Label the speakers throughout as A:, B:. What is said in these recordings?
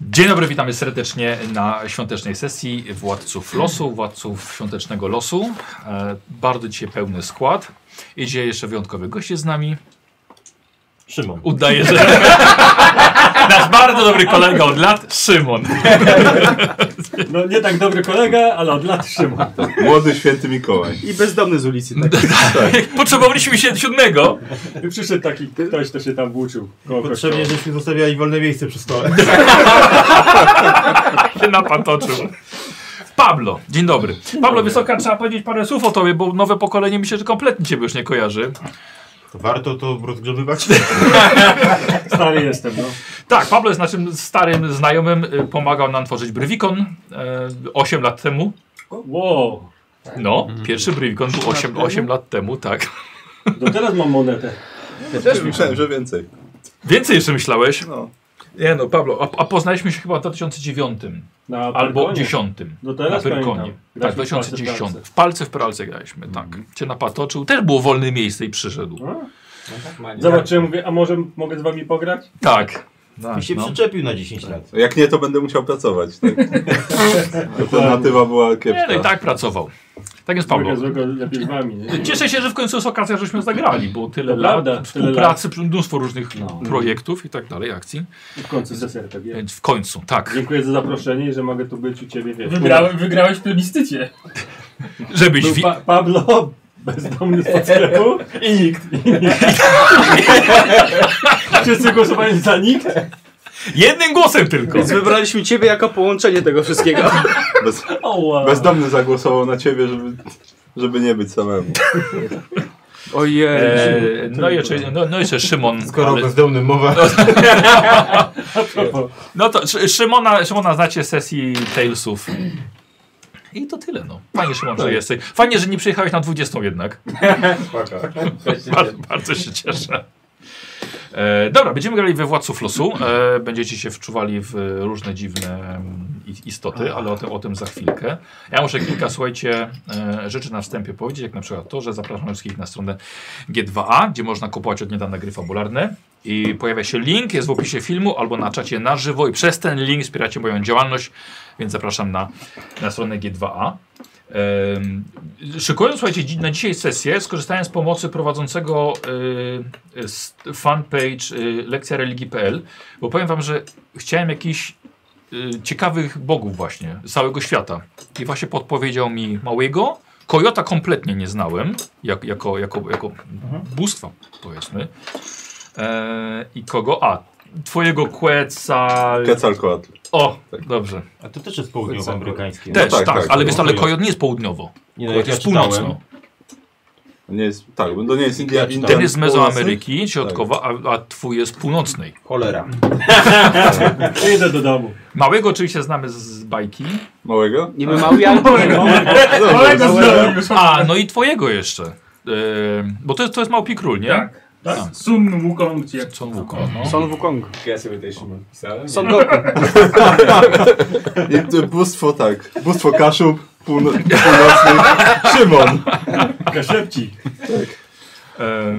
A: Dzień dobry, witamy serdecznie na świątecznej sesji Władców Losu, Władców Świątecznego Losu. E, bardzo dzisiaj pełny skład. Idzie jeszcze wyjątkowy gość jest z nami.
B: Szymon.
A: Udaje, że... Nasz bardzo dobry kolega od lat, Szymon.
B: No nie tak dobry kolega, ale od lat Szymon.
C: Młody święty Mikołaj.
D: I bezdomny z ulicy. Tak.
A: Jak Potrzebowaliśmy 77.
E: Przyszedł taki ktoś, kto się tam włóczył koło kościoła.
D: Potrzebnie, żeśmy zostawiali wolne miejsce przy stole.
A: się napatoczył. Pablo, dzień dobry. Pablo Wysoka, trzeba powiedzieć parę słów o tobie, bo nowe pokolenie mi się że kompletnie ciebie już nie kojarzy.
D: Warto to rozgrzebywać?
E: Stary jestem, no.
A: Tak, Pablo jest naszym starym znajomym, y, pomagał nam tworzyć Brywikon e, 8 lat temu.
E: Wow.
A: No,
E: Mhm.
A: pierwszy Brywikon był 8, 8 lat temu, tak.
E: Do teraz mam monetę.
C: Ja też myślałem, że więcej.
A: Więcej jeszcze myślałeś?
C: No.
A: Nie no, Pablo, a, a poznaliśmy się chyba w 2009
E: Na
A: albo
E: balkonie.
A: 10
E: Do teraz
A: na Pyrkonie.
E: pamiętam.
A: Tak,
E: Graliśmy w palce Mhm. w
A: 2010.
E: palce.
A: W palce w pralce graliśmy, tak. Cię napatoczył, też było wolne miejsce i przyszedł.
E: Zobaczyłem, mówię, a może mogę z wami pograć?
A: Tak.
D: I się przyczepił na 10 lat.
C: Jak nie, to będę musiał pracować. Tak? Alternatywa była
A: Nie, no i
C: kiepska.
A: tak pracował. Tak jest Pablo.
E: Złego, złego, lepiej z wami. Nie?
A: Cieszę się, że w końcu jest okazja, żeśmy zagrali, bo tyle
E: To
A: lat
E: prawda, tyle No.
A: współpracy, tyle mnóstwo różnych projektów i tak dalej, akcji.
E: I w końcu desertek. je.
A: Więc w końcu, tak.
E: Dziękuję za zaproszenie i że mogę tu być u ciebie, wiesz.
F: Wygrałem, wygrałeś w plebiscycie.
A: Żebyś
E: Był
A: wi-
E: pa Pablo, bezdomny z sklepu i nikt. I nikt. Wszyscy głosowali za nikt.
A: jednym głosem tylko.
D: Więc wybraliśmy ciebie jako połączenie tego wszystkiego.
C: Bez,
E: O, wow.
C: bezdomny zagłosował na ciebie, żeby, żeby nie być samemu.
D: Ojej.
A: E, no, i jeszcze, no, no jeszcze Szymon.
D: Skoro o
A: ale-
D: bezdomnym mowa,
A: No to Szy- Szymona, Szymona znacie z sesji Talesów. I to tyle, no. Fajnie, Szymon, że jesteś. Fajnie, że nie przyjechałeś na 20 jednak. bardzo, bardzo się cieszę. E, dobra, będziemy grali we Władców Losu. E, będziecie się wczuwali w różne dziwne mm, i- istoty, ale o tym, o tym za chwilkę. Ja muszę kilka, słuchajcie, e, rzeczy na wstępie powiedzieć, jak na przykład to, że zapraszam wszystkich na stronę G2A, gdzie można kupować od niedawna gry fabularne. I pojawia się link, jest w opisie filmu albo na czacie na żywo i przez ten link wspieracie moją działalność, więc zapraszam na, na stronę G2A. Em, Szykując, słuchajcie, dzi- na dzisiaj sesję skorzystałem z pomocy prowadzącego y, s- fanpage y, lekcja religii.pl, bo powiem wam, że chciałem jakichś y, ciekawych bogów właśnie z całego świata. I właśnie podpowiedział mi Małego. Kojota kompletnie nie znałem, jak, jako, jako, jako
C: Mhm.
A: bóstwa powiedzmy. E, I kogo? A, twojego Quetzal...
C: Kecalkoatl.
A: O, dobrze.
B: A to też jest południowoamerykańskie.
A: Też,
C: tak,
A: tak,
C: tak,
A: ale
C: no,
A: wiesz, ale
B: Kojot.
A: Kojot nie jest południowo.
B: Nie, no,
A: Kojot
B: jak ja
A: jest północno.
B: czytałem,
C: Nie jest, tak, bo to nie jest India. Indian
A: Ten jest z
C: północny?
A: Mezoameryki Środkowa, a, a twój jest północnej.
D: cholera.
E: Idę do domu.
A: Małego oczywiście znamy z, z bajki.
C: Małego? No
D: Nie my mały jak
C: Dobrze,
E: Małego.
A: A, no i twojego jeszcze. Yy, bo to jest, to jest Małpi Król, nie?
F: Tak.
A: Tak.
F: Tak? Sun Wukong cię.
A: Są Wukong. No.
D: Son Wukong.
G: Ja sobie też pisałem.
D: Son Goku.
C: I to bóstwo tak. Bóstwo Kaszub, półno, północny Szymon.
E: Kaszepci.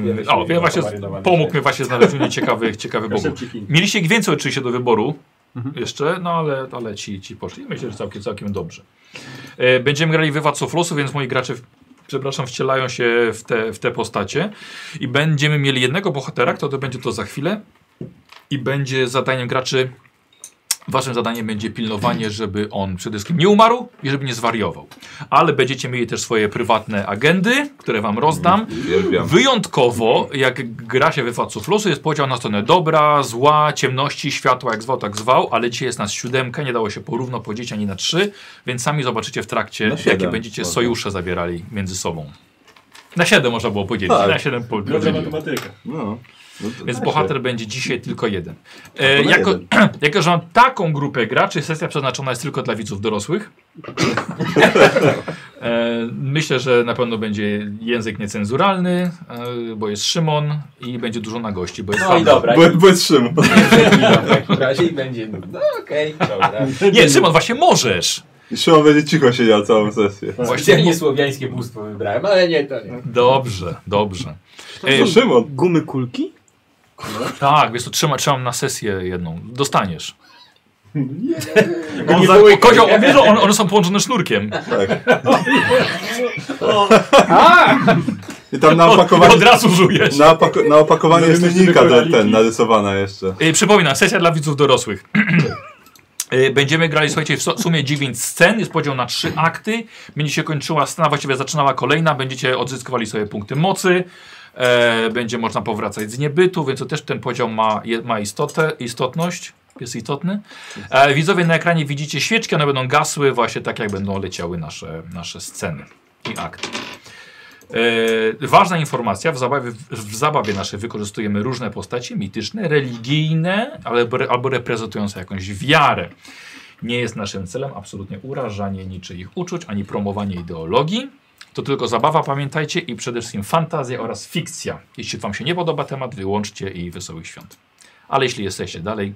A: Yy, o, więc właśnie z- pomógł mi właśnie znalezieniu ciekawych, ciekawych bogów.
E: Kaszepci Chin.
A: Mieliście ich więcej oczywiście do wyboru jeszcze, no ale, ale ci, ci poszli. Myślę, że całkiem, całkiem dobrze. E, będziemy grali wywładców losu, więc moi gracze, w, przepraszam, wcielają się w te, w te postacie. I będziemy mieli jednego bohatera, kto to będzie to za chwilę. I będzie zadaniem graczy, waszym zadaniem będzie pilnowanie, żeby on przede wszystkim nie umarł i żeby nie zwariował. Ale będziecie mieli też swoje prywatne agendy, które wam rozdam.
C: Uwielbiam.
A: Wyjątkowo, jak gra się wyfaców losu, jest podział na stronę dobra, zła, ciemności, światła, jak zwał, tak zwał, ale dzisiaj jest nas siódemka, nie dało się porówno podzielić ani na trzy, więc sami zobaczycie w trakcie,
C: Na siedem
A: jakie będziecie
C: można.
A: sojusze zawierali między sobą. Na siedem można było podzielić,
C: Tak.
A: na siedem po,
E: Dobra
A: podzieliłem.
E: matematyka.
C: No. No to-
A: Więc
C: tak
A: bohater będzie dzisiaj tylko jeden. E,
C: No to na
A: jako,
C: jeden.
A: jako, że mam taką grupę graczy, sesja przeznaczona jest tylko dla widzów dorosłych. e, myślę, że na pewno będzie język niecenzuralny, e, bo jest Szymon i będzie dużo na gości, bo jest
G: No i
A: Pablo.
G: dobra,
C: Bo, bo jest Szymon.
G: w takim razie i będzie. No okej, dobra.
A: Nie, Szymon, właśnie możesz.
C: I Szymon będzie cicho siedział całą sesję.
A: Właśnie
G: Specjalnie słowiańskie bóstwo wybrałem, ale nie to nie.
A: Dobrze, dobrze. E,
C: To Szymon.
D: Gumy kulki?
A: tak, wiesz, to trzyma, trzymam na sesję jedną. Dostaniesz. On za, o, kozioł, on, wie, że on, one są połączone sznurkiem.
C: Tak. I tam na opakowaniu,
A: Od razu żujesz.
C: na opako, na opakowaniu
B: No,
C: jest
B: my się
C: linijka ten,
B: wykonali.
C: ten narysowana jeszcze.
A: Y, Przypominam, sesja dla widzów dorosłych. Y, Będziemy grali, słuchajcie, w su- sumie 9 scen, jest podział na 3 akty. Będzie się kończyła scena, właściwie zaczynała kolejna, będziecie odzyskiwali sobie punkty mocy. E, będzie można powracać z niebytu, więc to też ten podział ma, je- ma istotę, istotność. Jest istotny. E, widzowie na ekranie widzicie świeczki, one będą gasły właśnie tak, jak będą leciały nasze, nasze sceny i akty. E, ważna informacja, w zabawie, w zabawie naszej wykorzystujemy różne postacie mityczne, religijne albo, albo reprezentujące jakąś wiarę. Nie jest naszym celem absolutnie urażanie niczyich uczuć ani promowanie ideologii. To tylko zabawa, pamiętajcie, i przede wszystkim fantazja oraz fikcja. Jeśli Wam się nie podoba temat, wyłączcie i wesołych świąt. Ale jeśli jesteście dalej,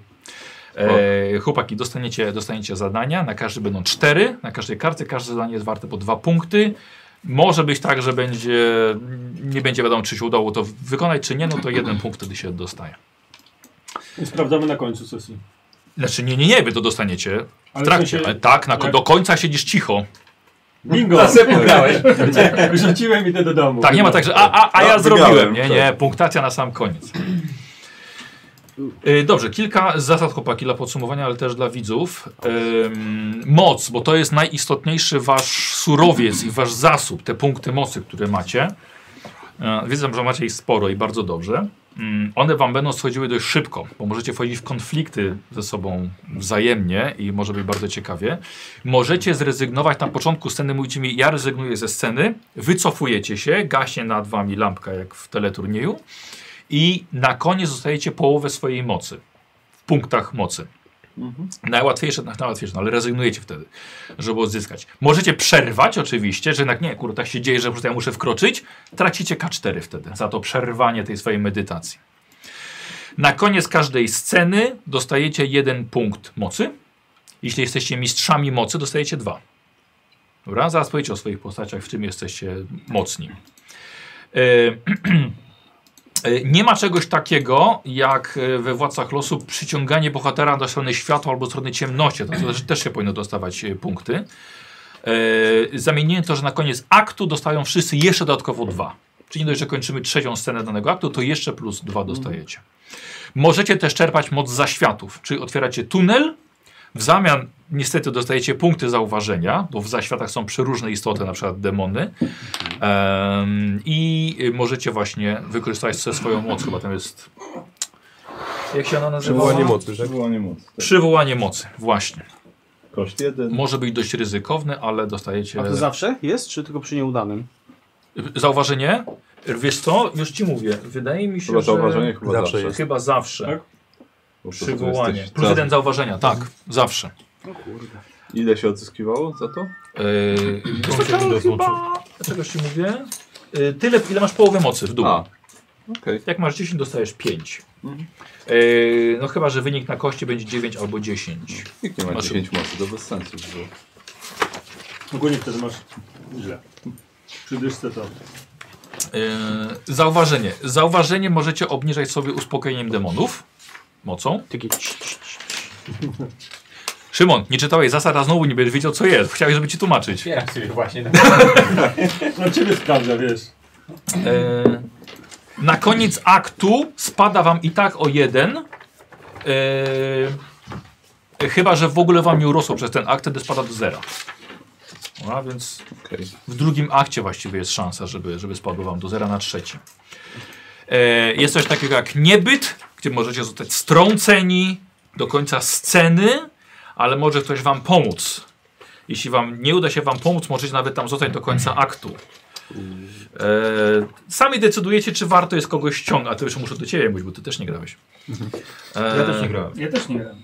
A: e, chłopaki, dostaniecie, dostaniecie zadania. Na każdy będą cztery, na każdej karcie. Każde zadanie jest warte po dwa punkty. Może być tak, że będzie, nie będzie wiadomo, czy się udało to wykonać, czy nie, no to jeden punkt wtedy się dostaje.
B: I sprawdzamy na końcu sesji.
A: Znaczy, nie, nie, nie, wy to dostaniecie w
F: Ale
A: trakcie,
F: w sensie-
A: ale tak, na,
F: jak-
A: do końca siedzisz cicho.
B: Bingo!
G: Grałeś.
B: Wyrzuciłem i idę do domu.
A: Tak, nie ma tak, że a, a, a ja
C: No,
A: zrobiłem.
C: wygrałem,
A: Nie,
C: tak.
A: nie, punktacja na sam koniec. Y, Dobrze, kilka zasad chłopaki dla podsumowania, ale też dla widzów. Ym, moc, bo to jest najistotniejszy wasz surowiec i wasz zasób, te punkty mocy, które macie. E, Wiedzą, że macie ich sporo i bardzo dobrze. Mm, One wam będą schodziły dość szybko, bo możecie wchodzić w konflikty ze sobą wzajemnie i może być bardzo ciekawie. Możecie zrezygnować na początku sceny, mówicie mi, ja rezygnuję ze sceny, wycofujecie się, gaśnie nad wami lampka jak w teleturnieju i na koniec dostajecie połowę swojej mocy w punktach mocy. Najłatwiejsze, na- najłatwiejsze, no ale rezygnujecie wtedy, żeby odzyskać. Możecie przerwać oczywiście, że jednak nie, kurde, tak się dzieje, że po prostu ja muszę wkroczyć. Tracicie K4 wtedy za to przerwanie tej swojej medytacji. Na koniec każdej sceny dostajecie jeden punkt mocy. Jeśli jesteście mistrzami mocy, dostajecie dwa. Dobra, zaraz powiecie o swoich postaciach, w czym jesteście mocni. E, E, Nie ma czegoś takiego jak e, we Władcach Losu przyciąganie bohatera do strony światła albo strony ciemności. To też, też się powinno dostawać e, punkty. E, Zamieniłem to, że na koniec aktu dostają wszyscy jeszcze dodatkowo dwa. Czyli nie dość, że kończymy trzecią scenę danego aktu, to jeszcze plus
D: Mhm.
A: dwa dostajecie. Możecie też czerpać moc zaświatów, czyli otwieracie tunel. W zamian niestety dostajecie punkty zauważenia, bo w zaświatach są przeróżne istoty, na przykład demony. Em, I y, możecie właśnie wykorzystać ze swoją moc, chyba tam jest. Jak się ona nazywa?
E: Przywołanie mocy, że?
C: Było niemoc.
A: Przywołanie mocy, właśnie.
C: Koszt tak. jeden.
A: Może być dość ryzykowny, ale dostajecie.
D: A to zawsze jest, czy tylko przy nieudanym?
A: Zauważenie? Wiesz co? Już ci mówię. Wydaje mi się,
C: Chyba
A: że.
C: zauważenie, chyba
E: Zawsze
C: zawsze,
E: jest.
A: Chyba zawsze.
B: Tak?
C: Po prostu
A: Przywołanie.
C: jesteś-
A: Plus jeden zauważenia, tak, zawsze.
C: Ile się odzyskiwało za to?
A: Yy, to
E: się
A: chyba...
E: do złączy.
A: Dlaczego ci mówię? Yy, tyle, ile masz połowy mocy w dół.
C: A. Okej.
A: Jak masz 10, dostajesz 5.
C: Mhm.
A: Yy, no chyba, że wynik na kości będzie 9 albo 10.
C: Nikt nie ma
A: Masz-
C: 10 mocy, to bez sensu było.
B: Ogólnie wtedy masz źle. Przy dyszce to.
A: Yy, zauważenie. Zauważenie możecie obniżać sobie uspokojeniem demonów. Mocą.
D: Taki cii, cii, cii.
A: Szymon, nie czytałeś zasad, a znowu nie będziesz wiedział co jest. Chciałeś, żeby ci tłumaczyć.
G: Otwieram sobie właśnie.
B: No ciebie sprawdza, wiesz.
A: E, na koniec aktu spada wam i tak o jeden. E, chyba, że w ogóle wam nie urosło przez ten akt, wtedy spada do zera. A więc
C: Okej.
A: w drugim akcie właściwie jest szansa, żeby, żeby spadło wam do zera na trzeci. E, jest coś takiego jak niebyt, gdzie możecie zostać strąceni do końca sceny, ale może ktoś wam pomóc. Jeśli wam nie uda się wam pomóc, możecie nawet tam zostać do końca aktu. E, sami decydujecie, czy warto jest kogoś ściągnąć. A to już muszę do ciebie mówić, bo ty też nie grałeś. E,
D: Ja też nie grałem.
F: Ja też nie wiem.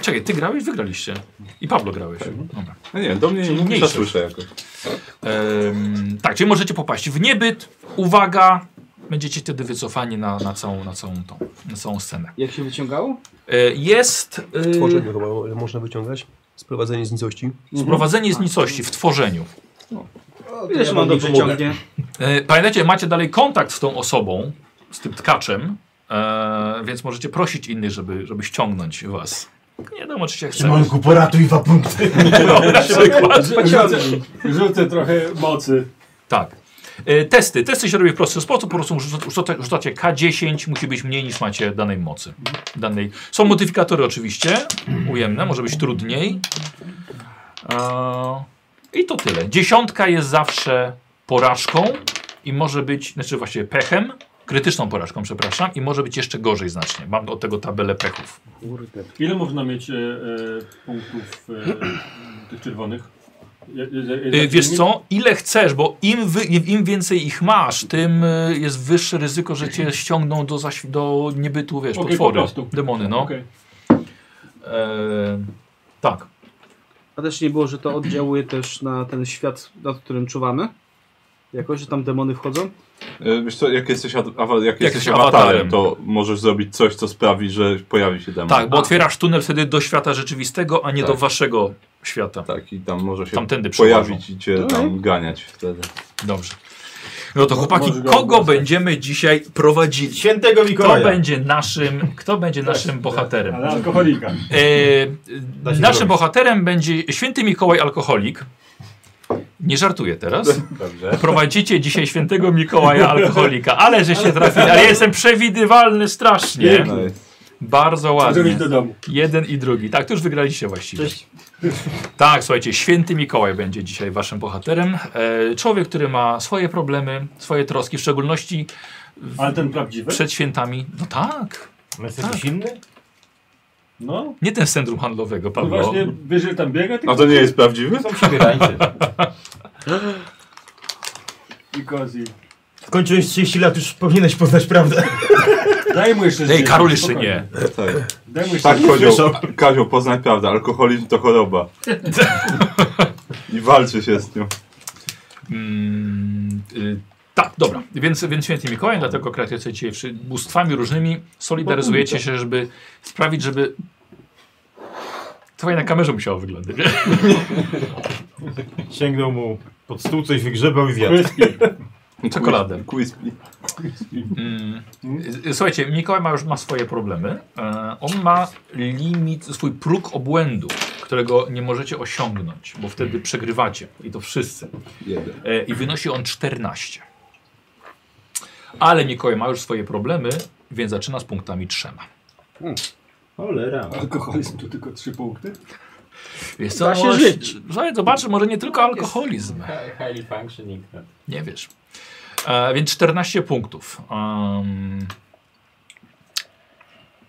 A: Czekaj, ty grałeś? Wygraliście. I Pablo grałeś.
D: Tak.
A: Dobra.
C: No nie wiem, do mnie nie mówisz, a
A: mniejszość.
C: słyszę jakoś.
A: Em, tak, czyli możecie popaść w niebyt. Uwaga! Będziecie wtedy wycofani na, na, całą, na, całą, tą, na całą scenę.
D: Jak się wyciągało?
A: E, jest
E: Tworzenie chyba można wyciągać. Sprowadzenie z nicości.
A: e, sprowadzenie z nicości w tworzeniu.
D: Wiesz, mam dobrze ciągnie.
A: E, pamiętajcie, macie dalej kontakt z tą osobą, z tym tkaczem, E, więc możecie prosić innych, żeby, żeby ściągnąć was. Nie wiadomo, oczywiście jak chcesz.
H: Szymonku, poratuj dwa punkty.
A: No, na przykład.
E: Pociągnij.
B: Rzucę trochę mocy.
A: Tak. E, testy. Testy się robi w prosty sposób. Po prostu rzuca- rzuca- rzucacie K10, musi być mniej niż macie danej mocy. Danej. Są modyfikatory oczywiście, ujemne, może być trudniej. E, I to tyle. Dziesiątka jest zawsze porażką i może być, znaczy właściwie pechem, krytyczną porażką, przepraszam, i może być jeszcze gorzej znacznie. Mam od tego tabelę pechów.
D: Kurde.
B: Ile można mieć e, e, punktów e, tych czerwonych? Je- je- je-
A: Y,
B: je-
A: Wiesz co, ile chcesz, bo im, wy, im więcej ich masz, tym y, jest wyższe ryzyko, że cię ściągną do, zaś, do niebytu, wiesz,
B: Okej, po
A: potwory,
B: prostu.
A: demony, no.
B: Okej.
A: E, tak.
D: A też nie było, że to oddziałuje też na ten świat, nad którym czuwamy? Jakoś, że tam demony wchodzą?
C: E, Wiesz co, jak jesteś, ad- awa, jak jesteś
A: jesteś
C: awatarem,
A: awatarem.
C: to możesz zrobić coś, co sprawi, że pojawi się demon.
A: Tak, bo otwierasz tunel wtedy do świata rzeczywistego, a nie
C: Tak.
A: do waszego świata.
C: Tak, i tam może się
A: Tamtędy
C: pojawić No i cię tam ganiać wtedy.
A: Dobrze. No to chłopaki,
B: Możesz go
A: kogo
B: ogłaszać.
A: będziemy dzisiaj prowadzili?
G: Świętego
A: Kto
G: Mikołaja.
A: będzie naszym, kto będzie naszym bohaterem?
B: Ale alkoholika.
A: E,
G: się
A: naszym
G: zrobić.
A: bohaterem będzie święty Mikołaj Alkoholik. Nie żartuję teraz.
C: Dobrze.
A: Prowadzicie dzisiaj świętego Mikołaja Alkoholika, ale że się trafili. Ale ja jestem przewidywalny strasznie.
C: No i
A: Bardzo
B: Zrobić
A: ładnie.
B: do domu.
A: Jeden i drugi. Tak, to już wygraliście właściwie.
G: Cześć.
A: Tak, słuchajcie, święty Mikołaj będzie dzisiaj waszym bohaterem. E, człowiek, który ma swoje problemy, swoje troski, w szczególności
B: Ale ten prawdziwy?
A: przed świętami. No tak.
G: Jest
A: jakiś
G: inny?
B: No.
A: Nie ten z centrum handlowego,
B: No
A: Pawlo.
B: właśnie, wiesz, że tam biega,
C: A
B: tylko
C: to nie jest prawdziwy?
G: Są przebierańcy.
B: i kozi.
H: Skończyłeś 30 lat, już powinieneś poznać prawdę.
B: Daj mu jeszcze
A: Ej,
B: żyć,
A: Karol jeszcze
B: spokojnie.
A: nie.
C: Tak,
B: Daj mu jeszcze
C: tak
B: żyć.
C: Kozioł, Kazio, poznaj prawdę, alkoholizm to choroba. I walczy się z nią.
A: Mm, y, tak, dobra. Więc, więc święty Mikołaj, dlatego kreatywujecie się bóstwami różnymi, solidaryzujecie się, żeby sprawić, żeby... To fajnie na kamerze musiało wyglądać. nie?
H: Sięgnął mu pod stół, coś wygrzebał i zjadł.
B: Whisky.
A: Czekoladę.
C: Crispy.
A: Mm. Y, y, Słuchajcie, Mikołaj ma już ma swoje problemy. E, on ma limit, swój próg obłędu, którego nie możecie osiągnąć, bo
B: Mm.
A: wtedy przegrywacie i to wszyscy.
C: Jeden.
A: E, I wynosi on 14. Ale Mikołaj ma już swoje problemy, więc zaczyna z punktami trzema.
H: Cholera.
B: Hmm. Alkoholizm to tylko trzy punkty?
A: Wiesz
D: Da się
A: może-
D: żyć.
A: Słuchaj, zobaczy, może nie tylko alkoholizm.
G: Highly no. functioning.
A: Nie wiesz. E, więc 14 punktów. Em,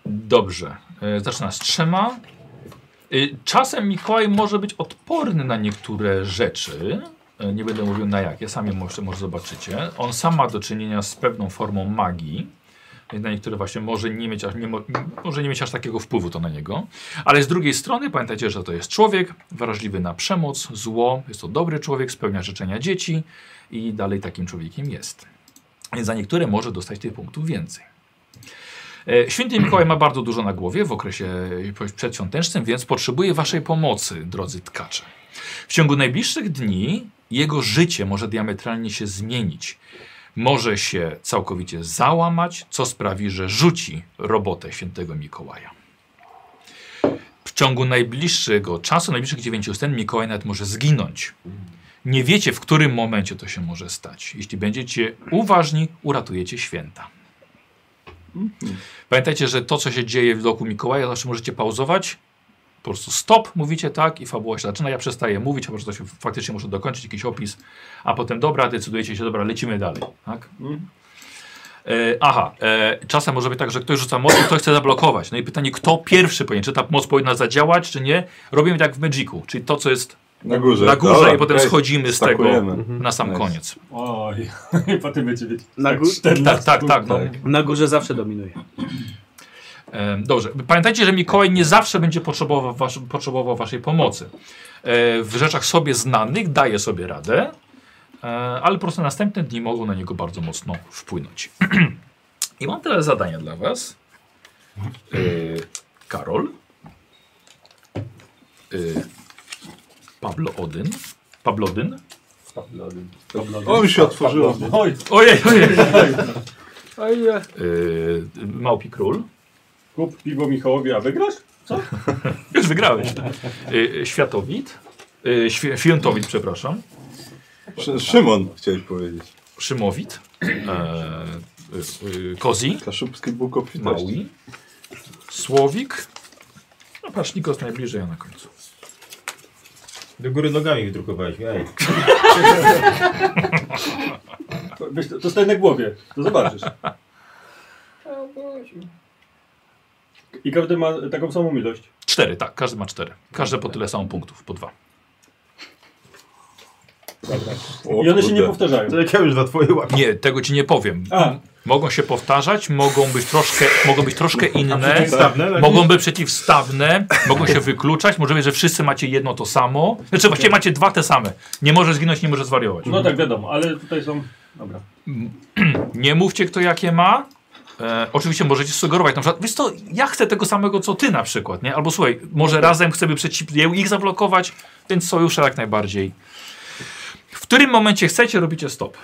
A: dobrze. E, zaczyna z trzema. Y, czasem Mikołaj może być odporny na niektóre rzeczy. E, nie będę mówił na jakie, sami może, może zobaczycie. On sam ma do czynienia z pewną formą magii. Więc Na niektóre właśnie może nie, mieć, aż- nie, mo- może nie mieć aż takiego wpływu to na niego. Ale z drugiej strony pamiętajcie, że to jest człowiek wrażliwy na przemoc, zło, jest to dobry człowiek, spełnia życzenia dzieci i dalej takim człowiekiem jest. Więc za niektóre może dostać tych punktów więcej. E, Święty Mikołaj ma bardzo dużo na głowie w okresie powiedz, przedświątecznym, więc potrzebuje Waszej pomocy, drodzy tkacze. W ciągu najbliższych dni jego życie może diametralnie się zmienić. Może się całkowicie załamać, co sprawi, że rzuci robotę świętego Mikołaja. W ciągu najbliższego czasu, najbliższych 9 dni, Mikołaj nawet może zginąć. Nie wiecie, w którym momencie to się może stać. Jeśli będziecie uważni, uratujecie święta. Pamiętajcie, że to, co się dzieje wokół Mikołaja, zawsze możecie pauzować. Po prostu stop, mówicie tak i fabuła się zaczyna. Ja przestaję mówić, a może to się faktycznie muszę dokończyć, jakiś opis, a potem dobra, decydujecie się, dobra, lecimy dalej. Tak? E, aha, e, czasem może być tak, że ktoś rzuca moc i ktoś chce zablokować. No i pytanie, kto pierwszy powinien, czy ta moc powinna zadziałać, czy nie. Robimy tak w Magicu, czyli to, co jest
C: Na górze.
A: na górze
C: Dobra,
A: i potem
C: okej.
A: schodzimy z tego
C: Stakujemy.
A: na sam
C: Nice.
A: koniec.
B: Oj, potem będzie wiedzieć.
D: Na
B: Tak,
D: gó-
B: 14
A: Tak, tak, tak. No.
C: Tak.
D: Na górze zawsze dominuje.
A: Em, Dobrze. Pamiętajcie, że Mikołaj nie zawsze będzie potrzebował, wasz, potrzebował waszej pomocy. E, W rzeczach sobie znanych daje sobie radę, e, ale po prostu następne dni mogą na niego bardzo mocno wpłynąć. I mam teraz zadania dla was. E, Karol. E, Pablo Odyn. Pablodyn.
C: O, już się otworzyło.
B: Oj,
A: Ojej, ojej. Yy, Małpi Król.
B: Kup piwo Michałowi, a wygrasz?
A: Już wygrałeś. Yy, światowid. Yy, świ- świętowid, przepraszam.
C: Sz Szymon chciałeś powiedzieć.
A: Szymowid. Yy, yy, Kozi.
C: Kaszubski był kopitości.
A: Maui. Słowik. No patrz, Nikos najbliżej, a na końcu.
H: Do góry nogami wydrukowałeś, ej.
B: Weź, to, to stoi na głowie, to zobaczysz. I każdy ma taką samą ilość.
A: Cztery, tak, każdy ma cztery. Każdy po tyle samo punktów, po dwa.
C: O
B: I one się nie
C: kurde.
B: powtarzają.
H: To jak ja już za twoje łapie.
A: Nie, tego ci nie powiem.
B: A,
A: Mogą się powtarzać, mogą być troszkę, mogą być troszkę inne,
H: Przeciwstawne?
A: mogą być przeciwstawne, mogą się wykluczać. Może być, że wszyscy macie jedno to samo. Znaczy właściwie macie dwa te same. Nie może zginąć, nie może zwariować.
B: no tak wiadomo, ale tutaj są... Dobra.
A: Nie mówcie kto jakie ma. E, oczywiście możecie sugerować, na przykład, wiesz co, ja chcę tego samego co ty na przykład, nie? Albo słuchaj,
B: No.
A: może razem chcemy przeciw ich zablokować, więc sojusze jak najbardziej. W którym momencie chcecie, robicie stop.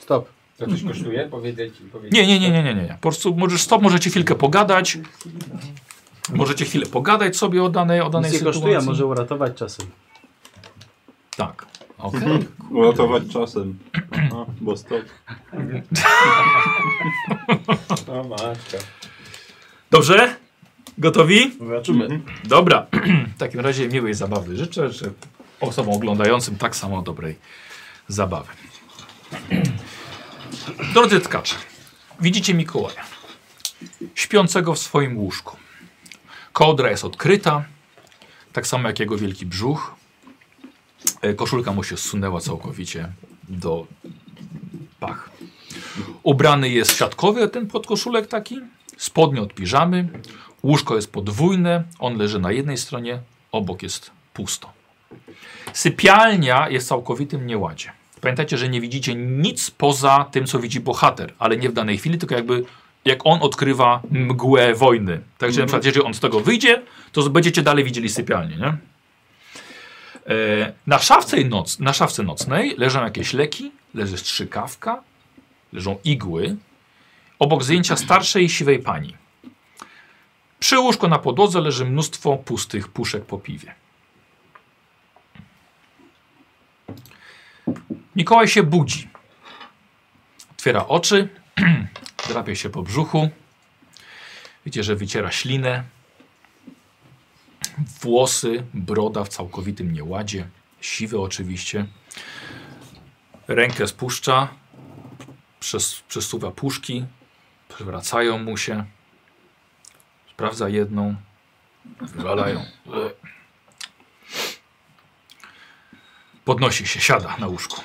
D: Stop.
G: To coś kosztuje? Powiedzieć, powiedzieć.
A: Nie, nie, nie, nie, nie, nie. nie. Po prostu możesz stop, możecie chwilkę pogadać. Możecie chwilę pogadać sobie o danej, o danej
D: Nic nie
A: sytuacji.
D: kosztuje, może uratować czasem.
A: Tak. Okej.
C: Uratować czasem. Aha, bo stop.
G: O matka.
A: Dobrze? Gotowi?
H: Zobaczymy.
A: Dobra. W takim razie miłej zabawy życzę, że osobom oglądającym tak samo dobrej zabawy. Drodzy tkacze, widzicie Mikołaja śpiącego w swoim łóżku. Kołdra jest odkryta, tak samo jak jego wielki brzuch. E, Koszulka mu się zsunęła całkowicie do pach. Ubrany jest siatkowy ten podkoszulek taki, spodnie od piżamy, Łóżko jest podwójne, on leży na jednej stronie, obok jest pusto. Sypialnia jest w całkowitym nieładzie. Pamiętajcie, że nie widzicie nic poza tym, co widzi bohater, ale nie w danej chwili, tylko jakby jak on odkrywa mgłę wojny. Także na przykład, jeżeli on z tego wyjdzie, to będziecie dalej widzieli sypialnię, nie? E, na, szafce noc, na szafce nocnej leżą jakieś leki, leży strzykawka, leżą igły, obok zdjęcia starszej siwej pani. Przy łóżku na podłodze leży mnóstwo pustych puszek po piwie. Mikołaj się budzi. Otwiera oczy, drapie się po brzuchu. Widzicie, że wyciera ślinę. Włosy, broda w całkowitym nieładzie. Siwe oczywiście. Rękę spuszcza, przes- przesuwa puszki, przewracają mu się. Sprawdza jedną. Wywalają. Podnosi się, siada na łóżku.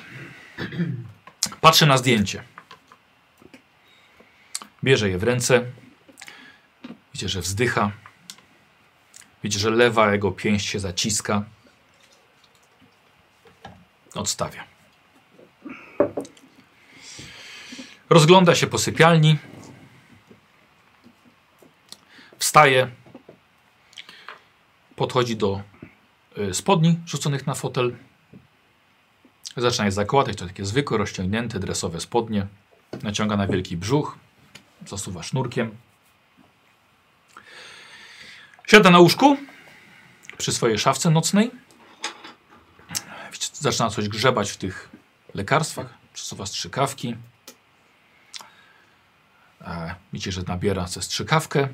A: Patrzy na zdjęcie. Bierze je w ręce. Widzi, że wzdycha. Widzi, że lewa jego pięść się zaciska. Odstawia. Rozgląda się po sypialni. Wstaje, podchodzi do y, spodni rzuconych na fotel. Zaczyna je zakładać, to takie zwykłe, rozciągnięte, dresowe spodnie. Naciąga na wielki brzuch, zasuwa sznurkiem. Siada na łóżku przy swojej szafce nocnej. Widzicie, Zaczyna coś grzebać w tych lekarstwach, przesuwa strzykawki. E, widzicie, że nabiera ze strzykawkę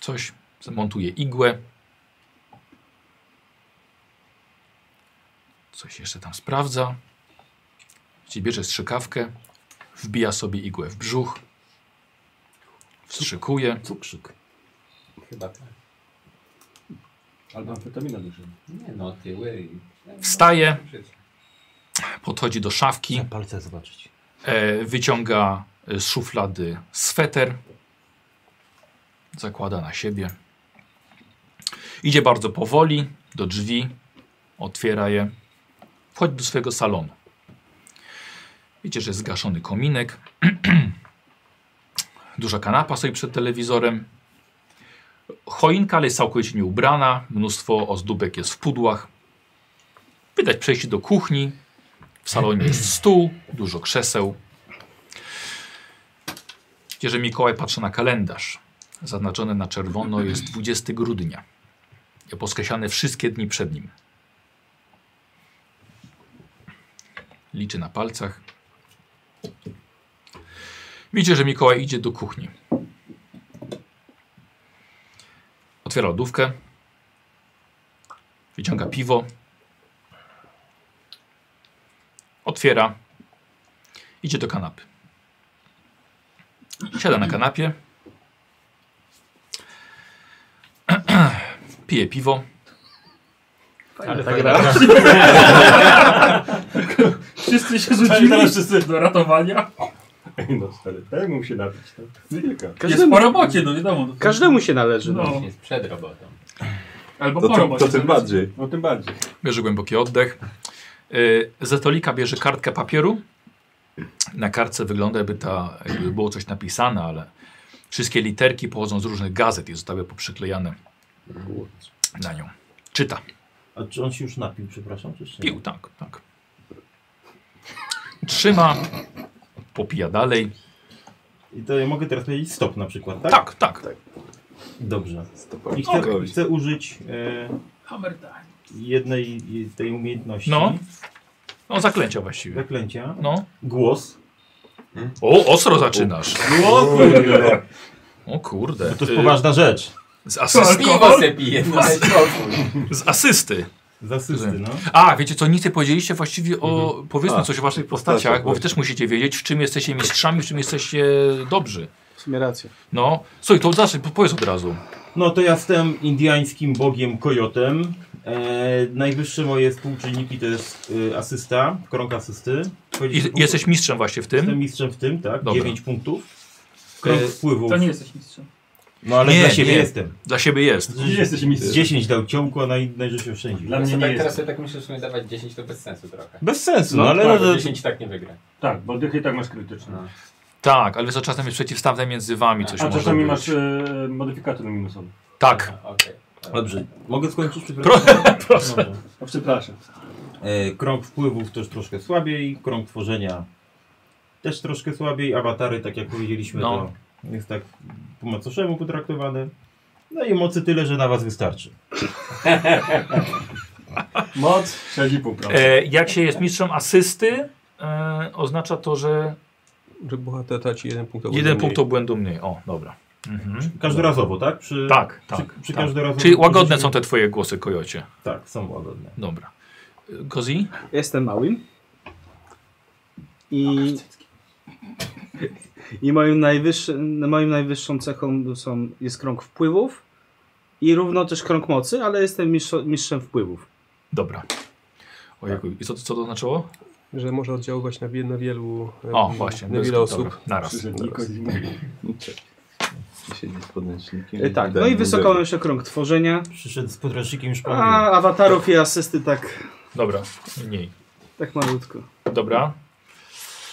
A: coś, zamontuje igłę. Coś jeszcze tam sprawdza. Czyli bierze strzykawkę, wbija sobie igłę w brzuch, wstrzykuje.
G: Cukrzyk. Chyba tak.
B: Albo amfetamina leży.
G: Nie no, ty łyj.
A: Wstaje, podchodzi do szafki,
H: palce zobaczyć.
A: e, wyciąga e, z szuflady sweter, zakłada na siebie. Idzie bardzo powoli do drzwi, otwiera je, wchodzi do swojego salonu. Widzicie, że jest zgaszony kominek, duża kanapa stoi przed telewizorem, choinka, ale jest całkowicie nieubrana, mnóstwo ozdóbek jest w pudłach. Widać przejście do kuchni, w salonie jest stół, dużo krzeseł. Widzicie, że Mikołaj patrzy na kalendarz. Zaznaczony na czerwono jest 20 grudnia. I Poskreślane wszystkie dni przed nim. Liczy na palcach. Widzicie, że Mikołaj idzie do kuchni. Otwiera lodówkę. Wyciąga piwo. Otwiera. Idzie do kanapy. Siada na kanapie. Pije piwo.
F: Ale tak gra. Wszyscy się rzucili.
B: Teraz wszyscy
F: Do ratowania.
E: Ej, no stary, tak mu się napić. tak? Wielka.
F: Jest
D: Każdemu,
F: po robocie, no wiadomo.
D: każdemu się należy. No.
F: No,
G: Jest przed robotą.
F: albo
C: To,
F: po
C: to,
F: robocie.
C: to tym bardziej.
E: No tym bardziej.
A: Bierze głęboki oddech. Y, Ze stolika bierze kartkę papieru. Na kartce wygląda, jakby, ta, jakby było coś napisane, ale wszystkie literki pochodzą z różnych gazet i zostały poprzyklejane na nią. Czyta.
H: A czy on się już napił, przepraszam? Czy jeszcze nie?
A: Pił, tak, tak. Trzyma. Popija dalej.
H: I to ja mogę teraz powiedzieć stop na przykład, tak?
A: Tak, tak.
H: Dobrze.
C: Stopa.
H: I chcę, chcę użyć e,
F: Hammer time.
H: jednej i- tej umiejętności.
A: No. No zaklęcia właściwie.
H: Zaklęcia.
A: No.
H: Głos.
A: O, ostro zaczynasz.
H: O kurde.
A: O kurde.
H: To
A: Y,
H: jest poważna rzecz.
A: Z, asysty,
G: Piwo se pije, no daj spokój.
A: z asysty.
H: Z asysty, no.
A: A, wiecie co, nic nie powiedzieliście właściwie o, powiedzmy
C: A,
A: coś o waszych
C: tak,
A: postaciach,
C: tak,
A: bo wy
C: tak.
A: też musicie wiedzieć, w czym jesteście mistrzami, w czym jesteście dobrzy.
D: W sumie rację.
A: No, słuchaj, to zacznij, po- powiedz od razu.
H: No to ja jestem indyjskim bogiem kojotem. E, najwyższe moje współczynniki to jest e, asysta, krąg asysty. Chodzi-
A: I, jesteś mistrzem właśnie w
H: Jestem
A: tym?
H: mistrzem w tym, tak?
A: Dobra.
H: 9 punktów. Krąg
A: E,
H: wpływów.
F: To nie jesteś mistrzem.
H: No ale
A: Nie,
H: dla siebie
A: nie.
H: jestem.
A: Dla siebie jest.
E: Gdzie jesteś
H: Z
E: mistrzem?
H: 10 dał ciągu, a naj, najrzeczniej oszczędził.
E: Dla mnie
G: Sobie
E: nie
G: tak,
E: jest.
G: teraz sobie tak myślę, że nie dawać 10 to bez sensu trochę.
H: Bez sensu, no,
E: No,
H: ale...
G: Dobra,
H: no, to-
G: 10 tak nie wygra.
E: Tak, bo dychy i tak masz krytyczne.
G: No.
A: Tak, ale wiesz, czasem jest przeciwstawne między wami coś
E: A
A: może
E: czasami
A: być.
E: masz e, modyfikator minusowy.
A: Tak,
G: No, Okej. dobra.
H: Dobrze, mogę skończyć? Przepraszam. Proszę.
E: O, przepraszam.
H: E, krąg wpływów też troszkę słabiej, krąg tworzenia też troszkę słabiej, awatary, tak jak powiedzieliśmy,
A: No.
H: to jest tak po macoszemu potraktowane. No i mocy tyle, że na was wystarczy.
E: Moc 6,5%.
A: e, jak się jest mistrzem asysty, e, oznacza to, że
I: Że bohater traci jeden punkt.
A: jeden punkt obłędu mniej. O, dobra. Mhm.
H: Każdorazowo, tak? Przy,
A: Tak,
H: przy,
A: tak.
H: przy
A: tak.
H: każdorazowo-
A: Czyli łagodne są te twoje głosy, kojocie.
H: Tak, są łagodne.
A: Dobra. Kozi?
D: Jestem małym. I. I moim, najwyższym, moim najwyższą cechą są, jest krąg wpływów. I równo też krąg mocy, ale jestem mistrz- mistrzem wpływów.
A: Dobra. Ojejku, i co, co to znaczyło?
I: Że może oddziaływać na, wie- na wielu, e,
A: O, właśnie.
I: na
A: bez-
I: wiele
A: dobra,
I: osób.
A: Naraz.
C: Siedzi z podręcznikiem.
D: E, tak, no i wysoko mam jeszcze krąg tworzenia.
H: Przyszedł z podręcznikiem już
D: A awatarów i asysty tak,
A: Dobra, mniej.
D: tak malutko.
A: Dobra.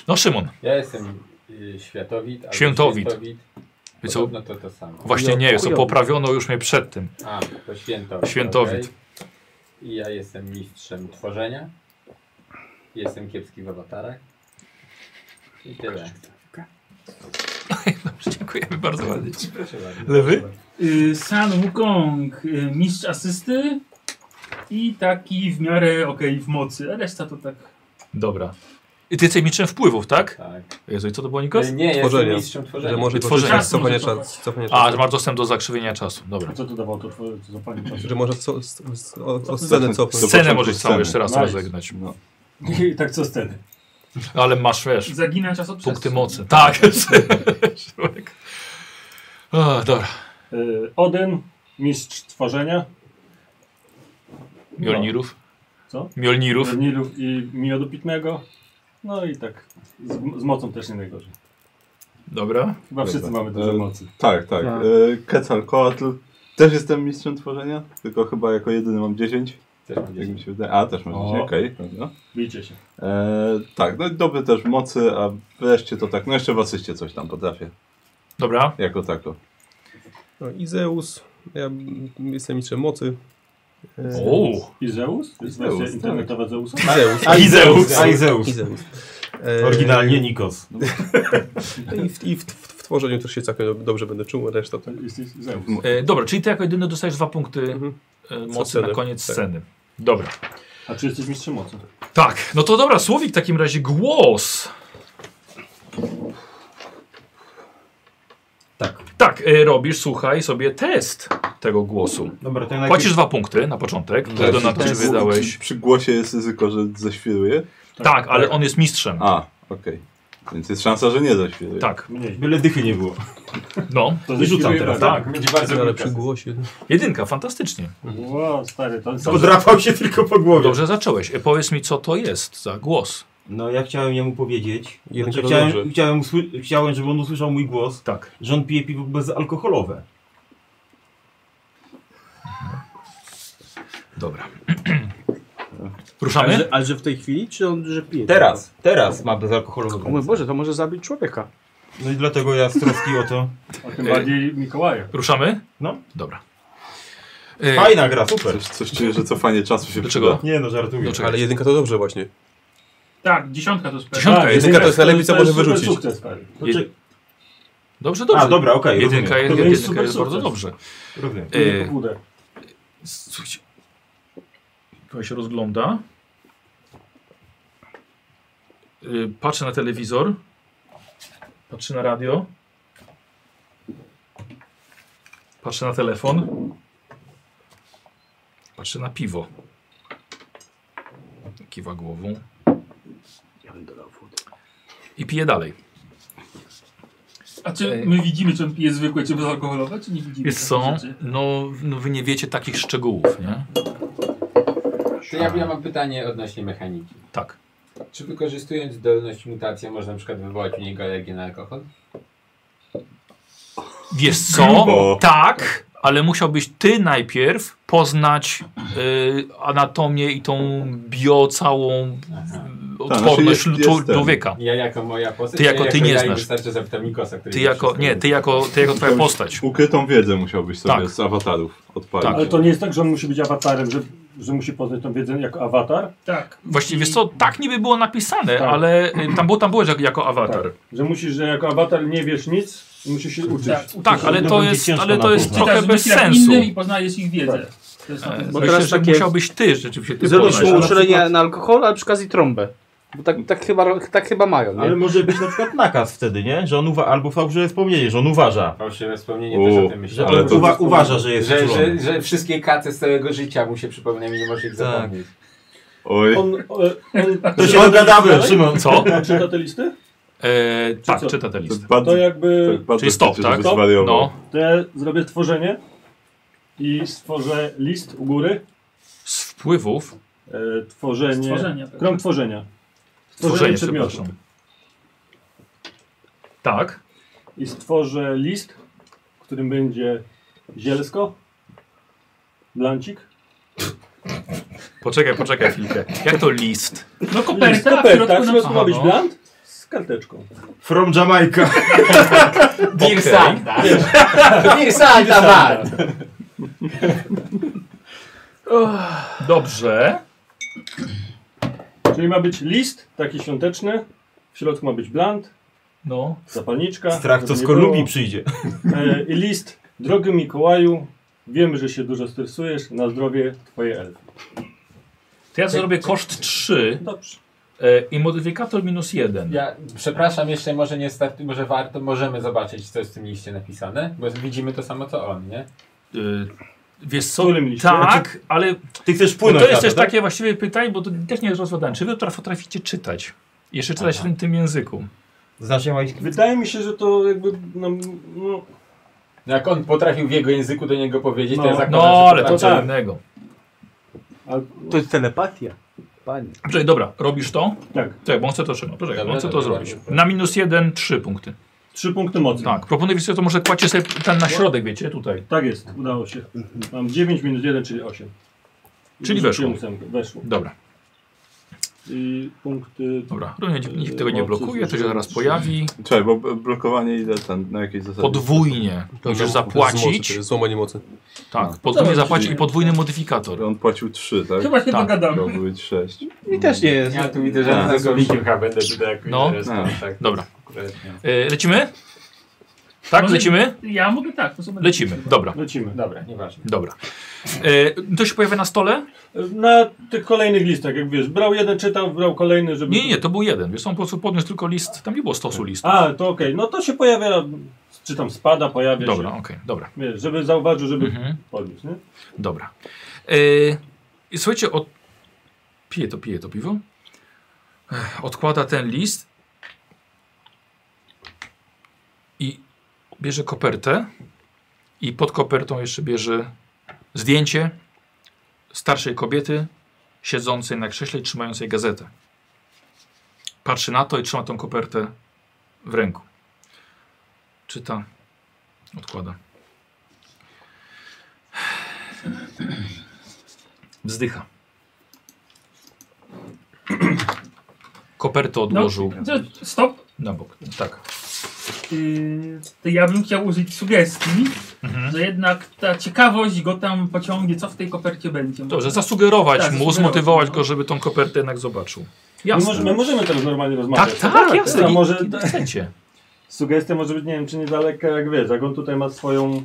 A: No Szymon,
G: Ja jestem y, światowid. albo
A: Świętowid.
G: świętowid.
A: wiesz co?
G: Podobno to to samo.
A: Właśnie nie jest, to poprawiono już mnie przed tym.
G: A, to świętowid.
A: Świętowid.
G: okej. I ja jestem mistrzem tworzenia. Jestem kiepski w awatarach. I tyle.
A: Dobrze, dziękujemy bardzo ładnie.
G: Proszę bardzo.
A: Lewy?
F: Y, San Wukong, y, mistrz asysty i taki w miarę okej w mocy, a reszta to tak.
A: Dobra. I ty jesteś mistrzem wpływów, tak?
G: Tak.
A: Jezu, i co to było, Nikos?
G: Y, Nie, jestem
I: Tworzenia.
G: mistrzem tworzenia.
I: Że może
A: Wytworzenie.
I: korzystać z cofania
F: Czas może
I: czasu. Cofania
A: A, że
I: czasu.
A: masz dostęp do zakrzywienia czasu. Dobra.
E: Co to dawało to twoje zapalenie czasu?
I: Że może co, z, z, o, o scenę cofnąć.
A: Scenę
C: początku
A: możesz całą
C: sceny.
A: jeszcze raz
E: Nice.
A: rozegnać.
C: No.
E: I tak co sceny.
A: Ale masz, wiesz,
F: Zagina czas od
A: punkty mocy. Tak. Człowiek. O, dobra.
E: E, Odyn, mistrz tworzenia,
A: Mjolnirów.
E: Co?
A: Mjolnirów.
E: Nilów i miodu pitnego. No i tak, z, z mocą też nie najgorzej.
A: Dobra.
E: Chyba wszyscy mamy dużo
C: E,
E: mocy.
C: Tak, tak.
D: Tak.
C: E, Quetzalcoatl. Też jestem mistrzem tworzenia, tylko chyba jako jedyny mam 10.
G: Też mam
C: Jak
G: dziesięć.
C: mi się wydaje. A, też mam
E: O.
C: 10, okej. dobra.
E: Bijcie się.
C: E, tak, no i dobry też w mocy, a wreszcie to tak. No jeszcze w asyście coś tam potrafię.
A: Dobra.
C: Jako tako.
I: No, I Zeus, ja mm, jestem mistrzem mocy. E,
A: O,
E: I Zeus? To jest
C: Zeus,
E: wersja
C: tak.
E: internetowa Zeusa?
I: Zeus.
H: i Zeus. A i Zeus.
I: I Zeus. E,
H: Oryginalnie Nikos.
I: I, w, i w, w, w tworzeniu też się całkiem dob- dobrze będę czuł, reszta tak.
B: Jesteś Zeus.
A: E, dobra, czyli ty jako jedyny dostajesz dwa punkty
I: Mhm.
A: e,
I: Co
A: mocy
I: sceny,
A: na koniec
I: tak.
A: sceny. Dobra.
B: A czy jesteś mistrzem mocy?
A: Tak, no to dobra, Słowik w takim razie głos.
H: Tak.
A: Tak, e, robisz, słuchaj, sobie test tego głosu.
H: Dobra, to ja najpierw...
A: Płacisz dwa punkty na początek,
C: Mhm.
A: które do nas
C: Czy-
A: wydałeś.
C: Czy przy głosie jest ryzyko, że zaświruje?
A: Tak, ale on jest mistrzem.
C: A, okej. Więc jest szansa, że nie zaświruje.
A: Tak,
B: Mniej.
H: Byle dychy nie było.
A: no.
B: To
H: I rzucam
B: zaśpiewaj
H: teraz,
B: razem.
A: tak?
B: Będzie bardzo
I: Ale
B: dobra
I: przy
B: kasa.
I: głosie.
A: Jedynka, fantastycznie.
B: Ło, stary, to to-
H: tak? Podrapał się tylko po głowie.
A: Dobrze zacząłeś. E, Powiedz mi, co to jest za głos.
H: No ja chciałem jemu powiedzieć,
I: Jeden
H: znaczy,
I: to
H: chciałem,
I: dobrze.
H: chciałem, usły- chciałem, żeby on usłyszał mój głos,
A: Tak.
H: że on pije piwo bezalkoholowe.
A: Dobra.
D: Ale,
A: Ruszamy?
D: że- ale że w tej chwili, czy on, że pije?
H: Teraz, teraz ma bezalkoholowe.
D: O mój Boże, to może zabić człowieka.
H: No i dlatego ja z troski o to.
B: A tym bardziej Mikołaja.
A: Ruszamy?
H: No.
A: Dobra. E,
H: Fajna gra, super.
C: Coś, coś czuję, że cofanie czasu się
A: Dlaczego?
H: Nie no, żartuję.
A: Dlaczego?
I: Tak. Ale jedynka to dobrze właśnie.
F: Tak, dziesiątka to sprawdza.
A: Dziesiątka, jedynka.
I: Jedynka to jest najlepiej, co
B: To
I: może
B: jest super
I: wyrzucić.
B: sukces, stary.
H: Znaczy,
A: Dobrze, dobrze.
H: A, dobra, okej,
A: jedynka,
H: rozumiem.
A: jed,
B: To jest
A: jedynka
B: super
A: jest bardzo
B: sukces.
A: dobrze.
H: rozumiem.
A: E,
B: Nie pobudę.
A: Słuchajcie. Kogo się rozgląda. Yy, Patrzę na telewizor. Patrzę na radio. Patrzę na telefon. Patrzę na piwo. Kiwa głową. I pije dalej.
F: A czy my widzimy, czy on pije zwykłe, czy bezalkoholowe, czy nie widzimy? takich
A: Jest co?
F: rzeczy?
A: No, no wy nie wiecie takich szczegółów, nie?
G: To ja, ja mam pytanie odnośnie mechaniki.
A: Tak.
G: Czy wykorzystując zdolność mutacja można na przykład wywołać u niego alergię na alkohol?
A: Wiesz co?
C: Grubo.
A: Tak, ale musiałbyś ty najpierw poznać y, anatomię i tą bio całą
G: Aha.
A: y,
C: znaczy
A: odporność
C: jest-
A: czu-
C: jest ten.
A: człowieka.
G: Ja jako moja postać.
A: Ty jako-
G: ja
A: ty nie
G: ja i
A: znasz.
G: Wystarczy zapytam Mikosa, który
A: Ty
G: wie
A: jako,
G: wszystko.
A: nie, ty jako, ty jako twoja postać.
C: Ukrytą wiedzę musiałbyś sobie
A: Tak.
C: z awatarów odpalić.
A: Tak.
B: Ale to nie jest tak, że on musi być awatarem, że, że musi poznać tą wiedzę jako awatar,
F: Tak.
A: Właściwie
F: I-
A: wiesz co, tak niby było napisane,
B: Tak.
A: ale y, tam, było, tam byłeś jak- jako awatar.
B: że musisz, że jako awatar nie wiesz nic i musisz się uczyć.
F: Tak,
A: Tak, ale
H: No
A: to
H: będzie
A: jest,
H: ciężko
A: ale to
H: na
A: jest
H: to.
A: trochę
F: Czytasz
A: bez
F: myśli jak
A: sensu.
F: innym i poznajesz ich wiedzę.
I: Tak.
F: To jest na
A: E,
F: tym
D: Bo
A: myślę,
D: teraz
A: że
D: takie-
A: musiałbyś ty rzeczywiście ty
D: Zrobić mu
A: poznać.
D: uszczelenie na alkohol, ale przy okazji trąbę. Bo tak, tak, chyba, tak chyba mają, nie?
H: Ale może być na przykład nakaz wtedy, nie? Że on uwa... albo fałszywe wspomnienie, że on uważa.
G: Fałszywe wspomnienie też
C: U,
G: o tym
H: Że
G: myślałem.
C: ale
H: on
C: to-
H: uwa... uważa, że jest
G: Że, że,
H: wczulony.
G: że wszystkie kace z całego życia mu się przypominają i nie może ich
H: Tak.
G: zapomnieć.
C: Oj,
B: On, e, on
H: To się dogadamy, Szymon.
A: Co?
B: czyta te listy?
A: E, tak,
B: co?
A: czyta tę listę.
C: bardzo,
B: To jakby,
C: bardzo
A: Czyli stop,
C: chcecie,
A: tak?
C: żeby
A: Stop?
C: zwariował.
A: No.
B: to ja zrobię tworzenie i stworzę list u góry,
A: Z wpływów,
B: e, tworzenie,
F: Stworzenia, tak.
B: krąg tworzenia.
A: stworzenie,
B: Stworzenie przedmiotu.
A: przepraszam. Tak.
B: I stworzę list, w którym będzie zielsko, blancik,
A: Poczekaj, poczekaj chwilkę. Jak to list?
F: No
B: list,
F: koperta, a w
B: koperta,
F: środku
B: w
F: na
B: środku ma być
A: no.
B: blant z karteczką.
H: From Jamaica.
A: Okej.
G: Dirsanta! Dirsanta man!
A: Dobrze.
B: Czyli ma być list taki świąteczny, w środku ma być blant,
A: No.
B: zapalniczka.
H: Strach,
B: żeby
H: co z
B: nie
H: Kornubi
B: było.
H: przyjdzie.
B: E, I list, drogi Mikołaju, wiemy, że się dużo stresujesz, na zdrowie twoje elfy.
A: To ja zrobię koszt 3
B: Dobrze.
A: e, i modyfikator minus 1.
G: Ja przepraszam, jeszcze może nie startu, może warto, możemy zobaczyć, co jest w tym liście napisane, bo widzimy to samo co on, nie?
A: E, Wiesz
B: W
A: co?
B: którym liście?
A: Tak, ale
H: Ty chcesz
A: bo
H: płynąć
A: to jest
H: na
A: też
H: tak?
A: takie właściwie pytanie, bo to też nie jest rozwadane. Czy wy potraficie czytać? Jeszcze czytać w tym, tym języku.
H: Znacznie ma...
B: Wydaje mi się, że to jakby. No, no,
G: No Jak on potrafił w jego języku do niego powiedzieć, to ja
B: No.
A: No,
G: zakładam, że
A: ale to
G: potrafi.
A: co innego.
B: a,
D: To jest telepatia. Panie.
A: Poczekaj, dobra, robisz to?
B: tak.
A: Czekaj, bo on chce to trzymać. Poczekaj,
G: Dobra,
A: on chce to
G: dobra,
A: zrobić.
G: dobra.
A: Na minus 1, 3 punkty.
B: Trzy punkty mocy.
A: Tak, proponuję wiesz co, to może kładzie sobie ten na środek, wiecie, tutaj.
B: Tak jest, udało się. Mam 9 minus 1, czyli 8.
A: Czyli weszło.
B: Weszło.
A: Dobra,
B: I punkty.
A: dobra. Równie nikt tego nie
I: No,
A: blokuje, to się zaraz pojawi.
C: Czekaj, bo b- blokowanie ile ten, na jakiej zasadzie?
A: Podwójnie musisz
I: To jest mocy,
A: zapłacić.
I: to jest no. Złamanie mocy.
A: Tak, podwójnie
D: Dobra,
A: zapłacić i
F: czyli-
A: podwójny modyfikator.
C: On płacił 3, tak?
F: Chyba się
A: Tak,
F: dogadamy.
C: Miało być 6.
D: Mi też nie jest.
G: Ja tu widzę, że
C: Tak.
G: ja z Gowikiem chyba będę tutaj jakoś
A: No.
G: resztą,
C: No.
G: tak.
A: Dobra.
G: Konkretnie.
A: E, lecimy? Tak,
I: Może-
A: lecimy?
I: Ja mogę tak, to sobie
A: Lecimy, dobra,
B: Lecimy.
G: Dobra, nieważne.
A: dobra. E, to się pojawia na stole?
B: Na tych kolejnych listach, jak wiesz, brał jeden, czytał, brał kolejny, żeby...
A: Nie, nie, to był jeden. Wiesz, on po prostu podniósł tylko list, tam nie było stosu listów.
B: A, to okej, no to się pojawia, czy tam spada, pojawia
A: Dobra,
B: się.
A: okej, dobra.
B: Wiesz, żeby zauważył, żeby
A: Mhm.
B: podniósł, nie?
A: Dobra. Yy, i słuchajcie, od... piję to, piję to piwo. Ech, Odkłada ten list i bierze kopertę i pod kopertą jeszcze bierze zdjęcie starszej kobiety siedzącej na krześle i trzymającej gazetę. Patrzy na to i trzyma tą kopertę w ręku. Czyta, odkłada. Wzdycha. Kopertę odłożył
I: to- Stop.
A: na bok. Tak.
I: Yy, to ja bym chciał użyć sugestii, że jednak ta ciekawość go tam pociągnie, co w tej kopercie będzie.
A: Dobrze, zasugerować
I: Tak,
A: mu,
I: zasugerować,
A: zmotywować
I: no.
A: go, żeby tą kopertę jednak zobaczył.
B: My
A: Jasne.
B: możemy, my możemy teraz normalnie rozmawiać.
A: Tak, tak, jasne.
B: A
A: I,
B: może
A: może... Chcecie.
B: sugestia może być, nie wiem, czy niedaleka, jak wiesz, jak on tutaj ma swoją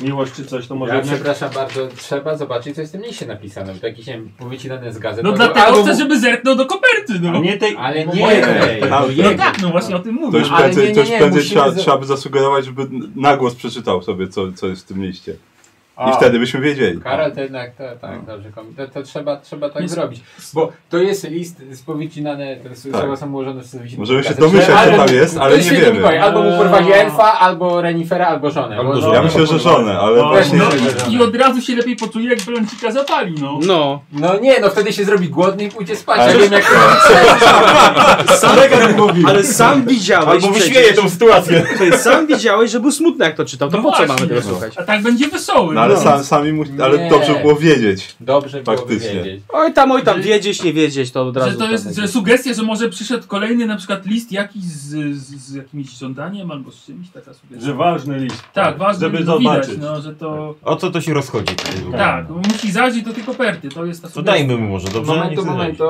B: miłość czy coś, to może
G: Ja
B: jednak...
G: przepraszam bardzo, trzeba zobaczyć, co jest w tym liście napisane. To jakieś, nie wiem, powycinane z gazet.
I: No
G: albo-
I: dlatego
G: Tak, albo-
I: chcę, żeby zerknął do koperty, no.
B: A nie tej...
G: Ale nie,
B: mojej
G: nie,
C: A,
I: No tak, no właśnie o tym
C: To
I: mówię.
C: już
G: Ale
C: prędzej,
G: nie,
C: to już
G: nie, nie,
C: prędzej
G: musimy
C: trzeba,
G: za-
C: trzeba by zasugerować, żeby na głos przeczytał sobie, co, co jest w tym liście. I
B: A.
C: wtedy byśmy wiedzieli.
G: Karol to jednak, to,
C: No.
G: tak, dobrze, kom- to, to trzeba, trzeba tak zrobić. Bo to jest list z powycinane, to jest
C: Tak.
G: słowa są ułożone z wycinane
C: Możemy się
G: gazet.
C: domyślać,
G: Ale-
C: co tam jest, ale
G: to
C: nie
G: się
C: wiemy.
G: powiem. Albo mu porwali elfa, albo renifera, albo żonę.
E: Albo
G: Bo-
E: żonę.
C: Ja myślę, że żonę, ale
B: No,
C: właśnie...
I: No, I od razu się lepiej poczuje, jak blącika zapali, no.
D: No,
G: No nie, no wtedy się zrobi głodny i pójdzie spać.
C: Ale-
G: Ja wiem jak to
D: ale sam widziałeś
C: Albo
D: przecież-
C: wyśmieje tą sytuację.
D: Ty sam widziałeś, że był smutny jak to czytał, to
I: No
D: po co
I: właśnie.
D: mamy tego słuchać?
I: A tak będzie wesoły.
C: No ale
I: no.
C: sam, sami mu, ale
G: Nie.
C: dobrze było wiedzieć.
G: Dobrze byłoby
C: Faktycznie.
G: wiedzieć.
D: Oj tam, oj tam, wiedzieć, nie wiedzieć, to od razu...
I: Że to
D: tam
I: jest,
D: będzie.
I: że sugestia, że może przyszedł kolejny na przykład list jakiś z, z, z jakimś żądaniem albo z czymś, taka sugestia.
B: Że ważny list.
I: tak, ważne,
B: żeby
I: żeby to widać,
B: zobaczyć.
I: no, że to...
E: O co to się rozchodzi?
I: Tak, no, musi zajrzeć do tej koperty, to jest ta
E: To
I: sugestia.
E: dajmy mu może, dobrze? Nie
G: Momentu,
E: chcę
G: momentu.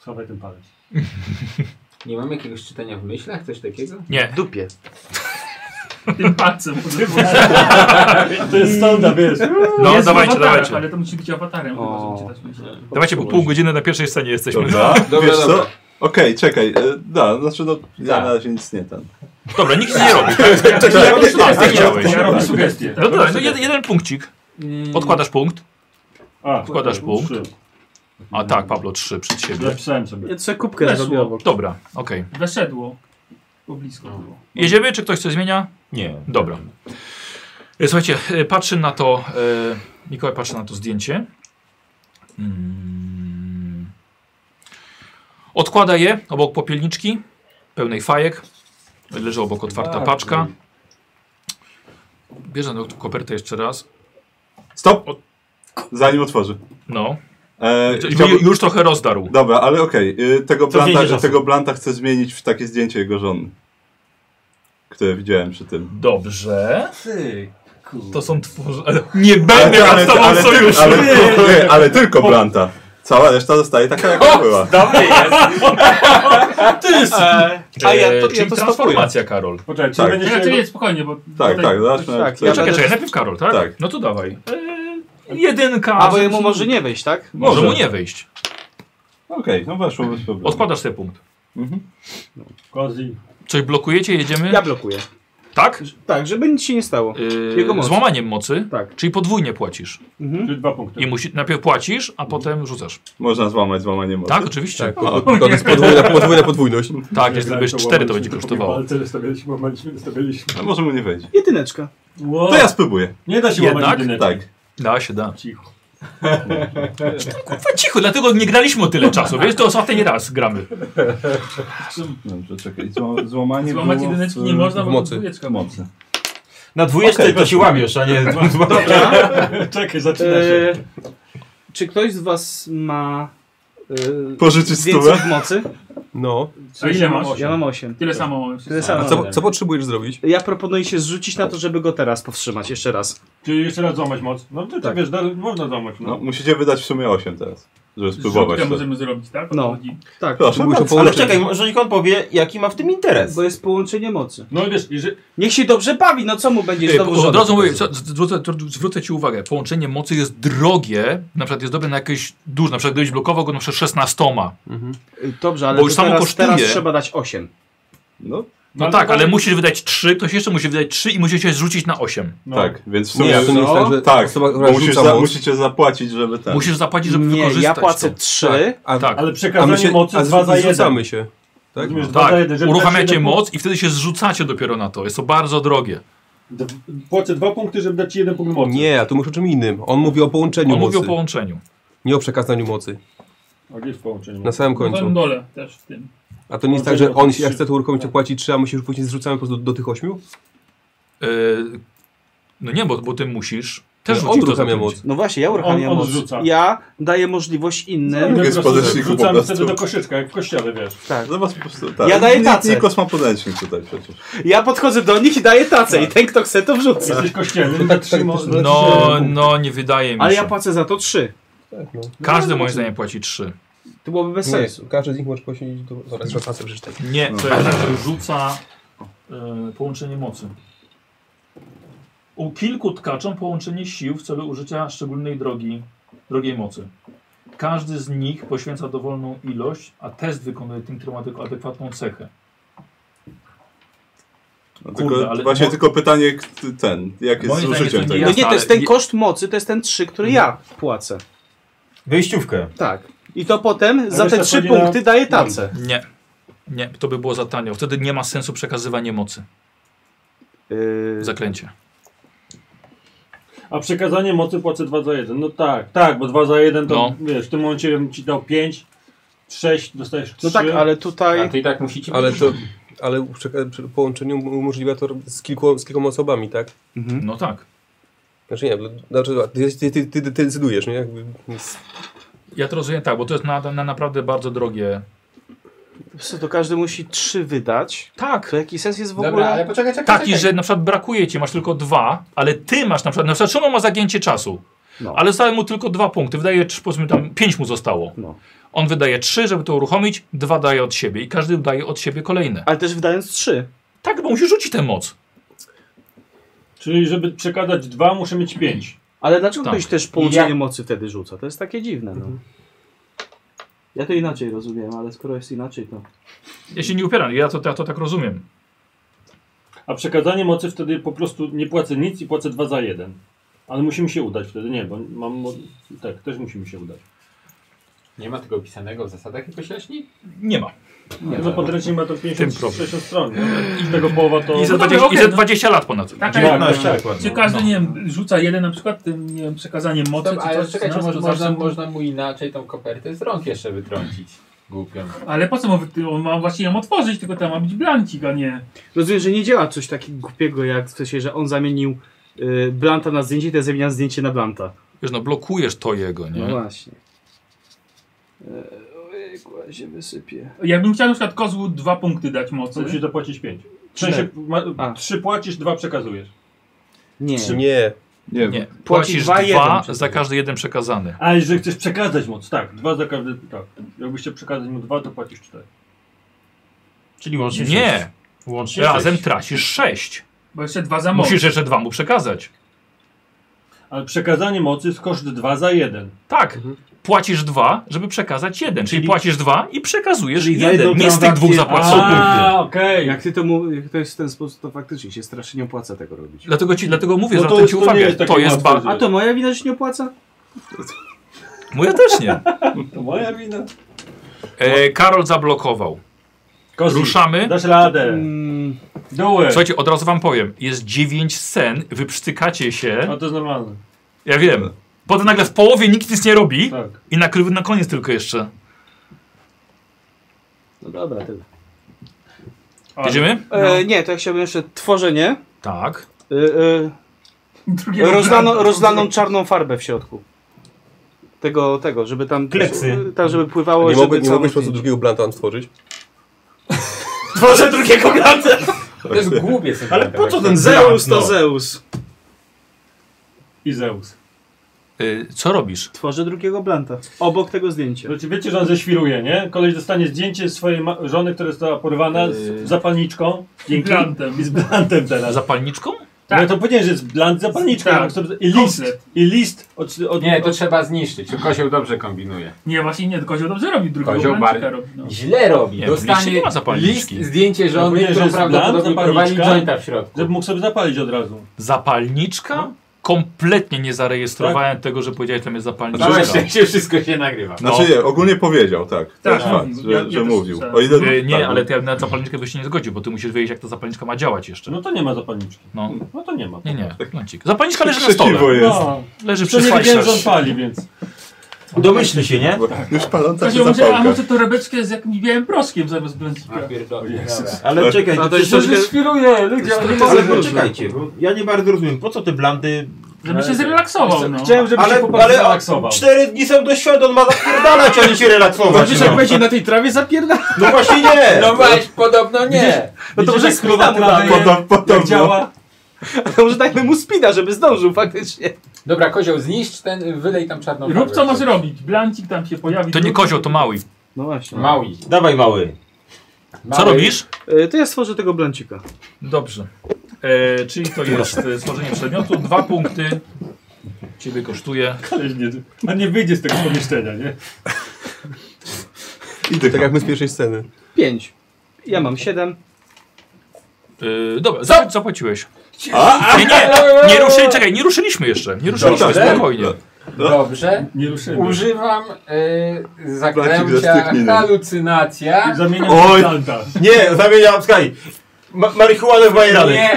B: Schowaj ten palec.
G: Nie mam jakiegoś czytania w myślach, coś takiego?
A: Nie.
D: Dupie.
I: Tym palcem. może być.
B: To jest sonda, wiesz.
A: No,
I: Jest w
A: dawajcie,
I: awatarach,
A: dawajcie.
I: Ale to musi być awatarem, chyba,
D: O.
I: żeby czytać myśli.
A: Dawajcie, bo pół godziny na pierwszej scenie jesteśmy.
C: Dobra,
G: Dobra,
C: wiesz co?
G: dobra.
C: Okej, czekaj, e, da, znaczy no, ja
G: Tak.
C: na razie nic nie ten.
A: Dobra, nikt nic nie robi.
I: Ja
A: tak,
I: robię sugestie,
A: chciałeś.
I: ja robię sugestie.
A: No dobra, no jeden, jeden punkcik.
D: Mm.
A: Odkładasz punkt.
B: A, tak,
A: Wkładasz punkt.
B: trzy.
A: A tak, Pablo, trzy przed siebie.
B: Zapisałem sobie.
D: Ja sobie kubkę
I: Weszło.
D: zrobię obok.
A: Dobra, okej.
I: Weszedło. Bo blisko było.
A: Jedziemy, czy ktoś coś zmienia?
E: Nie.
A: Dobra. E, Słuchajcie, e, patrzy na to. e, Mikołaj patrzy na to zdjęcie. Mm. Odkłada je obok popielniczki pełnej fajek. Leży obok otwarta paczka. Bierze tą kopertę jeszcze raz.
C: Stop!
A: O-
C: Zanim otworzy.
A: No.
C: E,
A: Ju-
C: chciałbym-
A: Już trochę rozdarł.
C: Dobra, ale okej, y, tego,
E: zdjęcie
C: blanta,
E: czasu.
C: tego blanta chcę zmienić w takie zdjęcie jego żony. Które widziałem przy tym.
A: Dobrze.
G: Ty.
A: To są tworzy. Nie będę miał z
C: ale,
A: tobą
C: ale,
A: sojuszu.
C: ale, nie, ale tylko blanta. Cała reszta zostaje taka, jaka była.
D: A ja to-
A: E,
D: ja
A: czyli
D: to stopuję.
A: transformacja, Karol.
B: Poczekaj, czy
C: Tak.
B: będzie
I: Ja,
B: się...
I: to jest spokojnie, bo...
C: Tak,
I: tutaj-
C: tak, zacznę.
D: tak,
C: Tak,
D: ja
C: tak.
A: Czekaj,
D: będę-
A: czekaj, najpierw Karol, tak?
C: Tak.
A: No to dawaj. E, jedynka.
D: A bo jemu może nie wejść, tak?
A: Może mu
C: Może.
A: nie wejść.
C: Okej, no weszło bez problemu.
A: Odpadasz sobie punkt.
B: Kozi.
A: Coś blokujecie, jedziemy?
D: Ja blokuję.
A: Tak?
D: Tak, żeby nic się nie stało.
A: Yy,
D: Jego moc.
A: złamaniem mocy,
D: Tak.
A: czyli podwójnie płacisz.
D: Mhm.
B: Czyli dwa punkty.
A: I musi, najpierw płacisz, a potem rzucasz.
C: Można złamać złamanie mocy.
D: Mhm.
A: Tak, oczywiście. Tak,
J: O, to jest podwójna, podwójna podwójność.
A: jeśli zrobisz cztery, to będzie kosztowało.
B: Palce stawialiśmy, łamaliśmy, stawialiśmy.
C: A może mu nie wejdzie.
D: Jedyneczka.
B: Wow.
C: To ja spróbuję.
B: Nie da się
A: Jednak?
B: łamać jedyneczki.
C: Tak.
A: Da się, da. Znaczy,
B: Cicho.
A: Kurwa, cicho, dlatego nie graliśmy o tyle czasu, wiesz, to ostatni raz gramy.
C: Dobrze, czekaj. Zła, złamanie
I: Złamać
C: było
I: jedyneczki
C: w-
I: nie można, bo
J: mocy.
I: dwójeczka ma.
C: mocy.
E: Na dwójeczce
C: Okej,
E: to się łamiesz, a nie...
B: Czekaj, zaczyna się.
D: E, czy ktoś z was ma e,
C: Pożyczyć
D: więcej
C: stówę?
D: w mocy?
J: No.
I: A ile masz?
D: Ja mam 8.
I: Tyle samo mamy
D: Tyle
I: wszyscy.
D: samo.
J: A co, co potrzebujesz zrobić?
D: Ja proponuję się zrzucić na to, żeby go teraz powstrzymać. Jeszcze raz.
B: Czyli jeszcze raz złamać moc. No ty, ty wiesz, da, można złamać.
C: No,
B: No.
C: musicie wydać w sumie 8 teraz. żeby spróbować.
F: Zrzutkę
C: To.
F: możemy zrobić, tak? O to
D: No.
F: chodzi.
D: Tak,
C: Proszę
I: Było to
C: bardzo.
H: Ale
I: połączenie.
H: czekaj, może niech on powie, jaki ma w tym interes.
D: bo jest połączenie mocy.
B: No wiesz, jeżeli,
D: Niech się dobrze bawi, no co mu będziesz
A: Yy,
D: znowu
A: po- Od
D: żonę
A: razu mówię,
D: pokazywał?
A: co- zwrócę, to- zwrócę Ci uwagę, połączenie mocy jest drogie, na przykład jest dobre na jakieś duże, na przykład gdybyś blokował go na przykład No 16.
D: Y, Dobrze, ale
A: Bo
D: to
A: już samo
D: teraz,
A: kosztuje.
D: teraz trzeba dać 8.
C: No,
A: No,
B: No,
A: tak,
B: to-
A: ale musisz wydać 3, ktoś jeszcze musi wydać 3 i musicie się zrzucić na 8.
B: no,
C: tak, więc w
I: Nie,
C: sumie...
I: to nie jest tak, że
C: tak,
I: osoba, która
C: bo musisz
I: rzuca
C: za,
I: moc-
C: musicie zapłacić, żeby
I: Tak.
C: ten...
A: Musisz zapłacić, żeby
D: Nie,
A: wykorzystać
D: ja płacę
A: to.
D: 3.
I: a,
A: Tak.
B: Ale
I: a
B: przekazanie
I: my się,
B: mocy
I: a
B: 2 za
I: zrzu-
B: 1.
I: zrzucamy się. Tak?
B: Rozumiesz, dwa
A: Tak,
B: za jeden, żeby dać
A: uruchamiacie
B: jeden
A: moc i wtedy się zrzucacie dopiero na to. Jest to bardzo drogie.
B: Punkt, d- płacę dwa punkty, żeby dać ci jeden punkt mocy.
I: Nie, tu mówisz o czym innym. On mówi o połączeniu
A: On
I: mocy,
A: mówi o połączeniu.
I: nie o przekazaniu mocy.
B: A gdzieś w połączeniu.
I: Na samym
F: W
I: końcu.
F: samym dole też w tym.
I: A to nie jest tak, że on się, jak chce to uruchomić, to płaci 3, a my się już później zrzucamy po prostu do, do tych 8?
A: Yy, no nie, bo, bo ty musisz też
I: on
A: rzucić to za
I: uruchamia
A: pięć.
I: moc.
D: No właśnie, ja uruchamiam
B: on
D: moc.
B: rzuca.
D: Ja daję możliwość innym.
C: Mogę z podręczniku po
B: Rzucam
C: prostu.
B: wtedy do koszyczka, jak w kościele, wiesz.
C: Zobacz po prostu... Tak.
D: Ja daję
C: Nik-
D: tacę.
C: Nikos ma podręcznik tutaj przecież.
D: Ja podchodzę do nich i daję tacę
A: Tak.
D: i ten kto chce to wrzuca.
B: Jesteś kościelny, tak trzymasz.
A: No, no, nie wydaje mi się.
D: Ale ja No, płacę za to 3.
I: tak, no.
A: Każdy moim zdaniem płaci 3.
D: To byłoby bez sensu.
I: każdy z nich może posiąść do... Zaraz, zaraz, zaraz przeczytaj.
A: Nie,
C: No.
A: to jest, rzuca y, połączenie mocy. U kilku tkaczom połączenie sił w celu użycia szczególnej drogi, drogiej mocy. Każdy z nich poświęca dowolną ilość, a test wykonuje tym, który ma tylko adekwatną cechę.
C: No,
A: Kurde,
C: tylko,
A: ale-
C: właśnie
A: mo-
C: tylko pytanie, k- ten, jak jest
A: Moim
C: z
A: zdaniem
C: użyciem
A: to
C: tego.
A: nie
D: No
A: Jasne,
D: nie, to
A: ale
D: jest ten
A: je- Mhm.
D: koszt mocy, to jest ten 3, który ja płacę.
H: Wyjściówkę.
D: Tak. I to potem za
B: wiesz,
D: te
B: to
D: 3
B: wchodzi na-
D: punkty daję tacę.
A: Nie. Nie, to by było za tanio. Wtedy nie ma sensu przekazywanie mocy.
D: Yy,
A: Zaklęcie.
B: A przekazanie mocy płacę 2 za 1. No tak, tak, bo 2 za 1 to
A: No.
B: wiesz, w tym momencie bym ci dał 5, 6, dostajesz 3.
D: no tak, ale
G: A
D: tutaj.
G: to i tak musicie...
I: Ale to... Ale przeka- przy połączeniu umożliwia to z, kilku, z kilkoma osobami, tak?
A: No tak.
I: Znaczy nie, bo- znaczy, ty, ty, ty, ty, ty decydujesz, nie? Jakby, więc-
A: Ja to rozumiem tak, bo to jest na, na naprawdę bardzo drogie.
D: Co, to każdy musi 3 wydać.
A: Tak.
D: To jaki sens jest w
G: Dobra,
D: ogóle?
G: ale poczekaj, czekaj,
A: Taki,
G: czekaj.
A: że na przykład brakuje ci, masz tylko dwa, ale ty masz na przykład, na przykład Szymon ma zagięcie czasu,
D: No.
A: ale zostały mu tylko dwa punkty, wydaje, trz- powiedzmy tam pięć mu zostało.
D: No.
A: On wydaje trzy, żeby to uruchomić, dwa daje od siebie i każdy daje od siebie kolejne.
D: Ale też wydając 3.
A: Tak, bo musisz rzucić tę moc.
B: Czyli żeby przekazać 2, muszę mieć 5.
D: Ale dlaczego
A: Tak. Mhm.
D: ktoś też połączenie
G: Ja-
D: mocy wtedy rzuca? To jest takie dziwne. No. Ja to inaczej rozumiem, ale skoro jest inaczej, to.
A: Ja się nie upieram, ja to, ja to tak rozumiem.
B: A przekazanie mocy wtedy po prostu nie płacę nic i płacę 2 za 1. Ale musimy się udać wtedy, nie, bo mam. mo- Tak, też musimy się udać.
G: Nie ma tego opisanego w zasadach jakoś jaśniej?
A: Nie ma.
B: Nie, no podręcznik ma to
A: Tym problem.
B: 56 stron, nie? z tego połowa to...
A: I za
F: No dobra,
A: 20, i
F: okej,
A: za
F: no.
A: 20 lat ponad.
F: Taka jak,
H: 19
B: tak.
H: dokładnie.
F: czy każdy,
A: No.
F: nie wiem, rzuca jeden na przykład, tym, nie wiem, przekazaniem mocy,
G: Dobra,
F: czy
G: ale
F: coś,
G: czekajcie,
F: czy nas,
G: może,
F: to
G: można,
F: zawsze-
G: można mu inaczej tą kopertę z rąk jeszcze wytrącić. Głupią.
F: Ale po co mu, wy- on ma właśnie ją otworzyć, tylko tam ma być blancik, a nie...
D: Rozumiem, że nie działa coś takiego głupiego, jak w sensie, że on zamienił y, Blanta na zdjęcie, to ja zamieniam zdjęcie na Blanta.
A: Wiesz, no blokujesz to jego, nie?
D: No właśnie. E, Ojejku, ja się wysypie.
F: Jakbym chciał na przykład kozłu dwa punkty dać
B: To
F: mocy.
B: No, musisz zapłacić 5. W sensie,
D: A.
B: ma, 3 płacisz, 2 przekazujesz.
D: Nie.
I: Nie.
C: Nie,
A: Nie.
D: Płacisz
A: Płacisz
D: dwa,
A: dwa,
D: jeden przez
A: za każdy jeden przekazany.
B: A jeżeli chcesz przekazać moc, tak, 2 za każdy, tak. Jakbyś chciał przekazać mu 2, to płacisz 4.
H: Czyli łącznie sześć.
A: Nie,
H: Łącznie
A: razem
H: sześć.
A: tracisz sześć.
F: Bo jeszcze dwa za moc.
A: Musisz jeszcze dwa mu przekazać.
B: Ale przekazanie mocy jest koszt 2 za 1.
A: Tak.
B: Mhm.
A: Płacisz dwa, żeby przekazać jeden. Czyli,
H: Czyli-
A: płacisz dwa i przekazujesz
D: Czyli za jedną
A: jeden. Nie z tych dwóch
D: transakcję-
A: zapłaconych.
B: okej.
D: Jak ty to mówisz, jak to jest w ten sposób, to faktycznie się strasznie nie opłaca tego robić.
A: Dlatego, ci, dlatego mówię,
B: No
A: że
B: to
A: zwracam
B: jest-
A: ci
B: to nie
A: uwagę.
B: jest takie
A: To jest
B: łatwe,
A: bardzo.
B: że-
D: A to moja wina, że się nie opłaca?
A: Moja też nie.
B: To moja wina.
A: E, Karol zablokował.
B: Kozi,
A: Ruszamy.
B: Dasz radę.
D: Mm,
B: Do it.
A: Słuchajcie, od razu wam powiem. Jest dziewięć scen, wy przytykacie
B: No
A: się.
B: to jest normalne.
A: Ja wiem. Potem nagle w połowie nikt nic nie robi
B: Tak.
A: i na, kry- na koniec tylko jeszcze.
D: no dobra, tyle.
A: Jedziemy?
D: E, nie, to ja chciałbym jeszcze tworzenie.
A: Tak.
D: E, e,
F: Drugie
D: Rozlano, rozlaną czarną farbę w środku. Tego, tego, żeby tam...
H: Kleksy.
D: Tak, żeby pływało,
I: Nie,
D: żeby
I: mogłeś, nie
D: całą
I: mogłeś po prostu
D: zdjęcie.
I: drugiego blanta tam stworzyć?
D: Tworzę drugiego granta!
G: To jest głupie sobie.
H: Ale po co ten
D: Zeus to
H: blant, no?
D: Zeus.
B: I Zeus.
A: Y, co robisz?
D: Tworzę drugiego blanta. Obok tego zdjęcia.
B: Znaczy, wiecie, że on zeświruje, nie? Koleś dostanie zdjęcie swojej ma- żony, która została porwana
G: Yy.
B: z zapalniczką. Dzięki.
F: Blantem.
B: I z blantem teraz.
A: Zapalniczką?
B: No to powiedziałem, że jest blant zapalniczką.
F: Tak.
B: I list.
F: Komplet.
B: I list od, od,
G: Nie, to
B: od,
G: trzeba zniszczyć. Kozioł dobrze kombinuje.
F: Nie, właśnie nie, Kozioł dobrze robi, drugiego
G: Kozioł
F: Blancika
G: bar-
F: robi. No.
G: Źle robi.
A: Nie, w liście
G: Dostanie
A: nie ma zapalniczki.
G: list, zdjęcie
B: No
G: żony,
B: powiedziałeś, że
G: którą
B: jest
G: prawdopodobnie
B: blunt,
G: prowadzi
B: zapalniczka.
G: jointa w środku.
B: żeby mógł sobie zapalić od razu.
A: Zapalniczka? Kompletnie nie zarejestrowałem tego, że powiedziałeś, że jest
G: Całe
A: zapalniczka.
G: szczęście wszystko się nagrywa.
C: Znaczy
A: No.
C: nie, ogólnie powiedział, tak. To
F: Tak,
C: jest fakt,
F: mówił.
C: że,
F: Ja- ja
C: że
F: też
C: mówił.
F: słyszałem.
C: O ile,
A: Y, nie,
C: tak,
A: ale ty na zapalniczkę byś się nie zgodził, bo ty musisz wiedzieć, jak ta zapalniczka ma działać jeszcze.
B: No to nie ma zapalniczki.
A: No.
B: No to nie ma.
A: Nie, nie, Blancik. Zapalniczka leży na
C: Krzykiwo
A: stole.
C: jest.
B: No,
A: Leży
B: to
A: przy
B: nie wiedziałem, że on
A: swajsarz.
B: pali, więc.
H: Domyślny się, nie?
C: Bo Już paląca się
F: Kozioł może, a
C: zapałka.
F: może to rebeczkę z jakimś białym proszkiem zamiast Blancika.
H: Ale czekaj,
D: A to
H: przecież
D: jest troszkę...
G: Świruje, ludzie,
H: Ale poczekajcie, bo ja nie bardzo rozumiem, po co te blandy...
F: Żeby się zrelaksował, no.
B: Chciałem, żeby
H: Ale-
B: się chłopak
H: ale-
B: zrelaksował.
H: Cztery dni są do świata, on ma zapierdalać, a nie się relaksować.
D: Wiesz,
H: No,
D: jak będzie na tej trawie zapierda?
H: no właśnie nie!
G: No właśnie, podobno nie.
D: No to może spina mu damy.
C: Potem, potem,
B: Jak działa?
D: To może dajmy mu spina, żeby zdążył faktycznie.
G: Dobra, kozioł, zniszcz ten, wylej tam czarną
F: Rób co
G: farbę.
F: masz robić. Blancik tam się pojawi.
A: To nie kozioł, to mały.
D: No właśnie.
G: Mały.
H: Dawaj mały.
A: Co robisz?
D: Y, To ja stworzę tego blancika.
A: Dobrze. E, czyli to jest e, stworzenie przedmiotu. Dwa punkty ciebie kosztuje.
B: Koleś nie, a nie wyjdzie z tego pomieszczenia, nie?
C: Idę.
I: Tak jak my z pierwszej sceny.
D: Pięć. Ja mam siedem.
A: E, dobra, za, zapłaciłeś. Nie, nie, nie ruszyli, czekaj, nie ruszyliśmy jeszcze. Nie ruszyliśmy,
C: Dobrze. No.
A: spokojnie.
G: No. Dobrze.
B: Nie ruszymy.
G: Używam y,
C: Placik no. ze
G: zaklęcia
C: strychniną.
G: halucynacja.
B: Zamieniam
H: Oj.
B: Oj. Blanta.
H: Nie, zamieniam, słuchaj, ma marihuanę w majeranę.
G: Nie,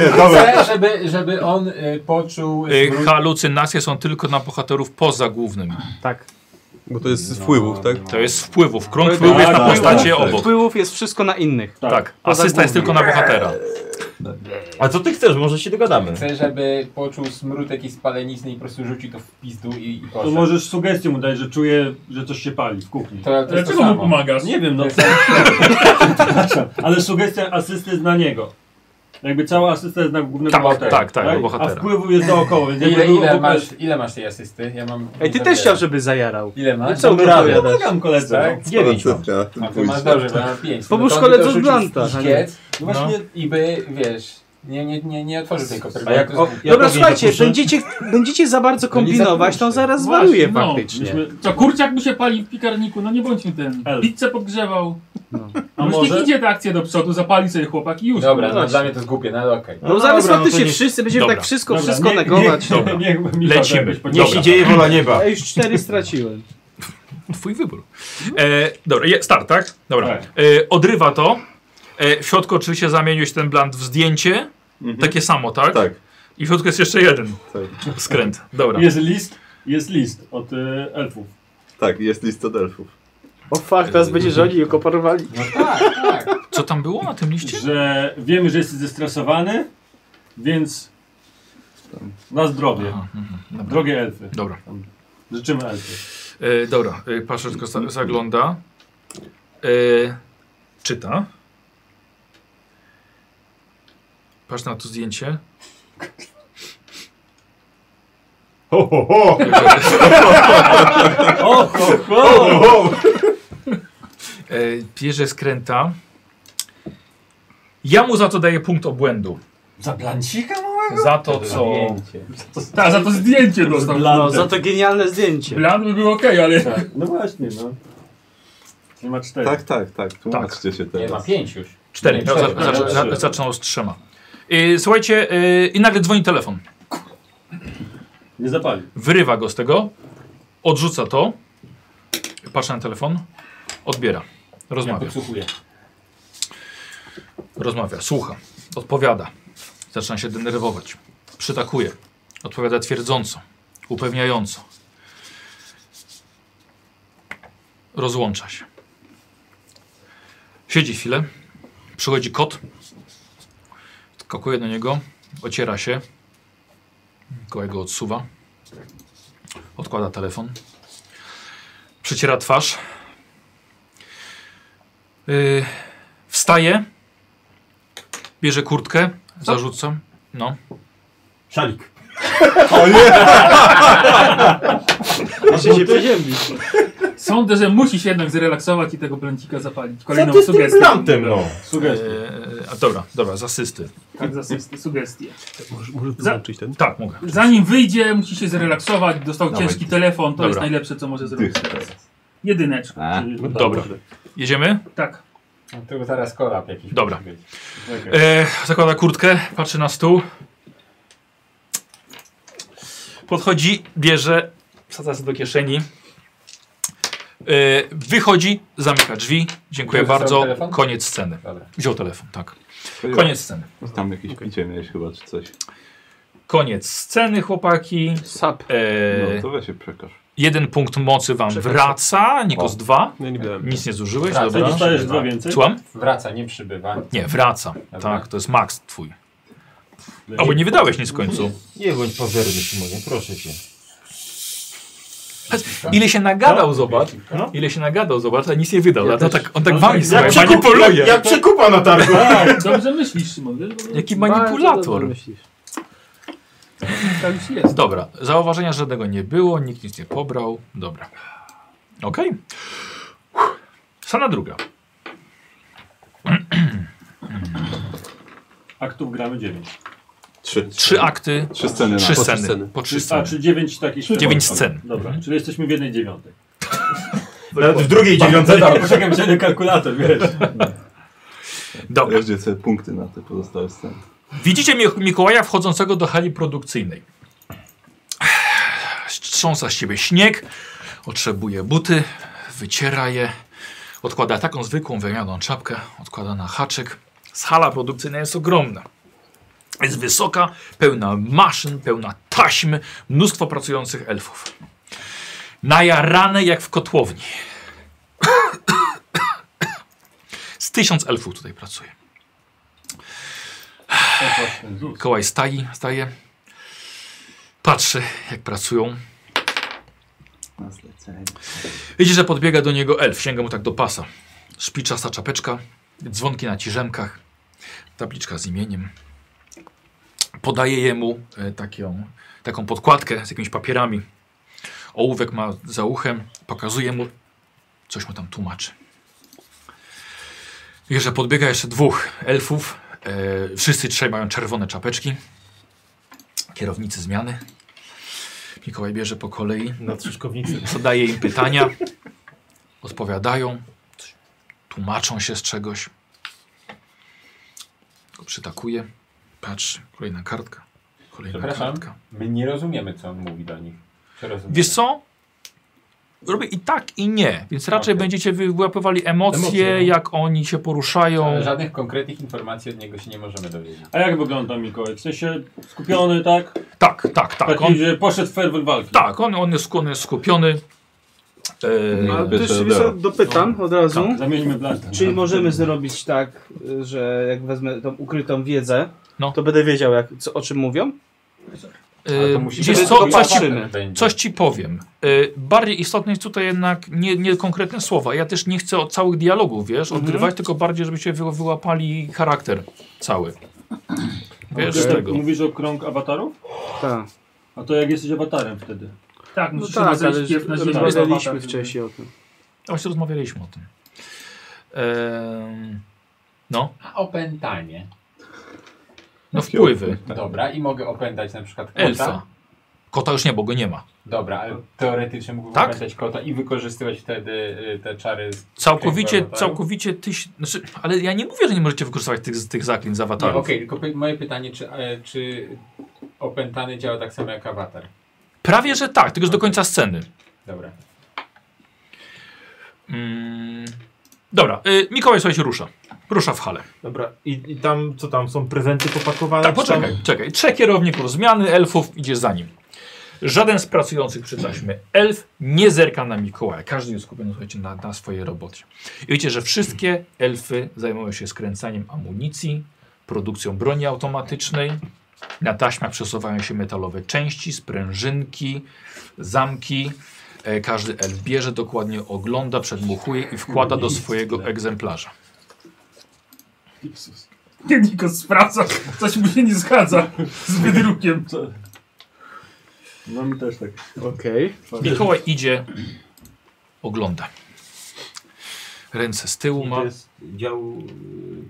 C: Nie, dobra.
G: chcę, żeby, żeby on y, poczuł...
A: E, halucynacje są tylko na bohaterów poza głównym.
D: Tak.
I: Bo to
E: No,
I: jest z wpływów, tak?
A: To jest wpływów. Krąg
D: Tak,
A: wpływów jest na
C: tak,
A: postacie
C: tak.
A: obok.
D: Wpływów jest wszystko na innych.
A: Tak, asysta jest tylko na bohatera.
H: A co ty chcesz, może się dogadamy.
G: Chcę, żeby poczuł smrótek i spalenizny i po prostu rzucił to w pizdu i, i
B: To
G: poszedł.
B: możesz sugestię mu dać, że czuję, że coś się pali w kuchni.
G: To, to jest to
F: Dlaczego mu
G: samo.
F: pomagasz?
B: Nie wiem, no.
G: To jest-
B: Ale sugestia asysty jest na niego. Jakby cała asysta jest na głównego
A: Tak,
B: bohatera.
A: tak, tak, na bohatera.
B: A wpływu jest dookoła, więc
G: Ile,
B: jakby był w
G: ile,
B: ogóle-
G: masz, ile masz tej asysty? Ja mam...
D: Ej, ty
G: nie
D: też
G: zabieram.
D: chciał, żeby zajarał. No
G: Ile masz?
H: Co my radę?
B: Pomagam koledze.
G: Tak?
B: No.
H: Dziewięć mam.
G: A ty masz dobrze, bo ja mam pięć. No
D: Pomóż
G: to on
D: koledze
G: by to rzucił
D: Blanta,
G: w
D: a nie-
G: pikiec
B: No właśnie,
G: I by, wiesz, nie, nie, nie, nie otworzył tej koperty.
H: A jak, o, jak
D: Dobra,
H: ogień
D: słuchajcie,
H: zapuszczę?
D: będziecie, będziecie za bardzo kombinować, to on zaraz zwariuje
F: Właśnie, no.
D: faktycznie.
B: myśmy...
F: Co, kurczak mu się pali w piekarniku, no nie bądźmy ten.
B: El.
F: Pizzę podgrzewał.
D: No.
F: A może? Niech idzie ta akcja do przodu, zapali sobie chłopak i już.
G: Dobra,
F: no,
G: no, dla mnie to jest głupie, no ale okej.
D: No zaraz
H: dobra, no to
D: faktycznie
H: nie-
D: wszyscy będziemy
A: Dobra.
D: tak wszystko,
B: Dobra,
D: wszystko
B: nie-
D: negować.
A: Dobra.
B: Niech mi to
A: Lecimy.
B: jakoś podziała.
H: Niech się dzieje wola nieba.
D: Ja już cztery straciłem.
A: Twój wybór. E, dobra, je, start, tak? Dobra.
B: Tak.
A: E, odrywa to. E, w środku oczywiście zamieniłeś ten blant w zdjęcie. Takie samo, tak?
C: Mhm. Tak.
A: I w środku jest jeszcze jeden skręt. Dobra.
B: Jest list, jest list od y, elfów.
C: Tak, jest list od elfów.
D: O fakt, teraz będzie, że oni ją koparowali.
G: No tak, tak.
A: Co tam było na tym liście?
B: Że wiemy, że jesteś zestresowany, więc na zdrowie.
A: Aha, mhm, dobra.
B: Drogie elfy.
A: Dobra.
B: Życzymy elfy.
A: E, dobra, e, Paszer tylko za- zagląda. E, czyta. Patrz na to zdjęcie.
H: Ho, ho, ho.
B: O, ho, ho!
A: E, bierze skręta. Ja mu za to daję punkt obłędu.
B: Za blancika?
A: Za to, co.
F: Ta, za to zdjęcie dostał.
D: No, za to genialne zdjęcie.
F: Blant by był okej, ale...
B: Tak, no właśnie, no. Nie ma cztery.
C: Tak, tak, tak. Tłumaczcie się
G: Nie, ma
C: teraz.
G: pięć już.
A: Cztery.
G: Nie,
A: No,
G: cztery.
A: za, za, za, zaczynał z trzema. E, słuchajcie, e, i nagle dzwoni telefon.
B: Nie zapali.
A: Wyrywa go z tego. Odrzuca to. Patrzy na telefon. Odbiera.
G: Ja
A: Rozmawia.
G: podsłuchuję.
A: Rozmawia, słucha, odpowiada. Zaczyna się denerwować. Przytakuje. Odpowiada twierdząco, upewniająco. Rozłącza się. Siedzi chwilę. Przychodzi kot. Skakuje do niego. Ociera się. Kołego go odsuwa. Odkłada telefon. Przyciera twarz. Yy, wstaje. Bierze kurtkę, zarzuca. No.
H: Szalik.
C: O nie!
D: Jeszcze się przeziębisz.
F: Sądzę, że musisz jednak zrelaksować i tego blęcika zapalić. Kolejną
H: Co ty z tym
F: sugestię.
H: plantem, no?
A: Sugestie. E, a dobra, dobra, z asysty.
F: Tak, za asysty, sugestie.
I: Możesz, możesz wyłączyć ten.
A: Tak, mogę.
F: Zanim wyjdzie, musi się zrelaksować. Dostał
A: Dawaj.
F: ciężki telefon, to
A: Dobra.
F: jest najlepsze, co może zrobić teraz. Jedyneczka.
A: Dobra. Jedziemy?
F: Tak.
G: No Tu zaraz korab jakiś
A: Dobra.
G: musi być.
A: E, zakłada kurtkę, patrzy na stół. Podchodzi, bierze, wsadza sobie do kieszeni. E, wychodzi, zamyka drzwi. Dziękuję
G: Wziął ze
A: bardzo.
G: sobą telefon?
A: Koniec sceny.
G: Dobra.
A: Wziął telefon, tak. Koniec sceny.
C: Tam jakieś picie miałeś chyba, czy coś.
A: Koniec sceny, chłopaki.
D: Sap.
A: E,
C: No to weź się przekaż.
A: Jeden punkt mocy wam wraca, Nikos
C: O.
A: dwa.
E: No,
I: Ja nie brałem.
A: Nic nie zużyłeś,
G: Wraca.
A: dobra.
B: Dostajesz dwa więcej.
A: Słucham?
G: Wraca, nie przybywa.
A: Nie, wraca. Tak, to jest max twój. Albo nie wydałeś nic w końcu.
H: Nie bądź pazerny, Szymonie, proszę cię.
A: Ile się nagadał, zobacz. Ile się nagadał, zobacz, a nic nie wydał. Ja tak, on
D: No,
A: tak wami
H: Jak
A: słuchaj,
H: przekup, jak,
A: manipuluje.
H: jak przekupa na targu.
F: Tak, dobrze myślisz, Szymon. Wiesz, bo
A: Jaki
D: Bardzo dobrze
A: manipulator.
D: myślisz.
F: tak już jest.
A: Dobra, zauważenia żadnego nie było, nikt nic nie pobrał. Dobra. Okej. Uff. Sana druga.
B: Aktów gramy 9.
C: Trzy.
A: Trzy akty,
C: Trzy sceny na
A: trzy
I: Po trzy
A: sceny.
I: sceny.
A: Po trzy
B: A,
A: sceny.
B: czy 9 takich sztuk?
A: Dziewięć Mhm. scen.
B: Dobra, czyli jesteśmy w jednej dziewiątej.
H: Nawet w drugiej dziewiątej.
B: Poczekaj, wziąłem kalkulator, wiesz.
A: Dobra.
C: Jeżdżę sobie punkty na te pozostałe sceny.
A: Widzicie Mi- Mikołaja wchodzącego do hali produkcyjnej. Strząsa z ciebie śnieg, otrzebuje buty, wyciera je, odkłada taką zwykłą wymianą czapkę, odkłada na haczyk. Z Hala produkcyjna jest ogromna. Jest wysoka, pełna maszyn, pełna taśmy, mnóstwo pracujących elfów. Najarane jak w kotłowni. Z tysiąc elfów tutaj pracuje. Mikołaj staje, staje, patrzy jak pracują.
C: Na zlecenie.
A: Widzi, że podbiega do niego elf, sięga mu tak do pasa. Szpiczasta czapeczka, dzwonki na ciżemkach, tabliczka z imieniem. Podaje jemu e, taką, taką podkładkę z jakimiś papierami. Ołówek ma za uchem, pokazuje mu, coś mu tam tłumaczy. Widzi, że podbiega jeszcze dwóch elfów. E, wszyscy trzej mają czerwone czapeczki. Kierownicy zmiany. Mikołaj bierze po kolei
H: Na trzyszkownicy.
A: zadaje im pytania, odpowiadają, tłumaczą się z czegoś. Go przytakuje, patrzy, kolejna kartka, kolejna
G: Przepraszam.
A: kartka.
G: My nie rozumiemy, co on mówi do nich. Czy rozumiemy?
A: Wiesz co? Robię i tak, i nie, więc raczej
G: Okej.
A: będziecie wyłapywali emocje,
H: Emocje, no.
A: jak oni się poruszają.
G: Ale Żadnych konkretnych informacji od niego się nie możemy dowiedzieć.
B: A jak wygląda Mikołaj? W sensie skupiony, tak?
A: Tak, tak, tak.
B: Taki,
A: On,
B: że poszedł w ferwent walki.
A: tak, on, on, jest, on jest skupiony.
D: A
A: Eee,
C: Pierwsze
D: też wiesz,
C: dobra.
D: co, dopytam od razu.
B: Zamieńmy blankę.
D: Czyli możemy zrobić tak, y, że jak wezmę tą ukrytą wiedzę,
A: No.
D: to będę wiedział jak, co, o czym mówią.
G: Ale to
A: eee,
G: musi
A: wiesz
G: być-
A: co, coś ci,
D: Zobaczymy.
G: Będzie.
A: Coś ci powiem. Y, bardziej istotne jest tutaj jednak nie, nie konkretne słowa. Ja też nie chcę od całych dialogów, wiesz,
G: Mhm.
A: odgrywać, tylko bardziej, żebyście wy, wyłapali charakter cały. Wiesz, z
B: Ty
E: tak
A: tego.
B: Mówisz o krąg awatarów?
D: Tak.
B: A to jak jesteś awatarem wtedy?
F: Tak,
D: No
F: musisz no
D: tak, ale
F: pierw na ziemię.
D: rozmawialiśmy wcześniej o tym.
A: A Właśnie rozmawialiśmy o tym. E, Em, no,
G: A opętanie.
A: no wpływy.
H: Tak.
G: Dobra, i mogę opętać na przykład kota.
A: Elfa. Kota już nie, bo go nie ma.
G: Dobra, ale teoretycznie mógłbym
A: Tak?
G: opętać kota i wykorzystywać wtedy y, te czary. z-
A: Całkowicie,
G: Piękna awatarów.
A: całkowicie tyś, znaczy, ale ja nie mówię, że nie możecie wykorzystywać tych, tych zaklin z
I: Tak.
G: Nie, No, Okej,
A: awatarów.
G: tylko py- moje pytanie, czy, e, czy opętany działa tak samo jak awatar?
A: Prawie, że tak, tylko że do końca sceny.
G: Dobra.
A: Mm, dobra, y, Mikołaj, słuchaj, się rusza. Rusza w hale.
H: Dobra, i, i tam, co tam, są prezenty popakowane?
A: Tak,
H: czy tam-
A: poczekaj, czekaj. Trzech kierowników zmiany elfów idzie za nim. Żaden z pracujących przy taśmie elf nie zerka na Mikołaja. Każdy jest skupiony słuchajcie, na, na swojej robocie. I wiecie, że wszystkie elfy zajmują się skręcaniem amunicji, produkcją broni automatycznej. Na taśmach przesuwają się metalowe części, sprężynki, zamki. E, Każdy elf bierze, dokładnie ogląda, przedmuchuje i wkłada do swojego egzemplarza.
F: Nikos sprawdza, coś mu się nie zgadza z wydrukiem.
E: No mi też tak.
D: Okej.
A: Mikołaj idzie, ogląda. Ręce z tyłu
H: I
A: ma.
H: To jest dział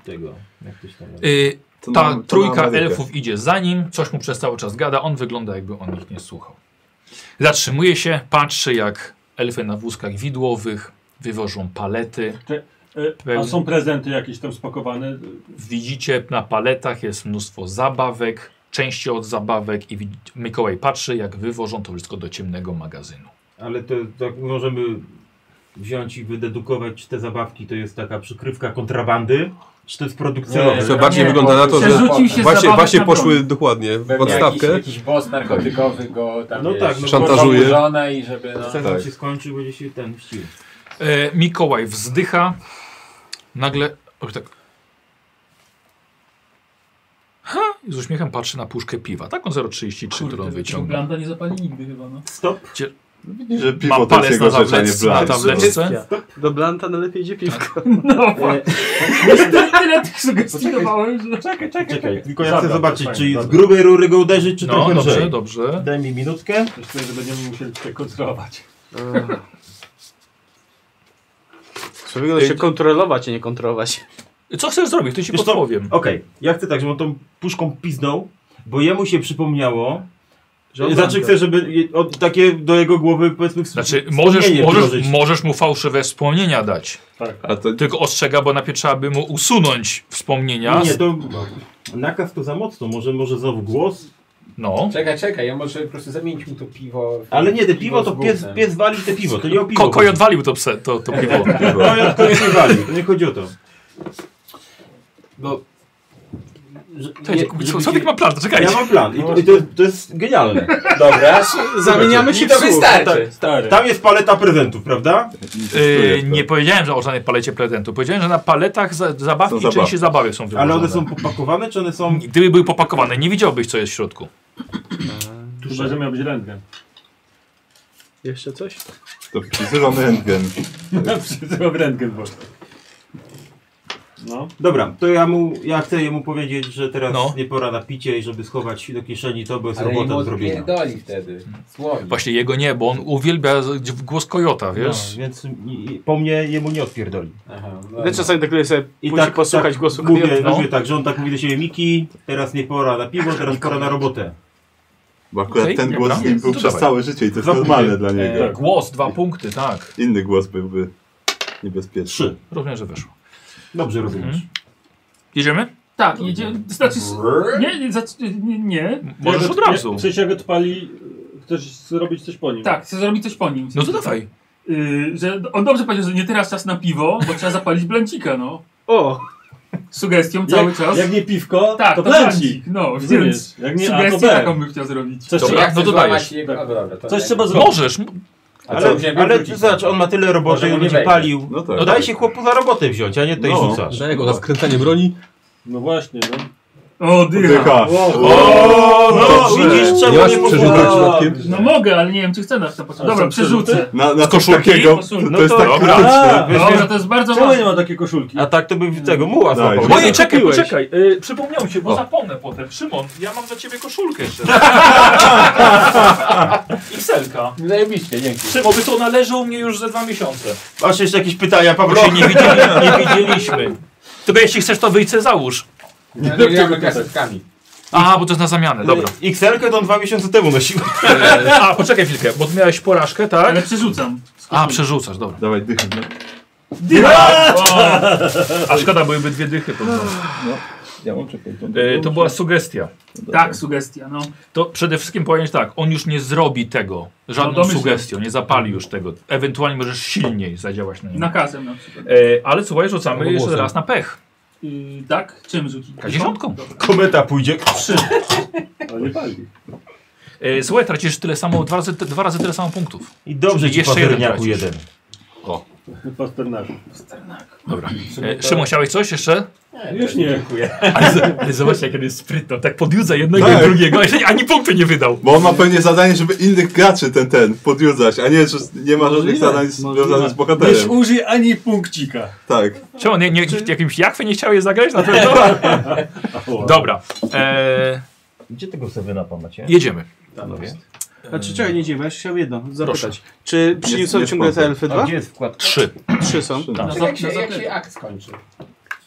H: y, tego, jak to się tam nazywa.
A: Y,
C: To
A: ta
C: na- to na
A: trójka
C: Amerykę.
A: elfów idzie za nim, coś mu przez cały czas gada, on wygląda jakby on ich nie słuchał. Zatrzymuje się, patrzy jak elfy na wózkach widłowych wywożą palety.
B: E, a są prezenty jakieś tam spakowane?
A: Widzicie na paletach jest mnóstwo zabawek, części od zabawek i wi- Mikołaj patrzy jak wywożą to wszystko do ciemnego magazynu.
H: Ale to tak możemy wziąć i wydedukować, czy te zabawki to jest taka przykrywka kontrabandy, czy to jest produkt celowy.
I: To bardziej
G: Nie,
I: wygląda na to, że
F: Przerzucił się
I: właśnie,
F: zabawek
I: właśnie
F: na broń.
I: poszły dokładnie w
G: Pewnie
I: odstawkę.
G: Jakiś, jakiś boss narkotykowy go tam
H: No
G: wiesz,
H: tak, no
I: szantażuje.
G: żona i żeby no...
H: Sen
C: Tak.
H: się skończył, będzie się ten wścił.
A: E, Mikołaj wzdycha, nagle robi tak. Ha! I z uśmiechem patrzy na puszkę piwa. Tak Taką 0,33, którą wyciąga.
F: Blanda nie zapali nigdy chyba, no.
H: Stop.
C: Widzisz, że
A: Ma
C: piwo to jest
A: palec
C: jego
A: na
C: rzecz, a nie
A: tablec- na
C: plan.
A: tableczce.
D: Do Blanta najlepiej idzie piwko.
F: No, Niestety tyle tych sugestii dawałem, że...
E: Czekaj, czekaj,
H: Czekaj,
E: czekaj.
H: tylko ja chcę
E: Dobra,
H: zobaczyć,
E: fajnie,
H: czy z
E: dobra.
H: grubej rury go uderzyć, czy
A: No,
H: trochę
A: dobrze,
H: lżej.
A: dobrze.
H: Daj mi minutkę.
E: Też czuję, że będziemy musieli tutaj kontrolować.
D: Trzeba wygląda się kontrolować, a nie kontrolować.
A: Co chcesz zrobić? To ci
H: Wiesz co?
A: podpowiem.
H: Okej, ja chcę tak, żeby on tą puszką piznął, bo jemu się przypomniało, że znaczy chcę, żeby je- od, takie do jego głowy powiedzmy wsp-
A: Znaczy, możesz,
H: wspomnienie
A: możesz,
H: wdrożyć.
A: możesz mu fałszywe wspomnienia dać.
C: A to
A: Tylko ostrzega, bo najpierw trzeba by mu usunąć wspomnienia.
H: Nie, to No. nakaz to za mocno, może, może znowu głos.
A: No.
G: Czekaj, czekaj, ja może po prostu zamienić mu to piwo. w-
H: Ale nie, te piwo to
G: z
H: pies,
G: gównem.
H: pies wali te piwo, to nie o piwo.
A: Ko kojot walił to, pse, to, to piwo.
C: piwo.
H: Kojot, kojot nie wali, to nie chodzi o to. Bo... że-
A: Czekajcie,
H: nie- żeby
A: Słowik
H: się-
A: ma plan,
H: Ja
A: czekajcie.
H: mam plan i to, i to, to jest genialne. Dobra.
D: Zamieniamy się
G: Mi
D: w
G: to
D: słuch.
G: wystarczy.
E: Stary.
H: Tam jest paleta prezentów, prawda?
A: Yy, nie powiedziałem, że o żadnej palecie prezentu. Powiedziałem, że na paletach za zabawki
C: Są
A: i
C: zabawki.
A: części zabawy są wywożone.
H: Ale one są popakowane, czy one są...
A: Gdyby były popakowane, nie widziałbyś, co jest w środku.
E: Chyba, że miał być rentgen.
D: Jeszcze coś?
C: To wpisywamy rentgen.
E: Przysyłam rentgen, bo... No.
H: Dobra, to ja mu, ja chcę jemu powiedzieć, że teraz
A: No.
H: nie pora na picie i żeby schować do kieszeni to, bo jest
G: Ale
H: robota
G: mu
H: do zrobienia.
G: odpierdoli wtedy. Słownie.
A: Właśnie jego nie, bo on uwielbia z- dź- głos kojota,
H: No,
A: wiesz?
H: więc i, i, po mnie jemu nie odpierdoli.
G: Aha, no,
D: Ja czasami tak lubię sobie
H: I
D: I tak, posłuchać głosu no.
H: mówię,
D: kobiety.
H: mówię tak, że on tak mówi do siebie, Miki, teraz nie pora na piwo, teraz pora na robotę.
C: Bo akurat
A: Okej,
C: ten
A: nie No
C: głos
A: plan.
C: z nim był
A: To
C: przez
A: dawaj.
C: całe życie i to jest
H: Zapomnij.
C: normalne dla niego.
A: E, głos, dwa punkty, tak.
C: Inny głos byłby niebezpieczny.
H: Trzy.
A: Rozumiem, że weszło.
H: Dobrze rozumiesz.
A: Mhm. Jedziemy?
F: Tak, jedzie... Znaczy... s- Nie, nie, zac- nie, nie.
A: Możesz
E: Jak
A: od
E: go-
A: razu.
E: Jak, w sensie jak odpali, e, chcesz zrobić coś po nim.
F: Tak, chcę zrobić coś po nim.
A: No to dawaj.
F: Y, że on dobrze powiedział, że nie teraz czas na piwo, bo trzeba zapalić blancika, no.
D: O!
F: Z Sugestią
E: Jak,
F: cały czas.
E: jak nie piwko,
F: tak,
E: to
F: to
E: plęci.
F: blancik. No, więc
E: Rozumiesz? Jak nie A, to
F: sugestię taką
E: B.
F: bym chciał zrobić.
E: Coś,
A: Dobra.
E: trzeba,
A: no to dajesz.
G: Jego...
E: Tak.
G: A, dobra, to
E: coś
G: daj.
E: trzeba zrobić.
A: Możesz. m-
G: A co,
H: Ale,
G: musimy
H: ale
G: wrócić?
H: zobacz, on ma tyle roboty,
G: Może
H: on
G: mu
H: będzie
G: wejdzie.
H: palił.
C: No tak.
H: No daj się chłopu za robotę wziąć, a nie tej
C: No.
H: rzucasz.
I: Daj go na skręcanie broni.
E: No właśnie, no.
F: O, dycha.
C: Dycha.
H: O, no,
C: Dobrze.
H: widzisz, czemu
I: Nie masz
H: nie
I: przerzutek
H: poszło?
I: przypadkiem?
F: No mogę, ale nie wiem, czy chcę na to początku. Dobra, przerzucę.
C: Na, na coś
A: koszulki?
C: takiego. To,
F: Koszulki.
C: to
H: No
C: jest
H: to-
C: tak
H: dobra.
C: krytyczne.
H: Weź-
F: Dobra, to jest bardzo
E: Czemu nie
F: ważne.
E: ma takiej koszulki?
H: A tak to by tego muła
C: Daj.
H: złapał.
C: Moje
A: Ojej, czekaj,
D: kupiłeś.
A: poczekaj. Y, przypomniał się, bo zapomnę potem. Szymon, ja mam dla ciebie koszulkę jeszcze. Xelka.
G: Zajebiście, dzięki.
A: Szymon, by to należy u mnie już ze dwa miesiące.
H: Masz jeszcze jakieś pytania,
A: Bo
H: Pawlo?
A: się nie, widzieli, nie widzieliśmy. Tylko jeśli chcesz, to wyjdź se załóż.
G: Ja nie gramy kasetkami.
A: A, bo to jest na zamianę, dobra.
H: XL-kę to on dwa miesiące temu nosił.
A: A, poczekaj chwilkę, bo miałeś porażkę, tak?
F: Ale przerzucam.
A: A, przerzucasz, dobra.
C: Dawaj, dychaj. No.
A: A szkoda, byłyby dwie dychy. Powiem.
C: Ja mam czekać.
A: E, to była sugestia.
F: Tak, sugestia, no.
A: To przede wszystkim powiem tak, on już nie zrobi tego żadną
F: domyślam.
A: sugestią, nie zapali już tego. Ewentualnie możesz silniej zadziałać na niego.
F: Nakazem na przykład.
A: E, ale słuchaj, rzucamy
I: Albo
A: jeszcze
I: głosem.
A: raz na pech.
F: Y, tak? Czym rzucić?
A: Kadziesiątką.
H: Kometa pójdzie.
F: Tak.
E: Ale nie pali.
A: E, słuchaj, tracisz tyle samo, dwa razy, dwa razy tyle samo punktów.
H: I dobrze ci
A: Jeszcze jeden
H: pazerniaku
A: tracisz.
H: jeden.
E: Pasternak.
A: Dobra. E, Szymon, chciałeś coś jeszcze?
E: Już nie.
A: Ale, z- ale zobacz, jak on jest sprytny. Tak podjudza jednego
C: Tak.
A: i drugiego, a jeszcze ani punktu nie wydał.
C: Bo on ma pewnie zadanie, żeby innych graczy ten, ten podjudzać, a nie, że nie ma żadnych zadań związanych z
E: Wiesz,
C: bohaterem.
E: użyj ani punkcika.
C: Tak.
A: Czemu, nie, nie, jakimś jakwy nie chciałeś zagrać na pewno? Dobra. E,
H: Gdzie tego sobie napamacie?
A: jedziemy.
D: Znaczy, czekaj, nie dziwię, ja się chciałem jedno zapytać.
A: Proszę.
D: Czy przyniosą
C: jest
D: ciągle te
C: sposób.
D: elfy
H: A
D: dwa?
H: gdzie jest wkład?
A: Trzy.
D: Trzy są.
A: Tak.
G: Jak się, jak się akt skończy?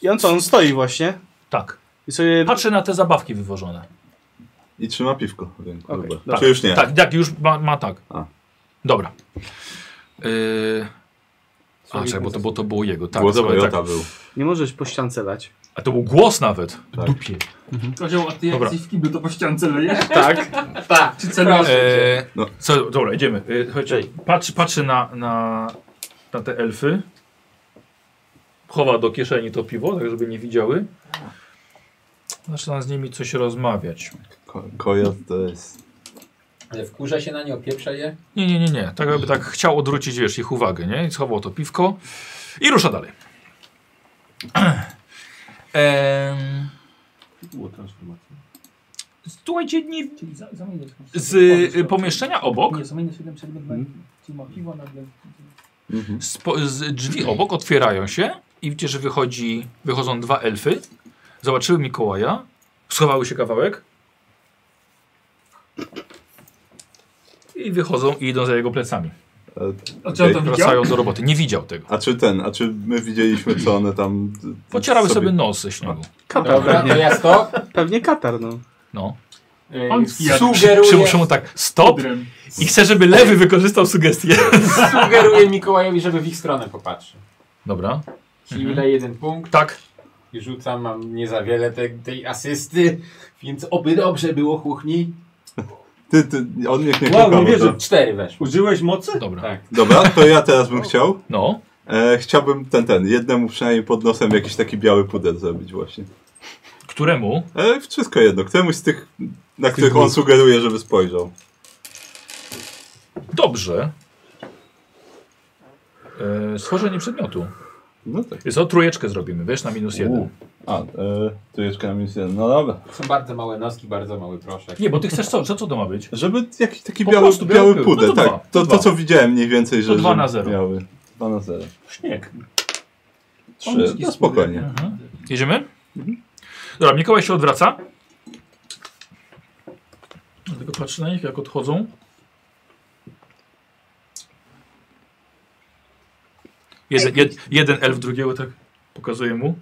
D: I on co, on stoi właśnie
A: tak.
D: i sobie...
A: Patrzę na te zabawki wywożone.
C: I trzyma piwko w ręku
D: Okej,
C: chyba.
D: dobra.
C: Czy już nie?
A: Tak, tak, już ma, ma tak.
C: A.
A: Dobra. Yy... A, czekaj, bo to, bo to było jego. Tak,
C: Głos
A: dobra,
C: Kojota
A: tak.
C: był.
D: Nie możesz po ściance lać.
A: A to był głos nawet.
C: Tak.
A: Dupie.
F: Kozioł, a ty jak
A: Dobra.
F: jesteś w kiblu, to po ściance lejesz?
D: Tak.
G: Tak,
F: Czy celujesz?
A: Eee,
C: No.
A: co, dobra, idziemy. Eee, Słuchajcie, patrzy, patrzy na, na, na te elfy. Chowa do kieszeni to piwo, tak żeby nie widziały. Zaczyna z nimi coś rozmawiać.
C: Ko kojot to jest...
G: Ale wkurza się na nie, opieprza je.
A: Nie, nie, nie, nie. Tak jakby tak chciał odwrócić, wiesz, ich uwagę, nie? I schował to piwko i rusza dalej. Em,
B: Było transformacja.
A: Słuchajcie, nie...
F: Czyli za- zamienię się.
A: Z y, pomieszczenia obok,
F: Nie, zamienię 7 przedmiotów.
B: Mhm.
F: Czyli ma piwo nagle.
A: spo, z drzwi obok otwierają się i widzicie, że wychodzi, wychodzą dwa elfy. Zobaczyły Mikołaja, schowały się kawałek i wychodzą i idą za jego plecami.
C: e,
F: A co
C: Okej,
F: tam widział?
A: Wracają do roboty. Nie widział tego.
C: A czy ten, a czy my widzieliśmy co one tam...
A: Pocierały sobie nos ze śniegu.
D: Katar
G: Dobra, to
D: pewnie.
G: ja stop.
D: Pewnie katar, no.
A: No.
G: Yy,
F: On jak-
G: Sugeruję,
A: Przymuszę mu tak, stop
F: Podrem.
A: i chcę, żeby lewy wykorzystał sugestię.
G: sugeruję Mikołajowi, żeby w ich stronę popatrzył.
A: Dobra.
G: Czyli mhm. jeden punkt
A: Tak.
G: i rzucam, mam nie za wiele te, tej asysty, więc oby dobrze było kuchni.
C: Ty, ty, on niech nie
B: Wow,
C: kuka,
B: nie
C: bo to-
B: wierzę.
G: Cztery weszło.
B: Użyłeś mocy?
A: Dobra.
G: Tak.
C: Dobra, to ja teraz bym chciał.
A: No.
C: E, chciałbym ten, ten, jednemu przynajmniej pod nosem jakiś taki biały puder zrobić właśnie.
A: Któremu?
C: E, wszystko jedno, któremuś z tych, na których on sugeruje, żeby spojrzał.
A: Dobrze. E, stworzenie przedmiotu.
C: No tak.
A: Jest o trójeczkę zrobimy, wiesz, na minus jeden.
C: U. A, e, tu jeszcze na minus jeden, no dobra.
G: Są bardzo małe noski, bardzo mały proszek.
A: Nie, bo ty chcesz co? Co co to ma być?
C: Żeby jakiś taki
A: Po
C: biały,
A: prostu biały
C: biały
A: pył.
C: puder,
A: No to
C: tak.
A: dwa,
C: to,
A: dwa.
C: to co widziałem mniej więcej, że...
A: To dwa
C: że
A: na zero.
C: Biały. 2 na 0.
B: Śnieg.
C: Trzy, no spokojnie.
A: Mhm. Jedziemy?
D: Mhm.
A: Dobra, Mikołaj się odwraca. Tylko patrzy na nich, jak odchodzą. Jeden, jed, jeden elf drugiego tak pokazuje mu.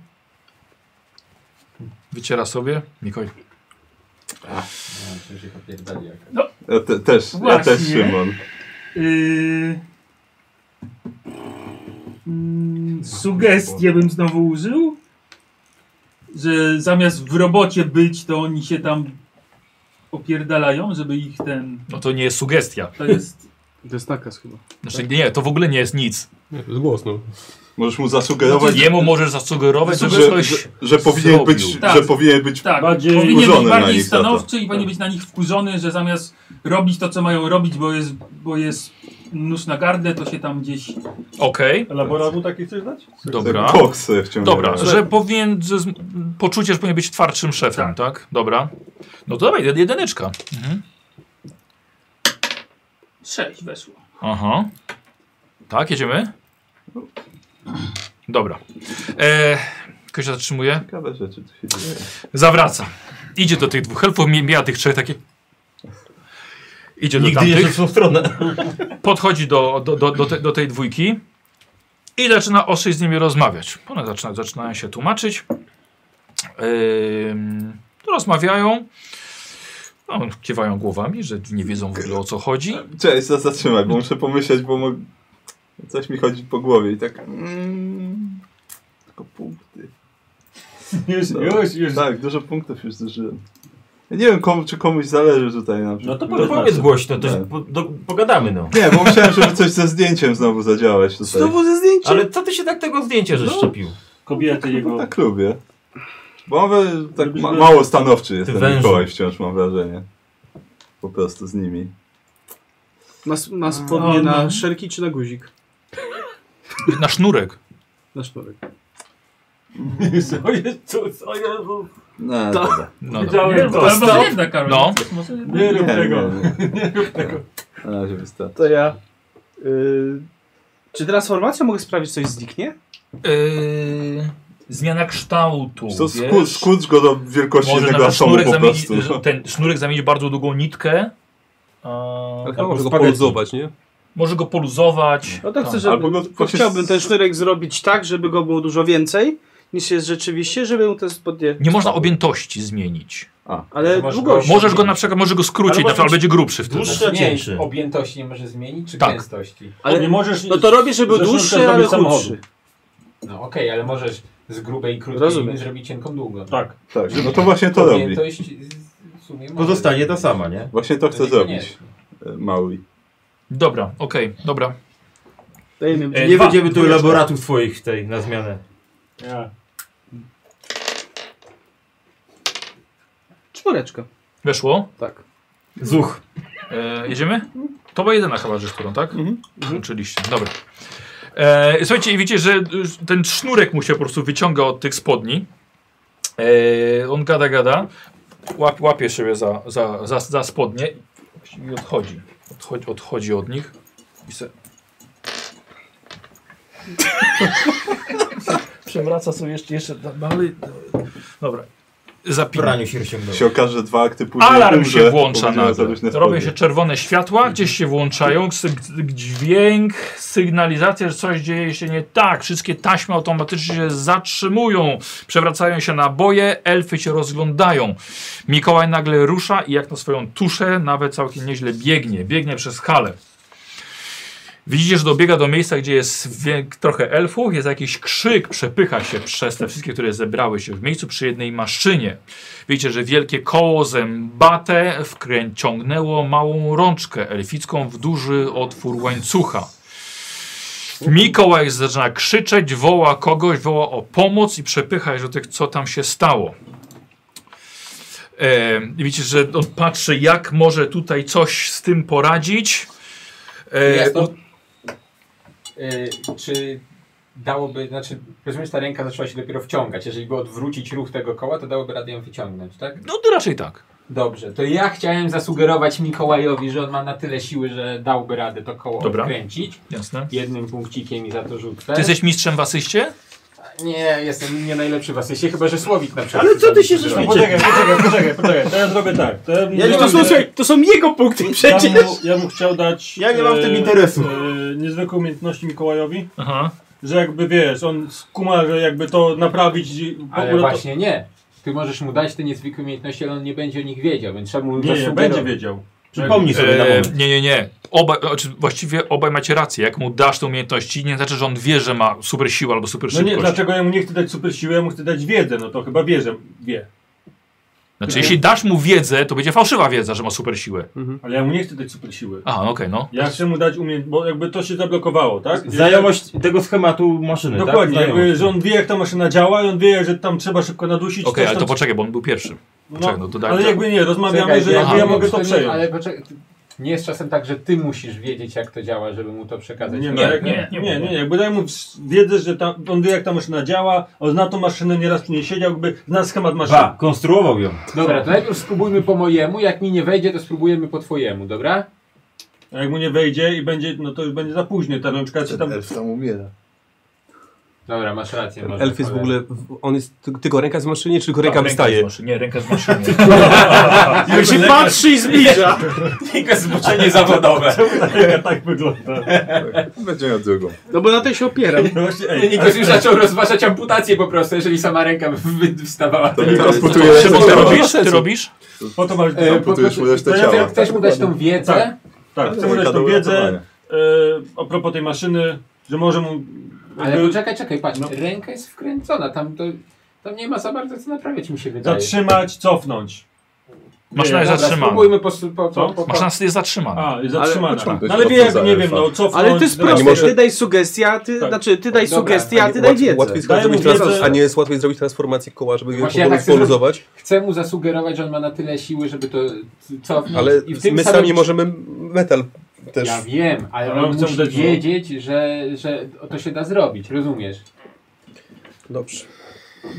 A: Wyciera sobie. Mikołaj.
G: No, czy się popierdali jak.
C: Ja te, też, ja
F: Właśnie.
C: też Szymon.
F: Yy... Mm, Sugestię bym znowu użył, że zamiast w robocie być, to oni się tam opierdalają, żeby ich ten...
A: No to nie jest sugestia.
F: To jest...
D: To jest nakaz chyba.
A: Znaczy nie, to w ogóle nie jest nic.
I: Nie, to jest głos, no.
C: Możesz mu zasugerować,
A: Jemu możesz zasugerować,
C: że,
A: żeby
C: że,
A: coś...
C: że, że powinien
A: zrobił.
C: być,
F: Tak.
C: że powinien być
F: Tak,
B: Bardziej
F: powinien
C: wkurzony
F: być
C: na
F: bardziej
C: nich za to.
F: stanowczy i powinien być na nich wkurzony, że zamiast robić to, co mają robić, bo jest, bo jest nóż na gardle, to się tam gdzieś...
A: Okej,
B: Laborawu taki chcesz dać?
A: dobra.
C: koks wciągnął.
A: Tak. Dobra, że powinien, że z, m, poczucie, że powinien być twardszym szefem, tak? Dobra. No to dawaj, jed- jedyneczka. Mhm.
F: Sześć weszło.
A: Aha. Tak, jedziemy? Dobra. E, ktoś się zatrzymuje?
C: Ciekawe rzeczy tu się dzieje.
A: Zawraca. Idzie do tych dwóch elfów, mi- mija tych trzech takie... Idzie do
H: Nigdy nie
A: tamtych.
H: szedł w tą stronę.
A: podchodzi do, do, do, do, te, do tej dwójki i zaczyna ostrzej z nimi rozmawiać. One zaczyna, zaczynają się tłumaczyć. Ym, rozmawiają. No, kiwają głowami, że nie wiedzą w ogóle o co chodzi.
C: Cześć, za- zatrzymaj, bo muszę pomyśleć, bo mo... coś mi chodzi po głowie i tak... Mm, tylko punkty.
B: Już,
C: No.
B: już, już.
C: Tak, dużo punktów już zużyłem. Ja nie wiem, komu, czy komuś zależy tutaj na
H: No
C: przykład.
H: to powiedz głośno, to się
C: Tak.
H: po, do, pogadamy no.
C: Nie, bo myślałem, żeby coś ze zdjęciem znowu zadziałać tutaj.
D: Znowu ze zdjęciem?
H: Ale co ty się tak tego zdjęcia żeś szczepił?
B: Kobiety
C: Bo
B: jego.
C: tak lubię. Bo on we- tak ma
B: Lubisz
C: mało stanowczy jest ten
H: wężu.
C: Mikołaj wciąż, mam wrażenie. Po prostu z nimi.
D: Ma, ma spodnie
F: A,
D: na
F: no.
D: szerki czy na guzik?
A: Na sznurek.
D: Na sznurek.
B: Co jest, co, co Jezu.
C: No,
D: To-
C: dobra.
A: No, dobra.
B: Widziałem to.
F: Ale może jedna, Karol.
A: No.
F: Może jedna.
B: Nie rób
C: Nie,
B: tego.
C: nie, nie. Na razie wystarczy.
D: To ja... Y... Czy transformacją mogę sprawić, że coś zniknie?
A: Yy, zmiana kształtu.
C: To
A: wiesz?
C: skurcz, skurcz go do wielkości
A: Może
C: jednego
A: nawet
C: atomu
A: sznurek
C: po prostu.
A: zamienić, ten sznurek zamienić w bardzo długą nitkę
I: Ale
A: A,
I: chyba może go
H: spaghetti.
I: poluzować, nie?
A: może go poluzować.
D: No tak, chcę, żeby,
C: Albo go
D: to
C: właśnie
D: chciałbym ten sznurek zrobić tak, żeby go było dużo więcej niż jest rzeczywiście, żeby mu te spodnie...
A: Nie można objętości zmienić.
D: Ale
G: Możesz
D: długość.
G: go-
A: Możesz go na przykład, może go skrócić,
H: Ale
A: na przykład
H: właśnie-
A: będzie grubszy wtedy.
H: Dłuższy, a
G: Znaczy, Nie,
H: cieńszy.
G: objętości nie możesz zmienić, czy
A: Tak.
G: gęstości?
D: Ale,
B: nie możesz...
D: no to robię, żeby był
B: ze sznurka
D: dłuższy, ale
B: zrobić samochodu.
D: chudszy.
G: No okej, ale możesz z grubej, krótkiej
D: Rozumiem.
G: liny zrobić cienką, długą.
B: Tak.
C: Tak, no to właśnie to robi.
G: Objętość z- w sumie możesz
H: Pozostanie ta
G: zmienić.
H: sama, nie?
C: Właśnie to chce
G: Niekoniecznie.
C: zrobić e, Maui.
A: Dobra, okej, dobra.
D: Dajmy,
H: E,
D: nie
H: nie
D: dwa.
H: będziemy tu elaboratów twoich tej na zmianę.
B: Nie.
D: Czwóreczka.
A: Weszło.
D: Tak.
H: Zuch.
A: E, jedziemy? To była jedyna chyba rzecz, którą, tak?
C: Mhm.
A: Oczywiście, dobra. E, słuchajcie, i widzicie, że y, ten sznurek mu się po prostu wyciąga od tych spodni. E, on gada, gada. Łap, łapie siebie za, za, za, za spodnie i odchodzi. Odchodzi, odchodzi od nich. I se... Przewraca sobie jeszcze, jeszcze no, dalej. Dobra.
H: W
A: Zapina.
H: praniu się osiągnął.
C: Się okaże, że dwa akty później
A: Alarm
C: umrze,
A: się
C: bo
A: włącza
C: będziemy
A: nagle.
C: zarobić na
A: Robią się
C: spodnie.
A: czerwone światła, gdzieś się włączają, syg- syg- dźwięk, sygnalizacja, że coś dzieje się nie tak. Wszystkie taśmy automatycznie się zatrzymują, przewracają się naboje, elfy się rozglądają. Mikołaj nagle rusza i jak na swoją tuszę nawet całkiem nieźle biegnie. Biegnie przez halę. Widzicie, że dobiega do miejsca, gdzie jest wie- trochę elfów, jest jakiś krzyk, przepycha się przez te wszystkie, które zebrały się w miejscu przy jednej maszynie. Widzicie, że wielkie koło zębate wkręciągnęło małą rączkę elficką w duży otwór łańcucha. Mikołaj zaczyna krzyczeć, woła kogoś, woła o pomoc i przepycha się do tych, co tam się stało. E, i widzicie, że on patrzy, jak może tutaj coś z tym poradzić. E,
G: Jasno.
A: u-
G: Y, czy dałoby, znaczy, rozumiem, że ta ręka zaczęła się dopiero wciągać. Jeżeli by odwrócić ruch tego koła, to dałoby radę ją wyciągnąć, tak?
A: no to raczej tak.
G: Dobrze, to ja chciałem zasugerować Mikołajowi, że on ma na tyle siły, że dałby radę to koło
A: Dobra.
G: odkręcić.
A: Jasne.
G: Jednym punkcikiem i za to rzucę.
A: Ty jesteś mistrzem w asyście?
G: Nie, jestem nie najlepszy w asyście, chyba że Słowik na przykład.
H: Ale co ty się
G: zrobi.
H: żeś-
B: Poczekaj, poczekaj, poczekaj, poczekaj. To ja zrobię tak. To ja,
H: Ja nie
D: To
H: mam-
D: są, słuchaj, to są jego punkty przecież.
B: Ja mu, ja mu chciał dać...
H: Ja nie mam w tym
B: e,
H: interesu.
B: e, niezwykłe umiejętności Mikołajowi,
A: Aha.
B: że jakby wiesz, on skuma, że jakby to naprawić... i w
G: Ale
B: ogóle
G: właśnie nie. Ty możesz mu dać te niezwykłe umiejętności, ale on nie będzie o nich wiedział, więc trzeba mu
B: To... Nie, nie,
G: zasugerować.
B: będzie wiedział.
H: Przypomnij sobie na
A: E,
H: moment.
A: nie, nie, nie. Obaj, znaczy właściwie obaj macie rację. Jak mu dasz te umiejętności, nie znaczy, że on wie, że ma super siłę albo super
B: No
A: szybkość.
B: nie, dlaczego ja mu nie chcę dać super siły, ja mu chcę dać wiedzę, no to chyba wie, że wie.
A: Znaczy, jeśli dasz mu wiedzę, to będzie fałszywa wiedza, że ma super siłę.
B: Ale ja mu nie chcę dać super siły.
A: Aha, no okej, no.
B: Ja chcę mu dać umiejętność, bo jakby to się zablokowało, tak? Jeżeli-
H: Znajomość tego schematu maszyny,
B: Dokładnie,
H: tak?
B: jakby,
H: Znajomość.
B: że on wie jak ta maszyna działa i on wie, że tam trzeba szybko nadusić.
A: Okej,
B: coś
A: ale
B: tam-
A: to poczekaj, bo on był pierwszy.
B: no,
A: Poczekaj, no to daj.
B: Ale jakby nie, rozmawiamy,
G: Czekaj,
B: że jakby
A: aha,
B: ja
G: nie,
B: mogę to
G: nie,
B: przejąć.
G: Ale poczekaj, ty- nie jest czasem tak, że ty musisz wiedzieć, jak to działa, żeby mu to przekazać.
B: Nie, no,
G: Tak,
B: nie,
A: nie,
B: jak-
A: nie,
B: nie,
A: nie
B: nie,
A: mogę.
B: nie, nie. Jakby daj mu wiedzę, że tam, on wie jak ta maszyna działa, on zna tą maszynę, nieraz tu nie siedział, jakby zna schemat maszyny.
H: Ba, konstruował ją.
G: Dobra, to najpierw spróbujmy po mojemu, jak mi nie wejdzie, to spróbujemy po twojemu, dobra?
B: A jak mu nie wejdzie i będzie, no to już będzie za późno, ta rączka czy tam...
C: Elf tam umiera.
G: Dobra, masz rację. może,
I: Elf jest w
G: cholera.
I: ogóle, w- on jest, ty- tylko ręka z maszynie, czy tylko Tak, ręka wystaje?
A: Nie, ręka z maszyny.
D: Jak się patrzy i zbliża.
G: Tylko zboczenie zawodowe.
B: tak wygląda.
C: Będzie miał drugą.
D: No bo na tej się opieram.
B: Właśnie, ej,
G: Nikos już zaczął rozważać amputację po prostu, jeżeli sama ręka wy- wstawała.
C: To
G: nie
C: teraz
G: jest-
C: putuje
A: Szymon,
C: ręce
A: ty
C: ciała.
A: robisz? Ty robisz?
B: po to masz...
G: E, po-
C: Amputujesz mu resztę
G: to ja
C: ciała.
G: Chcesz mu dać tą wiedzę?
B: tak, chcę mu dać tą
C: Ręka do
B: wiedzę
C: uratowania.
B: e, a propos tej maszyny, że może mu...
G: Ale
I: Mhm.
B: jakby
G: poczekaj, czekaj, patrz, no, ręka jest wkręcona, tam to... Tam nie ma za bardzo co naprawiać, mi się wydaje.
B: Zatrzymać, cofnąć.
A: Maszyna
B: Nie,
A: jest
G: Dobra,
A: zatrzymana.
G: Spróbujmy po, po,
B: Co?
G: po, po, po.
A: Maszyna jest zatrzymana.
B: A, jest zatrzymana.
C: pociągnąć
B: No ale
C: po
B: wie,
C: co
B: jak,
C: za
B: nie
C: elfa?
B: wiem, no cofnąć...
D: Ale to jest
B: dać-
D: proste.
I: może-
D: Ty daj sugestia, ty,
B: Tak.
D: znaczy ty daj
G: Dobra,
D: sugestia,
G: a
D: ty daj wiedzę.
I: Łatwiej chyba
B: Daję mu
I: zrobić trans-
B: wiedzę.
I: a nie jest łatwiej zrobić transformację koła, żeby go
G: Właśnie ja tak
I: powoli
G: chcę zrobić.
I: poluzować,
G: Chcę mu zasugerować, że on ma na tyle siły, żeby to cofnąć.
I: ale
G: I w tym
I: my
G: samym-
I: sami możemy metal też.
G: Ja wiem, ale
B: Ale
G: on
B: on chce
G: musi
B: No, dać-
G: wiedzieć, że, że to się da zrobić, rozumiesz?
I: Dobrze.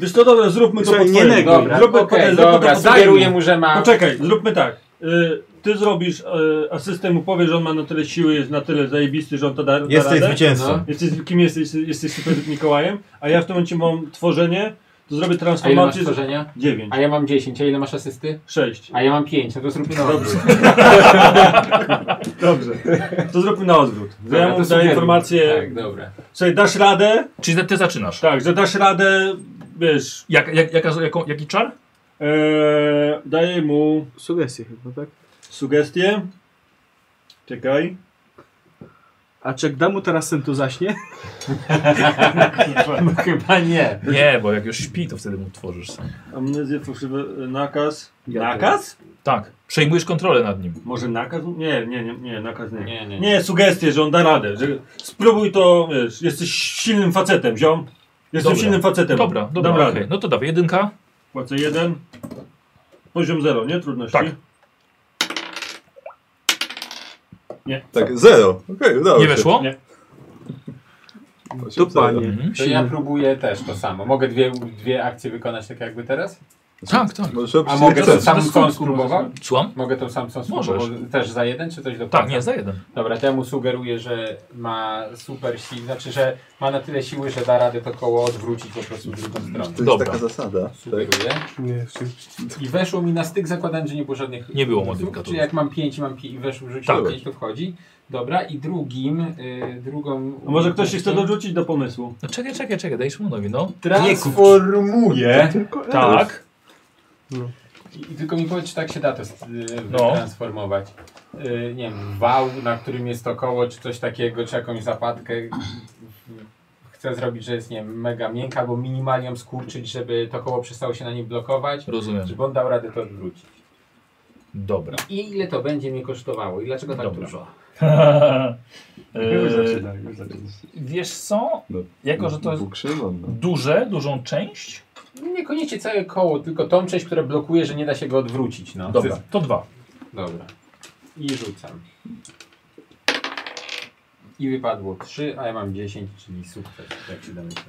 B: Wiesz co, dobra, zróbmy to po
D: Słuchaj, nie
B: twojemu.
D: neguj.
G: Dobra,
B: Zróbmy,
G: okej,
B: okay, zróbmy
G: dobra,
B: to po twojemu.
G: sugeruję mu, że ma...
B: Poczekaj, zróbmy tak. Y, ty zrobisz y, asystę, mu powiesz, że on ma na tyle siły, jest na tyle zajebisty, że on to da, da
H: Jesteś
B: radę.
H: zwycięzcą.
G: No.
B: Jesteś, kim jesteś? Jesteś super Mikołajem. A ja w tym momencie mam tworzenie, to zrobię
G: A ile masz
B: transformację.
G: stworzenia?
B: 9.
G: A ja mam 10, a ile masz asysty?
B: 6.
G: A ja mam 5, no to zróbmy na odwrót.
B: Dobrze. To zróbmy na odwrót. Że
G: Dobra,
B: ja
G: to
B: mu daję
G: sugeruj.
B: informację,
G: Tak, dobra.
B: że dasz radę,
A: Czyli ty- ty zaczynasz.
B: tak, że dasz radę, wiesz,
A: Jak, jak, jaka, jaką, jaki czar?
B: ee, daję mu
D: Sugestie chyba, tak?
B: sugestie. Czekaj.
D: A czy gda mu teraz sen tu zaśnie?
G: No chyba nie.
A: Nie, bo jak już śpi, to wtedy mu tworzysz sam.
B: Amnezję, fałszywy e, nakaz.
D: Ja
B: nakaz?
A: Tak, przejmujesz kontrolę nad nim.
B: Może nakaz? Nie, nie, nie, nie, nakaz nie.
G: Nie, nie.
B: Nie, sugestie, że on da radę. Że spróbuj to, wiesz, jesteś silnym facetem, ziom. Jestem
A: Dobra.
B: silnym facetem.
A: Dobra, dobra,
B: Dam
A: okej.
B: radę.
A: No to dawaj, jedynka.
B: Płacę jeden. Poziom zero, nie? Trudności.
A: Tak.
C: Tak, zero. Okej, udało
A: Nie
C: się.
A: weszło?
B: Nie.
C: Osiem,
D: Tu
C: zero.
D: panie.
A: Mhm.
G: To ja próbuję też to samo. Mogę dwie, dwie akcje wykonać tak jakby teraz?
A: Tak, tak.
C: Możesz robić
G: A mogę
C: jak
G: tą
C: chcesz.
G: samą co spróbować?
A: Słucham?
G: Mogę tą samą co
A: Możesz.
G: spróbować też za jeden, czy coś do
A: Tak, nie, za jeden.
G: Dobra, temu sugeruję, że ma super siłę, znaczy, że ma na tyle siły, że da radę to koło odwrócić po prostu w drugą stronę.
C: To jest
A: Dobra.
C: taka zasada. Tak.
G: Sugeruję.
I: Nie, czy-
G: I weszło mi na styk, zakładając, że nie było żadnych...
A: Nie było
G: punktów,
A: modyfikatorów.
G: Czyli jak mam 5 i mam 5 i weszło, rzuciłem
A: Tak.
G: 5, to wchodzi. Dobra, i drugim, y, drugą...
B: A może ktoś się chce dorzucić do pomysłu?
A: No czekaj, czekaj, czekaj, daj Szymonowi, no.
G: Transformuje.
A: Tak.
G: I, I tylko mi powiedz, czy tak się da to
A: No.
G: no. transformować. Y, nie wiem, wał, na którym jest to koło, czy coś takiego, czy jakąś zapadkę. Chcę zrobić, że jest, nie wiem, mega miękka, albo minimalnie ją skurczyć, żeby to koło przestało się na nim blokować,
A: Rozumiem.
G: żeby on dał radę to odwrócić.
A: Dobra.
G: I ile to będzie mnie kosztowało i dlaczego tak
A: Dobra.
G: dużo?
B: Już
A: Eee,
B: zaczynaj, już zaczynaj.
A: wiesz co?
C: No.
A: Jako, że to jest
C: Bóg Szymon, no.
A: duże, dużą część.
G: Niekoniecznie całe koło, tylko tą część, która blokuje, że nie da się go odwrócić. No.
A: Dobra, to dwa.
G: Dobra. I rzucam. I wypadło 3, a ja mam 10, czyli sukces. Jak się domyślam.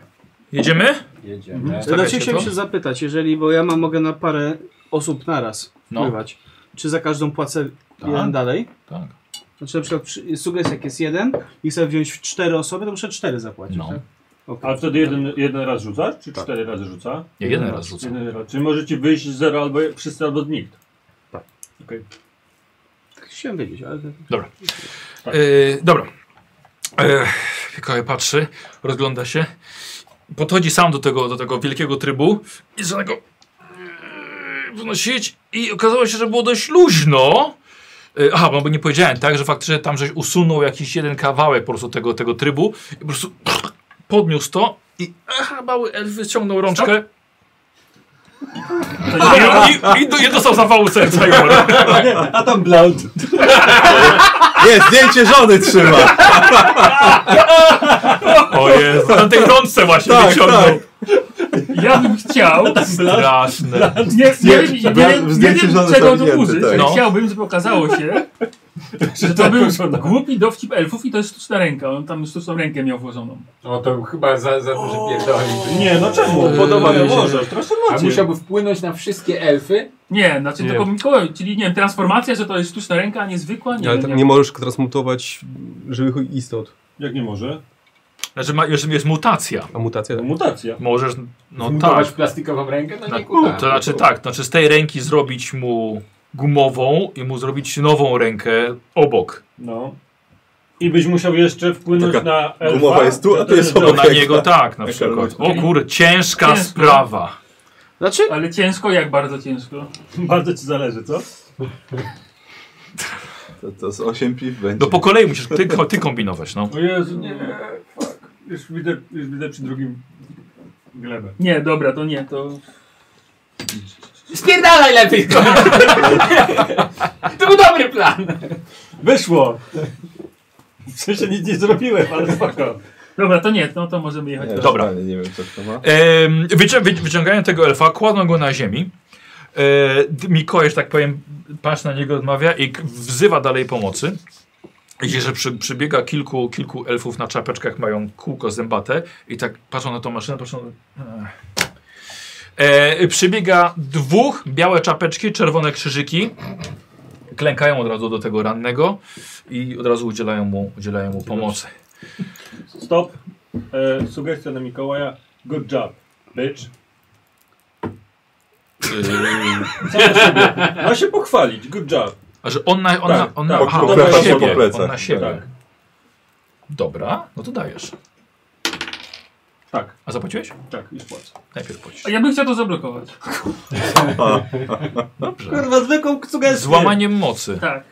A: Jedziemy?
G: Jedziemy.
D: Znaczy
A: Stawiacie
D: chciałem
A: to?
D: się zapytać, jeżeli, bo ja mam, mogę na parę osób naraz
A: No.
D: wpływać. Czy za każdą płacę
A: Tak.
D: jeden dalej?
A: Tak.
D: Znaczy na przykład przy, sugestia jak jest jeden i chcę wziąć w cztery osoby, to muszę cztery zapłacić,
A: No.
D: tak?
B: A
D: Okay.
B: wtedy jeden, jeden raz rzucasz, czy cztery razy rzuca?
A: Ja jeden raz rzucę.
B: Jeden raz. Czyli możecie wyjść zero albo wszyscy albo nikt.
D: Chciałem wiedzieć, ale...
A: Yy, dobra. Yy, Mikołaj patrzy, rozgląda się. Podchodzi sam do tego, do tego wielkiego trybu i zaczyna go yy, wnosić i okazało się, że było dość luźno. Yy, Aha, bo nie powiedziałem, tak, że faktycznie tam żeś usunął jakiś jeden kawałek po prostu tego, tego trybu i po prostu podniósł to i aha, mały elf wyciągnął rączkę i, i, i, do- i dostał zawału serca. Igor.
B: A tam Blount.
C: Nie, zdjęcie żony trzyma!
A: O Jezu, na tej rączce właśnie
C: Tak,
A: wyciągnął.
F: Ja bym chciał.
A: Straszne.
F: Nie, nie, wiem-
C: Zdję-
F: nie, wiem-
C: zdję-
F: nie
C: zdjęcie
F: wiem,
C: żony
F: czego
C: tam
F: tu
C: wzięte,
F: użyć.
C: tak.
F: ale
A: No.
F: Chciałbym, żeby okazało się, że to
B: Tak,
F: był głupi dowcip elfów i to jest sztuczna ręka. On tam sztuczną rękę miał włożoną.
G: No to chyba za, za duży pierdoli.
B: Nie, no czemu?
C: Eee,
B: Podoba mi się. Może, proszę
G: A musiałby wpłynąć na wszystkie elfy.
F: Nie, znaczy
I: Nie.
F: tylko Mikołaj, czyli nie wiem, transformacja, że to jest sztuczna ręka, a nie zwykła? Nie,
I: Ale
F: wiem,
I: tak
F: jak-
I: nie możesz transmutować żywych istot.
B: Jak nie może?
A: Znaczy, ma, jeżeli jest mutacja,
I: A tak. mutacja?
B: To mutacja.
A: możesz. No
G: Zmutować
A: tak.
G: plastikową rękę? No
A: Na,
G: nie kuda.
A: to znaczy tak, to znaczy z tej ręki zrobić mu gumową i mu zrobić nową rękę obok.
B: No. I byś musiał jeszcze wpłynąć
C: Taka
B: na elfa.
C: gumowa jest tu, a tu jest
B: Żeby-
A: To
C: obok.
A: na
C: Piękna.
A: niego tak na
C: Piękna
A: przykład.
C: robota.
A: O kur, ciężka
F: Ciężko.
A: sprawa.
D: Znaczy,
F: Ale ciężko, jak bardzo ciężko.
B: Bardzo ci zależy, co?
C: To, to z 8 piw będzie.
A: No po kolei musisz ty, ty kombinować, no.
B: O Jezu, nie. Fuck. Już widzę, już widzę przy drugim glebę.
F: Nie, dobra, to nie, to...
G: Spierdalaj lepiej to! to był dobry plan.
B: Wyszło! W sensie nic nie zrobiłem, ale spoko.
F: Dobra, to nie, no to możemy jechać.
C: Nie,
A: Dobra.
C: totalnie Nie wiem co to ma.
A: Em, wycią wy wyciągają tego elfa, kładą go na ziemi. E, d- Mikołaj, że tak powiem, patrz na niego, odmawia i k- wzywa dalej pomocy. Widzisz, że przy, przybiega kilku, kilku elfów na czapeczkach, mają kółko zębate i tak patrzą na tą maszynę, patrzą... E, przybiega dwóch, białe czapeczki, czerwone krzyżyki. Klękają od razu do tego rannego i od razu udzielają mu, udzielają mu pomocy.
B: Stop. E, sugestia na Mikołaja. Good job, bitch.
A: y,
B: Ma się pochwalić, good job.
A: a że on na, on
B: Tak,
A: na, on na,
B: tak.
A: aha,
C: Po
A: on na
C: plecach, po
A: siebie.
C: plecach.
A: On na siebie.
B: Tak.
A: Dobra, no to dajesz.
B: Tak.
A: A zapłaciłeś?
B: Tak, już płacę.
A: Najpierw płacisz.
F: A ja bym chciał to zablokować.
A: Dobrze.
D: Kurwa, zwykłą cugę
A: Złamaniem mocy.
F: Tak.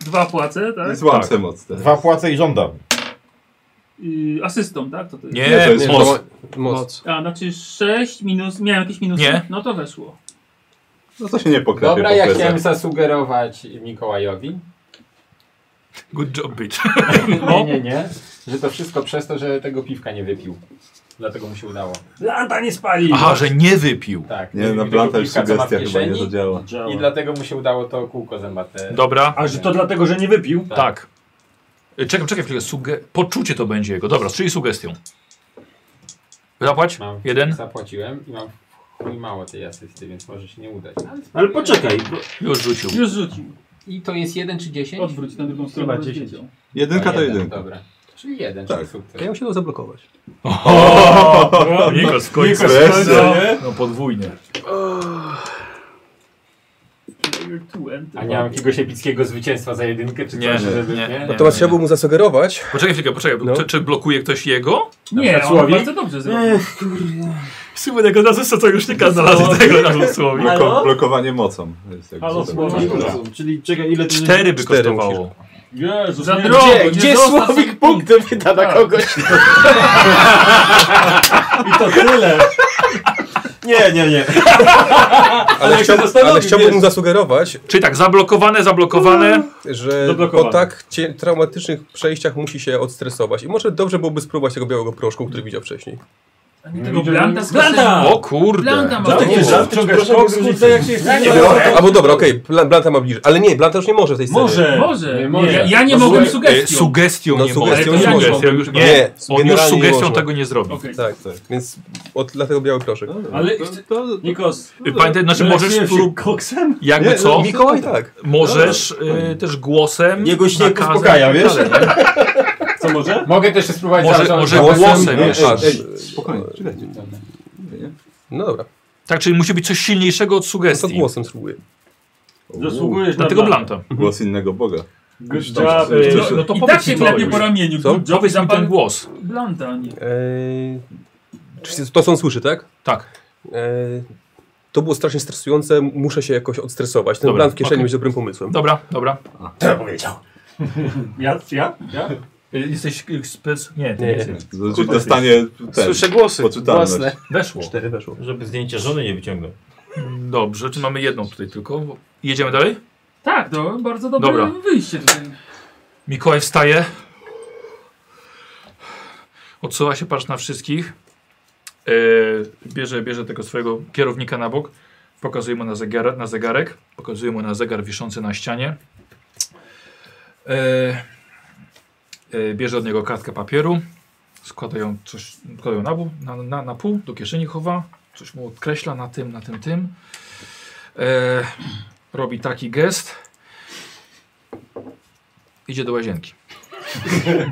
F: Dwa płacę,
C: I
F: tak?
C: złam se moc teraz.
H: Dwa płace i żądam.
F: I asystą, tak? To to jest.
A: Nie,
C: Nie, to jest
A: moc.
I: moc. moc.
D: Moc.
F: A, znaczy 6 minus. Miałem jakieś minusy?
A: Nie.
F: No to weszło.
C: No to się nie poklepie
G: Dobra,
C: po
G: ja
C: plecach.
G: chciałem zasugerować Mikołajowi.
A: Good job, bitch. No.
G: Nie, nie, nie. Że to wszystko przez to, że tego piwka nie wypił. Dlatego mu się udało.
B: Lanta nie spali!
A: Aha, że nie wypił.
G: Tak.
C: Nie, na
G: tego
C: planta już
G: piwka, co ma w
C: sugestia chyba nie
G: kieszeni
C: zadziała.
G: I
B: Działa.
G: dlatego mu się udało to kółko zębate.
A: Dobra,
B: A że to dlatego, że nie wypił?
A: tak. Y, Czekam, czekam chwilę. Suge... Poczucie to będzie jego. Dobra, czyli sugestią. Zapłać?
G: Mam.
A: Jeden?
G: Zapłaciłem i mam w chuj mało tej asysty, więc może się nie udać. Ale
H: Ale
G: spróbuję.
H: poczekaj, bo
A: Już rzucił.
F: Już rzucił.
G: I to jest 1 czy 10?
F: Odwróć na drugą stronę.
H: Chyba
F: rozdzielić.
C: Jedynka to jedynka.
G: Dobra. Czyli jeden,
C: Tak.
G: czyli sukces.
I: Ja się zablokować.
A: O, Nikos w końcu.
C: Wreszcie.
A: No podwójnie.
F: Player two and-
G: A nie mam jakiegoś epickiego zwycięstwa za jedynkę, czy
A: Nie,
G: coś,
A: nie,
G: żeby...
A: nie.
G: nie,
I: No to trzeba było mu zasugerować.
A: Poczekaj chwilkę, poczekaj.
I: No.
A: Czy, czy blokuje ktoś jego?
F: Nie, on
B: Słowik?
F: bardzo dobrze zrobił.
A: Słuchaj, jak od razu sojusznika znalazł tego na słowie.
C: Bloko, blokowanie mocą. Jest jakby
B: Halo,
C: to-
B: Słowik?
H: czyli czekaj ile...
A: Cztery by
I: Cztery
A: kosztowało.
B: Jezus,
F: Za
B: nie-
F: drogo,
I: Gdzie-
F: nie
I: gdzie
F: zostaw
I: Słowik
F: sobie
I: punkty
F: punktów.
I: wyda na
F: Tak.
I: kogoś?
B: I to tyle.
H: Nie, nie, nie.
I: Ale, chciał, ale chciałbym mu zasugerować,
A: Czyli tak, zablokowane, zablokowane.
I: że po
B: Zablokowane.
I: tak cie- traumatycznych przejściach musi się odstresować. I może dobrze byłoby spróbować tego białego proszku, który widział wcześniej.
F: A nie tego blanta z
B: Blanta!
F: kasyna.
A: O kurde. E,
F: Blanta
B: Za
F: ma
B: takie
F: takie
B: żarty ciągasz koks, kurde, jak się jest...
I: Albo dobra, okej, Bla- Blanta ma bliżej. Ale nie, Blanta już nie może w tej scenie.
B: Może.
F: Może.
G: Nie.
F: Ja, ja nie
G: No,
F: mogłem
G: słuchaj,
A: E,
F: sugestią.
A: Sugestią
I: No,
A: nie może.
I: sugestią
A: Ale
F: nie
A: to
F: może.
A: sugestią już nie.
I: Nie,
A: On już
I: generalnie nie
A: sugestią
I: może.
A: tego nie zrobi.
F: Okej.
I: Tak, więc od, dlatego biały proszek.
E: No,
B: Ale
C: To- to-
B: Nikos,
A: Y, Pamiętaj, znaczy możesz
B: leczyłem się
A: prób-
B: koksem?
A: jakby
I: no, Nie,
A: no
I: no.
A: co,
I: Mikołaj tak.
A: możesz y, też głosem
H: Jego śnieg
A: nakazem
H: uspokaja,
A: i tak
H: wiesz?
A: dalej, nie?
B: Co
F: Tak.
B: może?
G: Mogę też spróbować
A: Może-
G: zacząć.
A: może- głosem,
I: nie,
A: wiesz.
I: no, aż,
C: Spokojnie, czekajcie.
I: No dobra,
A: Tak, czyli musi być coś silniejszego od
I: no to
A: sugestii.
I: głosem spróbuję.
B: Zasługujesz na
A: Dlatego
B: blantę.
A: blanta.
C: Głos innego boga.
B: Good job.
A: Dobrze.
B: y,
A: No,
F: Znaczy,
A: no to
F: I tak
A: powiedz mi
F: się
A: to
F: klepie
A: już.
F: po ramieniu.
I: Co?
F: Good job,
A: Powiedz mi
F: zapal-
A: ten głos.
F: Blanta, a nie.
I: Eee, czy to są słyszy, tak?
A: Tak.
I: Eee, to było strasznie stresujące, muszę się jakoś odstresować. Ten
A: Dobra,
I: blan w kieszeni
A: okej.
I: będzie dobrym pomysłem.
A: Dobra, dobra.
B: Ja? Ja? Ja?
A: Y, Jesteś y, spec... Nie, ty
I: Nie,
A: nie
I: nie.
A: jesteś.
C: Znaczy dostanie ten.
K: Słyszę głosy
C: Poczytalność.
K: własne.
A: Weszło.
I: Cztery weszło.
H: Żeby zdjęcia żony nie wyciągnął.
A: Dobrze, czy mamy jedną tutaj tylko? Jedziemy dalej?
F: Tak, to bardzo dobre
A: Dobra.
F: wyjście tutaj.
A: Mikołaj wstaje. Odsuwa się, patrz na wszystkich. E, bierze, bierze tego swojego kierownika na bok. Pokazuje mu na, zegar, na zegarek. Pokazuje mu na zegar wiszący na ścianie. E, e, bierze od niego kartkę papieru. Składa ją, coś, składa ją na, bu- na, na, na pół, do kieszeni chowa. Coś mu odkreśla na tym, na tym, tym. E, robi taki gest. Idzie do łazienki.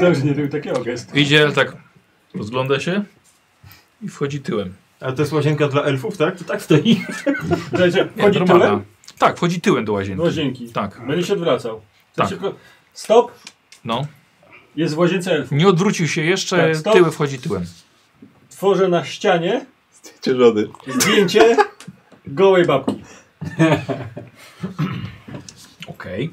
B: Dobrze, nie robił takiego gestu.
A: Idzie tak, rozgląda się i wchodzi tyłem.
H: Ale to jest łazienka dla elfów, tak? To tak stoi.
B: Słuchajcie,
A: Nie,
B: Wchodzi
A: normalna.
B: tyłem
A: Tak, wchodzi tyłem do łazienki.
B: do łazienki.
A: Tak,
B: No, Będzie się odwracał.
A: Tak.
B: Tak. Szybko... Stop,
A: no.
B: jest w łazience elf.
A: Nie odwrócił się jeszcze,
B: Tak, stop.
A: tyły wchodzi tyłem.
B: Tworzę na ścianie
C: Cię żony.
B: zdjęcie gołej babki.
A: Okej.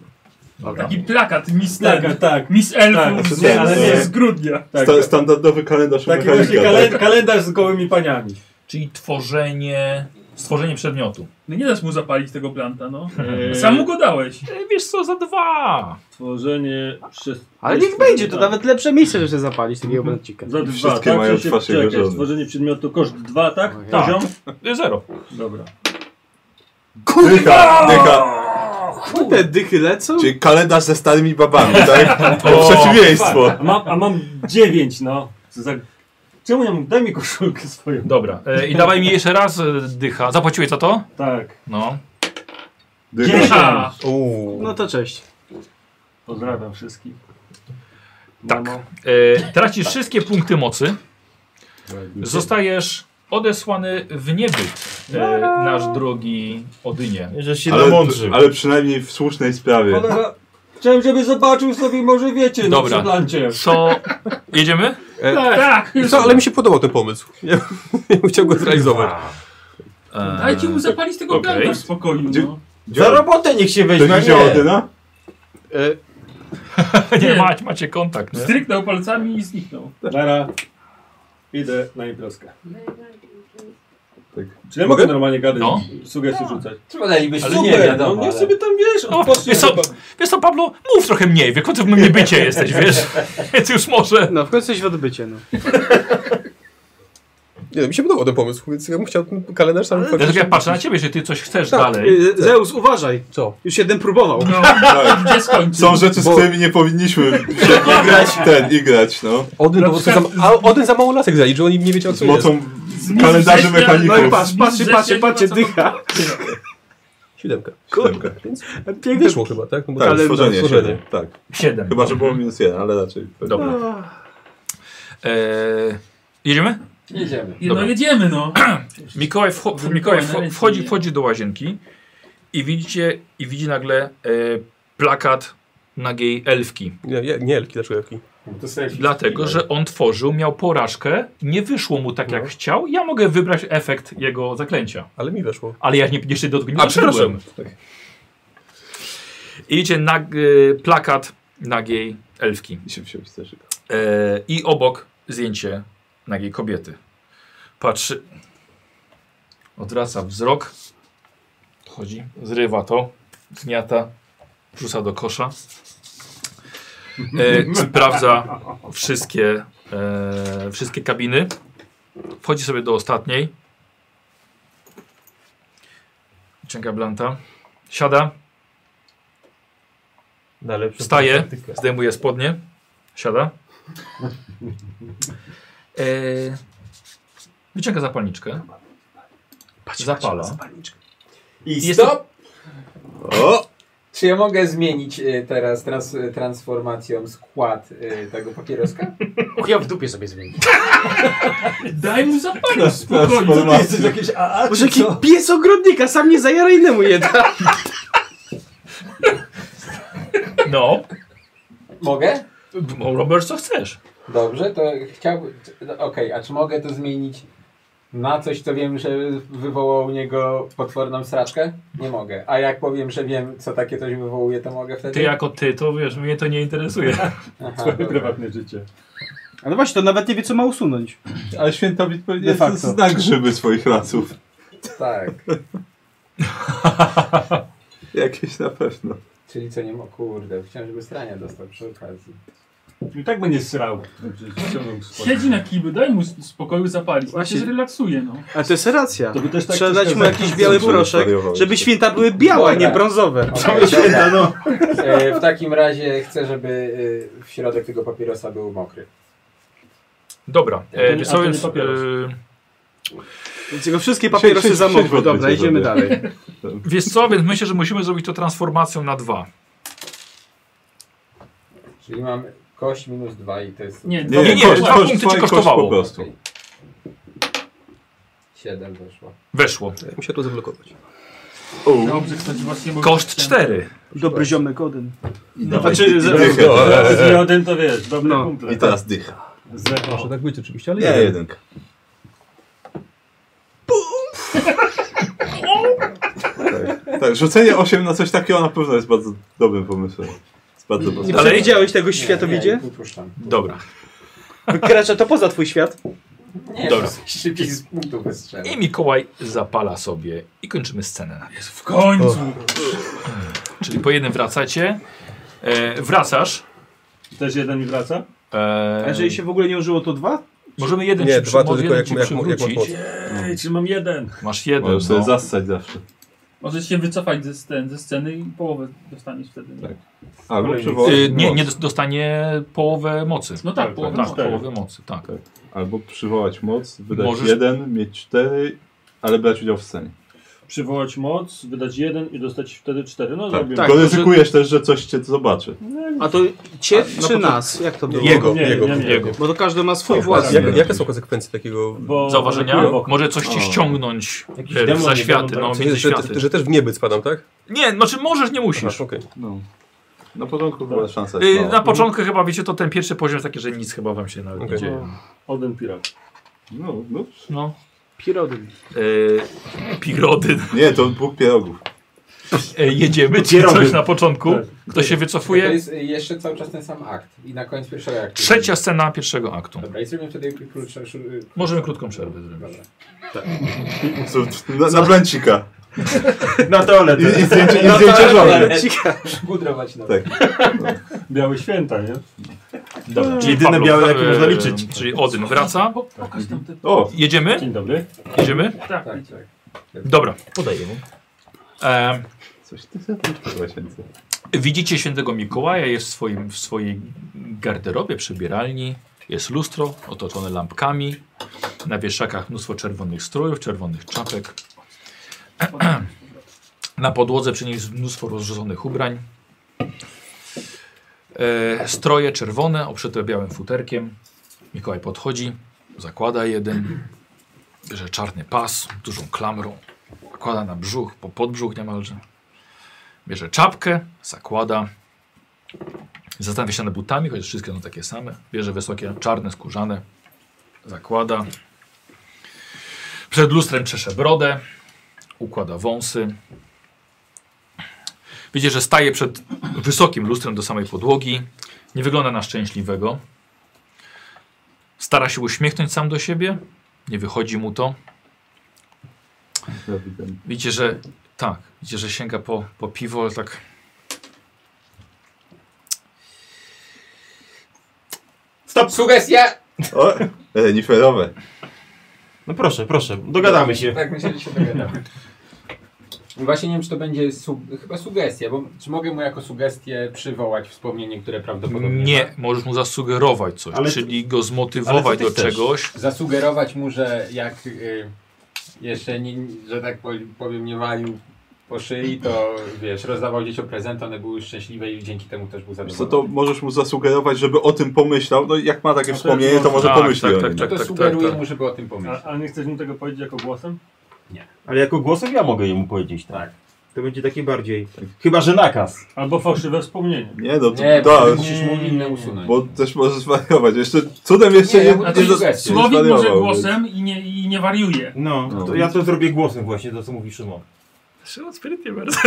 A: Dobra.
F: Taki plakat Miss
B: Tak,
F: Ten.
B: tak.
F: Miss
B: Tak,
F: Elfów z,
B: nie, ale
F: z,
B: nie.
F: z grudnia.
B: tak,
C: Sta-
B: tak.
C: standardowy kalendarz
B: Taki właśnie
C: mechanika, tak?
B: kalen- kalendarz z gołymi paniami.
A: Czyli tworzenie, stworzenie przedmiotu.
F: No nie dasz mu zapalić tego planta, no.
B: Eee.
F: Sam mu go dałeś.
A: E, Wiesz co, za dwa.
B: Tworzenie przez...
D: Ale niech będzie, to nawet lepsze miejsce, żeby się zapalić takiego blancika.
B: Za dwa,
C: Wszystkie
B: tak?
C: mają
B: Czy się-
C: twarz jego
B: czekaj,
C: żony.
B: Stworzenie przedmiotu koszt dwa, tak?
A: Tak.
B: Poziom?
A: E, Zero.
B: Dobra.
C: Dycha, dycha.
D: No te dychy lecą?
C: Czyli kalendarz ze starymi babami, tak? To przeciwieństwo.
B: A mam, a mam dziewięć, no. Co za... Czemu ja mu... Daj mi koszulkę swoją.
A: Dobra. E, I dawaj mi jeszcze raz e, dycha. Zapłaciłeś za to?
B: Tak.
A: No.
C: Dycha.
F: A,
I: Uuu.
D: No to cześć.
B: Pozdrawiam wszystkich. No,
A: Tak.
B: Mamo.
A: E, tracisz wszystkie punkty mocy. Zostajesz odesłany w niebyt. e, nasz drogi Odynie.
H: Że się
C: Ale,
H: namądrzył.
C: ale przynajmniej w słusznej sprawie.
E: Cholera. Chciałem, żeby zobaczył sobie, może wiecie, na
A: Dobra.
E: przeplancie.
A: Co? Jedziemy?
I: E,
F: Tak!
I: co, ale mi się podobał ten pomysł. Ja, ja bym chciał go
C: Tak,
I: zrealizować.
A: E,
F: Dajcie mu zapalić tego
A: Okej.
F: ganka w spokoju, no.
H: Za robotę niech się weźmie.
G: No
C: Ktoś
H: a
C: widział
H: Nie.
C: Odyna?
I: E,
A: nie, ma, macie kontakt, nie?
F: Stryknął palcami i zniknął.
E: Nara. Idę na imprezkę.
C: Tak.
E: Czy ja
I: Mogę?
E: mogę normalnie gadać,
A: No.
E: sugestie rzucać?
G: Wolelibyśmy,
A: Ale
G: nie
E: Super,
G: wiadomo.
E: no niech
G: ale-
E: sobie tam, wiesz,
A: No,
E: odpocznie.
A: wiesz co, wiesz co, Pablo, mów trochę mniej, w końcu w mnie bycie jesteś, wiesz? Więc już może.
D: No, w końcu jesteś w odbycie, no.
I: nie, no, mi się podobał ten pomysł, więc ja bym chciał ten kalendarz sam
A: Ja tylko ja patrzę na ciebie, że ty coś chcesz dalej.
D: Y, Zeus, uważaj!
I: Co?
D: Już jeden próbował.
F: No,
C: Tak.
F: gdzie skończył?
C: Są rzeczy, z
I: Bo-
C: którymi nie powinniśmy się grać ten i grać, no.
I: Odyn,
F: Na
I: po prostu za,
F: przykład-
I: a Odyn za mało lasek zaliczył, oni nie wiedział
C: Z
I: co
A: No
I: jest.
C: mocą kalendarzy
F: ześnia-
C: mechaników.
D: No i patrz, patrz,
F: Widzę,
D: patrz,
F: że nie
D: patrz,
F: ma co
D: dycha.
I: Siódemka.
C: Siódemkę.
I: Więc
D: Piękny
I: wyszło chyba, tak? No bo
C: Tak,
I: kalendarz-
C: stworzenie,
I: stworzenie.
C: siedem, Tak.
A: Siedem.
C: Chyba, że było minus jeden, ale raczej.
A: Dobra. Eee, jedziemy?
G: Jedziemy.
F: No
A: Dobra.
F: jedziemy, no.
A: Mikołaj, wcho
F: Wymknąłem
A: Mikołaj
F: na
A: wcho
F: ręce,
A: wchodzi,
F: nie.
A: wchodzi do łazienki i widzicie, i widzi nagle e, plakat nagiej elfki.
I: Nie, nie, nie elki, dlaczego elki?
G: To sobie
A: Dlatego, że on tworzył, miał porażkę, nie wyszło mu tak jak
I: No.
A: chciał. Ja mogę wybrać efekt jego zaklęcia.
I: Ale mi weszło.
A: Ale ja nie, jeszcze do tego nie
I: A,
A: doszedłem.
I: przepraszam. Tak.
A: I widzicie nag, y, plakat nagiej elfki.
C: I tak. się wziął wsterszyk.
A: E, I obok zdjęcie nagiej kobiety. Patrzy. Odwraca wzrok. Chodzi, zrywa to, gniata, wrzuca do kosza. E, sprawdza wszystkie, e, wszystkie kabiny. Wchodzi sobie do ostatniej. Ciąga blanta. Siada.
H: Dalej, przepraszam,
A: Wstaje,
H: tylko-
A: zdejmuje spodnie, siada. E, wyciąga zapalniczkę. Zapala.
G: I
A: Jest to-
G: stop!
C: O!
G: Czy ja mogę zmienić y, teraz trans, transformacją skład y, tego papieroska?
K: Och, ja w dupie sobie zmienię.
F: Daj mu zapalić spokojnie.
C: Transformacja.
E: Jesteś jakieś AA,
D: Może
E: czy
D: jaki
E: co?
D: pies ogrodnika, sam nie zajara innemu jedna.
A: No,
G: Mogę?
A: bo Robert, co chcesz?
G: Dobrze, to chciałbym... no, Okej, a czy mogę to zmienić na coś, co wiem, że wywołało u niego potworną sraczkę? Nie mogę. A jak powiem, że wiem, co takie coś wywołuje, to mogę wtedy?
A: Ty jako ty, to wiesz, mnie to nie interesuje.
G: Aha,
C: Tak.
E: Twoje
G: dobra.
E: prywatne życie.
D: A no właśnie, to nawet nie wie, co ma usunąć.
C: Ale świętowid pewnie
D: De facto.
C: zna Tak, grzyby swoich lasów.
G: tak.
C: Jakieś na pewno.
G: Czyli co nie ma... Kurde, chciałem, żeby strania dostał przy okazji.
E: I tak będzie srał. Znaczy, ściągnął spodnie.
F: Siedzi na kiby, daj mu spokoju zapalić. On się
D: Właśnie.
F: zrelaksuje, no.
D: Ale to jest racja.
E: To by też tak
D: Trzeba dać mu
E: przeszkadzało.
D: jakiś biały
C: Żeby
D: proszek,
C: wariowały.
D: żeby święta były białe, a nie
G: Dobra.
D: brązowe.
G: Okej, dobra.
E: no.
G: E, w takim razie chcę, żeby y, w środek tego papierosa był mokry.
A: Dobra,
F: A to
A: e,
F: nie-
A: wiesz
F: a
A: co,
F: to nie
A: więc,
F: papieros.
A: e,
D: Więc jego wszystkie papierosy
C: Siedź, siedź, siedź w
D: zamokły.
C: odbycie
D: Dobra, idziemy
C: sobie.
D: dalej.
A: wiesz co, więc myślę, że musimy zrobić to transformacją na dwa.
G: Czyli mam kość minus dwa i to jest...
F: Nie,
C: Nie, nie,
A: nie,
C: koszt,
A: dwa
C: koszt,
A: punkty ci
C: twoje koszt
A: kosztowało.
C: po prostu.
G: Okej. Siedem weszło.
A: Weszło.
I: Ja Musiał to zablokować.
F: Dobrze, ktoś właśnie... bo-
A: Koszt cztery.
D: Dobry ziomek Odyn.
A: No.
D: Znaczy, z-
C: Dychę.
E: Z Jodyn to wiesz, dobry
D: No.
E: kumple.
C: I teraz dycha.
E: Z
I: Może tak być oczywiście, ale
C: Nie, jedynka. Tak, tak, rzucenie 8 na coś takiego na pewno jest bardzo dobrym pomysłem. Jest bardzo
D: nie
C: dobrym.
A: Dalej?
D: przewidziałeś tego
G: Nie,
D: światowidzie?
G: Nie, upuszczam.
A: Dobra.
D: Wykracza to poza twój świat.
G: Nie,
A: Dobra.
G: Dobra. szybciej z punktu wystrzelę.
A: I Mikołaj zapala sobie i kończymy scenę.
F: W końcu.
A: Czyli po jednym wracacie, e, wracasz.
E: Też jeden i wraca?
A: E,
D: A jeżeli się w ogóle nie użyło, to dwa?
A: Możemy jeden
I: Nie,
A: ci
I: dwa to
A: przymo-
I: tylko
A: jeden
I: jak,
A: ci
I: jak, jak, jak masz
A: przywrócić.
I: moc.
E: Ej, czy mam jeden?
A: Masz jeden.
C: Możesz sobie
A: No.
C: zassać zawsze.
F: Możesz się wycofać ze, scen, ze sceny i połowę dostaniesz wtedy. No
C: Tak. Albo
E: Kolejny.
C: przywołać
A: Y, nie,
C: moc.
A: nie dos- dostanie połowę mocy.
F: tak,
A: tak,
F: połowę
A: tak,
F: mocy.
A: połowę mocy, tak.
C: Tak. Albo przywołać moc, wydać
A: Możesz-
C: jeden, mieć cztery, ale brać udział w scenie.
E: Przywołać moc, wydać jeden i dostać wtedy cztery. No
C: Tak,
E: zrobimy.
C: Bo ryzykujesz też, że coś cię zobaczy.
E: No, jakby
D: A to cię czy nas? Jak to było?
I: Jego,
B: Nie,
I: jego.
B: nie, nie.
I: jego.
D: Bo to każdy ma swój
I: Jak,
D: własny.
I: jakie są konsekwencje takiego...
B: Bo
A: Zauważenia?
B: brakuje wokół.
A: Może coś ci ściągnąć
H: Jakiś
A: e,
H: demon
A: za
H: nie
A: światy,
H: wiadomo,
A: no
H: tak?
A: między
I: że,
A: światy.
I: te, że też w niebyt spadam, tak?
A: Nie, znaczy możesz, nie musisz.
I: Masz, okej.
C: No. Na początku była szansa.
I: No.
A: Y,
C: jest
A: Na
C: mała.
A: początku chyba, wiecie, to ten pierwszy poziom jest taki, że nic chyba wam się nawet nie
I: Okej.
A: dzieje.
B: Olden Pirat.
C: No, no.
A: No.
D: Pirodyn.
A: Yy, Pirodyn.
C: Nie, to Bóg pierogów.
A: E, jedziemy czy
B: Pierogi.
A: coś na początku.
B: Tak.
A: Kto się
G: To
A: wycofuje?
G: jest y, jeszcze cały czas ten sam akt. I na koniec pierwszego aktu.
A: Trzecia scena pierwszego aktu.
G: Dobra, i zrobimy wtedy krótsze... szu-
A: Możemy krótką przerwę zrobić.
G: Dobra.
C: Co- Na, na blancika.
H: Na dole.
D: No
C: I, i zdjęcie, i zdjęcie żony.
G: Gudrować na
C: Tak.
B: Białe święta, nie?
A: Dobra. czyli
H: Jedyne
A: Pawlo,
H: białe, jakie
A: e,
H: można liczyć.
A: Czyli Odyn wraca.
F: Pokaż tam te...
C: O,
A: Jedziemy?
B: Dzień dobry.
A: Jedziemy?
F: Tak,
G: Tak, tak.
A: Dobra, podaję mu. E,
C: coś ty zapisz
A: widzicie świętego Mikołaja, jest w, swoim, w swojej garderobie, przebieralni. Jest lustro otoczone lampkami. Na wieszakach mnóstwo czerwonych strojów, czerwonych czapek. Na podłodze przy niej jest mnóstwo rozrzuconych ubrań. E, stroje czerwone, obszyte białym futerkiem. Mikołaj podchodzi, zakłada jeden, bierze czarny pas, dużą klamrą, nakłada na brzuch, po podbrzuch niemalże. Bierze czapkę, zakłada, zastanawia się nad butami, chociaż wszystkie są takie same. Bierze wysokie, czarne, skórzane, zakłada. Przed lustrem czesze brodę, układa wąsy. Widzicie, że staje przed wysokim lustrem do samej podłogi. Nie wygląda na szczęśliwego. Stara się uśmiechnąć sam do siebie. Nie wychodzi mu to. Widzicie, że tak, widzicie, że sięga po, po piwo, ale tak.
G: Sugestia!
C: O, e, niferowe.
H: No proszę, proszę, dogadamy się.
G: Tak, myślę, że się dogadamy. Właśnie nie wiem, czy to będzie su- chyba sugestia, bo czy mogę mu jako sugestię przywołać wspomnienie, które prawdopodobnie
A: Nie,
G: ma?
A: możesz mu zasugerować coś,
H: Ale-
A: czyli go
H: ale
A: zmotywować
H: ty
A: do
H: chcesz?
A: czegoś.
G: Zasugerować mu, że jak y, jeszcze, nie, że tak po- powiem, nie walił po szyi, to wiesz, rozdawał dzieciom prezenty, one były szczęśliwe i dzięki temu też był
C: Wiesz
G: zadowolony.
C: Co, to możesz mu zasugerować, żeby o tym pomyślał. No i jak ma takie wspomnienie, to może
A: Tak,
C: pomyśli
A: tak,
C: o
A: tak,
C: nim.
G: No
A: tak.
G: to sugeruję
A: tak.
G: mu, żeby o tym pomyślał.
B: A, a nie chcesz mi tego powiedzieć jako głosem?
H: Ale jako głosem ja mogę jemu powiedzieć, tak. To będzie takie bardziej. Chyba, że nakaz.
B: Albo fałszywe wspomnienie.
C: Nie, no to,
G: Nie,
C: to
G: bo musisz mu inne usunąć.
C: bo też możesz wariować. Jeszcze cudem jeszcze
G: Nie,
C: nie,
G: a
C: nie,
G: to
C: nie,
G: jest
C: nie
G: sugestia.
F: Słowik może
C: zwariował,
F: głosem i nie, i nie wariuje.
H: No,
C: No.
H: To ja to zrobię głosem właśnie, to co mówi Szymon.
A: Szymon sprytnie bardzo.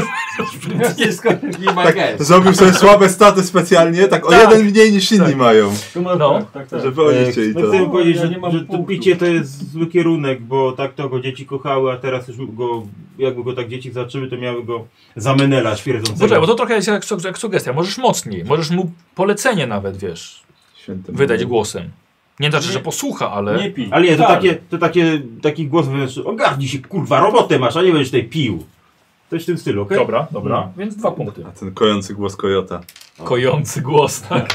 G: Wszystko nie ma
C: więc-
G: gest.
C: Zrobił sobie słabe staty specjalnie, tak o jeden mniej niż inni mają.
A: No.
B: tak, tak, tak.
C: Żeby oni chcieli
H: no
C: to.
H: chcę powiedzieć,
B: Ja
H: że,
B: nie mam
H: że to
B: punktu.
H: picie to jest zły kierunek, bo tak to go dzieci kochały, a teraz już go, jakby go tak dzieci zaczęły, to miały go zamenelać
A: Poczekaj, bo
H: pierdzącego.
A: to trochę jest jak, su- jak sugestia. Możesz mocniej, możesz mu polecenie nawet, wiesz,
C: Święty
A: wydać
C: Boże.
A: głosem. Nie znaczy, że
B: Nie.
A: posłucha, ale...
B: Nie pij.
H: Ale nie, to,
B: Tak.
H: takie, to takie, taki głos wewnętrzny, ogarnij się, kurwa, robotę masz, a nie będziesz tej pił. Coś w tym stylu, okej?
A: Dobra, dobra. Więc dwa punkty.
C: A ten kojący głos kojota.
A: Mm. Kojący głos, tak.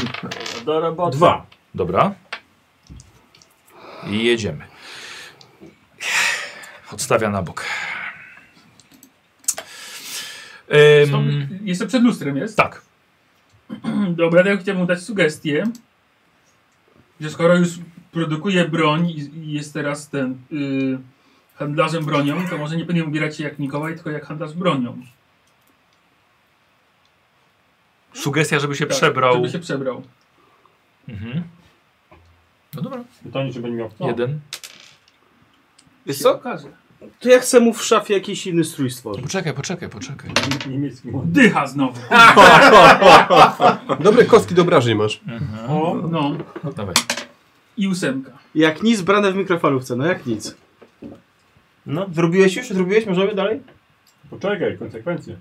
B: Do roboty.
H: Dwa.
A: Dobra. I jedziemy. Odstawia na bok. Ym,
F: Są, jeszcze przed lustrem jest.
A: tak.
F: Dobra, to ja chciałbym dać sugestię, że skoro już produkuje broń i, i jest teraz ten y, handlarzem bronią, to może nie powinien ubierać się jak Mikołaj, tylko jak handlarz bronią.
A: Sugestia, żeby się
F: Tak,
A: przebrał.
F: Żeby się przebrał.
A: Mhm. No dobra.
B: Pytanie, czy będzie miał kto.
A: Jeden.
D: Wiesz
F: Co?
D: co? To ja chcę mu w szafie jakiś inny strój stworzyć.
A: Poczekaj, poczekaj, poczekaj.
B: Niemiecki młody.
F: Dycha znowu.
I: Dobre kostki do obrażeń masz.
F: O, no.
A: Dawaj.
F: I ósemka.
D: Jak nic, brane w mikrofalówce, no jak nic.
H: No, zrobiłeś już? Zrobiłeś? Możemy dalej?
B: Poczekaj, konsekwencje.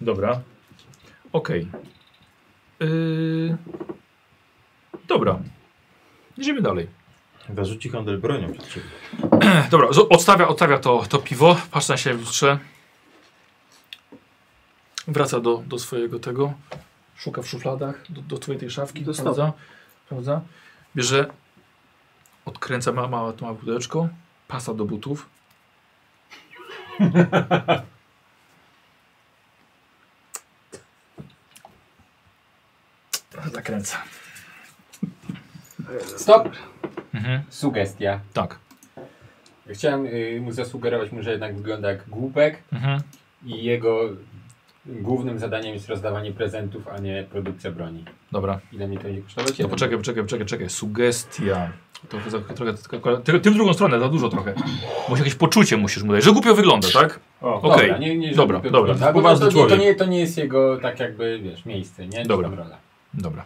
A: Dobra. Okej. Yy... Dobra. Idziemy dalej.
H: Zarzuci handel bronią przed siebie.
A: Dobra, zo- odstawia, odstawia to, to piwo, patrz na siebie w lustrze. Wraca do, do swojego tego. Szuka w szufladach, do, do twojej tej szafki,
D: Do
A: prawda? Prawda? Bierze, odkręca ma, małe to małe pudełeczko, pasa do butów. Zakręca.
G: Stop!
A: Mhm.
G: Sugestia.
A: Tak.
G: Chciałem y, mu zasugerować mu, że jednak wygląda jak głupek
A: Mhm.
G: i jego głównym zadaniem jest rozdawanie prezentów, a nie produkcja broni.
A: Dobra.
G: Ile mi to będzie kosztować?
A: No
G: Jeden.
A: poczekaj, poczekaj, poczekaj, czekaj. Sugestia. Trochę, za- trochę, tylko- tylko- tym w drugą stronę, za dużo trochę. Bo jakieś poczucie musisz mu dać, że głupio wygląda, tak?
E: O,
A: Okej.
G: Dobra, nie, nie,
A: Dobra,
G: żeby-
A: dobra.
G: Bo to,
I: Poważny
G: to, nie, to,
I: człowiek.
G: nie, to nie jest jego tak jakby, wiesz, miejsce, nie? Czy
A: Dobra.
G: tam Rola.
A: Dobra.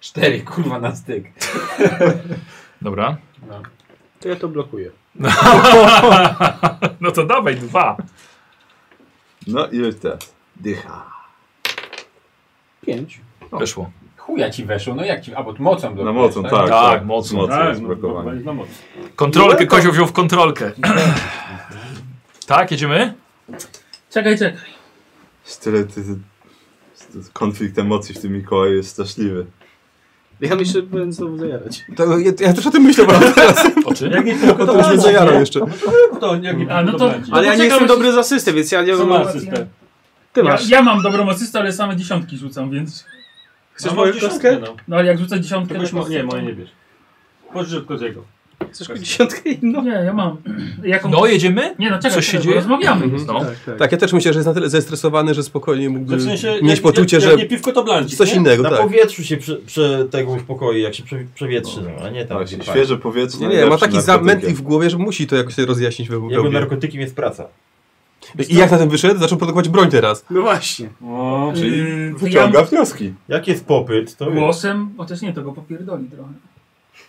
G: Cztery, kurwa, na styk.
A: Dobra.
G: No.
D: To ja to blokuję.
A: No to dawaj dwa.
C: No i już teraz. Dycha.
D: Pięć.
A: Weszło.
G: Chuja ci weszło, no jak ci, albo mocą
C: Na mocą, tak.
A: Tak, mocą.
C: Mocą
E: tak,
C: jest
E: no,
C: blokowanie.
E: no, na moc.
A: Kontrolkę, Kozio wziął w kontrolkę. tak, jedziemy?
F: Czekaj, czekaj.
C: Z tyle ty, ty, ty, konflikt emocji w tym Mikołaju jest straszliwy.
D: Ja myślę, że będę znowu zajarać.
I: To, ja, ja też o tym myślę, bo teraz
A: O czym?
E: Jak nie tylko
I: to już mnie zajara jeszcze.
E: to, jak nie
F: A, no to-
D: Ale ja nie
F: Poczekam,
D: jestem
F: jeśli-
D: dobry z asysty, więc ja nie
E: Mm. Co
D: wiem.
E: ma system?
D: Ty
F: Ja,
D: masz.
F: ja mam dobrą asystę, ale same dziesiątki rzucam, więc...
D: Chcesz moją kostkę?
E: No.
F: No ale jak rzucę dziesiątkę...
E: Tylko
F: to
E: mo- nie,
F: kostkę-
E: moje nie bierz. Pożycz tylko z jego.
D: Chcesz dziesiątkę No. inną?
F: Nie, ja mam. Jaką...
A: No jedziemy?
F: Nie, no czekaj,
A: Coś się
F: czekaj,
A: dzieje?
F: Rozmawiamy.
A: No.
D: Tak, tak.
I: Tak, ja też myślę, że jest na tyle zestresowany, że spokojnie mógłby
E: No W sensie,
I: mieć
E: jak,
I: poczucie,
E: jak,
I: Y, że
E: jak nie piwko, to blancik,
I: coś
E: nie?
I: innego,
H: Na
I: tak.
H: powietrzu się prze, prze tego w pokoju, jak się prze, przewietrzy, no, a nie tam.
C: Właśnie,
H: gdzie pali.
C: Tak, świeże powietrze.
I: Nie, nie,
C: najlepszym
I: ma taki
C: narkotykiem.
I: zamętlik w głowie, że musi to jakoś sobie rozjaśnić we we
H: Jego
I: łbie.
H: narkotykiem jest praca.
I: I jak na tym wyszedł? Zaczął produkować broń teraz.
D: No właśnie.
E: O,
F: Yy, to ja
C: Wyciąga wnioski.
H: Jak jest popyt, to wiesz.
F: głosem... Chociaż nie, to go popierdoli trochę.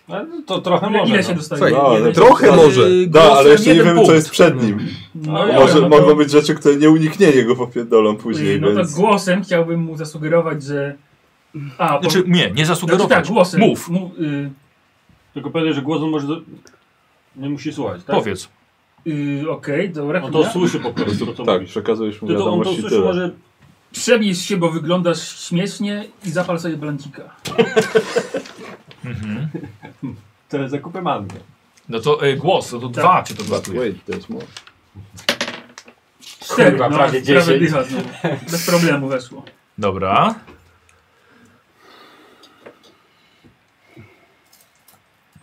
E: a no to trochę
F: Ile,
E: może.
F: ile
E: no.
F: się dostaje?
I: Słuchaj,
C: No,
F: Jeden-
I: trochę może.
C: Da, ale jeszcze nie
A: jeden
C: wiemy, co
A: punkt.
C: jest przed nim.
F: No,
E: Ja
C: Może
F: dobra, no to-
C: mogą być rzeczy, które nieuniknienie go popierdolą później,
F: No to
E: tak
C: więc...
F: głosem chciałbym mu zasugerować, że... A, po...
A: Znaczy, nie, nie
F: znaczy,
A: zasugerować.
F: tak, głosem.
A: Mów,
F: Mów, y,
E: Tylko pewnie, że głos on może... Do... Nie musi słuchać, tak?
A: powiedz.
F: y, Okej, dobra.
E: On
F: chwila.
E: to słyszy po prostu, to co
C: Tak,
E: mówisz.
C: przekazujesz mu
E: Ty to, on to
C: wiadomości i
E: słyszy
C: tyle.
E: może...
F: Przebierz się, bo wyglądasz śmiesznie i zapal sobie blancika.
A: Mhm.
E: Teraz zakupy mandy.
A: No to y, głos, no to dwa cię to
C: But
A: gratuluję.
C: wait, there's more.
F: Cztery,
G: Kurwa,
F: no,
G: prawie
F: prawie
G: 10.
F: dycha znowu. Bez problemu weszło.
A: Dobra.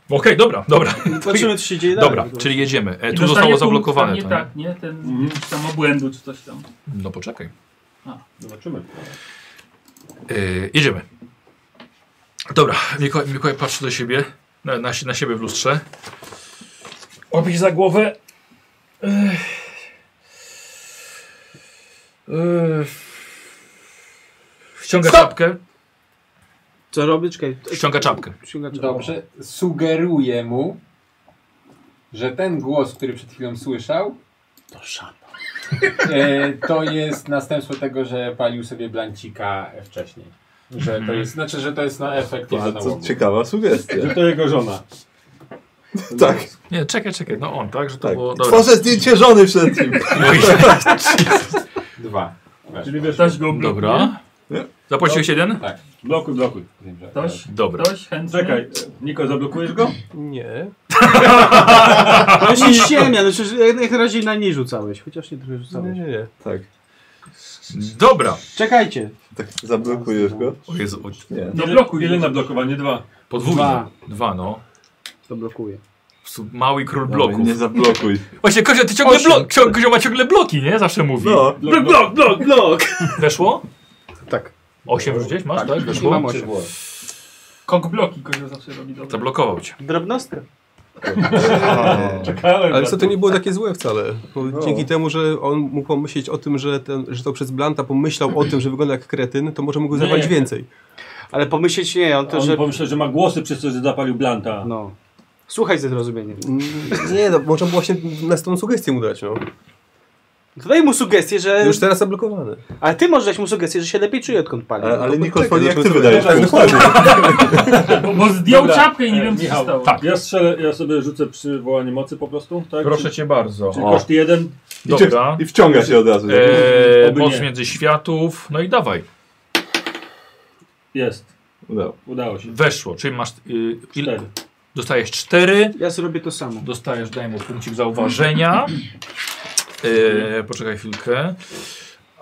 A: Okej, dobra, dobra.
D: Zobaczymy, co się dzieje dalej.
A: Dobra, czyli jedziemy. E,
F: I
A: tu
F: dostanie
A: zostało
F: punkt, tam
A: zablokowane. to,
F: Nie
A: nie?
F: tak, nie? Ten
E: Mhm.
F: jakiś tam obłędu czy coś tam.
A: No poczekaj.
E: Zobaczymy.
A: Yy, jedziemy. Dobra, Mikołaj, Mikołaj patrzy do siebie, na, na, si- na siebie w lustrze. Obić za głowę. Ech. Ech. Ściąga
G: Stop!
A: czapkę.
D: Co robię? Czekaj.
A: Ściąga czapkę.
D: Ściąga czapkę.
G: Dobrze, sugeruję mu, że ten głos, który przed chwilą słyszał, to szata. E, to jest następstwo tego, że palił sobie blancika wcześniej. Że to jest, znaczy, że to jest na efekt jego
C: To
G: nałogu.
C: ciekawa sugestia.
E: Że to jego żona.
C: tak,
A: Nie, czekaj, czekaj. No on, tak, że to
C: tak.
A: było. Dobra.
C: Tworzę zdjęcie żony przed nim.
G: Dwa.
E: Czyli wiesz,
F: Ktoś go blokuje?
A: Dobra.
C: Nie.
A: Zapłaciłeś jeden?
E: blokuj, blokuj.
F: Ktoś?
A: Dobra.
F: Ktoś chętny?
E: Czekaj, e, Niko, zablokujesz go?
I: Nie.
D: No się ziemia, no przecież jak, jak razie na niej rzucałeś. Chociaż nie trochę
I: Nie,
D: rzucałeś.
I: nie, nie.
C: Tak,
A: Dobra.
D: Czekajcie.
C: tak zablokujesz go?
A: O Jezu, o-
C: Nie.
F: No
E: Ile-
F: blokuj.
E: Ile na blokowanie? Dwa.
A: podwójnie. Dwa.
D: Dwa.
A: no.
D: To blokuje.
A: Su- Mały król
C: Bloku.
A: bloków.
C: No Nie zablokuj.
A: Właśnie, Kozio, ty ciągle blo- cio- Kozio ma ciągle bloki, nie? Zawsze mówi.
C: No.
A: Blok, blok, blok, blok. Weszło?
D: Tak.
A: Osiem wrzuciłeś? Masz, tak?
D: I
A: Weszło?
D: mam osiem.
F: Kok bloki kogoś zawsze robi dobrze.
A: Zablokował cię.
D: Drobnostka.
E: Czekałem
I: Ale
E: na
I: co to nie było takie złe wcale. Bo
C: No.
I: Dzięki temu, że on mógł pomyśleć o tym, że, ten, że to przez Blanta pomyślał o tym, że wygląda jak kretyn, to może mógł
E: Nie,
I: zabrać
E: nie.
I: więcej.
D: Ale pomyśleć nie, on to,
E: On
D: że...
E: pomyślał, że ma głosy przez to, że zapalił Blanta.
D: No. Słuchaj ze zrozumieniem.
I: Mm, Nie, no można było właśnie następną sugestię mu dać, no.
D: To daj mu sugestię, że...
I: Już teraz zablokowany.
D: Ale ty możesz dać mu sugestię, że się lepiej czuje, odkąd pali.
C: Ale, ale Niko,
I: poczekaj,
C: jak ty
I: zobaczymy.
C: wydajesz punkt?
F: Bo, bo zdjął
E: Dobra,
F: czapkę i nie
E: e,
F: wiem co się
E: Michał,
F: stało.
A: tak.
E: Ja strzelę, ja sobie rzucę przywołanie mocy po prostu, tak?
A: Proszę cię bardzo.
E: Czyli koszt jeden.
C: I cię-
A: Dobra.
C: I wciąga się od razu.
A: Eee,
E: Oby
A: moc
E: nie.
A: między światów. No i dawaj.
E: Jest.
C: Udało.
E: Udało się.
A: Weszło, czyli masz. Yy, il,
E: Cztery.
A: dostajesz cztery.
D: Ja zrobię to samo.
A: Dostajesz, daj mu punkcik Y, zauważenia. Eee, poczekaj chwilkę.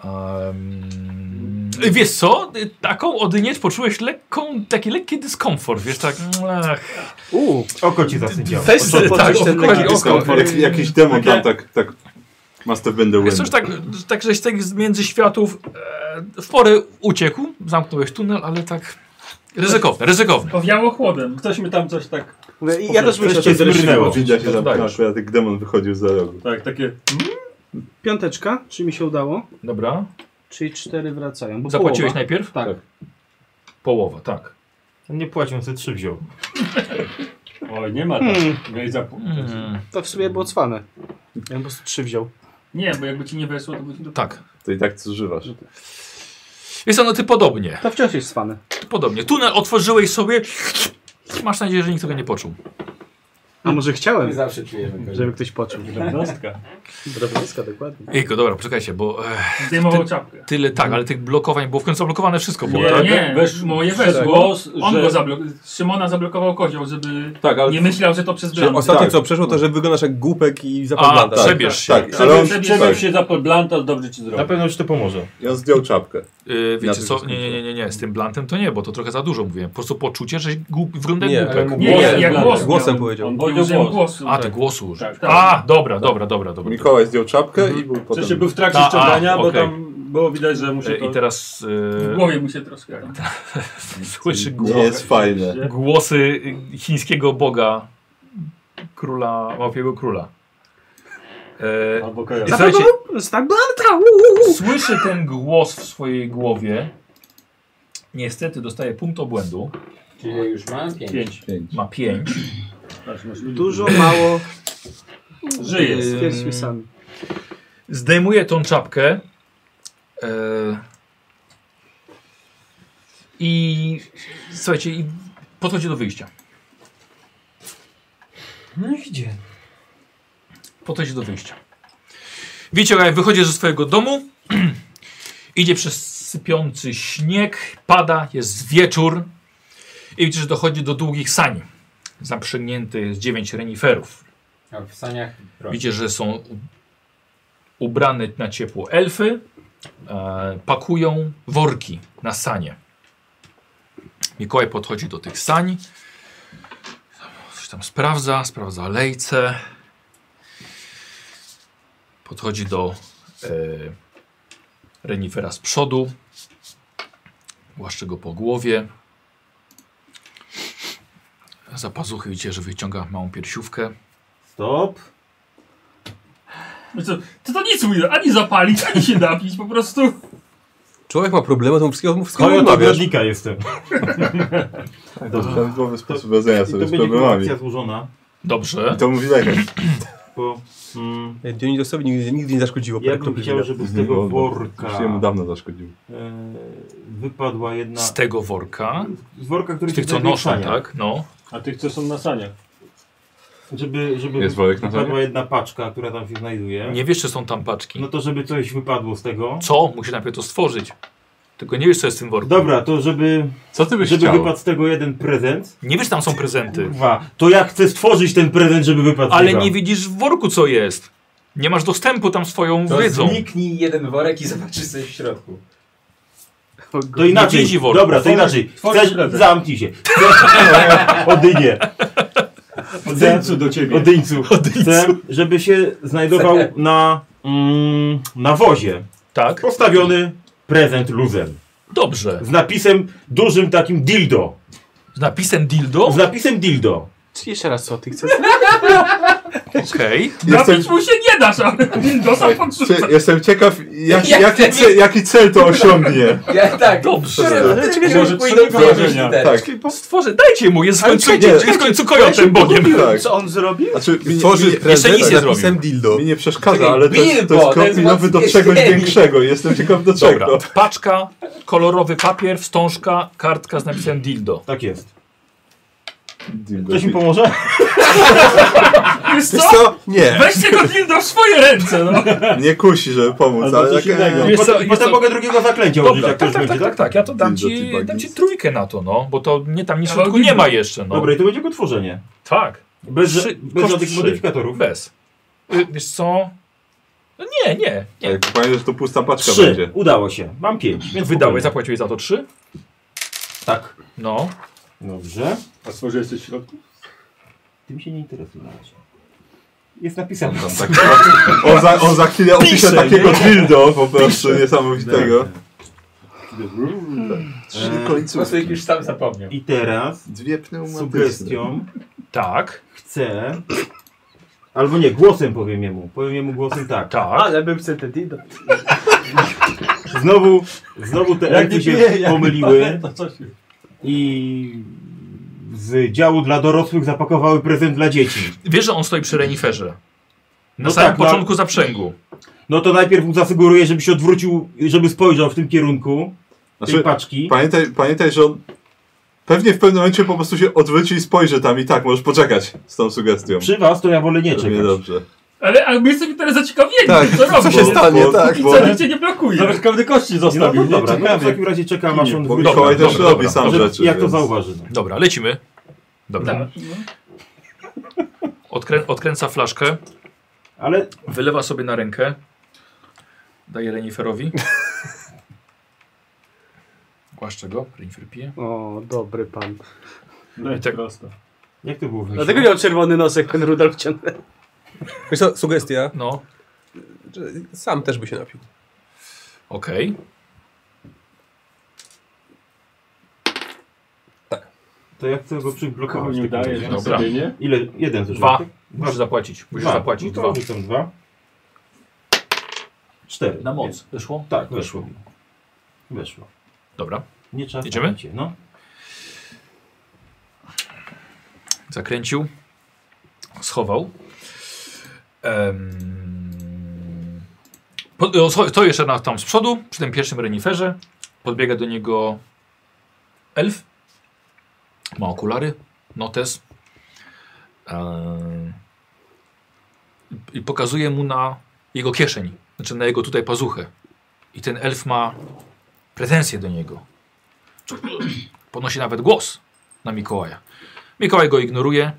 A: Em, Y, Wiesz co? Y, Taką odynieć poczułeś lekką, taki lekki dyskomfort, wiesz, tak... Ach,
D: Uuu,
H: Oko ci zasypiało.
A: weź
D: poczuć
A: tak,
D: ten
A: obchodzi
D: lekki
A: oko.
C: Dyskomfort. Jak, jakiś demon tam tak, tak master będę
A: Wiesz, coś tak, tak żeś tak z między światów e, w porę uciekł, zamknąłeś tunel, ale tak ryzykowne, ryzykowne.
F: Powiało chłodem.
B: Ktoś mi tam coś tak,
D: Mówię, i ja też myślę,
H: cię
D: że to jest
H: zmrnęło.
C: Widzia się zamknęła, a jak demon wychodził za rogu.
B: tak, takie...
D: piąteczka, czy mi się udało?
A: Dobra,
D: Czyli cztery wracają, bo
A: zapłaciłeś
D: połowa.
A: najpierw?
D: Tak.
A: Połowa, tak.
H: Nie płacił, sobie trzy wziął.
B: Oj, nie ma tak.
D: Hmm.
B: Miałeś zapomnieć.
A: Mm,
D: To w sumie było cwane. Ja bym po prostu trzy wziął.
F: Nie, bo jakby ci nie weszło, to by ci do...
A: tak.
C: To i tak co żywasz.
A: Jest ono ty podobnie,
D: To wciąż jest cwane.
A: ty podobnie. Tunel otworzyłeś sobie, masz nadzieję, że nikt tego nie poczuł.
D: A może
G: My
D: chciałem,
G: zawsze czujemy
D: żeby ktoś poczuł.
B: Drobnostka.
D: Drobniska, dokładnie.
A: Ejko, dobra, poczekajcie, bo e,
F: Zdejmował czapkę.
A: tyle tak, ale tych blokowań, bo w końcu zablokowane wszystko było,
B: Nie,
A: tak?
F: Nie,
B: wesz-
F: moje
B: wszedł
F: weszło.
B: głos,
F: On
B: że-
F: go zablokował. Szymona zablokował kozioł, żeby
C: Tak, ale
F: nie myślał, że to przez
C: Że
F: bramę.
C: os-
I: Ostatnie
C: Tak.
I: co przeszło to, że wyglądasz jak głupek i
A: A,
I: zapadł
A: przebiesz się.
C: Tak, ale
F: Przebił-
C: on,
F: przebił
C: tak,
B: Przebił się za Blanta, dobrze ci
H: Na
B: zrobił.
H: pewno ci to pomoże.
C: i on zdjął czapkę.
A: Y,
C: Na
A: wiecie
C: tym
A: co?
C: się
A: Nie, nie, nie,
C: skończyło.
A: nie, nie, z tym blantem to nie, bo to trochę za dużo mówiłem. Po prostu poczucie, że głup, wygląda jak
I: Nie,
A: głupek.
I: ale mu
F: Nie,
I: głosem,
F: ja, ja głos
I: głosem
F: miałem.
I: powiedział.
B: On
F: Nie użyłem
B: powiedział głos.
F: głosu.
A: A, ty głosu użył.
B: Tak, tak.
A: A, dobra, dobra, dobra, dobra. Y,
C: Mikołaj zdjął czapkę i był
B: W sensie
C: potem...
B: był w trakcie
A: Ta, a,
B: ściągania, bo
A: okej.
B: tam było widać, że mu się
A: Y,
B: to... Tak.
A: I teraz
F: W
A: y,
F: głowie mu się troszkę tam.
A: słyszy
C: Nie
A: głos,
C: jest fajne.
A: głosy y, chińskiego boga, króla, małpiego króla. E,
B: Albo kojarzy.
A: I słuchajcie,
D: Znak tak Blanta! uuu.
A: słyszy ten głos w swojej głowie. Niestety dostaje punkt obłędu.
G: Czyli już mam pięć.
B: Pięć.
A: Ma 5.
D: Dużo, mało, y,
B: Żyje.
D: stwierdzmy sami.
A: Zdejmuje tą czapkę. e, I słuchajcie, i podchodzi do wyjścia.
I: No i gdzie?
A: Podchodzi do wyjścia. Wiecie, jak wychodzi ze swojego domu, idzie przez sypiący śnieg, pada, jest wieczór i widzicie, że dochodzi do długich sani. Zaprzęgnięty jest dziewięć reniferów.
G: A No, w saniach broń.
A: Widzicie, że są u- ubrane na ciepło elfy, e, pakują worki na sanie. Mikołaj podchodzi do tych sań, coś tam sprawdza, sprawdza lejce, podchodzi do e, renifera z przodu, głaszcze go po głowie. Za pazuchy widzicie, że wyciąga małą piersiówkę.
H: Stop.
F: No co, Ty to nic mój, ani zapalić, ani się napić, po prostu.
I: Człowiek ma problemy, to mu wszystkiego mu wszystkiego
H: Kojot
I: odmawiasz.
H: No ogrodnika jestem.
C: Tak, to prawidłowy sposób radzenia
H: I to
C: sobie z
H: będzie
C: problemami.
H: kolekcja złożona.
A: Dobrze.
C: I to mówi lekarz.
H: Bo, mm,
I: Dionizosowi nigdy, nigdy nie zaszkodziło.
H: ja
I: parę
H: bym
I: kropli
H: chciał,
I: wina.
H: żeby z
C: No,
H: tego
C: no,
H: worka
C: Już jemu dawno zaszkodził.
H: e, wypadła jedna...
A: z tego worka,
H: Z worka, który
A: z tych
H: się
A: co
H: znajduje w
A: noszą,
H: saniach.
A: tak? No.
B: A tych, co są na saniach.
H: Żeby, żeby
C: Jest worek na
H: wypadła
C: sanie?
H: jedna paczka, która tam się znajduje.
A: Nie wiesz, czy są tam paczki.
H: No to żeby coś wypadło z tego.
A: Co? Musisz najpierw to stworzyć. Tylko nie wiesz, co jest w tym worku.
H: Dobra, to żeby,
C: Co ty byś
H: żeby
C: chciał?
H: wypadł z tego jeden prezent,
A: Nie wiesz, czy tam są prezenty.
H: kurwa, to ja chcę stworzyć ten prezent, żeby wypadł z
A: Ale
H: niego.
A: nie widzisz w worku, co jest. Nie masz dostępu tam swoją
G: To
A: wiedzą.
G: zniknij jeden worek i zobaczysz coś w środku.
H: To inaczej.
A: widzi worka.
H: Dobra, to inaczej.
B: tworzysz
H: Chcesz,
B: prezent.
H: zamknij się. Odynie.
B: Odejdź do ciebie.
H: Odyńcu. Chcę, żeby się znajdował na, mm, na wozie.
A: Tak?
H: Postawiony prezent luzem.
A: Dobrze.
H: Z napisem dużym takim dildo.
A: Z napisem dildo?
H: Z napisem dildo.
D: Jeszcze raz co, ty chcesz?
A: Okej.
C: Jestem,
F: Napić mu się nie dasz, ale dostał pan
C: cie- jestem ciekaw, jak,
G: Ja
C: jaki,
G: chcę
C: ce, jaki cel to osiągnie.
G: Ja tak.
A: Dobrze.
G: Ale
B: Może
G: czekaj,
B: trzy wrażenia.
G: Tak.
C: Tak.
A: Stworzę, dajcie mu, jest w
C: Ale
A: końcu,
C: czekajcie,
A: jest w końcu kojotem Bogiem.
C: Tak.
D: Co on zrobił?
C: Znaczy, mi,
I: Tworzy
C: mi,
A: jeszcze
I: prezent
A: nic
I: z
A: nie
I: napisem dildo.
C: mi nie przeszkadza,
G: Czekaj,
C: ale to jest, to
G: Bilbo,
C: jest
G: to jest
C: krok minowy do
G: mocny
C: czegoś
G: śnieg.
C: większego. Jestem ciekaw do czego.
A: Dobra. Paczka, kolorowy papier, wstążka, kartka z napisem dildo.
H: Tak jest.
C: Dildo.
H: Ktoś mi pomoże?
F: Wiesz
I: Wiesz
F: co?
I: co? Nie.
F: Weźcie go dildo w swoje ręce, no.
C: Nie kusi, żeby pomóc,
H: Albo
C: ale
H: coś
C: tak,
H: innego.
C: e,
A: Jest to-
H: Potem,
A: jest
H: potem
A: to-
H: mogę drugiego zaklęcia użyć,
A: Dobra,
H: jak
A: tak,
H: ktoś
A: tak,
H: będzie,
A: tak,
H: tak?
A: tak, tak. Ja to dam
C: Dildo,
A: ci,
C: ty
A: dam ci
C: bagnic.
A: trójkę na to, no, bo to nie tam nic w
F: Ale
A: środku nie
F: dildo.
A: ma jeszcze, no.
H: Dobra, i to będzie jego tworzenie.
A: Tak.
H: Bez,
A: Trzy-
H: bez
A: koszt
H: żadnych
A: trzy.
H: modyfikatorów.
A: Bez. Y, wiesz co? No nie, nie, nie.
C: Tak, pamiętaj, że to pusta paczka
H: Trzy.
C: będzie.
H: Udało się. Mam pięć. Więc
A: Wydałeś,
H: spokojnie.
A: zapłaciłeś za to trzy?
H: Tak.
A: No.
H: Dobrze.
B: A stworzyłeś coś w środku?
H: Tym się nie interesuje na razie. Jest napisane.
C: Tam tak, on, za, on za chwilę opisze takiego dildo po prostu niesamowitego.
H: Eee,
G: Po prostu jakiś tam zapomniał.
H: I teraz
C: Dwie pneumatyczne.
H: sugestią
A: Tak,
H: chcę. Albo nie, głosem powiem jemu. Powiem jemu głosem tak.
A: tak.
D: bym chce te dildo.
H: Znowu, znowu te elfy się pomyliły
B: To coś już.
H: i z działu dla dorosłych zapakowały prezent dla dzieci.
A: Wiesz, że on stoi przy reniferze. Na
H: No
A: samym
H: tak, no-
A: początku zaprzęgu.
H: No to najpierw mu zasugeruję, żeby się odwrócił, żeby spojrzał w tym kierunku tej
C: Znaczy,
H: paczki.
C: pamiętaj, pamiętaj, że on pewnie w pewnym momencie po prostu się odwróci i spojrzy tam i tak, możesz poczekać z tą sugestią.
H: Przy was to ja wolę nie
C: Że
H: czekać.
C: nie dobrze.
F: Ale, ale my jesteśmy teraz zaciekawieni,
I: Tak,
F: co robią.
I: co się stanie,
C: Bo-
I: tak.
F: I
C: bo-
F: co, nikt cię nie blokuje.
B: Nawet każdy kości
H: Nie, No,
B: zostawił.
H: no
B: nie?
H: dobra, no to w
B: Ciekawie.
H: takim razie czekam aż on
C: Bo
H: wróci.
C: Mikołaj też
A: dobra,
C: robi
A: dobra,
C: sam
H: Że-
C: rzeczy.
H: Jak to
C: więc-
H: zauważy. No.
A: Dobra, lecimy. Dobra.
F: Tak, no.
A: Odkrę odkręca flaszkę,
H: Ale
A: wylewa sobie na rękę. Daje reniferowi. Głaszcze go, renifer pije.
D: O, dobry pan.
B: No i
A: tak.
B: prosto.
H: jak to było w myśli?
D: Dlatego miał czerwony nosek ten Rudolf ciągle.
I: Wiesz co, sugestia,
A: No,
I: że sam też by się napił.
A: okej.
H: To ja chcę go
B: Kogo
H: przyblokować.
B: nie
H: w takim
B: udaje,
H: razie.
B: że
A: Dobra.
B: sobie nie?
H: Ile? Jeden zużyłem,
A: Dwa.
H: tak?
A: Musisz zapłacić. Musisz
H: Dwa.
A: zapłacić
H: No
A: dwa.
H: to rzucam dwa. Cztery.
A: Na moc. Wyszło?
H: Tak, weszło. mi. Weszło.
A: Dobra.
H: Nie trzeba.
A: Jedziemy?
H: No.
A: Zakręcił. Schował. Em, pod- o, scho- To jeszcze na, tam z przodu, przy tym pierwszym reniferze. Podbiega do niego elf. Ma okulary, notes. Em, I pokazuje mu na jego kieszeń, znaczy na jego tutaj pazuchę. I ten elf ma pretensje do niego. Podnosi nawet głos na Mikołaja. Mikołaj go ignoruje,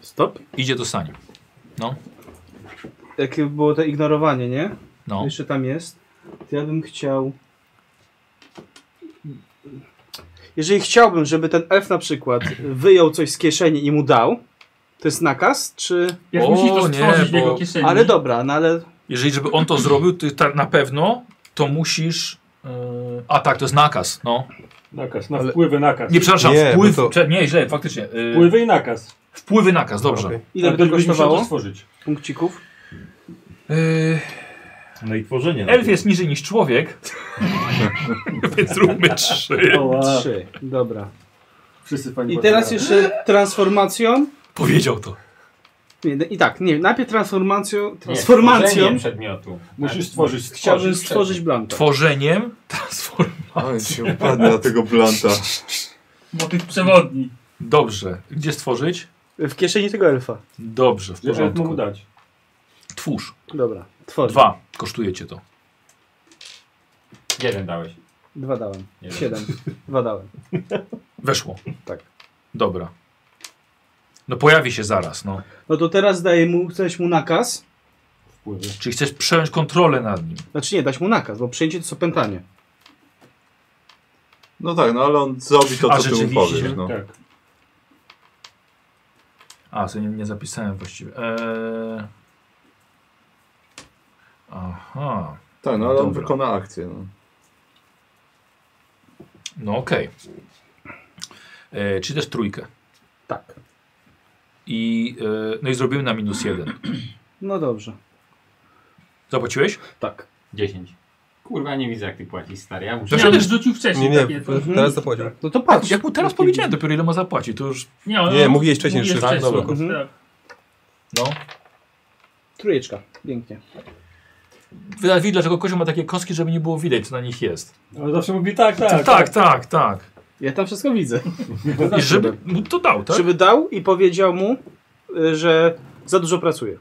D: Stop.
A: idzie do sani.
D: Jakie było to ignorowanie, nie?
A: No.
D: Jeszcze tam jest. To ja bym chciał... Jeżeli chciałbym, żeby ten elf na przykład wyjął coś z kieszeni i mu dał, to jest nakaz, czy...
F: Jak
A: O,
F: musisz to
A: nie,
F: stworzyć w jego
A: bo-
F: kieszeni.
D: Ale dobra, no ale
A: Jeżeli żeby on to zrobił, ty ta, na pewno, to musisz. Yy... A tak, to jest nakaz. No.
B: Nakaz, na
I: Ale-
B: wpływy nakaz.
A: Nie, przepraszam,
I: Nie,
A: wpływ.
I: bo to-
A: prze- Nie, źle, faktycznie. Yy...
B: Wpływy i nakaz.
A: Wpływy nakaz, dobrze.
I: Okej.
D: ile
B: Ale
D: by to
B: byś musiał to
D: kosztowało?
B: stworzyć.
D: Punkcików?
A: Yy...
H: No i tworzenie.
A: Elf jest niżej niż człowiek. więc zróbmy trzy.
B: Oła.
D: Trzy. Dobra.
B: Wszyscy pani
D: I teraz
B: Barbara.
D: jeszcze transformacją.
A: Powiedział to.
D: Nie, no i tak, nie, najpierw transformacją,
G: Nie,
D: transformacją
G: tworzenie przedmiotu.
B: Musisz stworzyć.
D: chciałbym stworzyć blankę.
A: Tworzeniem transform.
C: Oj, się upadnę na tego blanta.
F: Motyw przewodni.
A: Dobrze. Gdzie stworzyć?
D: W kieszeni tego elfa.
A: Dobrze, w
B: Jeżeli
A: porządku.
B: mu dać.
A: Twórz.
D: Dobra, tworzę.
A: Dwa. Kosztuje cię to.
G: Jeden dałeś.
D: Dwa dałem.
G: Nie
D: Siedem. Dwa dałem.
A: Weszło.
D: Tak.
A: Dobra. No pojawi się zaraz, no.
D: No to teraz daję mu, chcesz mu nakaz.
B: Wpływy.
A: Czyli chcesz przejąć kontrolę nad nim.
D: Znaczy nie, dać mu nakaz, bo przejęcie to jest opętanie.
C: No tak, no ale on zrobi to,
A: A,
C: co ty mu
A: rzeczywiście.
C: powiesz. No.
B: Tak.
A: A, sobie nie, nie zapisałem właściwie. Eee... Aha.
C: Tak, no ale on
A: Dobra.
C: wykona akcję. No.
A: No okej. Eee, Czy też trójkę.
D: Tak.
A: I, eee, no i zrobimy na minus jeden.
D: No dobrze.
A: Zapłaciłeś?
D: Tak.
G: Dziesięć. Kurwa, nie widzę jak ty płacisz, stary. Ja muszę...
F: Ja
A: Przecież-
F: bym rzucił wcześniej
I: Nie,
F: takie.
I: nie, teraz zapłacił.
D: No to patrz.
A: Jak mu teraz powiedziałem dopiero ile ma zapłacić, to już...
F: Nie, on-
I: Nie, mówiłeś wcześniej,
F: mówiłeś
I: że- tak,
F: wcześniej,
I: dobra.
D: Mhm.
F: tak.
A: No.
D: Trójeczka. Pięknie.
A: Widać, widać, dlaczego Kozio ma takie kostki, żeby nie było widać, co na nich jest.
B: Ale zawsze mówi tak, tak.
A: tak, tak. tak.
D: Ja tam wszystko widzę.
A: I żeby mu to dał, tak?
D: Żeby dał i powiedział mu, y, że za dużo pracuje.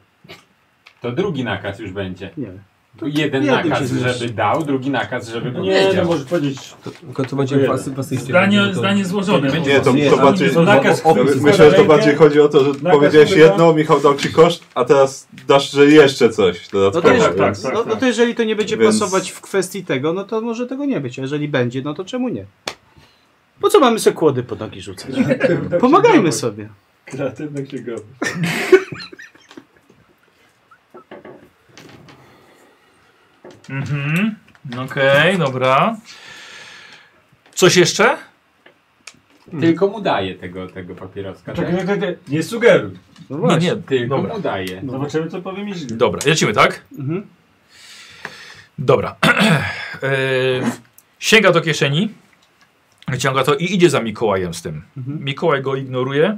G: To drugi nakaz już będzie.
D: Nie wiem.
G: Jeden
D: Jednym się
G: nakaz,
D: zmieści.
G: żeby dał, drugi nakaz, żeby
B: Nie, no
G: powiedział.
B: możesz powiedzieć.
I: To, tylko to będzie
B: jeden.
I: pasy, pasy
F: Zdanie, zdanie złożone.
C: Nie, to, to bardziej...
B: To nakaz,
C: Ja my- Myślę, że to bardziej chodzi o to, że
B: Nakaz
C: powiedziałeś
B: pyta.
C: jedno, Michał dał ci koszt, a teraz dasz, że jeszcze coś
D: No
C: dodatkowo.
D: to,
B: tak,
D: tak,
B: tak,
D: no, no to jeżeli to nie będzie
C: Więc-
D: pasować w kwestii tego, no to może tego nie być. A jeżeli będzie, no to czemu nie? Po co mamy sobie kłody pod nogi rzucać? Pomagajmy sobie.
B: Kreatywny księgowy.
A: Mhm. Okej, dobra. Coś jeszcze?
G: Tylko mu daje tego, tego papieroska. Tak?
B: Czekaj, czekaj, czekaj. Nie sugeruj.
D: No
A: Nie,
D: właśnie.
A: nie.
G: Tylko
A: Dobra.
G: mu daje.
B: No. Zobaczymy, co powie Miźli.
A: Dobra, lecimy, tak?
D: Mhm.
A: Dobra. Yy, sięga do kieszeni, wyciąga to i idzie za Mikołajem z tym. Mikołaj go ignoruje.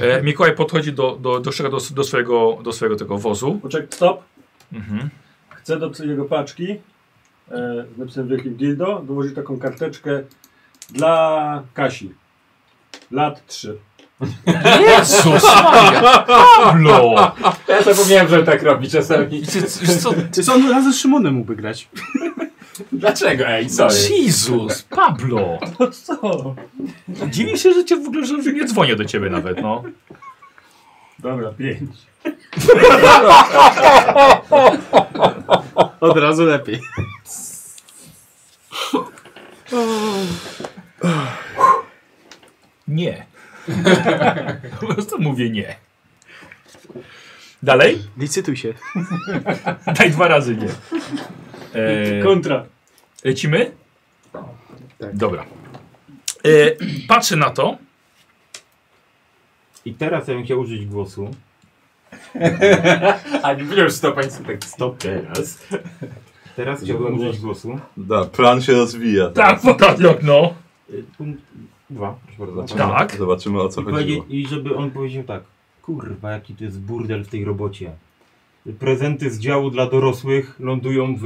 A: E, Mikołaj podchodzi do, do, do, do, do, swojego, do swojego tego wozu.
B: Poczek, stop.
A: Mhm.
B: Chcę do jego paczki e, z napisem wielkim dildo dołożyć taką karteczkę dla Kasi. Lat 3.
A: Jezus Maria! Pablo!
G: Ja zapomniałem, że tak robi czasami.
A: Ty- ty- wiesz co?
D: Czy co on razem z Szymonem mógłby grać?
G: Dlaczego, ej, sorry.
A: Jezus! Pablo!
B: No co?
A: Dziwię się, że cię w ogóle że nie dzwonię do ciebie nawet, no.
B: Dobra, 5.
D: Od razu lepiej.
A: Nie. po prostu mówię nie. Dalej?
D: Licytuj się.
A: Daj dwa razy nie. E,
B: Kontra.
A: Lecimy?
D: Tak.
A: Dobra. E, patrzy na to.
H: I teraz ja bym chciał użyć głosu.
G: A nie wiem, stopań sobie tak
H: Stop teraz. Teraz chciałbym użyć głosu.
C: Da, plan się rozwija.
A: Tak, tak, jak no.
H: Y, Punkt dwa, proszę bardzo.
C: Zobaczymy-
A: Tak.
C: Zobaczymy Znaczy, o co
H: I, powiedzieć-
C: chodziło.
H: I żeby on powiedział tak, kurwa jaki to jest burdel w tej robocie. Prezenty z działu dla dorosłych lądują w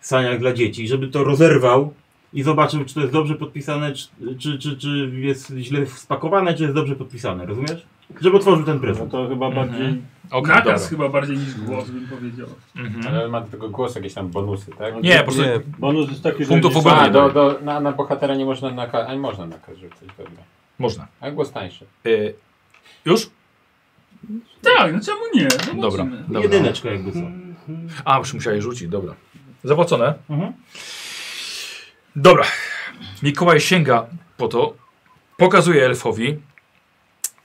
H: saniach dla dzieci. I żeby to rozerwał i zobaczył, czy to jest dobrze podpisane, czy, czy, czy, czy jest źle spakowane, czy jest dobrze podpisane, rozumiesz? Żeby otworzył ten
B: No
H: prezent.
B: to chyba
A: Mhm.
B: bardziej...
A: Okej,
F: Nakaz
A: dobra.
F: chyba bardziej niż głos, bym powiedział.
A: Mhm.
G: Ale on ma do tego głosu jakieś tam bonusy, tak?
A: Nie, po prostu
I: Nie,
B: Bonus jest taki, że...
A: Punktów
B: nie-
A: w ogóle
G: A,
A: nie
G: do, do, na, na bohatera nie można nakazać, ani można nakazać rzucić, dobra.
A: można.
G: A głos tańszy.
A: E, już?
F: Tak, no czemu nie? Zobaczymy.
A: Dobra. dobra.
H: Jedyneczka jakby co.
A: A, już musiałeś rzucić, dobra. Zapłacone?
H: Mhm.
A: Dobra. Mikołaj sięga po to, pokazuje elfowi.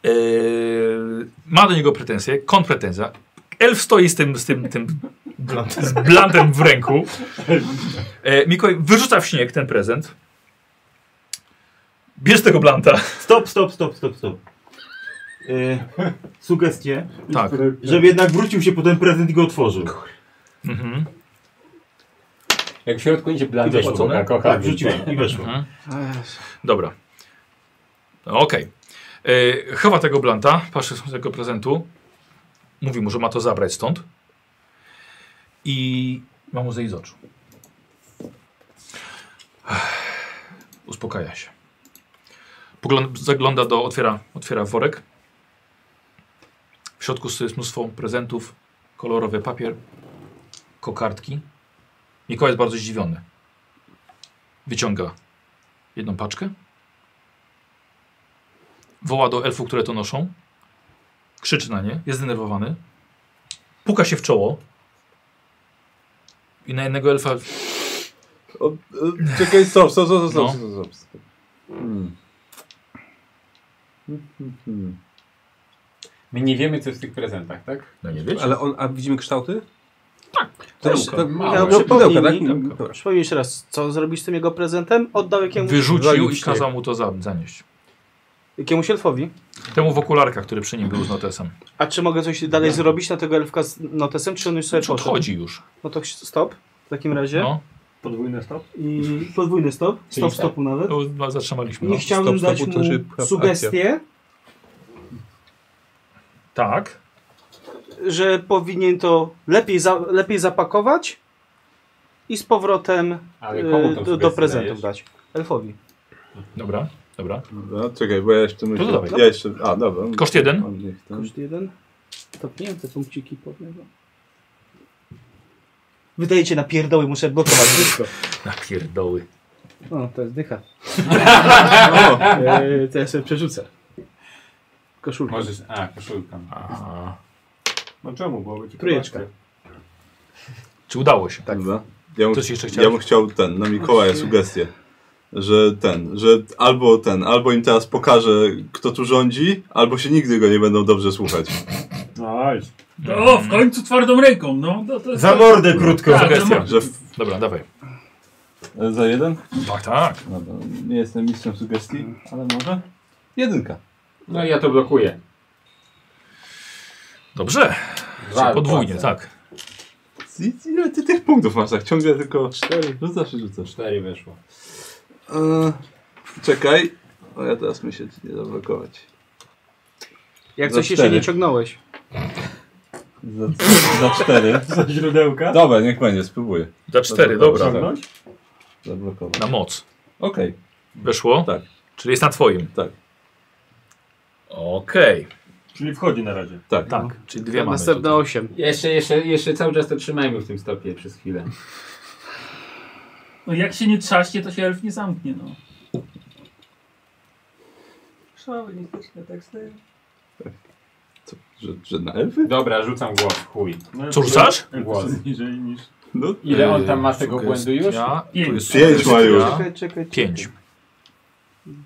A: Eee, ma do niego pretensje, kontrpretensja. Elf stoi z tym, z tym, tym z blantem w ręku. E, Mikołaj wyrzuca w śnieg ten prezent. Bierz tego blanta.
H: Stop, stop, stop, stop, stop. Y, sugestie,
A: Tak.
H: żeby jednak wrócił się po ten prezent i go otworzył.
A: Mhm.
G: Jak w środku idzie blandy,
A: Widać to, nie?
G: to kocha.
H: Tak, rzuciłem i weszło.
A: Mhm. Dobra. No, Okej. E, Chowa tego blanta, patrzy z tego prezentu. Mówi mu, że ma to zabrać stąd. I ma mu zejść z oczu. Ech, Uspokaja się. Pogląd, zagląda do, otwiera, otwiera worek. W środku jest mnóstwo prezentów, kolorowy papier, kokardki. Mikołaj jest bardzo zdziwiony. Wyciąga jedną paczkę. Woła do elfów, które to noszą. Krzyczy na nie, jest zdenerwowany. Puka się w czoło. I na jednego elfa.
C: O, o, czekaj, stop, stop, stop, stop,
A: No.
C: stop, stop, stop. Hmm. Hmm, hmm,
G: My nie wiemy, co jest w tych prezentach, tak?
A: No nie wiecie.
I: ale on, a widzimy kształty? Tak. To jest, to,
G: Małe.
I: no,
G: No,
I: pudełka, tak?
D: przypomnij mi-
I: Dobra.
D: Przypomnij jeszcze raz, co zrobisz z tym jego prezentem? Oddał jakiemuś,
A: Wyrzucił i
I: Zaliście.
A: kazał mu to za- zanieść.
D: jakiemuś elfowi.
A: Temu w okularkach, który przy nim był z notesem.
D: A czy mogę coś dalej zrobić na tego elfka z notesem, czy on już sobie
A: Czy
D: poszedł?
A: odchodzi już?
D: No to stop w takim razie.
A: No,
B: Podwójny stop.
D: I podwójny stop.
G: Czyli
D: Stop
G: tak.
D: stopu nawet.
A: to no, zatrzymaliśmy. No.
D: Nie chciałbym
I: stop
D: dać
I: stopu to
D: mu
I: szybka
D: sugestię,
A: Tak.
D: że powinien to lepiej, za, lepiej zapakować i z powrotem
G: Ale
D: e,
G: komu tą
D: do,
G: sugestię
D: do prezentów
G: dajesz?
D: dać. Elfowi.
A: Dobra, dobra.
C: No, czekaj, bo ja jeszcze myślę.
A: dawaj.
C: ja jeszcze, a, dobra.
A: Koszt jeden?
C: On niech ten-
D: Koszt jeden. Stopnięte punkciki podnego. Wydajecie na pierdoły, muszę blokować wszystko.
A: Na pierdoły.
D: O, No, to jest dycha. o, e, to ja sobie przerzucę. Koszulkę.
G: Możesz. A, koszulka.
A: A,
E: No czemu byłoby ci
D: Trójeczka.
A: Czy udało się?
C: Tak. Ja bym,
A: Coś jeszcze
C: ja
A: chciałeś?
C: bym chciał ten, na Mikołaja sugestię, że ten, że albo ten, albo im teraz pokażę, kto tu rządzi, albo się nigdy go nie będą dobrze słuchać.
B: Nice.
F: O, w końcu twardą ręką, no. To, to jest
H: Za mordę krótko.
F: Tak,
A: Sugestia.
F: no,
C: Że w,
A: Dobra, dawaj.
E: Za jeden?
A: Tak, tak.
E: Dobra, nie jestem mistrzem sugestii, ale może? Jedynka.
G: No i ja to blokuję.
A: Dobrze.
G: Dwa
A: Podwójnie,
G: płace.
A: tak.
C: i- ile ty tych punktów masz tak? Ciągle tylko cztery. Rzucasz i rzucasz.
G: Cztery wyszło.
C: Eee, czekaj. O, ja teraz myślę, czy nie zablokować.
D: Jak
C: Za
D: coś jeszcze
C: cztery.
D: nie ciągnąłeś.
C: Za, za cztery.
B: Za źródełka.
C: Dobra, niech będzie, spróbuję.
A: Za cztery, No dobra.
C: Tak,
B: Ciągnąć?
C: Zablokować.
A: Na moc.
C: Okej.
A: Weszło?
C: Tak.
A: Czyli jest na twoim?
C: Tak.
A: Okej.
B: Czyli wchodzi na razie.
C: Tak.
A: Tak, czyli dwie mamy
D: Następne
A: tutaj.
D: 8.
G: Jeszcze, jeszcze, jeszcze cały czas to trzymajmy w tym stopie przez chwilę.
F: no, jak się nie trzaśnie, to się elf nie zamknie, no.
C: Co, że, że na elfy?
G: Dobra, rzucam głos, chuj.
B: No,
A: Co rzucasz?
B: jak to
G: Głos.
B: jest Niżej niż...
C: No.
G: Ile on tam ma tego
A: Sugestia.
G: błędu już?
F: Pięć.
A: Tu jest
C: Pięć ma już.
A: sugestia.
D: czekaj.
A: Pięć.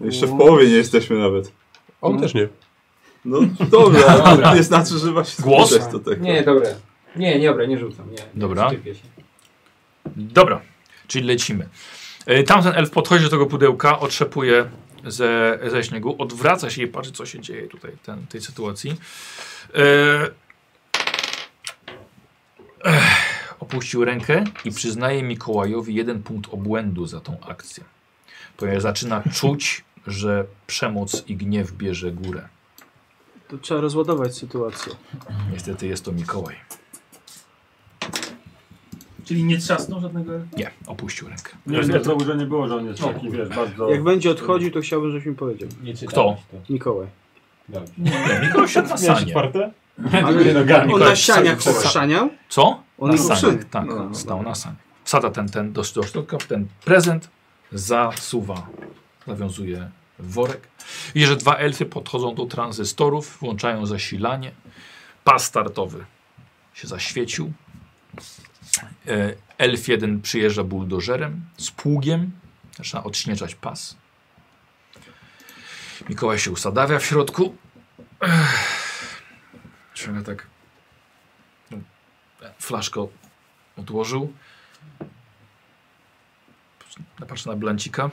C: Jeszcze w połowie nie jesteśmy nawet.
I: On też nie.
C: No dobra, ale to nie znaczy, że właśnie
A: Głos?
C: słyszeć to tak.
G: Nie, dobra. Nie, nie, dobra, nie rzucam. Nie, nie
A: Dobra.
G: wstypię się.
A: Dobra, czyli lecimy. E, Tamten elf podchodzi do tego pudełka, otrzepuje ze, ze śniegu, odwraca się i patrzy, co się dzieje tutaj, ten, tej sytuacji. E, Ech, opuścił rękę i przyznaje Mikołajowi jeden punkt obłędu za tą akcję. Ponieważ zaczyna czuć, że przemoc i gniew bierze górę.
D: To trzeba rozładować sytuację.
A: Niestety jest to Mikołaj.
F: Czyli nie trzasnął żadnego elfa.
A: Nie, opuścił rękę.
B: Nie, nie, znowu, że nie było, że on jest taki, wiesz, bardzo...
D: Jak będzie odchodził, to chciałbym, żebyś mi powiedział.
G: Nie czytałeś
F: tak?
A: Kto?
G: To.
D: Mikołaj.
G: Dobrze.
A: Nie, Mikołaj siadł na
H: Miałeś
A: sanie.
H: otwarte?
B: no,
D: Ale on na
A: no, Mikołaj,
D: sianiach
A: sa- sa-
D: szaniał.
A: Co?
D: On
A: na
D: jest
A: sanie,
D: uczynny.
A: tak,
C: No, no,
A: stał na sanie. Wsada ten, ten do, do środka, ten prezent zasuwa, nawiązuje worek. Widzisz, że dwa elfy podchodzą do tranzystorów, włączają zasilanie. Pas startowy się zaświecił. E, Elf jeden przyjeżdża buldożerem z pługiem, zaczyna odśnieżać pas. Mikołaj się usadawia w środku. Ech. Ciągle tak flaszko odłożył. Napatrzył na blancika.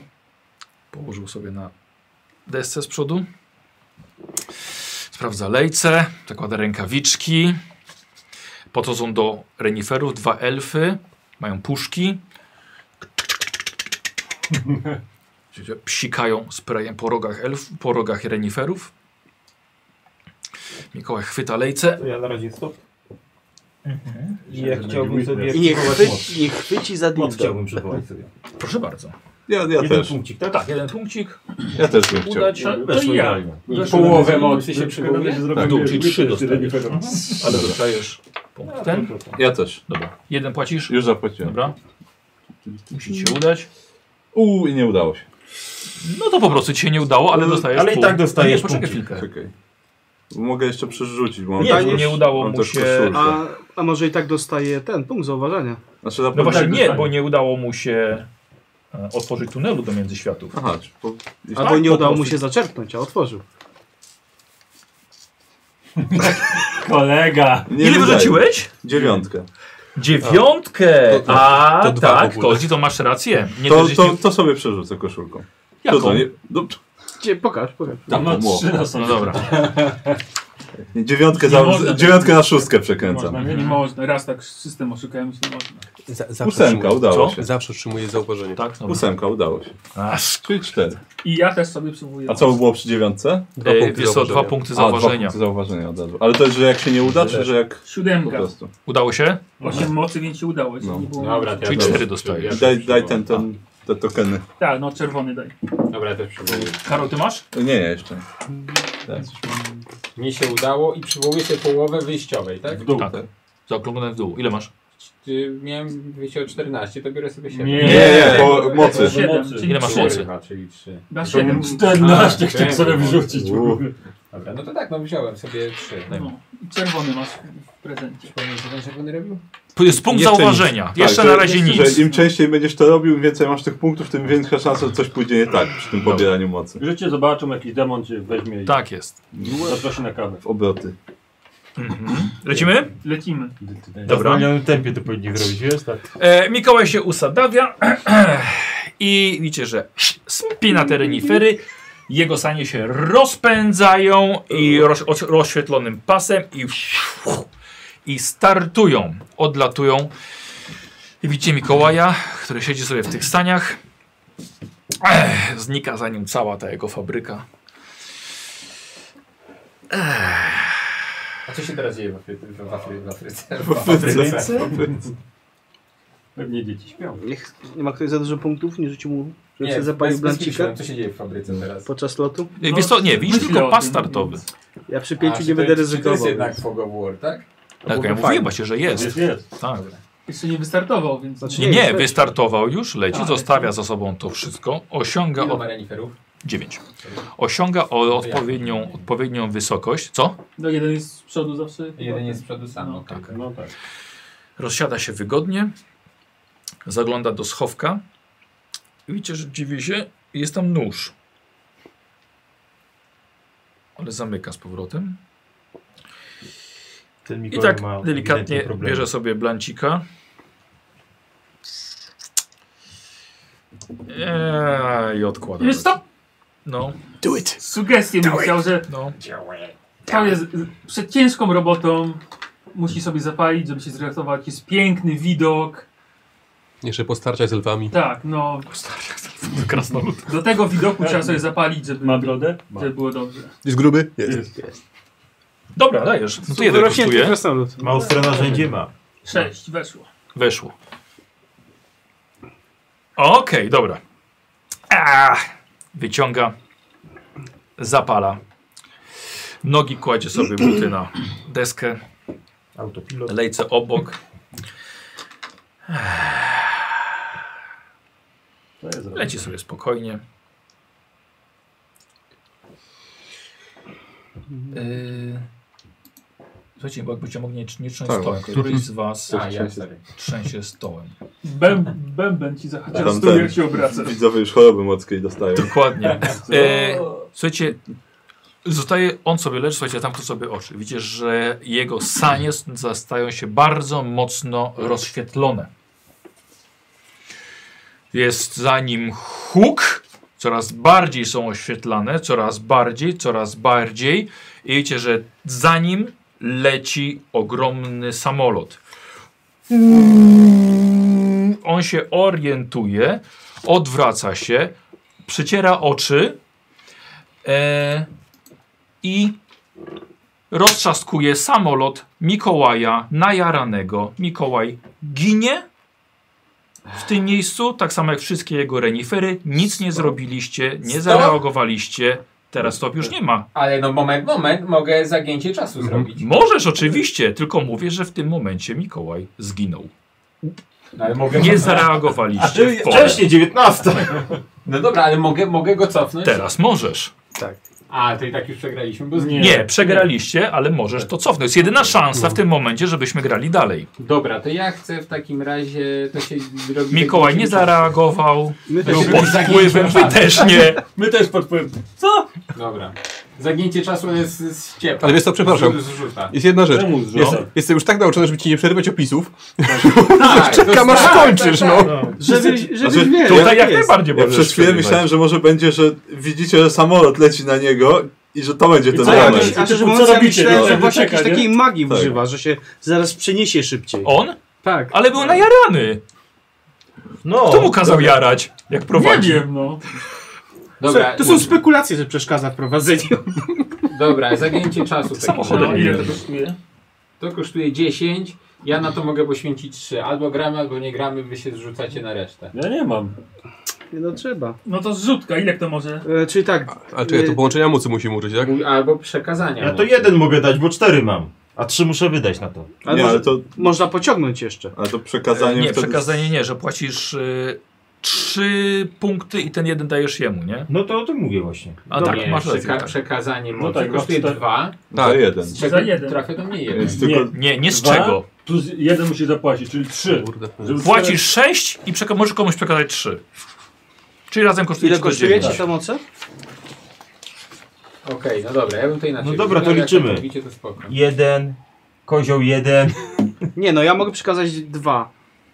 A: Położył sobie na desce z przodu. Sprawdza lejce, zakłada rękawiczki. Podchodzą do reniferów dwa elfy. Mają puszki. Psikają sprayem po rogach elf, po rogach reniferów. Mikołaj chwyta lejce.
H: To ja na razie stop. I ja chciałbym sobie
D: I Mhm. nie, chwy,
H: aktywować moc.
D: nie chwyci za
H: Moc
D: dildo.
H: chciałbym przywołać sobie.
A: Proszę bardzo.
C: Ja, ja
H: Jeden
C: też.
H: punkcik, tak?
A: Tak, jeden punkcik.
C: Ja też bym chciał.
A: Udać.
F: To, to
B: Weszło
F: i ja.
B: idealnie.
G: Połowę mocy się przywołuje?
A: Na dół, czyli trzy dostajesz.
B: dostajesz.
A: Ale dostajesz punkt ten.
C: Ja też.
A: Dobra. Jeden płacisz.
C: Już zapłaciłem.
A: Dobra. Musi ci się udać.
C: Uuu, i nie udało się.
A: No to po prostu ci się nie udało, ale dostajesz
H: Ale i
A: punkt.
H: tak
A: Nie,
H: dostajesz
A: poczekaj
H: punkcik.
A: chwilkę.
C: Czekaj. Mogę jeszcze przerzucić, bo mam
A: Nie,
C: też,
A: nie udało
C: mam
A: mu
C: też
A: się...
C: koszulkę.
D: A, a może i tak dostaje ten punkt zauważania.
C: Znaczy na
A: No
C: pewno...
A: właśnie nie,
B: dostanie.
A: bo nie udało mu się e, otworzyć tunelu do Międzyświatów.
C: Aha, czy po... jeśli-
D: Albo
A: tak,
D: nie
A: po
D: udało mu
A: prostu.
D: się zaczerpnąć, a otworzył.
B: Kolega!
C: nie
A: Ile
C: wydaje.
A: wyrzuciłeś?
C: Dziewiątkę.
A: Dziewiątkę!
I: To-
A: A,
I: to dwa
A: tak,
I: w ogóle.
A: Kozi, to masz rację. Nie
C: To,
A: dość, że
C: to,
A: nie-
C: to sobie przerzucę koszulką.
A: Jaką?
C: To, to nie... No,
D: Gdzie, pokaż, pokaż.
C: tam,
B: No
C: no,
B: trzy na są.
A: No dobra.
C: dziewiątkę,
F: Nie
C: za,
F: można.
C: dziewiątkę na szóstkę przekręcam.
B: Można,
F: Nie można, raz tak system oszukałem się, nie można.
I: Za, zawsze
C: Ósemka,
I: otrzymuję-
C: udało
A: Co?
C: się.
I: Zawsze otrzymuję zauważenie.
A: Tak, no.
C: Ósemka, udało się.
A: Aż.
C: Czyli cztery.
F: I ja też sobie przywołuję.
C: A co by było przy dziewiątce?
I: Dwa
A: E,
I: punkty
A: wiesz co, dwa
I: zauważenia.
A: punkty
C: A, dwa
A: zauważenia.
C: punkty zauważenia od razu. Ale to jest, że jak się nie uda, czy że jak po
F: Siódemka.
C: prostu.
A: Udało się?
F: Osiem mocy, więc się udało. jeśli
C: No.
F: Nie było
G: Dobra, to ja
A: Czyli
G: też-
A: cztery dostajesz.
G: ja też
C: Daj,
G: przywołam.
C: daj ten, ten, te tokeny.
F: Tak, no czerwony daj.
G: Dobra, ja też przywołuję.
A: Karol, ty masz?
C: No Nie, nie, jeszcze. nie.
G: Mi się udało i przywołuję sobie połowę wyjściowej, tak?
A: Tak. Zaokrąglone w dół. Ile masz?
G: czy miałem wyjście o 14, to biorę sobie 7.
B: Nie.
C: Nie, nie, po mocy.
B: Siedem.
F: Mocy.
A: Ile masz mocy?
G: Kurwa, czyli 3.
F: Na 7.
B: 14 chciałem
G: pięknie.
B: sobie wyrzucić.
C: U.
G: Dobra, no to tak, no wziąłem sobie 3.
F: No. I Czerwony masz w prezencie.
G: Pamiętasz, co ten czerwony robił?
A: To jest punkt
I: Jeszcze
A: zauważenia. Jeszcze
C: że-
A: na razie nic.
C: Że im częściej będziesz to robił, im więcej masz tych punktów, tym większa szansa, że coś pójdzie nie tak przy tym pobieraniu mocy.
B: Że cię zobaczą, jakiś demon cię weźmie i
A: Tak jest.
B: zaprosi na kawę.
C: W obroty.
A: Lecimy?
F: Lecimy.
H: W
A: Dobra.
H: zwolnionym tempie to powinni zrobić, wiesz? Tak.
A: E, Mikołaj się usadawia i widzicie, że spina te renifery. Jego sanie się rozpędzają i roz, oś- rozświetlonym pasem i, i startują, odlatują. I widzicie Mikołaja, który siedzi sobie w tych saniach. Ech, znika za nim cała ta jego fabryka.
G: A co się teraz dzieje w Afryce? W Afry- w Afryce?
B: Pewnie dzieci śpią.
D: Niech nie ma ktoś za dużo punktów, nie rzucił mu, żeby
G: Nie,
D: się zapalił
G: bez- bez
D: blancika
G: myślałem, Co się dzieje w fabryce teraz?
D: podczas lotu.
A: No, Wiesz co, nie, widzisz
F: myślę o
A: tylko pas
F: tym,
A: startowy.
F: więc-
D: Ja przy
G: A,
D: pięciu
G: czy
D: nie
G: to
D: będę
G: jest- czy To jest
D: ryzykował.
G: jednak Fog of War, tak?
A: Tak, ja mówiłem właśnie, że jest.
B: Jest, jest.
A: Tak.
F: Jeszcze nie wystartował, więc...
D: Znaczy
A: Nie, Tak.
D: Nie,
A: nie,
D: leci.
A: wystartował już, leci,
F: A,
A: zostawia za sobą to wszystko, osiąga
G: Ile
A: od
G: ma reniferów?
A: 9. Osiąga o odpowiednią, odpowiednią wysokość, co?
F: No jeden jest z przodu zawsze.
G: Jeden jest z przodu sam.
F: No,
G: okej.
B: No tak.
A: Rozsiada się wygodnie, zagląda do schowka. I Widzicie, że dziwi się, jest tam nóż. Ale zamyka z powrotem.
H: Ten
A: I
H: Mikołaj
A: tak
H: ma ewidentnie
A: delikatnie
H: problemy.
A: bierze sobie blancika. Eee, I odkłada.
F: Wiesz co?
A: No,
F: Sugestie bym chciał, że
A: no.
F: Paul jest z- przed ciężką robotą. Musi sobie zapalić, żeby się zrelaksować. Jest piękny widok.
I: Jeszcze postarczać z lwami.
F: Tak, no.
A: Krasnolud.
F: Do tego widoku trzeba sobie zapalić, żeby,
B: Ma brodę?
F: żeby było dobrze.
I: Jest gruby? Jest.
A: Dobra, dajesz. No to jeden
D: Wyrośnięty
A: kosztuje.
D: krasnolud.
H: Ma ostre narzędzie, ma.
F: Sześć, weszło.
A: Weszło. Okej, dobra. Ah, wyciąga, zapala. Nogi kładzie sobie buty na deskę,
H: Autopilot.
A: lejce obok.
B: To jest raz.
A: Leci sobie spokojnie.
B: Mhm.
A: Yy... Słuchajcie, bo jakbyście mogli nie, nie trząść
C: Tak.
A: stołem. Któryś z was
G: A, ja sorry.
A: trzęsie stołem.
F: Bęb, bęben ci zahaczył
C: Tam
F: stół,
C: ten.
F: jak się obracasz.
C: Widzowie już choroby mockiej dostają.
A: Dokładnie. E, słuchajcie, zostaje on sobie leży, słuchajcie, tam to sobie oczy. Widzicie, że jego sanie s- stają się bardzo mocno rozświetlone. Jest za nim huk, coraz bardziej są oświetlane, coraz bardziej, coraz bardziej. I wiecie, że za nim leci ogromny samolot. On się orientuje, odwraca się, przyciera oczy e, i roztrzaskuje samolot Mikołaja najaranego. Mikołaj ginie w tym miejscu, tak samo jak wszystkie jego renifery. Nic nie zrobiliście, nie
G: Stop.
A: zareagowaliście. Teraz stop już nie ma.
G: Ale no moment, moment, mogę zagięcie czasu zrobić.
A: Możesz oczywiście, tylko mówię, że w tym momencie Mikołaj zginął.
G: No, ale mogę
A: Nie zareagowaliście w porę.
H: 19!
G: No dobra, ale mogę, mogę go cofnąć?
A: Teraz możesz.
G: A, to i tak już przegraliśmy, bo zginął.
A: Nie, przegraliście, ale możesz to cofnąć. Jest jedyna szansa w tym momencie, żebyśmy grali dalej.
G: Dobra, to ja chcę w takim razie to się zrobi.
A: Mikołaj nie zareagował,
D: My też
A: był
G: się
A: pod
G: zagięcie
A: wpływem, wy
G: czasu.
A: też nie.
B: My też pod wpływem.
G: Dobra. Zagięcie czasu jest z ciepła.
I: Ale wiesz co, przepraszam.
G: Z, zrzuta.
I: Jest jedna rzecz.
B: Czemu zrzuca?
I: Jest, jestem już tak nauczony, żeby ci nie przerywać opisów.
G: Tak,
I: Czekam aż
G: tak,
I: kończysz,
G: tak,
I: no.
G: tak.
D: Żeby,
C: Znaczy,
D: żeby wiedzieć,
A: tak. Tutaj jak
D: jest.
A: najbardziej
C: Ja
A: możesz
C: przez chwilę
A: przerywać.
C: myślałem, że może będzie, że widzicie, że samolot leci na niego i że to będzie ten
B: co, jak
C: moment.
B: jest?
D: A szczerze
B: Co
D: mówiąc, ja
B: robicie,
D: myślałem,
B: no?
D: że właśnie
B: Czeka,
D: jakiejś
B: nie?
D: takiej magii
C: Tak.
D: używa, że się zaraz przeniesie szybciej.
A: On?
D: Tak.
A: Ale był najarany.
H: No!
A: Kto mu kazał jarać, jak
F: Nie
A: prowadzi?
F: wiem, no.
G: Dobra,
D: To są spekulacje, że przeszkadza w prowadzeniu.
G: dobra, zagięcie czasu. w takim
A: Samochodem
G: razie.
F: no ile to kosztuje?
G: To kosztuje 10. Ja na to mogę poświęcić 3. Albo gramy, albo nie gramy, wy się zrzucacie na resztę.
B: Ja nie mam.
D: Nie, No trzeba.
F: No to zrzutka, ile kto może?
D: E, czyli tak,
I: Y- Ale czekaj, to połączenia mocy musimy użyć, tak?
F: No
G: Mój- Albo przekazania.
H: Ja no to
G: mocy.
H: jeden mogę dać, bo cztery mam. A trzy muszę wydać na to.
D: Ale
C: nie,
D: może,
C: ale to,
D: można pociągnąć jeszcze.
C: ale to
A: E,
C: przekazanie
A: nie,
C: wtedy...
A: przekazanie nie, że płacisz y, trzy punkty i ten jeden dajesz jemu, nie?
H: No to o tym mówię właśnie.
A: A
D: No
A: tak,
G: nie,
A: masz rację.
G: przeka
A: Tak.
F: No
G: przekazanie mocy
B: tak,
G: kosztuje
B: masz-
G: dwa,
C: To jeden.
G: z
F: Za
G: czego
F: jeden. Mhm.
G: trafia do mnie jeden.
C: Więc
B: Nie.
C: tylko...
A: Nie, nie z
B: Dwa?
A: czego.
B: Plus jeden musisz zapłacić, czyli trzy.
I: Kurde.
B: Żeby
A: Płacisz sześć i przeka- możesz komuś przekazać trzy. Czyli razem kosztuje
D: Ile
A: 49.
D: kosztuje ci te moce?
G: Okej, no dobra, ja bym to inaczej.
H: No dobra,
G: robił,
H: to
G: ale Jak
H: liczymy.
G: tak robicie, to spoko.
H: Jeden, kozioł jeden.
D: Nie, no ja mogę przekazać dwa.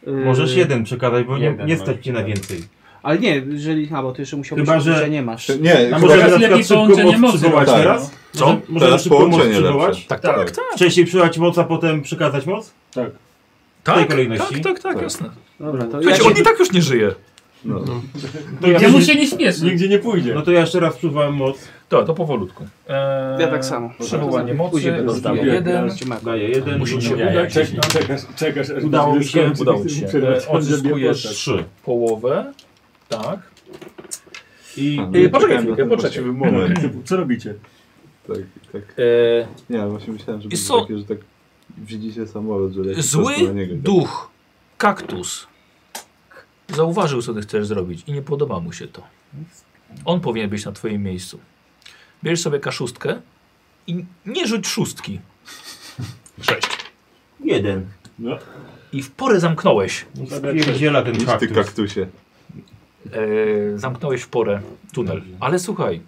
D: Yy,
H: Możesz jeden przekazać, bo nie,
G: Jeden
H: nie
G: możesz,
H: stać cię na więcej.
D: Ale nie, jeżeli. A bo ty jeszcze musiałbyś
H: Chyba,
D: Chyba,
H: że-
D: że nie masz.
C: Czy, nie,
H: A
C: chyba...
H: No może
F: Teraz
H: na przykład
F: lepiej
H: szybko
F: połączenie
H: moc
F: mocy
H: przywołać
F: robić,
H: teraz?
A: Co?
H: Może, może
C: Teraz
H: tak. No, szybko moc
C: połączenie
H: przywołać?
C: lepsze.
A: Tak, tak, tak.
C: Tak.
A: tak.
H: Wcześniej przywołać moc, a potem przekazać moc? tej
A: Tak,
H: kolejności?
A: tak, tak, tak, jasne.
D: Dobra, to ja
A: Słuchajcie,
D: się...
A: on i tak już nie żyje.
C: No.
H: To ja,
F: Ja mu się nie śpieszy.
E: Nigdzie nie pójdzie.
H: No to ja jeszcze raz przywołam moc.
A: To, to powolutku. Eee,
D: Ja tak samo.
A: Przywołanie mocy,
D: Później będę
A: zostawię
D: robił.
A: jeden.
D: Ci Marku.
H: Daję jeden,
A: Musi ci się
H: drugi.
A: udać.
E: Czek- Czekasz, czekasz, aż
H: Udało
E: będzie
H: mi się,
E: skończyć
A: Udało
E: i
A: ci się.
E: przerwać.
A: E, Odzyskujesz
H: Trzy.
A: połowę. Tak.
H: I
A: Yy, poczekaj
C: na
A: chwilkę,
C: ten
A: poczekaj.
C: właściwy moment.
E: Co robicie?
C: Tak, tak.
A: Eee,
C: Nie, właśnie myślałem, że
A: I
C: będzie
A: są-
C: takie, że tak widzicie samolot, że leci
A: Zły
C: prosto na niego. i tak-
A: duch, kaktus, zauważył, co ty chcesz zrobić i nie podoba mu się to. On powinien być na twoim miejscu. Bierz sobie kaszustkę i nie rzuć szóstki. Sześć.
H: jeden.
A: I w porę zamknąłeś.
H: No Spierdziela ten
C: Idź ty
H: kaktus.
C: kaktusie.
A: Eee, zamknąłeś w porę tunel. Ale słuchaj,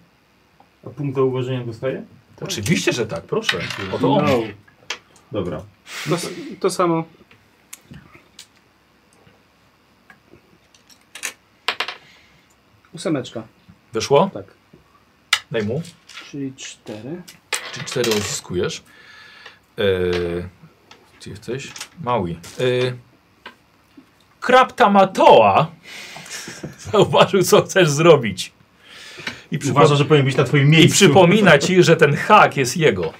H: A punkt do uważenia dostaję?
A: oczywiście, że tak, proszę. Oto on.
E: No.
H: Dobra.
D: To, s- to samo. Ósemeczka,
A: Wyszło?
D: tak.
A: Daj mu.
D: Czyli cztery.
A: Czy cztery odzyskujesz? Eee, gdzie jesteś? Mały. Eee, Krapta Matoa zauważył, co chcesz zrobić. I, przypo-
H: Uważa, że powinien być na twoim
A: I
H: miejscu.
A: przypomina ci, że ten hak jest jego.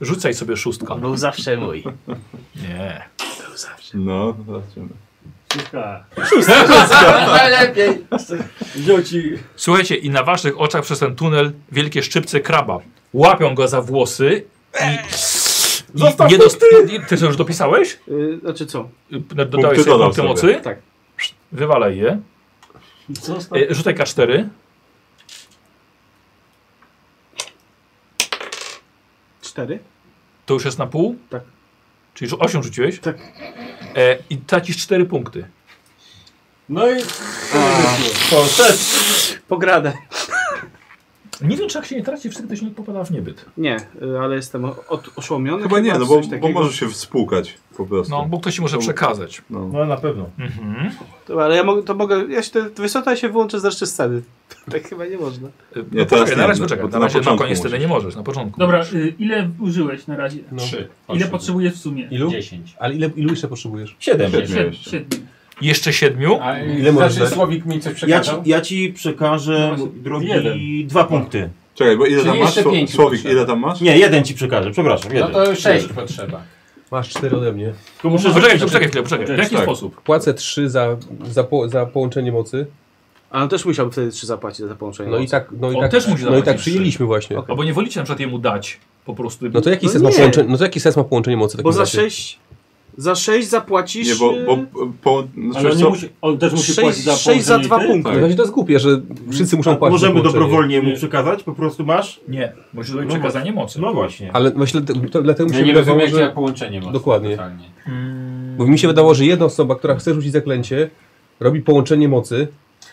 A: Rzucaj sobie szóstka.
K: Był zawsze mój.
A: Nie.
C: No, zobaczymy.
E: Słuchaj,
G: lepiej.
E: Wziął ci...
A: Słuchajcie, i na waszych oczach przez ten tunel wielkie szczypce kraba. Łapią go za włosy i... Zostaw nie dost... i- Ty to już dopisałeś?
D: Yy, znaczy co?
A: Y, Dodałeś
C: Punkty
A: sobie
C: dodał
A: punkty
C: sobie.
A: mocy?
D: Tak.
A: Wywalaj je.
E: Zostaw.
A: E, Rzucaj K4.
D: Cztery?
A: To już jest na pół?
D: Tak.
A: Czyli 8 rzuciłeś?
D: Tak.
A: E, I tracisz 4 punkty.
E: No i...
D: Pogradę.
A: Nie wiem, czy jak się nie traci, wtedy się nie popada w niebyt.
D: Nie, yy, ale jestem o- od, oszołomiony.
C: Chyba nie, no
D: coś
C: bo, bo
D: takiego.
C: może się współkać po prostu.
A: No, bo ktoś ci może przekazać. E,
C: No.
H: No na pewno.
A: Mhm.
D: Dobra, ale ja mogę, to mogę, ja się, to, wiesz co, to ja się wyłączę z reszty sceny. Tak chyba nie można.
A: E,
C: Nie,
A: no
C: teraz
A: poczekaj,
C: nie,
A: na razie
C: no,
A: poczekaj.
C: bo
A: Na
C: to na
A: razie na
C: początku
A: koniec wtedy
C: musisz.
A: nie możesz, na początku.
F: Dobra, y, ile użyłeś na razie?
I: Trzy.
F: Ile potrzebujesz w sumie?
I: Ilu?
G: Dziesięć.
I: Ale ile, ilu jeszcze potrzebujesz?
H: Siedem.
C: Siedem.
F: Sied-
C: jeszcze.
F: Siedmiu.
A: Jeszcze 7.
G: A
I: Ile
G: Ile
I: możesz
G: znaczy
I: dać?
G: Słowik mi coś
H: Ja ci,
G: przekazał?
H: ja ci przekażę, drogi,
E: Jeden.
H: dwa punkty.
C: Czekaj, bo ile
G: Czyli
C: tam masz?
G: jeszcze
C: Sło-
G: pięć
C: Słowik,
G: potrzeba.
C: ile tam masz?
H: Nie, jeden ci przekażę, przepraszam,
G: No
H: jeden.
G: to sześć potrzeba.
I: Masz cztery ode mnie.
H: Tylko muszę
A: Poczekaj,
H: zobaczyć-
A: poczekaj chwilę, poczekaj. W jaki
C: Tak.
A: sposób?
I: Płacę trzy za, za, po, za połączenie mocy.
D: A on też musiałby wtedy trzy zapłacić za połączenie.
I: No i tak, no i
A: On
I: tak,
A: też musi
I: no i tak
A: zapłacić
I: przyjęliśmy właśnie.
D: Okej.
A: Albo nie wolicie na przykład jemu dać po prostu.
I: No to jaki
D: No
I: sens ma
D: nie.
I: połączenie, no to jaki sens ma połączenie mocy? w takim
D: Bo za
I: razie?
D: sześć, za sześć zapłacisz...
C: Nie, bo... bo
D: yy,
C: po, no,
E: Ale on, nie
C: co?
E: musi, on też musi płacić
D: sześć,
E: za
D: sześć za
E: położenie
D: dwa
E: i ty?
I: No
D: punkty.
C: tak.
I: właśnie to jest głupie, że wszyscy muszą płacić. za
H: Możemy
I: połączenie.
H: dowolnie mu
E: Nie.
H: przekazać, po prostu masz?
A: Nie, musisz zrobić
H: No
A: przekazanie mocy.
H: No właśnie.
I: Ale właśnie dlatego- to- dlatego mi
G: Ja
I: się
G: nie
I: wydawało,
G: rozumiem, jakie ja
I: że...
G: połączenie mam.
I: Dokładnie.
G: Totalnie.
I: Bo mi się wydawało, że jedna osoba, która chce rzucić zaklęcie, robi połączenie mocy.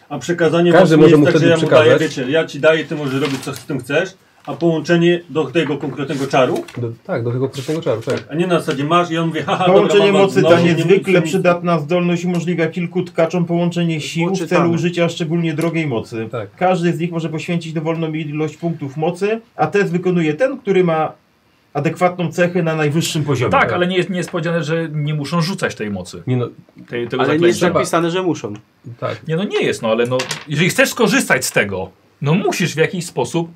E: A przekazanie
I: Każdy
E: Każdy może
I: może mu
E: jest tak,
I: wtedy
E: że ja mu daję,
I: przekazać.
E: wiecie, ja ci daję, ty możesz robić co z tym chcesz, a połączenie do tego konkretnego czaru,
I: Do, tak, do tego konkretnego czaru, tak.
E: a nie na zasadzie masz i on mówi, haha,
H: Połączenie
E: dobra, mam
H: mocy
E: was
H: ta
E: znowu, nie
H: niezwykle
E: musisz mi-
H: przydatna zdolność umożliwia kilku tkaczom połączenie sił w
D: Poczytamy.
H: celu użycia szczególnie drogiej mocy.
I: Tak.
H: Każdy z nich może poświęcić dowolną ilość punktów mocy, a test wykonuje ten, który ma adekwatną cechę na najwyższym poziomie.
A: Tak, ale nie jest niespodziane, że nie muszą rzucać tej mocy.
I: Nie no,
A: Tej, tego
D: Ale nie jest
A: zaklęcia.
D: napisane, że muszą.
I: tak.
A: Nie no nie jest, no ale no, jeżeli chcesz skorzystać z tego, no musisz w jakiś sposób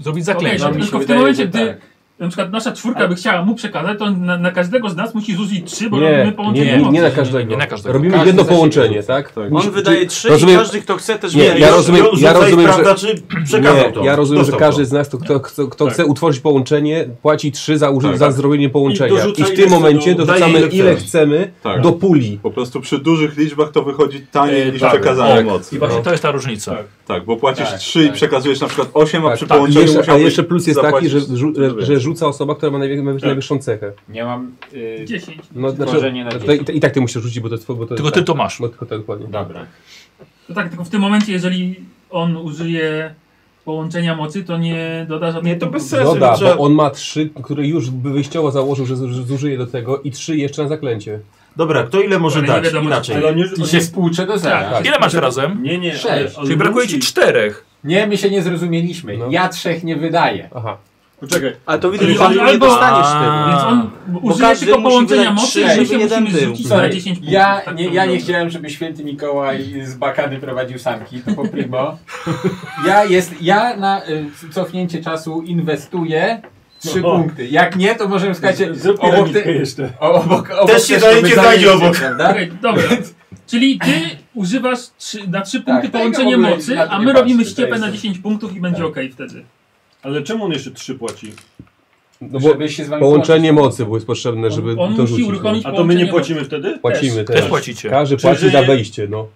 A: zrobić
G: No
A: zaklęcie.
G: mi się
F: Tylko w tym
G: wydaje,
F: momencie,
G: że
F: gdy-
G: tak.
F: na przykład nasza czwórka by chciała mu przekazać, to na, na każdego z nas musi zużyć trzy, bo robimy
I: Nie,
F: połączenie
I: nie, nie,
F: emocji.
I: nie na każdego.
A: Nie na każdego.
I: Robimy
G: Każdy
I: jedno
G: za siebie.
I: połączenie, tak?
D: On
I: Musi-
D: wydaje
I: czyli-
D: trzy i
I: rozumiem-
D: każdy, kto chce, też
I: Nie,
D: wydaje
I: ja
D: trzy.
I: rozumiem-
D: Rzucaj
I: ja rozumiem, że-
D: sprawdza,
E: Czy przekazał
I: Nie,
E: to?
I: ja rozumiem, że
E: Dostał to.
I: każdy z nas, kto, kto, kto, kto chce utworzyć połączenie, płaci 3 za, uży-
C: Tak.
I: za zrobienie połączenia. I,
B: dorzuca
I: w
B: ile
I: tym
B: chce
I: momencie
B: do-
I: dorzucamy
C: daje
I: ile,
C: ile chce.
I: chcemy
C: Tak.
I: do puli.
C: Po prostu przy dużych liczbach to wychodzi taniej
A: E,
C: niż
A: tak,
C: przekazanie
A: tak.
C: mocy.
A: I właśnie
I: No.
A: to jest ta różnica.
B: Tak.
C: Tak, bo płacisz
G: Tak,
C: 3 i
G: tak.
C: przekazujesz na przykład 8, a
I: Tak,
C: No, przy
I: tak. I
C: połączeniu
I: jeszcze, a
C: musiałbyś
I: jeszcze plus jest taki,
C: zapłacić
I: że, rzu-
C: dużo
I: że
C: więcej.
I: rzuca osoba, która ma najwie- najwy- najwyższą cechę.
G: Nie mam... y,
F: Dziesięć.
I: No, znaczy,
G: Tworzenie na
I: to,
G: dziesięć.
I: i, I tak ty musisz rzucić, bo to, bo to
A: Tylko ty to masz.
I: No, tylko tak dokładnie.
G: Dobra.
F: To tak, tylko w tym momencie, jeżeli on użyje połączenia mocy, to nie doda żadnej
E: Nie, to bez
F: punktów.
E: sensu.
I: No da,
E: trzeba-
I: bo on ma 3, które już by wyjściowo założył, że zu- że zużyje do tego i 3 jeszcze na zaklęcie.
E: Dobra, kto ile może
F: Ale nie
E: dać?
F: wiadomo,
E: Inaczej.
B: Ale on już...
G: I się spłuczę do zera.
I: Tak.
A: Ile masz razem?
B: Nie, nie,
G: Sześć.
B: ale, ale
A: Czyli brakuje ci
B: musi-
A: czterech.
G: Nie, my się nie zrozumieliśmy.
I: No.
G: Ja trzech nie wydaję.
I: Aha.
B: Poczekaj,
D: Ale to widać,
F: Czyli
D: że
F: on
D: nie
F: albo-
D: dostaniesz
A: A.
D: tego.
F: Więc on użyje
D: każdy
F: tylko
D: musi
F: połączenia
D: wydać
F: mocy,
D: trzy,
F: że my
D: żeby
F: się
D: jeden
F: musimy
D: był.
F: zrzucić na
G: Sorry,
F: 10 punktów.
G: ja,
F: Tak
G: nie,
F: to
G: ja nie
F: wygląda.
G: chciałem, żeby święty Mikołaj z Bakany prowadził sanki, to po primo. Ja, jest, ja na y, cofnięcie czasu inwestuję trzy
B: No.
G: punkty. Jak nie, to możemy skakać
B: zrób
G: obok,
B: piramidkę
G: te,
B: jeszcze.
G: obok, obok
E: Też się
G: to
E: dajecie,
G: my
E: dajcie
G: zajęcie,
E: obok.
G: prawda?
F: Okej, dobra. Czyli ty używasz trzy, na 3 punkty
B: Tak,
G: tego w
F: połączenie
G: ogóle
F: mocy,
G: na to
F: a
G: nie
F: my
G: patrzę,
F: robimy
G: to
F: ściepę
G: jest-
F: na 10 punktów i będzie
G: Tak.
F: ok wtedy.
B: Ale czemu on jeszcze trzy płaci?
I: No bo
G: Żeby się z wami
I: połączenie mocy było potrzebne, żeby
F: On- on
I: to
F: musi
I: rzucić. no.
F: uruchomić-
B: A to my nie płacimy wtedy?
I: Płacimy
F: Też.
I: też.
A: Też płacicie.
I: Każdy
B: Czyli,
I: płaci
B: że
I: za
B: nie-
I: wejście, no.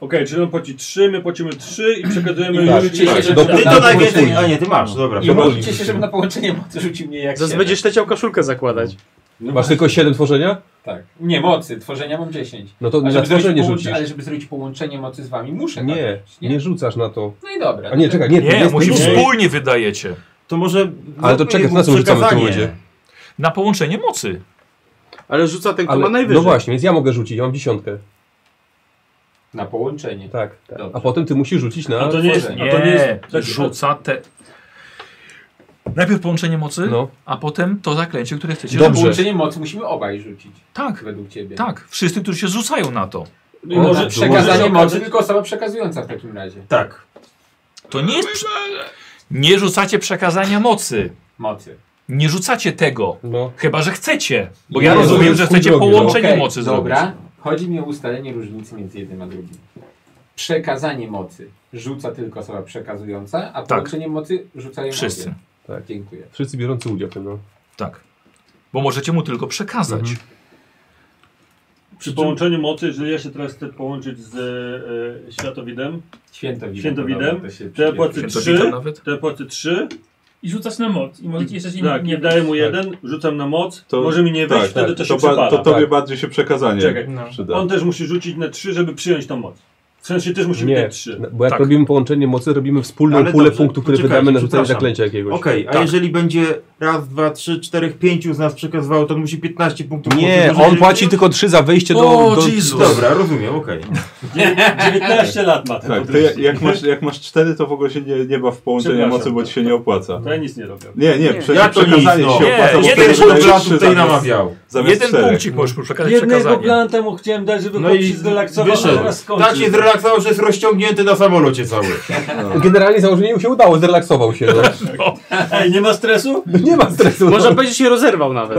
B: Okej, czyli on płaci trzy, my płacimy trzy i przekazujemy
G: I
B: tak,
G: rzucicie
B: tak, tak,
G: się do-
B: tak.
E: Ty
I: Na
E: to najwięcej.
I: później.
E: A nie, ty masz, dobra.
G: I
I: To
G: mówicie
I: boli.
G: się, żeby na połączenie mocy rzucił mnie jak
D: Zaraz
G: siebie.
D: będziesz leciał koszulkę zakładać.
B: No
I: Masz tylko 7 tworzenia?
G: Tak. Nie, mocy. Tworzenia mam 10.
I: No to
G: A
I: na
G: żeby zrobić
I: tworzenie
G: połączenie-
I: rzucisz.
G: Ale żeby zrobić połączenie mocy z wami, muszę tak
I: Nie,
G: robić,
I: nie rzucasz na to.
G: No i dobra.
I: A nie, czekaj, nie,
A: Nie,
I: jest-
A: musisz
I: jest-
A: wspólnie wydajecie.
E: To może...
I: Ale
H: No
I: to czekaj, na co rzucamy w tym
E: Przekazanie.
I: momencie?
A: Na połączenie mocy.
D: Ale rzuca ten, kto ma
I: Ale, no
D: najwyżej.
I: właśnie, więc ja mogę rzucić, ja mam dziesiątkę.
G: Na połączenie.
I: Tak. tak.
G: Dobrze. No
I: A potem ty musisz rzucić na...
B: A to nie jest... A to nie
A: Nie,
B: jest
A: rzuca te... Najpierw połączenie mocy,
I: No.
A: a potem to zaklęcie, które chcecie
I: Dobrze.
G: Na
A: rzucić.
G: połączenie mocy musimy obaj rzucić.
A: Tak,
G: Według ciebie.
A: tak. Wszyscy, którzy się rzucają na to.
B: I może-
G: Przekazanie
B: może-
G: mocy tylko osoba przekazująca w takim razie.
E: Tak.
A: To nie jest... prze- Nie rzucacie przekazania mocy.
G: Mocy.
A: Nie rzucacie tego.
I: No.
A: Chyba, że chcecie. Bo
I: Nie,
A: ja
I: to
A: rozumiem,
I: jest
A: że
I: twój
A: chcecie
I: drogi, no.
A: połączenie
G: Okej,
A: mocy
G: dobra.
A: zrobić.
G: Chodzi mi o ustalenie różnicy między jednym a drugim. Przekazanie mocy rzuca tylko osoba przekazująca, a połączenie mocy rzucają
A: Wszyscy.
G: obie.
I: Tak.
G: Dziękuję.
I: Wszyscy biorący udział w tym, no.
A: Tak. Bo możecie mu tylko przekazać.
I: Mhm.
B: Przy połączeniu mocy, jeżeli ja się teraz chcę połączyć z e, światowidem,
G: Świętowidem.
B: Świętowidem?
G: Dobra, się
B: to ja płacę
A: Święto
B: trzy,
A: witam nawet.
B: to ja płacę trzy,
F: I rzucasz na moc. I możecie jeszcze się
B: tak,
F: nie,
B: nie
F: nie
B: daję mu jeden, rzucam na moc,
C: To-
B: może mi nie wyjść,
C: tak,
B: wtedy
C: tak.
B: to się
C: ba-
B: przepala.
C: To tobie
I: Tak.
C: bardziej się przekazanie
B: Czekaj,
A: no.
C: przyda.
B: on też musi rzucić na trzy, żeby przyjąć tą moc. W sensie też musi
I: Nie,
B: mieć trzy.
I: no, bo jak
A: Tak.
I: robimy połączenie mocy, robimy wspólną
E: Ale
I: pulę
E: dobrze,
I: punktów, które
E: poczekajcie,
I: wydamy na rzucenie
E: przepraszam.
I: zaklęcia jakiegoś.
E: Okej, a
A: Tak.
E: jeżeli będzie raz, dwa, trzy, czterech, pięciu z nas przekazywało, to on musi 15 punktów.
I: Nie,
E: mocy.
I: on płaci tylko 3 za wejście do...
A: O,
I: do...
A: Jezus.
E: Dobra, rozumiem, okej.
B: Dziewię- 19 lat ma ten
C: Tak,
B: po
C: ty jak,
B: prostu.
C: jak, masz, jak masz cztery, to w ogóle się nie, nie baw w połączenie
B: Przepraszam.
C: mocy, bo ci się nie opłaca.
B: To ja nic nie robię.
C: Nie, nie,
D: Nie.
C: prze,
E: Ja to
C: przekazanie
E: nic, no.
C: się
A: Nie,
C: opłaca, bo
A: jeden
C: wtedy
A: punkt
C: dajesz
E: Czasu
C: trzy
E: tutaj
C: zamiast-
E: namawiał.
C: Zamiast
A: Jeden
C: czterech.
A: punkcik możesz mu przekazać
B: Jednego
A: przekazanie.
B: plana temu chciałem dać, żeby
E: No i
B: zrelaksował, a teraz
E: wyszedł.
B: skończył.
E: Tak się zrelaksował, że jest rozciągnięty na samolocie cały.
I: Generalnie założenie mu się udało, zrelaksował się. No.
B: Ej, nie ma stresu?
I: No nie ma stresu.
D: Można powiedzieć, że się rozerwał nawet.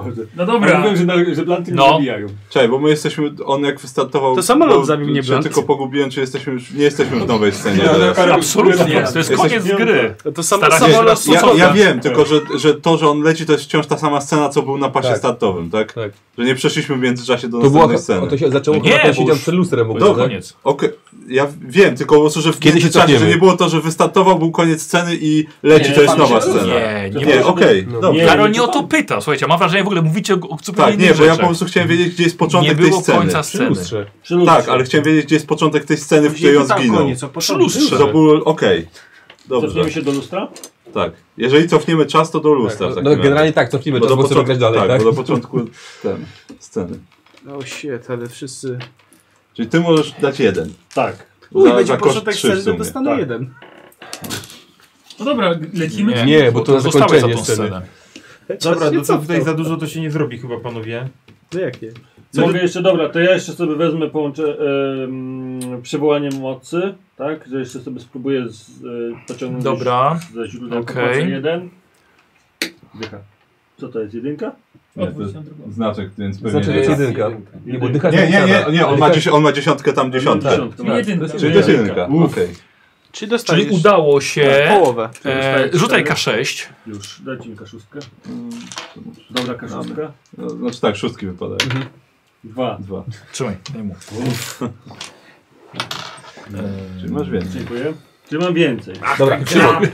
F: No
B: Dobra.
F: dobra.
B: Mówią, że, na- że planty
A: No.
B: nie zabijają.
C: Czekaj, bo my jesteśmy, on jak wystartował...
D: To samolot
C: bo-
D: zabił mnie
C: się
D: Blunt.
C: tylko pogubiłem, czy jesteśmy już, nie jesteśmy w nowej scenie
E: Ja-
C: teraz.
A: Absolutnie, to jest
C: Jesteś
A: koniec
B: piąta.
A: gry.
D: No To sam,
A: Stara się
D: samolot
A: nas
D: to
C: Ja,
D: co?
C: ja wiem, tylko że, że to, że on leci, to jest wciąż ta sama scena, co był na pasie
I: Tak.
C: startowym, tak?
I: Tak.
C: Że nie przeszliśmy w międzyczasie do
I: To, była,
C: następnej sceny.
I: o, to się zaczęło
A: No
I: chyba
A: nie,
I: ten
A: bo
I: siedział
A: już-
I: przed lustrem. w ogóle,
A: To
I: tak?
A: koniec.
C: Okej, ja wiem, tylko po prostu, że w
I: Kiedy się
C: międzyczasie, że
I: cofniemy?
C: nie było to, że wystartował, był koniec sceny i leci,
G: Nie,
C: to jest
G: pan
C: nowa
G: się-
C: scena.
A: Nie, nie,
C: Nie,
A: nie.
C: okej,
I: No.
C: dobrze.
A: Karol nie o to pyta, słuchajcie, mam wrażenie w ogóle mówicie o o zupełnie
C: Tak,
A: innych
C: nie, bo ja po
A: rzeczach.
C: prostu chciałem wiedzieć, gdzie jest początek
A: Nie
C: tej
A: było
C: sceny.
A: końca
I: Przy
A: sceny.
I: lustrze.
C: Tak, ale chciałem wiedzieć, gdzie jest początek tej sceny, w której on zginął.
D: koniec, o
A: Przy
D: początku.
A: lustrze.
C: To było okej. Dobrze,
B: Cofniemy się do lustra?
C: tak. Jeżeli cofniemy czas, to do lustra. w
I: Tak,
C: takim
I: no,
C: razie.
I: generalnie tak, cofnijmy to, bo chcemy grać dalej.
C: tak,
I: Tak,
C: Bo do początku ten, sceny.
D: O No shit, ale wszyscy...
C: Czyli ty możesz dać jeden.
B: Tak.
D: Uj,
C: Za-
D: będzie
C: za koszt
D: początek
C: trzy w
D: sceny,
C: sumie.
D: dostanę
B: Tak.
D: jeden.
F: No dobra, lecimy.
I: Nie. bo to na
A: zostałeś
I: zakończenie
A: tą
I: sceny.
A: scenę.
E: Dobra,
D: Właśnie
E: no to
D: cofnął.
E: tutaj za dużo to się nie zrobi chyba, panowie.
D: No jakie?
B: Co Mogę jeszcze, dobra, to ja jeszcze sobie wezmę, połączę em, przywołanie mocy, tak? Że jeszcze sobie spróbuję z, e, pociągnąć
A: Dobra.
B: ze źródeł
A: Okej.
B: okay. jeden. Dycha. Co to jest, jedynka?
C: Nie,
F: Odwróć
C: to
F: na drugą.
C: znaczy, więc pewnie...
I: Znaczy jest
C: nie,
I: jedynka. Nie, bo dycha
C: nie, nie, nie, nie, on ma,
I: Dycha-
C: dziesią- on ma dziesiątkę, tam dziesiątkę.
B: Dziesiątka.
F: Czyli jedynka.
C: Czyli to jest jedynka,
B: Tak. Uff.
C: okej.
D: Czy Tak,
A: Czyli
D: dostajesz
A: udało się.
D: połowę?
A: E, rzutaj K6.
B: Już, dajcie mi kaszustkę. Dobra kaszustka.
C: No, Znaczy tak, szóstki wypadają.
B: Dwa.
C: Dwa.
A: Trzymaj, daj mu.
C: Czyli masz więcej.
B: Dziękuję. Czy mam więcej?
I: Dobra, generalnie,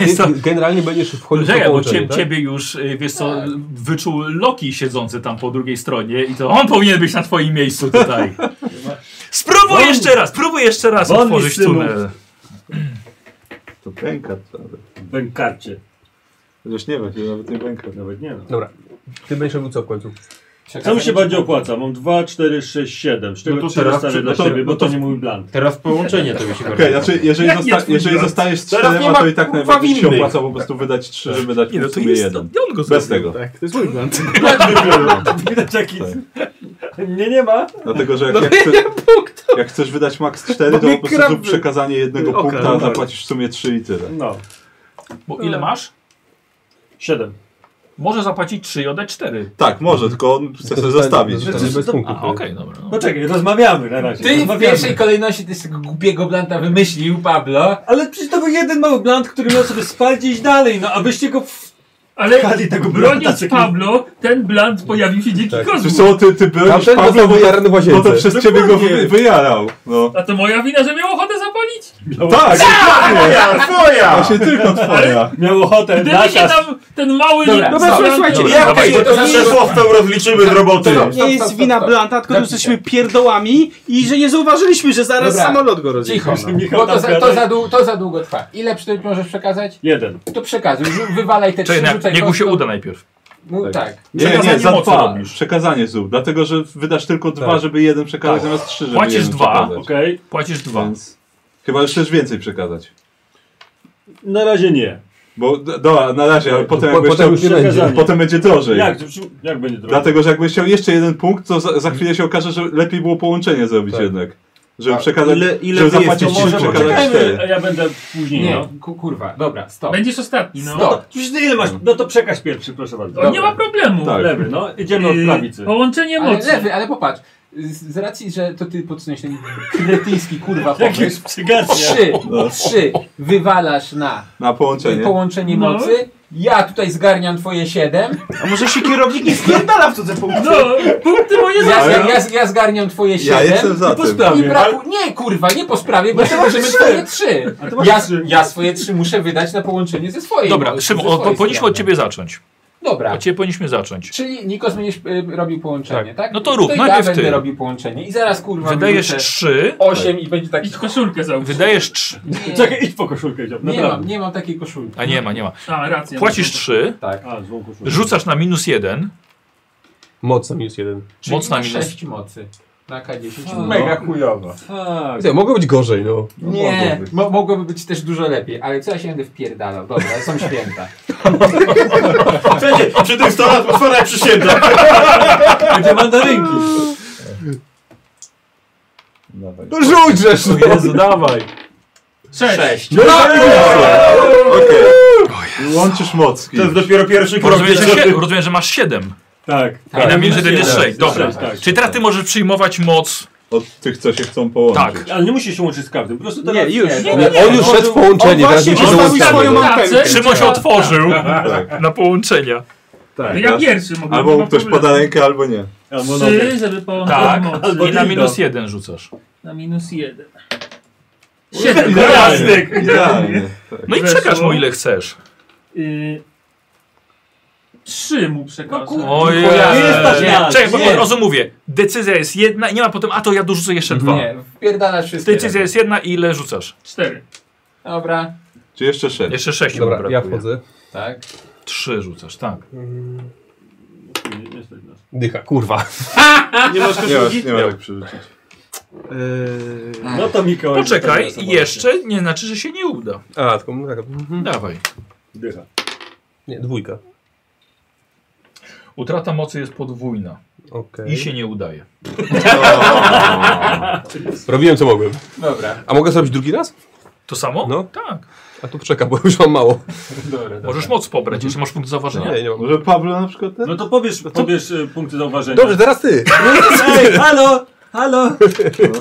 A: Jest to-
I: generalnie będziesz wchodził w to
A: Czekaj, bo
I: połączenie,
A: cie,
I: tak?
A: ciebie już, y, wiesz co, wyczuł Loki siedzący tam po drugiej stronie i to on powinien być na twoim miejscu tutaj. Spróbuj jeszcze raz, próbuj jeszcze raz
B: Wolny
A: otworzyć
B: synu.
A: tunel.
C: To pęka, nawet.
B: W bękarcie.
C: Chociaż nie wiem, nawet nie pęka.
B: Nawet nie no.
I: Dobra. Ty będziesz robił co w końcu?
B: Co mi się bardziej opłaca? Mam 2, 4, 6, 7. Z
H: No
B: czego
H: to
B: 3
H: teraz
B: dostanę
H: przy-
B: dla
H: no to-
B: siebie, bo
H: no
B: to
H: to-
B: nie mój plan.
H: Teraz połączenie to się
C: Okej, znaczy jeżeli,
A: Jak nie
C: zosta
A: twój
C: jeżeli
A: brat?
C: zostajesz z
H: Teraz nie
C: czterema,
H: ma
C: to i tak
H: kurwa
C: najbardziej ci się
H: winnych.
C: opłaca po prostu wydać trzy, żeby dać
A: Nie, no
C: w
A: to
C: sumie
A: jest, to
C: jeden.
A: on go
C: Bez
A: zrobił.
C: tego.
D: Tak, to jest mój błąd.
B: Widać jaki... Nie, nie ma.
C: Dlatego, że jak,
A: No
C: jak, chcesz, jak chcesz wydać max 4, to
D: Bo mnie
C: po prostu
D: krawy.
C: zrób przekazanie jednego
D: Okej,
C: punkta,
D: dobra.
C: zapłacisz w sumie 3 i tyle.
B: No.
A: Bo ile masz?
B: 7.
A: Może zapłacić 3 i oddać 4.
C: Tak, może, tylko on chce sobie zostawić.
I: To jest bez punktów.
A: Aha, okej, dobra. No.
B: Poczekaj, rozmawiamy na razie.
G: Ty No w
B: rozmawiamy.
G: pierwszej kolejności ty z tego głupiego blanta wymyślił, Pablo.
B: Ale przecież to był jeden mały blant, który miał sobie spać gdzieś dalej, no a wyście go w...
F: Ale
B: Kali tego blanta,
F: broniąc
B: taki-
F: Pablo, ten blant pojawił się dzięki
C: Czy
F: kozmu.
C: są ty, ty byłeś
I: Tamten
C: Pablo,
I: dostał
C: bo ja,
I: wyjarany w
C: bo to
I: łazience.
C: przez ciebie go wy, wyjarał. No.
F: A to moja wina, że miał ochotę zapalić?
C: Tak, dokładnie. Twoja! Właśnie tylko twoja.
B: Miał ochotę,
F: Gdyby się
B: nasza...
F: tam ten mały... Blant-
G: Dobra,
D: Dobra, słuchaj, No słuchajcie,
A: Dobra,
D: ja
A: dawaj.
D: nie, to nie, jest-
H: Słowcą rozliczymy z roboty.
D: to nie jest wina Blanta, tylko że jesteśmy pierdołami i że nie zauważyliśmy, że zaraz
G: Dobra.
D: samolot go rozjedzie.
G: Cicho, no.
B: Michał
G: bo to za, to,
B: Tamperny.
G: za dłu- to za długo trwa. Ile sztuk możesz przekazać?
B: Jeden.
G: To przekazuj, rzu- wywalaj te trzy,
A: Czekaj, na-
G: rzucaj
A: niech mu się
G: kostką.
A: uda najpierw.
G: No, tak.
C: Nie, nie,
A: Przekazanie
C: nie, za
A: mocy
C: dwa.
A: robisz.
C: Przekazanie zrób, dlatego że wydasz tylko dwa,
I: Tak.
C: żeby jeden przekazać, zamiast trzy, żeby
A: Tak. Płacisz
C: jeden
A: dwa,
C: przekazać.
B: Okej.
A: Płacisz 2.
C: Więc chyba już chcesz więcej przekazać.
B: Na razie nie.
C: Bo, d- dobra, na razie, ale potem
I: po-
C: jakbyś
I: potem
C: chciał,
I: już nie będzie.
B: przekazanie.
C: potem będzie drożej.
B: Jak, jak będzie drogo?
C: Dlatego, że jakbyś chciał jeszcze jeden punkt, to za, za chwilę się okaże, że lepiej było połączenie zrobić jednak. Żeby przekazać,
D: ile- ile
C: żeby
D: jest, to
C: zapłacić trzy,
D: może
C: przekazać cztery.
B: Czekajmy, ja będę później,
G: Nie,
B: no.
G: ku, kurwa, dobra, stop.
F: Będziesz ostatni, no.
G: Stop.
B: Przecież ty ile masz? No to przekaż pierwszy, proszę bardzo.
F: On nie ma problemu.
C: Tak.
B: Lewy, no. Idziemy od
F: Yy,
B: prawicy.
F: Połączenie
G: Ale
F: mocy.
G: lewy, ale popatrz. Z, z racji, że to ty podsunąłeś ten kretyński kurwa pomysł.
B: Cygarnia.
G: Trzy, trzy wywalasz na
C: Na połączenie.
G: połączenie
F: No.
G: mocy. Ja tutaj zgarniam twoje siedem.
D: A może się kierownik nie spierdala w cudze punkty?
F: No, punkty moje
G: Ja,
F: zawsze.
G: ja, ja, ja zgarniam twoje
C: Ja jestem
G: siedem.
C: za
B: po
C: tym.
G: I
B: sprawie.
G: braku... Nie kurwa, nie po sprawie,
F: No
G: bo ty możemy twoje trzy. Ja, ja swoje trzy muszę wydać na połączenie ze swojej.
A: Dobra,
G: mocy,
A: Szymon,
G: ze
A: o, po-
G: swojej
A: powinniśmy od
G: strony.
A: ciebie zacząć.
G: Dobra.
A: Od ciebie powinniśmy zacząć.
G: Czyli Nikos będziesz y, robił połączenie, tak?
A: Tak. No to rób,
G: to ja
A: najpierw
G: będę
A: ty.
G: robił połączenie i zaraz kurwa
A: Wydajesz
G: wyrzucę
A: 3,
G: osiem i będzie taki...
F: Idź koszulkę załóż.
A: wydajesz 3,
G: Nie,
B: Czekaj, idź po koszulkę, idziemy.
G: nie mam,
B: Naprawdę.
G: nie mam takiej koszulki.
A: a nie ma, nie ma.
F: A, racja.
A: Płacisz 3,
G: Tak.
B: A, złą koszulkę.
A: rzucasz na minus 1,
I: Mocno minus jeden.
G: Czyli
A: mocna
G: na
A: minus.
G: 6 mocy. Na K10.
B: No.
G: Mega chujowo.
B: Tak.
I: Słuchaj, mogło być gorzej, no.
G: Nie, mo mogłoby być też dużo lepiej, ale co ja się będę wpierdalał? Dobra, są święta.
H: Wszędzie, przy tych stolach atmosfera jak przysięga.
B: Będzie mandarynki.
C: Dawaj.
I: No rzuć żeż! no.
H: Jezu, dawaj.
F: Sześć. Sześć.
C: No, Okej. Łączysz mocki.
H: To jest dopiero pierwszy krok.
A: Rozumiem, że, sie- rozumiem, że masz 7
B: Tak.
A: i na
G: Tak,
A: minus 1 jest
G: siedem.
A: 6, dobra.
B: Sześć, tak.
A: Czyli teraz ty możesz przyjmować moc,
C: Od tych, co się chcą połączyć.
A: tak.
B: Ale nie musisz się łączyć z każdym, po prostu teraz...
D: Nie, już.
G: Nie,
I: Nie, On już szedł w połączenie,
D: On
I: teraz
D: właśnie
I: mi się
D: zostawił swoją
I: dołączało.
F: Pracę.
A: Szymon się otworzył na połączenia.
F: No Ja pierwszy mogę. nie
C: Tak.
H: no,
C: Albo
F: ma
C: ktoś
F: problemu.
C: poda rękę, albo nie.
B: Albo nogę.
F: Trzy, żeby połączyć
A: Tak,
F: mocy.
A: i na minus 1 rzucasz.
F: Na minus jeden.
C: Siedem
F: gwiazdek.
C: Idealnie.
A: No i
F: Weszło.
A: przekaż mu ile chcesz.
F: Y... Trzy mu przekażę.
A: Ojej.
G: No Nie jest tak
B: źle.
A: Czekaj, bo
B: Nie.
A: rozum mówię. Decyzja jest jedna i nie ma potem, a to ja dorzucę jeszcze dwa.
G: Nie, wpierdalasz wszystkie.
A: Decyzja jest jedna i ile rzucasz?
F: Cztery.
G: Dobra,
C: Czy jeszcze sześć?
A: Jeszcze 6
I: Dobra, ja wchodzę.
G: tak.
A: 3 rzucasz, tak.
I: Dycha, kurwa.
D: Nie masz
C: Nie masz, nie ma jak przerzucić.
D: Eee,
B: No to Mikołaj...
A: Poczekaj,
B: zobaczy.
A: jeszcze nie znaczy, że się nie uda.
I: A, tylko no tak. mhm.
A: Dawaj.
B: Dycha.
I: Nie, dwójka.
A: Utrata mocy jest podwójna.
I: Okej.
A: I się nie udaje.
I: Robiłem co mogłem.
G: Dobra,
I: A mogę zrobić drugi raz?
A: To samo?
I: No.
A: Tak.
I: A tu czekam, bo już mam mało.
G: dobra, dobra.
A: Możesz moc pobrać, jeszcze masz punkt zauważenia.
I: Nie, nie mam.
C: Może Pablo na przykład ten?
B: No to powiesz, powiesz e, punkty zauważenia.
I: Dobrze, teraz ty.
E: Ej, halo, halo!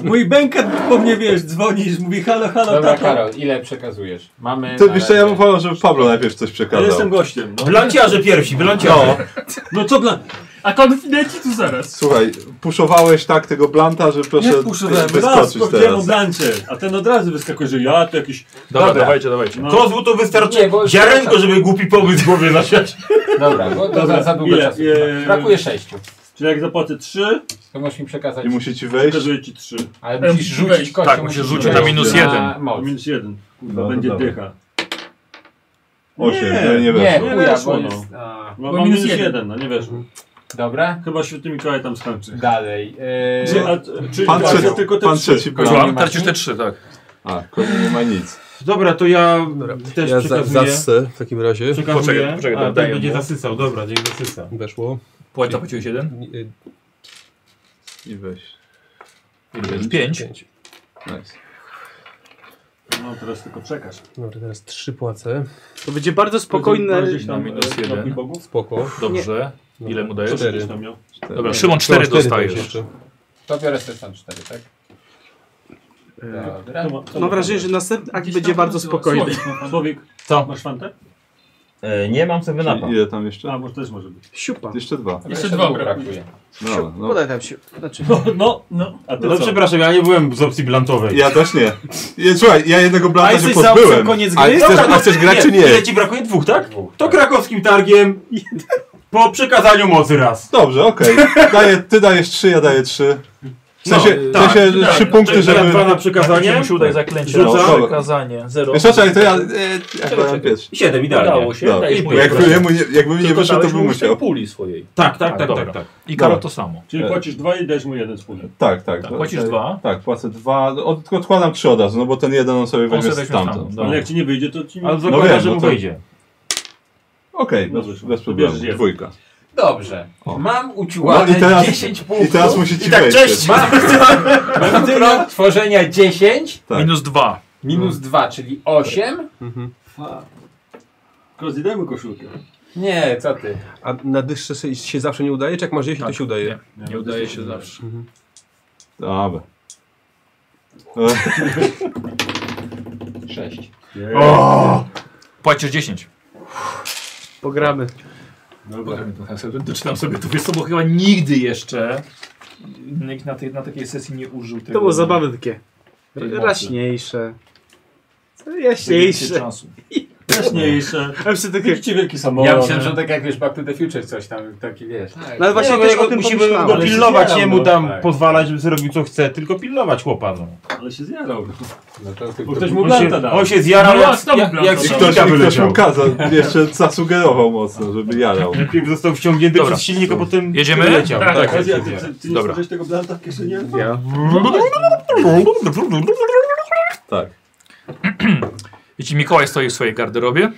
E: Mój bękat po mnie, wiesz, dzwonisz, mówi halo, halo,
G: Dobra,
E: tato.
G: Karol, ile przekazujesz? Mamy.
C: To
G: na
C: wiesz co, ja
G: razie-
C: bym wolał, żeby Pablo najpierw coś
B: Ja
C: przekazał.
B: jestem gościem, no.
H: Blanciarze pierwsi, blanciarze.
E: No co dla...
F: A konfidenci tu zaraz.
C: Słuchaj, puszowałeś tak tego blanta, że proszę
E: Jak puszowałem? Raz,
C: wyskoczyć
E: powiedziałem o
C: teraz.
E: blancie. A ten od razu wyskakuje, że ja to jakiś...
A: Dobra,
G: Dobra.
A: dawajcie, dawajcie.
E: No.
H: Kozłu to
G: Nie,
H: wystarczy
G: bo-
H: ziarenko, żeby głupi pomysł w głowie zasiać.
G: Dobra, bo to
E: Dobra,
G: za, za długo
E: ile?
G: czasu.
E: Eee,
G: Brakuje sześciu.
E: Czyli jak zapłacę 3,
G: To musisz mi przekazać.
C: I musi ci wejść.
E: pokazuję ci 3.
G: Ale musisz
F: Em,
G: rzucić
F: wejść.
G: kością.
A: Tak, musisz rzucić
G: wejść
A: na minus jeden.
G: moc.
E: Minus 1. Kurwa,
C: No,
E: będzie
C: dobra.
E: dycha.
C: Osiem,
E: Nie.
C: no nie
G: Nie,
C: weszło.
E: Nie
G: chuja,
E: weszło,
G: bo
E: no.
G: jest... A,
E: No,
F: Bo
E: mam
F: minus
E: minus
F: jeden.
E: 1, no nie wiesz.
H: Mhm.
G: dobra,
E: Chyba święty Mikołaj tam skończy.
G: dalej. Eee,
E: Czy, a, czy
C: Pan
E: czy-
C: trzeci,
E: tylko te
C: pan
E: 3?
C: trzeci był.
G: Kozioł.
A: Złam, tracisz te trzy, tak.
C: A, kozioł nie ma nic.
H: Dobra, to ja też
I: Ja za,
H: przekazuję.
I: zassę w takim razie.
H: przekazuję.
A: Poczekaj, poczekaj,
H: A,
A: daję
H: ten będzie
A: mu.
H: zasysał, dobra, niech zasysa.
I: Weszło.
A: Płać zapłaciłeś jeden?
I: Y,
C: I weź.
A: Ile jest? Pięć.
I: Pięć.
C: Nice.
E: No teraz tylko przekaż.
I: Dobra, teraz trzy płacę.
D: To będzie bardzo spokojne.
E: Gdzieś tam
A: Minus
E: minus
A: jeden.
E: 1. Bogów?
I: Spoko.
A: Dobrze. Ile mu dajesz?
I: Cztery.
E: Gdzieś tam miał.
A: Dobra, Szymon cztery
I: Chyba
A: dostajesz.
I: dajesz jeszcze.
G: to biorę sobie tam cztery, tak? Dobra.
E: To ma- to
D: Mam
E: ma-
D: wrażenie, że następny akt
F: Gdzieś
D: będzie
F: tam
D: bardzo
F: było.
D: spokojny.
F: Słowik ma pan.
E: Słowik,
K: Co?
E: masz fantę?
K: E, nie mam sobie napa.
C: Czyli ile tam jeszcze?
E: A, może też może być.
D: Siupa.
C: Jeszcze dwa.
G: Jeszcze
F: dwa
G: dwóch
F: brakuje.
G: brakuje.
C: No, no.
D: Podaj tam się. Znaczy,
E: No,
F: No,
E: a ty
H: No
E: co?
H: przepraszam, ja nie byłem z opcji blantowej.
C: Ja też nie. Ja, słuchaj, ja jednego
D: A
C: blanta się
D: jesteś za opcją
C: pozbyłem.
D: koniec
I: A,
D: gry?
I: chcesz, a chcesz grać czy nie?
H: Ile ci brakuje? Dwóch, tak?
G: Dwóch.
H: To krakowskim targiem po przekazaniu mocy raz.
C: Dobrze, okej. Daję, ty dajesz trzy, ja daję trzy. W sensie, w
H: tak,
C: sensie że
F: tak.
C: trzy punkty,
H: Czyli teraz
C: żeby...
H: dwa na
A: Jak się
H: przekazanie.
A: musi udać zaklęcie?
H: Rzucam.
A: No, przekazanie. Zero.
C: Wiesz co, czekaj, to ja... E, ja chyba
A: czekaj.
C: pierwszy.
H: Siedem, idealnie.
A: Udało się,
C: Dobra.
A: dajesz mu jeden.
C: Jakby, jemu nie, jakby mi nie
A: Tylko
C: wyszło, to
A: dałeś
C: bym
A: mu z tej
C: musiał.
A: puli swojej.
H: Tak, tak, tak,
A: dobra.
H: tak, tak.
A: I Karol
C: Dobra.
A: to samo.
E: Czyli płacisz dwa i dajesz mu jeden wspólny.
C: Tak, tak.
A: Tak,
C: to-
A: płacisz
C: to-
A: dwa.
C: Tak, płacę dwa. Od, odkładam trzy od razu, no bo ten jeden on sobie
A: On
C: weźmie
A: sobie weźmie
C: stamtąd.
A: stamtąd.
C: No.
E: Ale
A: Dobra.
E: jak ci nie wyjdzie, to ci...
H: Ale
E: nie-
H: zakłada,
C: wiem,
H: że
C: no
H: mu
C: to-
H: wejdzie.
C: Okej,
E: No
C: bez,
E: wyszło.
C: bez
E: To
C: problemu.
E: bierzesz jeden.
C: Dwójka.
G: Dobrze.
C: O.
G: Mam uciułane
C: No i teraz-
G: 10
C: I
G: punktów.
C: teraz musi ci
H: I tak,
C: wejść.
H: cześć!
G: Mam, mam krok tworzenia 10
C: Tak.
A: Minus dwa.
G: minus 2, czyli 8.
E: Kozi, daj mu koszulkę.
G: Nie, co ty?
I: A na dyszce się- się zawsze nie udaje, czy jak masz 10, to
A: Tak.
I: się udaje?
A: Nie udaje się zawsze.
C: Dobra. E,
G: 6.
A: Płacisz 10.
D: pogramy.
E: Dobra.
A: Doczytam No sobie tu, wiesz co, bo chyba nigdy jeszcze nikt na, tej, na takiej sesji nie użył tego.
D: To było zabawy takie.
A: Tej mocy.
D: Raśniejsze.
A: Zajęcie
D: Jaśniejsze.
A: czasu.
E: Jaśniejsze.
D: A jeszcze takie.
E: Widzicie wielki
G: Ja
E: samolot.
G: myślałem, że tak jak wiesz, Back to the Future coś tam, taki wiesz. Tak.
D: No ale właśnie
H: Nie, no,
D: też
H: jego-
D: o tym
H: musimy
D: pomyślałem.
H: go pilnować,
G: Ale
H: nie
G: się
H: mu tam
G: zjaram, no.
H: pozwalać, żeby sobie robił co chce, tylko pilnować chłopa. No.
E: Ale się zjarał.
G: No to ty,
E: Bo ktoś mu
H: On, się,
E: blanta dał.
H: on się zjarał,
F: No,
H: jak,
F: znowu
H: jak,
F: blanta.
C: I
H: jak z
C: ktoś,
H: silnika
C: i ktoś mu
H: wyleciał.
C: kazał, jeszcze zasugerował mocno, żeby jarał.
H: Najpierw został wciągnięty
A: Dobra.
H: przez silnik, a potem
A: Jedziemy?
H: wyleciał.
F: Tak,
H: Tak,
E: Kozi, a ty,
H: tak.
E: ty, ty nie
A: Dobra.
E: stworzyłeś tego blanta w kieszeni?
D: Ja.
C: Tak.
A: I ci Mikołaj stoi w swojej garderobie.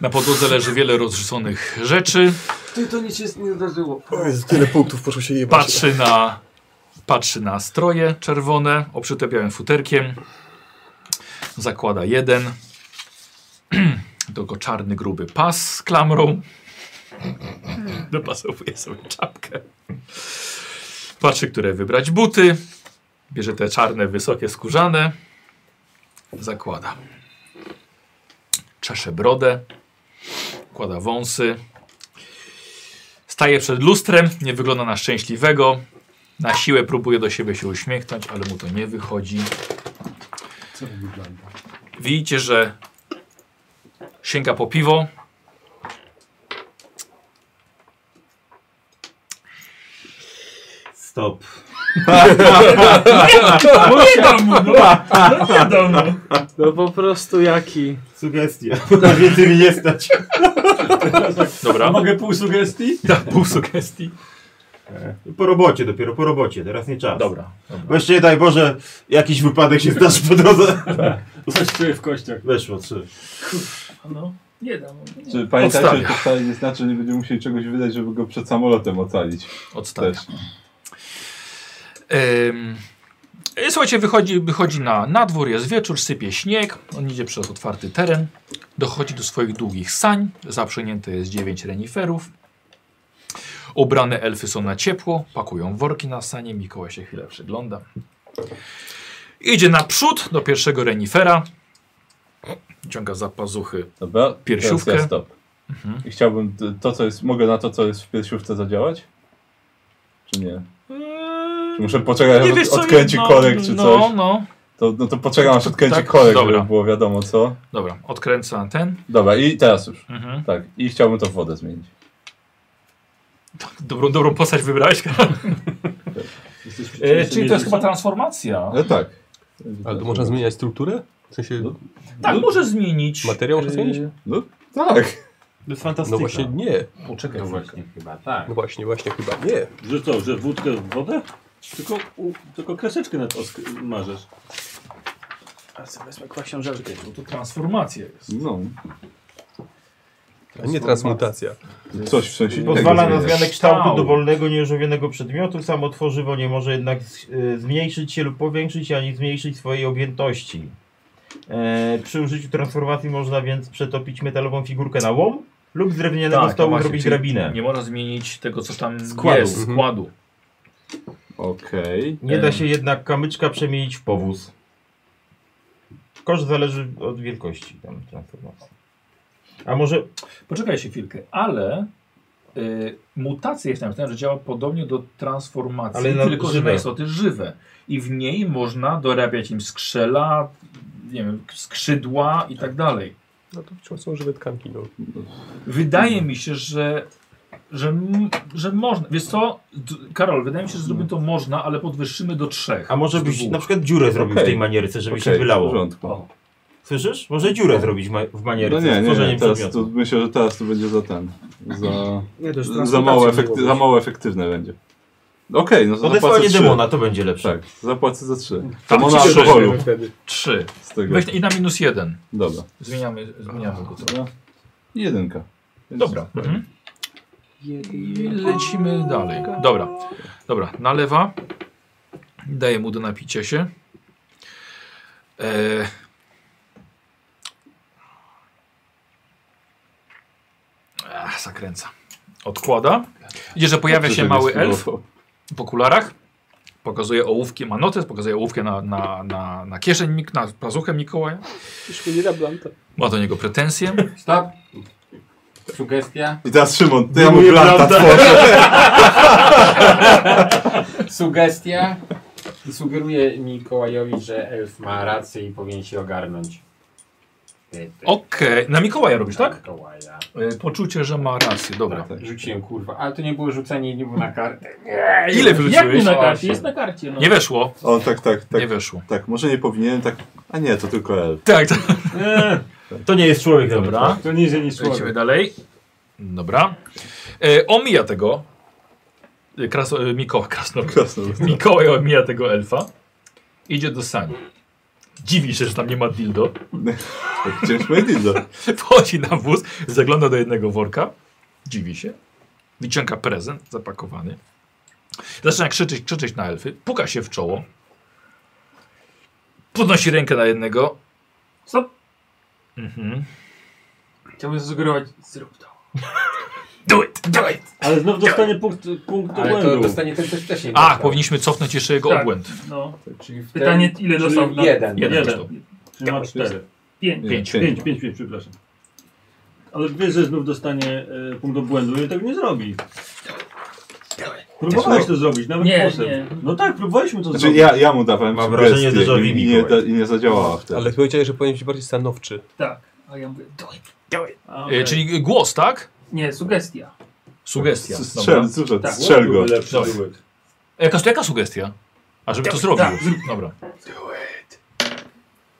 A: Na podłodze leży wiele rozrzuconych rzeczy.
E: Ty, to nic się nie zdarzyło.
I: Tyle punktów poszło się jebać.
A: Patrzy na, patrzy na stroje czerwone, obszyte białym futerkiem. Zakłada jeden. Tylko czarny, gruby pas z klamrą. Dopasowuje sobie czapkę. Patrzy, które wybrać buty. Bierze te czarne, wysokie, skórzane. Zakłada. Czesze brodę. Kłada wąsy. Staje przed lustrem, nie wygląda na szczęśliwego. Na siłę próbuje do siebie się uśmiechnąć, ale mu to nie wychodzi. Widzicie, że sięga po piwo.
H: Stop.
F: No nie dam mu, no. no nie dam mu.
D: No po prostu jaki.
H: Sugestia. Na więcej mi nie stać.
A: Dobra,
E: Mogę pół sugestii?
A: da pół sugestii.
H: Po robocie dopiero, po robocie, teraz nie czas.
A: Dobra.
H: Właśnie nie daj Boże, jakiś wypadek się zdarzy po drodze.
E: Coś czuję w kościach.
H: Weszło, trzy.
F: No. Nie dam. Nie.
C: Czy pamiętajcie, że
A: Odstawia.
C: to wcale nie znaczy, że nie będziemy musieli czegoś wydać, żeby go przed samolotem ocalić.
A: Odstawia.
C: Też.
A: Ym, y, Słuchajcie, wychodzi, wychodzi na, na dwór, jest wieczór, sypie śnieg, on idzie przez otwarty teren, dochodzi do swoich długich sań, zaprzęgnięte jest dziewięć reniferów. Ubrane elfy są na ciepło, pakują worki na sanie, Mikołaj się chwilę przygląda. Idzie naprzód do pierwszego renifera, ciąga za pazuchy.
C: Dobra,
A: Piersiówkę. Mhm.
C: teraz Ja stop. I chciałbym t- to, co jest. Mogę na to, co jest w piersiówce zadziałać? Czy nie? Czy muszę poczekać, aż od, odkręci
A: no,
C: korek czy
A: no,
C: coś?
A: No,
C: To, no to poczekam, aż odkręci
A: Tak?
C: korek,
A: Dobra.
C: żeby było wiadomo co.
A: dobra, odkręca ten.
C: Dobra, i teraz już.
A: Mhm.
C: Tak, i chciałbym to w wodę zmienić.
A: Dobrą, dobrą postać wybrałeś.
E: Jesteś
A: E, czyli to jest chyba transformacja.
C: No tak.
I: Ale to można zmieniać strukturę? W sensie
A: Tak, może zmienić.
I: materiał można zmienić?
C: No tak.
H: To jest fantastyka.
I: No właśnie nie.
A: Poczekaj,
G: No właśnie, chyba tak.
I: No właśnie, właśnie chyba nie.
E: Że co, że wódkę w wodę? Tylko, u, tylko kreseczkę nad osk- marzesz.
D: A sobie wezmę kwaśniążerkę.
A: Bo to transformacja jest.
C: No.
I: A nie transmutacja.
C: Coś w sensie innego
H: Pozwala na
C: zmieniać.
H: zmianę
A: Kształt.
H: kształtu dowolnego nieożywionego przedmiotu. Samo tworzywo nie może jednak z- y, zmniejszyć się lub powiększyć, ani zmniejszyć swojej objętości. E, przy użyciu transformacji można więc przetopić metalową figurkę na łom lub z drewnianego
A: Tak,
H: stołu
A: właśnie,
H: zrobić
A: czyli
H: drabinę.
A: Nie można zmienić tego, co tam
H: Składu.
A: jest,
I: Mhm.
A: składu.
C: Okej.
H: Nie
A: Em.
H: da się jednak kamyczka przemienić w powóz. Koszt zależy od wielkości tam transformacji. A może
A: Poczekaj się chwilkę, ale y, mutacja jest napisana, że działa podobnie do transformacji,
H: Ale na-
A: tylko że na
H: żywe.
A: istoty żywe. I w niej można dorabiać im skrzela, nie wiem, skrzydła i tak dalej.
I: No to wciąż są żywe tkanki, no.
A: Wydaje mi się, że, że, m- że można. Wiesz co, D- Karol, wydaje mi się, że zrobimy to można, ale podwyższymy do trzech.
H: A może
A: z
H: byś
A: dwóch.
H: na przykład dziurę zrobił
C: Okej.
H: w tej manierce, żeby się
C: Okej, W
H: wylało.
C: porządku.
H: Słyszysz? Może dziurę zrobić ma- w
C: No
H: manierce
C: nie,
H: z
C: nie,
H: tworzeniem
C: nie teraz to,
H: przedmiotu.
C: myślę, że teraz to będzie za ten. Za,
D: Nie, to już
C: za, mało,
D: transmutacja
C: efekty,
D: mogła
C: za
D: być.
C: mało efektywne będzie. Okej, no to zapłacę
H: Odesłanie
C: trzy.
H: demona, to będzie lepsze.
C: Tak, zapłacę za trzy. To
A: Tak,
C: mona
A: trzy.
C: alkoholu
I: Wtedy.
A: Trzy.
C: z tego.
A: Weź, I na minus jeden.
C: Dobra.
A: Zmieniamy, zmieniamy go trochę.
C: Jedynka. Więc-
A: Dobra. Mhm. I lecimy dalej. Dobra. Dobra, nalewa. Daję mu do napicia się. E... Ach, zakręca. Odkłada. Widzisz, że pojawia
C: Dobrze,
A: się
C: że
A: mały
C: nie
A: elf
C: spróbował.
A: w okularach. Pokazuje ołówki, ma notes, pokazuje ołówkę na, na, na, na kieszeń, Mik- na pazuchę Mikołaja.
D: Już mi nie da blanta.
A: Ma do niego pretensje.
G: Stop. Sugestia.
C: I teraz Szymon, ty mu planta tworzy.
G: Sugestia. I sugeruję Mikołajowi, że elf ma rację i powinien się ogarnąć. Ty, ty,
A: Okej, na Mikołaja robisz, tak?
G: Mikołaja.
A: E, Poczucie, że ma rację, dobra.
G: Rzuciłem kurwa, ale to nie było rzucenie, nie było na kartę.
A: tak. Ile
F: Jak nie
A: wyrzuciłeś?
F: na karcie? Jest na karcie. No.
A: Nie weszło.
C: On tak, tak, tak.
A: Nie weszło.
C: Tak, może nie powinienem, tak. A nie, to tylko elf.
A: Tak, tak.
H: To nie jest człowiek,
A: Dobra.
E: Tak, To nie jest nic
A: Lecimy dalej. Dobra. E, omija tego. e, Kras, e, Mikołaj, krasno,
C: Jasne.
A: Mikołaj omija tego elfa. Idzie do sani. Dziwi się, że tam nie ma dildo.
C: Gdzieś tak, moje dildo.
A: Wchodzi na wóz, zagląda do jednego worka. Dziwi się. Wyciąga prezent zapakowany. Zaczyna krzyczeć, krzyczeć na elfy. Puka się w czoło. Podnosi rękę na jednego.
F: Stop.
A: Mhm.
F: Chciałbym zasugerować, zrób to.
A: Do it, do it!
E: Ale znów dostanie punkt, punkt
G: Ale to
E: błędu.
G: dostanie ten też też nie
A: A,
G: dostał.
A: powinniśmy cofnąć jeszcze jego
F: Tak.
A: obłęd. E,
F: No.
G: Czyli w ten-
F: Pytanie, ile
G: czyli
F: dostał? na-
G: Jeden.
A: Jeden.
E: Jeden.
A: dostał.
E: Czyli ma cztery.
F: Pięć.
A: Pięć.
C: no.
E: Pięć, pięć, pięć, przepraszam. Ale wiesz, że znów dostanie e, punkt obłędu i tego nie zrobi. Próbowałeś to zrobić, nawet
F: Nie,
E: potem.
F: nie.
E: No tak, próbowaliśmy to
C: Znaczy
E: zrobić.
C: ja, ja mu dawałem
H: Mam
C: sugestię
H: wrażenie, że
C: i,
H: żowi
C: i, nie,
H: Mikołaj.
C: da- i nie zadziałała wtedy.
I: Ale powiedziałeś, że powinien być bardziej stanowczy.
F: Tak. A ja mówię, do it.
E: A,
A: E,
E: okej.
A: czyli głos, tak?
F: Nie, sugestia.
A: Sugestia.
C: Strzel,
A: Dobra.
C: strzel,
F: Tak.
C: strzel go.
E: Byłby lepszy
A: Dobra.
E: duet.
A: Jaka, E, jaka sugestia? A żeby to zrobił.
F: Tak.
A: Dobra.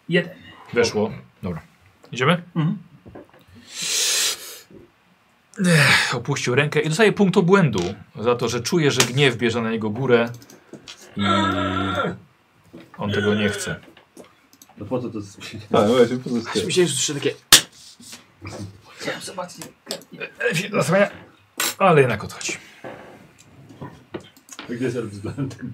F: Jeden.
A: Weszło. Dobra. Idziemy?
F: Mhm.
A: Ech, opuścił rękę i dostaje punkt obłędu za to, że czuje, że gniew bierze na jego górę i on tego nie chce.
E: No po co to
C: Tak, właśnie, po prostu.
D: Myślałem, że słyszę takie...
F: Chciałem zobaczyć.
A: E, się Zasłania. Ale jednak odchodzi.
B: Gdzie jest Elvis Blendem?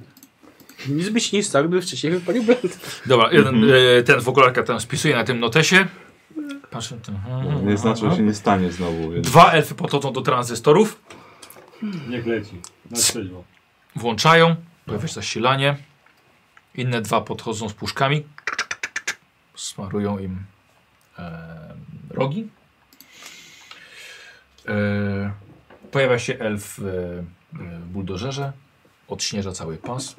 D: Nic by się nie stało, gdyby wcześniej wypalił blend.
A: Dobra, jeden,
C: Mhm.
A: e, ten w okularka tam spisuje na tym notesie. Patrzę. tu, mhm,
C: Nie znaczy, że się nie stanie znowu, więc...
A: Dwa elfy podchodzą do tranzystorów,
B: Niech leci. Na trzeźwo.
A: włączają, pojawia się zasilanie. Inne dwa podchodzą z puszkami, smarują im e, rogi. E, pojawia się elf e, e, w buldożerze, odśnieża cały pas.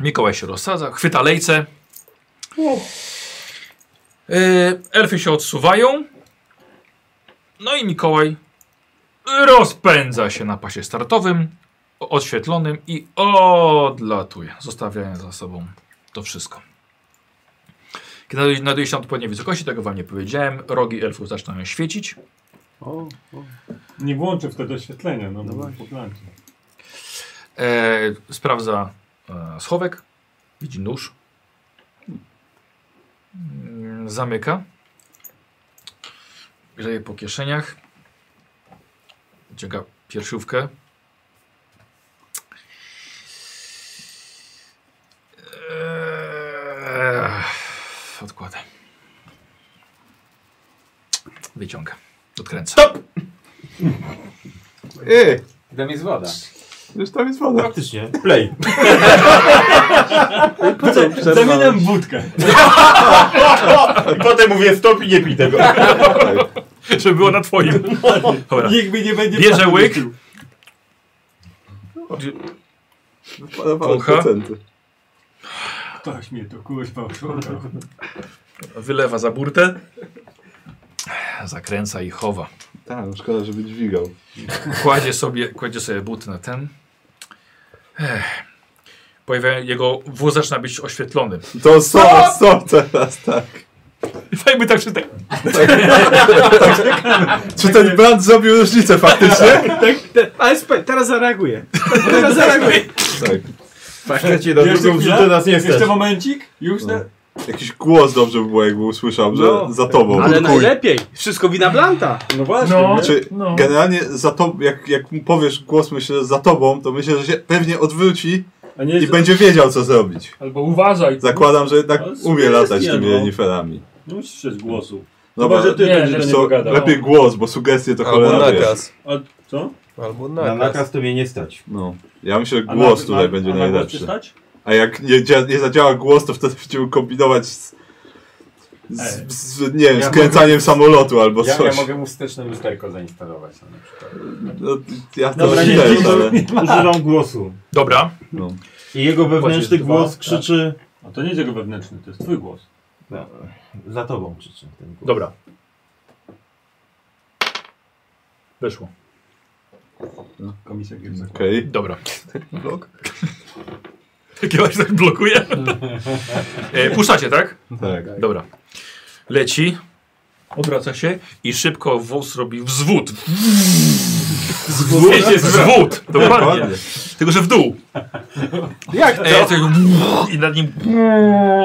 A: Mikołaj się rozsadza, chwyta lejce. E, elfy się odsuwają. No i Mikołaj rozpędza się na pasie startowym, o- oświetlonym i odlatuje, zostawiając za sobą to wszystko. Kiedy nadaje- znajduje się na odpowiedniej wysokości, tego wam nie powiedziałem, rogi elfów zaczynają świecić.
B: O, o. Nie włączę wtedy oświetlenia, no, bo
D: właśnie.
B: po plancie.
A: E, sprawdza e, schowek, widzi nóż, Mm, zamyka, grzeje po kieszeniach, wyciąga piersiówkę. Eee, odkłada. Wyciąga. Odkręca.
C: E,
G: Tam jest woda.
C: już tam jest woda.
H: Faktycznie.
C: Play.
B: Zamieniam wódkę.
E: I potem mówię stop i nie pij tego.
C: Tak,
A: Żeby było na twoim. Dobra.
E: Nikt mi nie będzie
A: Bierze łyk.
C: Pada parę
A: Kocha.
C: procenty.
B: Ktoś mnie to kurwa oszukał.
A: Wylewa za burtę. Zakręca i chowa.
C: Tak, no szkoda, żeby dźwigał.
A: Kładzie sobie, kładzie sobie buty na ten. Ech. Pojawia, jego wóz zaczyna być oświetlony.
C: To
B: No!
C: co, co teraz, tak?
A: Fajmy tak, czy tak.
C: Czy ten brand zrobił różnicę faktycznie?
D: ASP, teraz zareaguje. Teraz zareaguje.
C: Tak.
E: Faktycznie na drugą wrzutę nas nie
B: Jeszcze
E: chcesz.
B: momencik? Już
C: No.
B: te...
C: Jakiś głos dobrze by było, jakby usłyszał, że
D: No.
C: za tobą.
D: Ale
C: Kuj.
D: najlepiej. Wszystko wina Blanta.
B: No właśnie.
F: No,
C: Znaczy,
F: no.
C: generalnie za to, jak, jak mu powiesz głos, myślę, że za tobą, to myślę, że się pewnie odwróci
B: A nie
C: i
B: jest...
C: będzie wiedział, co zrobić.
F: Albo uważaj.
C: Zakładam, że jednak
B: Ale sugestia,
C: umie latać tymi
B: no.
C: reniferami.
B: Nie musisz się z głosu.
C: No Dobra,
B: Chyba, że ty
F: Nie,
B: będziesz
F: że
B: do
C: co,
B: niego gadał.
C: lepiej głos, bo sugestie to
I: Albo
C: cholera wiesz.
I: nakaz.
B: A co?
I: Albo
H: Na
I: nakaz.
H: nakaz to mnie nie stać.
C: No. Ja myślę, że
B: A
C: głos
B: na-
C: tutaj
B: na-
C: będzie
B: a na głos
C: najlepszy.
B: przystać?
C: A jak nie, dzia- nie zadziała głos, to wtedy będziemy kombinować z,
B: Ej.
C: z, z nie wiem,
G: Ja
C: skręcaniem samolotu albo
G: Ja, ja
C: coś.
G: mogę mu wsteczne lusterko zainstalować no, na przykład.
C: No, ja to
B: Dobra, nie,
C: też,
B: nie,
C: ale...
H: Używam głosu.
A: Dobra.
C: No.
H: I jego wewnętrzny
G: dwa,
H: głos
G: tak.
H: krzyczy...
B: A to nie jest jego wewnętrzny, to jest twój głos.
H: No, za tobą krzyczy ten głos.
A: Dobra. Weszło.
B: No. Komisja Gierza.
C: Okej.
A: Dobra. Jakiegoś tak blokuje. E, puszczacie, tak?
C: Tak.
A: Dobra. Leci, odwraca się i szybko wóz robi wzwód. Zwód? Zwód, dokładnie.
C: Dokładnie.
A: Tylko, że w dół. Jak to? E, to I nad nim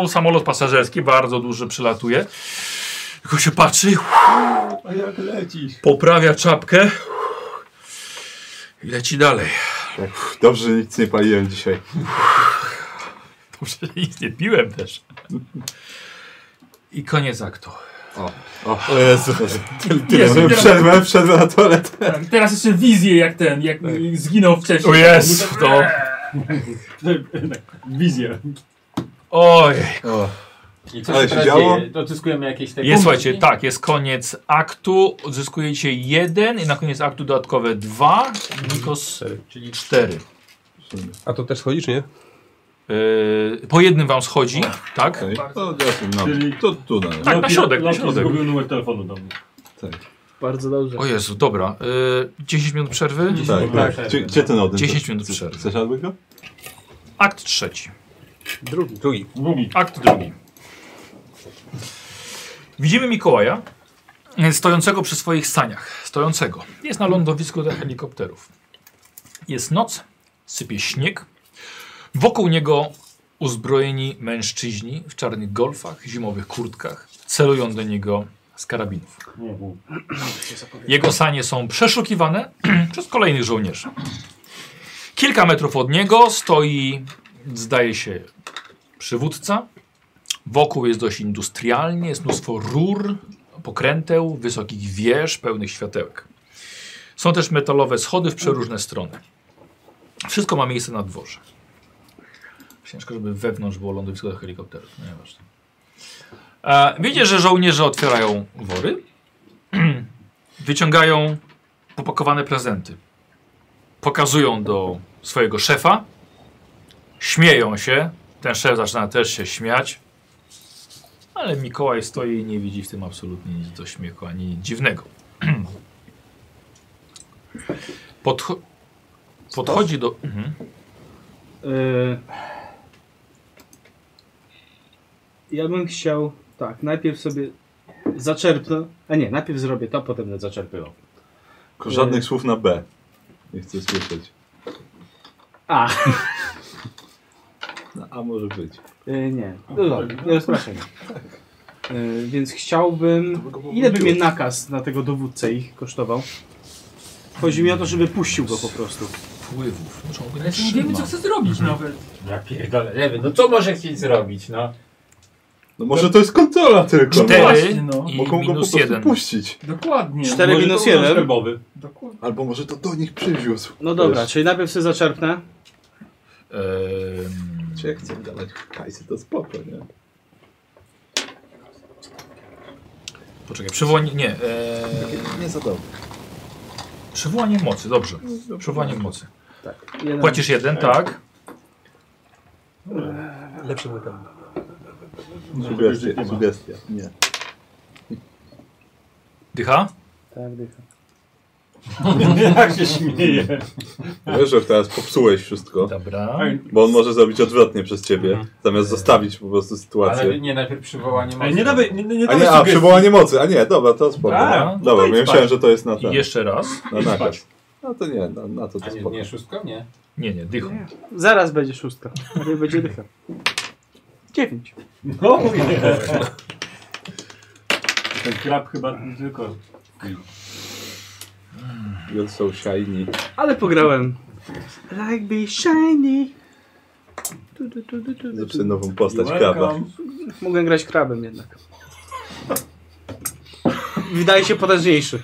A: samolot pasażerski, bardzo duży, przylatuje. Tylko się patrzy,
B: A jak lecisz?
A: poprawia czapkę i leci dalej.
C: Dobrze, że nic nie paliłem dzisiaj.
A: Dobrze, że nic nie piłem też. I koniec aktu.
C: O, o Jezu.
F: Jest,
C: Zrobię
F: teraz-
C: Przerwę, przerwę na toaletę.
F: tak, teraz jeszcze wizję jak ten, jak y, zginął wcześniej.
A: O jest, to...
B: Wizja.
A: Oj,
G: I co
C: Ale
G: się
C: się
G: teraz
C: działo?
G: dzieje? Odzyskujemy jakieś te
A: jest,
G: punkty?
A: słuchajcie, tak, jest koniec aktu, odzyskujecie jeden i na koniec aktu dodatkowe dwa, Nikos
G: Czyli
A: cztery.
I: A to też schodzisz, nie?
A: Yy, po jednym wam schodzi, tak?
C: Okej. To jasne, no.
B: Czyli-
C: To tu na razie.
A: Tak, na środek, na
B: Loki
A: środek.
B: no, zgubił numer telefonu do mnie.
D: Bardzo dobrze.
A: O Jezu, dobra, yy, 10 minut przerwy,
C: Tak,
G: tak.
C: tak. Gdzie- Gdzie ten odyn?
A: 10 minut
C: Chcesz-
A: przerwy.
C: Chcesz albo go?
A: akt trzeci.
I: Drugi. Drugi.
B: Drugi.
A: Akt drugi. Widzimy Mikołaja e, stojącego przy swoich saniach. Stojącego. Jest na lądowisku dla helikopterów. Jest noc, sypie śnieg. Wokół niego uzbrojeni mężczyźni w czarnych golfach, zimowych kurtkach celują do niego z karabinów.
B: Nie, nie.
A: Jego sanie są przeszukiwane przez kolejnych żołnierzy. Kilka metrów od niego stoi, zdaje się, przywódca. Wokół jest dość industrialnie, jest mnóstwo rur, pokręteł, wysokich wież, pełnych światełek. Są też metalowe schody w przeróżne strony. Wszystko ma miejsce na dworze. Ciężko, żeby wewnątrz było lądowisko do helikopterów. No nieważne. E, widzicie, że żołnierze otwierają wory. Wyciągają popakowane prezenty. Pokazują do swojego szefa. Śmieją się. Ten szef zaczyna też się śmiać. Ale Mikołaj stoi i nie widzi w tym absolutnie nic do śmiechu, ani nic dziwnego. Podcho podchodzi do... Mhm.
D: Y, Ja bym chciał, tak, najpierw sobie zaczerpnę, a nie, najpierw zrobię to, potem będę zaczerpywał.
C: Tylko żadnych słów na B. Nie chcę słyszeć.
D: A,
C: No, a może być.
D: y, nie, no dobra, nie rozpraszam. Y, Więc chciałbym, ile by mnie nakaz na tego dowódcę ich kosztował? Chodzi mi o to, żeby puścił go po prostu.
A: Wpływów. Muszą go
F: Ale jeszcze nie wiemy, co chce zrobić nawet.
G: Mhm. Ja pierdolę, nie wiem, no co może chcieć zrobić, no?
C: No może to jest kontrola tylko.
F: Cztery. właśnie,
A: Cztery
C: No.
F: no.
A: i
C: Mogą go po
A: minus
C: prostu
A: jeden.
C: puścić.
F: Dokładnie.
D: Cztery
B: Może
D: minus
B: to był
D: jeden.
B: skarbowy.
F: Dokładnie.
C: Albo może to do nich przywiózł.
D: No dobra, czyli najpierw sobie zaczerpnę.
A: Ehm,
C: Czy jak chcę dawać hajsy, to spoko, nie?
A: Poczekaj, przywołanie. Nie. E,
C: Eee, Nie za dobrze.
A: przywołanie mocy, dobrze. Przywołanie mocy.
D: Jeden.
A: Płacisz jeden, tak.
I: Lepszy mój tam.
C: Sugestia, sugestia. No, Nie.
A: Dycha.
D: Tak, dycha.
B: Jak Tak się śmieje.
C: Wiesz, że teraz popsułeś wszystko.
A: Dobra.
B: Ej,
C: Bo on może zrobić odwrotnie przez ciebie.
A: Mhm.
C: Zamiast zostawić po prostu
G: Ale
C: sytuację.
G: nie, najpierw przywołanie
B: Ej, nie dawaj, nie, nie, nie
C: A
B: dawaj
C: nie, a
B: sugestii.
C: przywołanie mocy. A nie, dobra, to spoko.
B: A,
A: no
C: dobra, ja
B: to idź
C: myślałem,
B: spać.
C: że to jest na
A: I
C: ten.
A: jeszcze raz.
C: Na nakaz.
B: spać.
C: No to nie, na, na to
G: A
C: to
G: nie,
C: spoko.
G: nie, szóstką? Nie.
A: Nie, nie, dychą.
D: Zaraz będzie szóstka. Najpierw będzie dycha. Dziewięć.
B: No, nie. Ten klap chyba tylko...
C: You're so shiny.
D: Ale pograłem. Like be shiny. Tu, tu, tu, tu, tu, tu.
C: Zepsuję nową postać kraba.
D: Mogę grać krabem jednak. Wydaje się potężniejszy.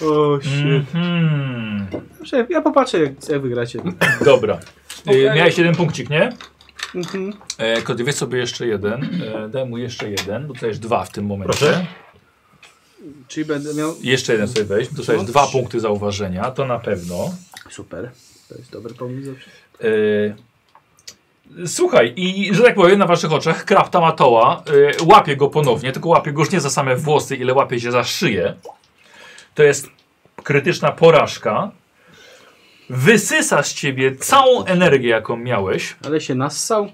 D: o shit.
A: Mhm.
D: Proszę, ja popatrzę jak, jak wygracie.
A: Dobra. Y, miałeś jeden punkcik, nie?
D: Mhm.
A: E, Kody, weź sobie jeszcze jeden. E, daj mu jeszcze jeden, bo dostajesz dwa w tym momencie.
H: Proszę.
D: Czyli będę miał...
A: Jeszcze jeden sobie weź. Dostajesz
D: No,
A: dwa
D: trzy.
A: punkty zauważenia, to na pewno.
D: Super. To jest dobry pomysł zawsze.
A: E, Słuchaj, i że tak powiem, na waszych oczach krapta matoła e, łapie go ponownie, tylko łapie go już nie za same włosy, ile łapie się za szyję. To jest krytyczna porażka. Wysysa z ciebie całą energię, jaką miałeś.
D: Ale się nassał.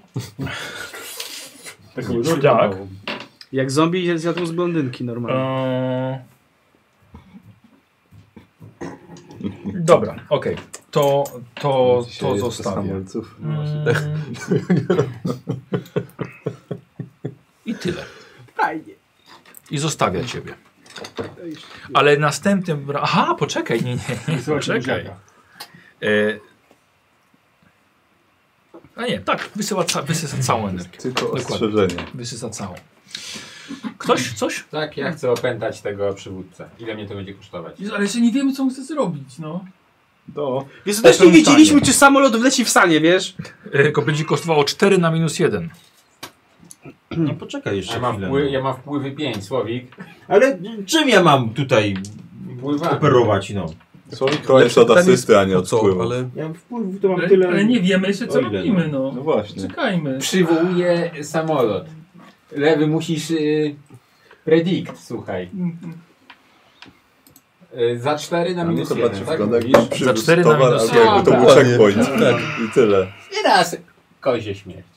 B: Tak.
A: Tak.
D: Jak zombie się zjadł z blondynki normalnie.
A: Eee... Dobra, okej. To, to, to zostawię. Mm. I tyle.
D: Fajnie.
A: I zostawia ciebie. Ale następnym. ra- Aha, poczekaj, nie, nie. nie poczekaj. E... A nie, tak, wysyła ca... wysysa całą energię.
C: Tylko
A: Dokładnie.
C: ostrzeżenie.
A: Wysysa całą. Ktoś? Coś?
G: Tak, ja chcę opętać tego przywódcę. Ile mnie to będzie kosztować?
F: Jezu, ale jeszcze nie wiemy, co on chce zrobić, no.
C: Do.
D: Więc też nie
A: Takim
D: wiedzieliśmy,
A: stanie.
D: czy samolot wleci w sanie, wiesz?
A: E, ko- będzie kosztowało 4 na minus 1.
H: No poczekaj jeszcze
G: Ja mam,
H: chwilę.
G: wpły, ja mam wpływy 5, Słowik.
H: Ale czym ja mam tutaj
G: Wpływa.
H: operować, no?
C: Słowik koleś od
I: pytanie
C: asysty, a nie
I: po
C: od
I: co,
C: wpływu.
I: ale
H: Ja wpływ to
F: Ale, ale nie wiemy jeszcze, co
H: O ile, no.
F: robimy,
C: No
F: no.
C: właśnie.
F: Czekajmy.
G: Przywołuje samolot. Lewy musisz... Yy, predict, słuchaj. Yy, za 4 na
C: A mnie
G: minus
C: No to
G: 1,
C: bardziej
G: tak
C: wygląda
G: mówisz?
C: jak przywiózł
A: cztery na
C: towar,
A: minus
C: albo jakby to był
G: jeden.
C: checkpoint.
I: Tak.
C: I tyle.
G: I raz kozie śmierć.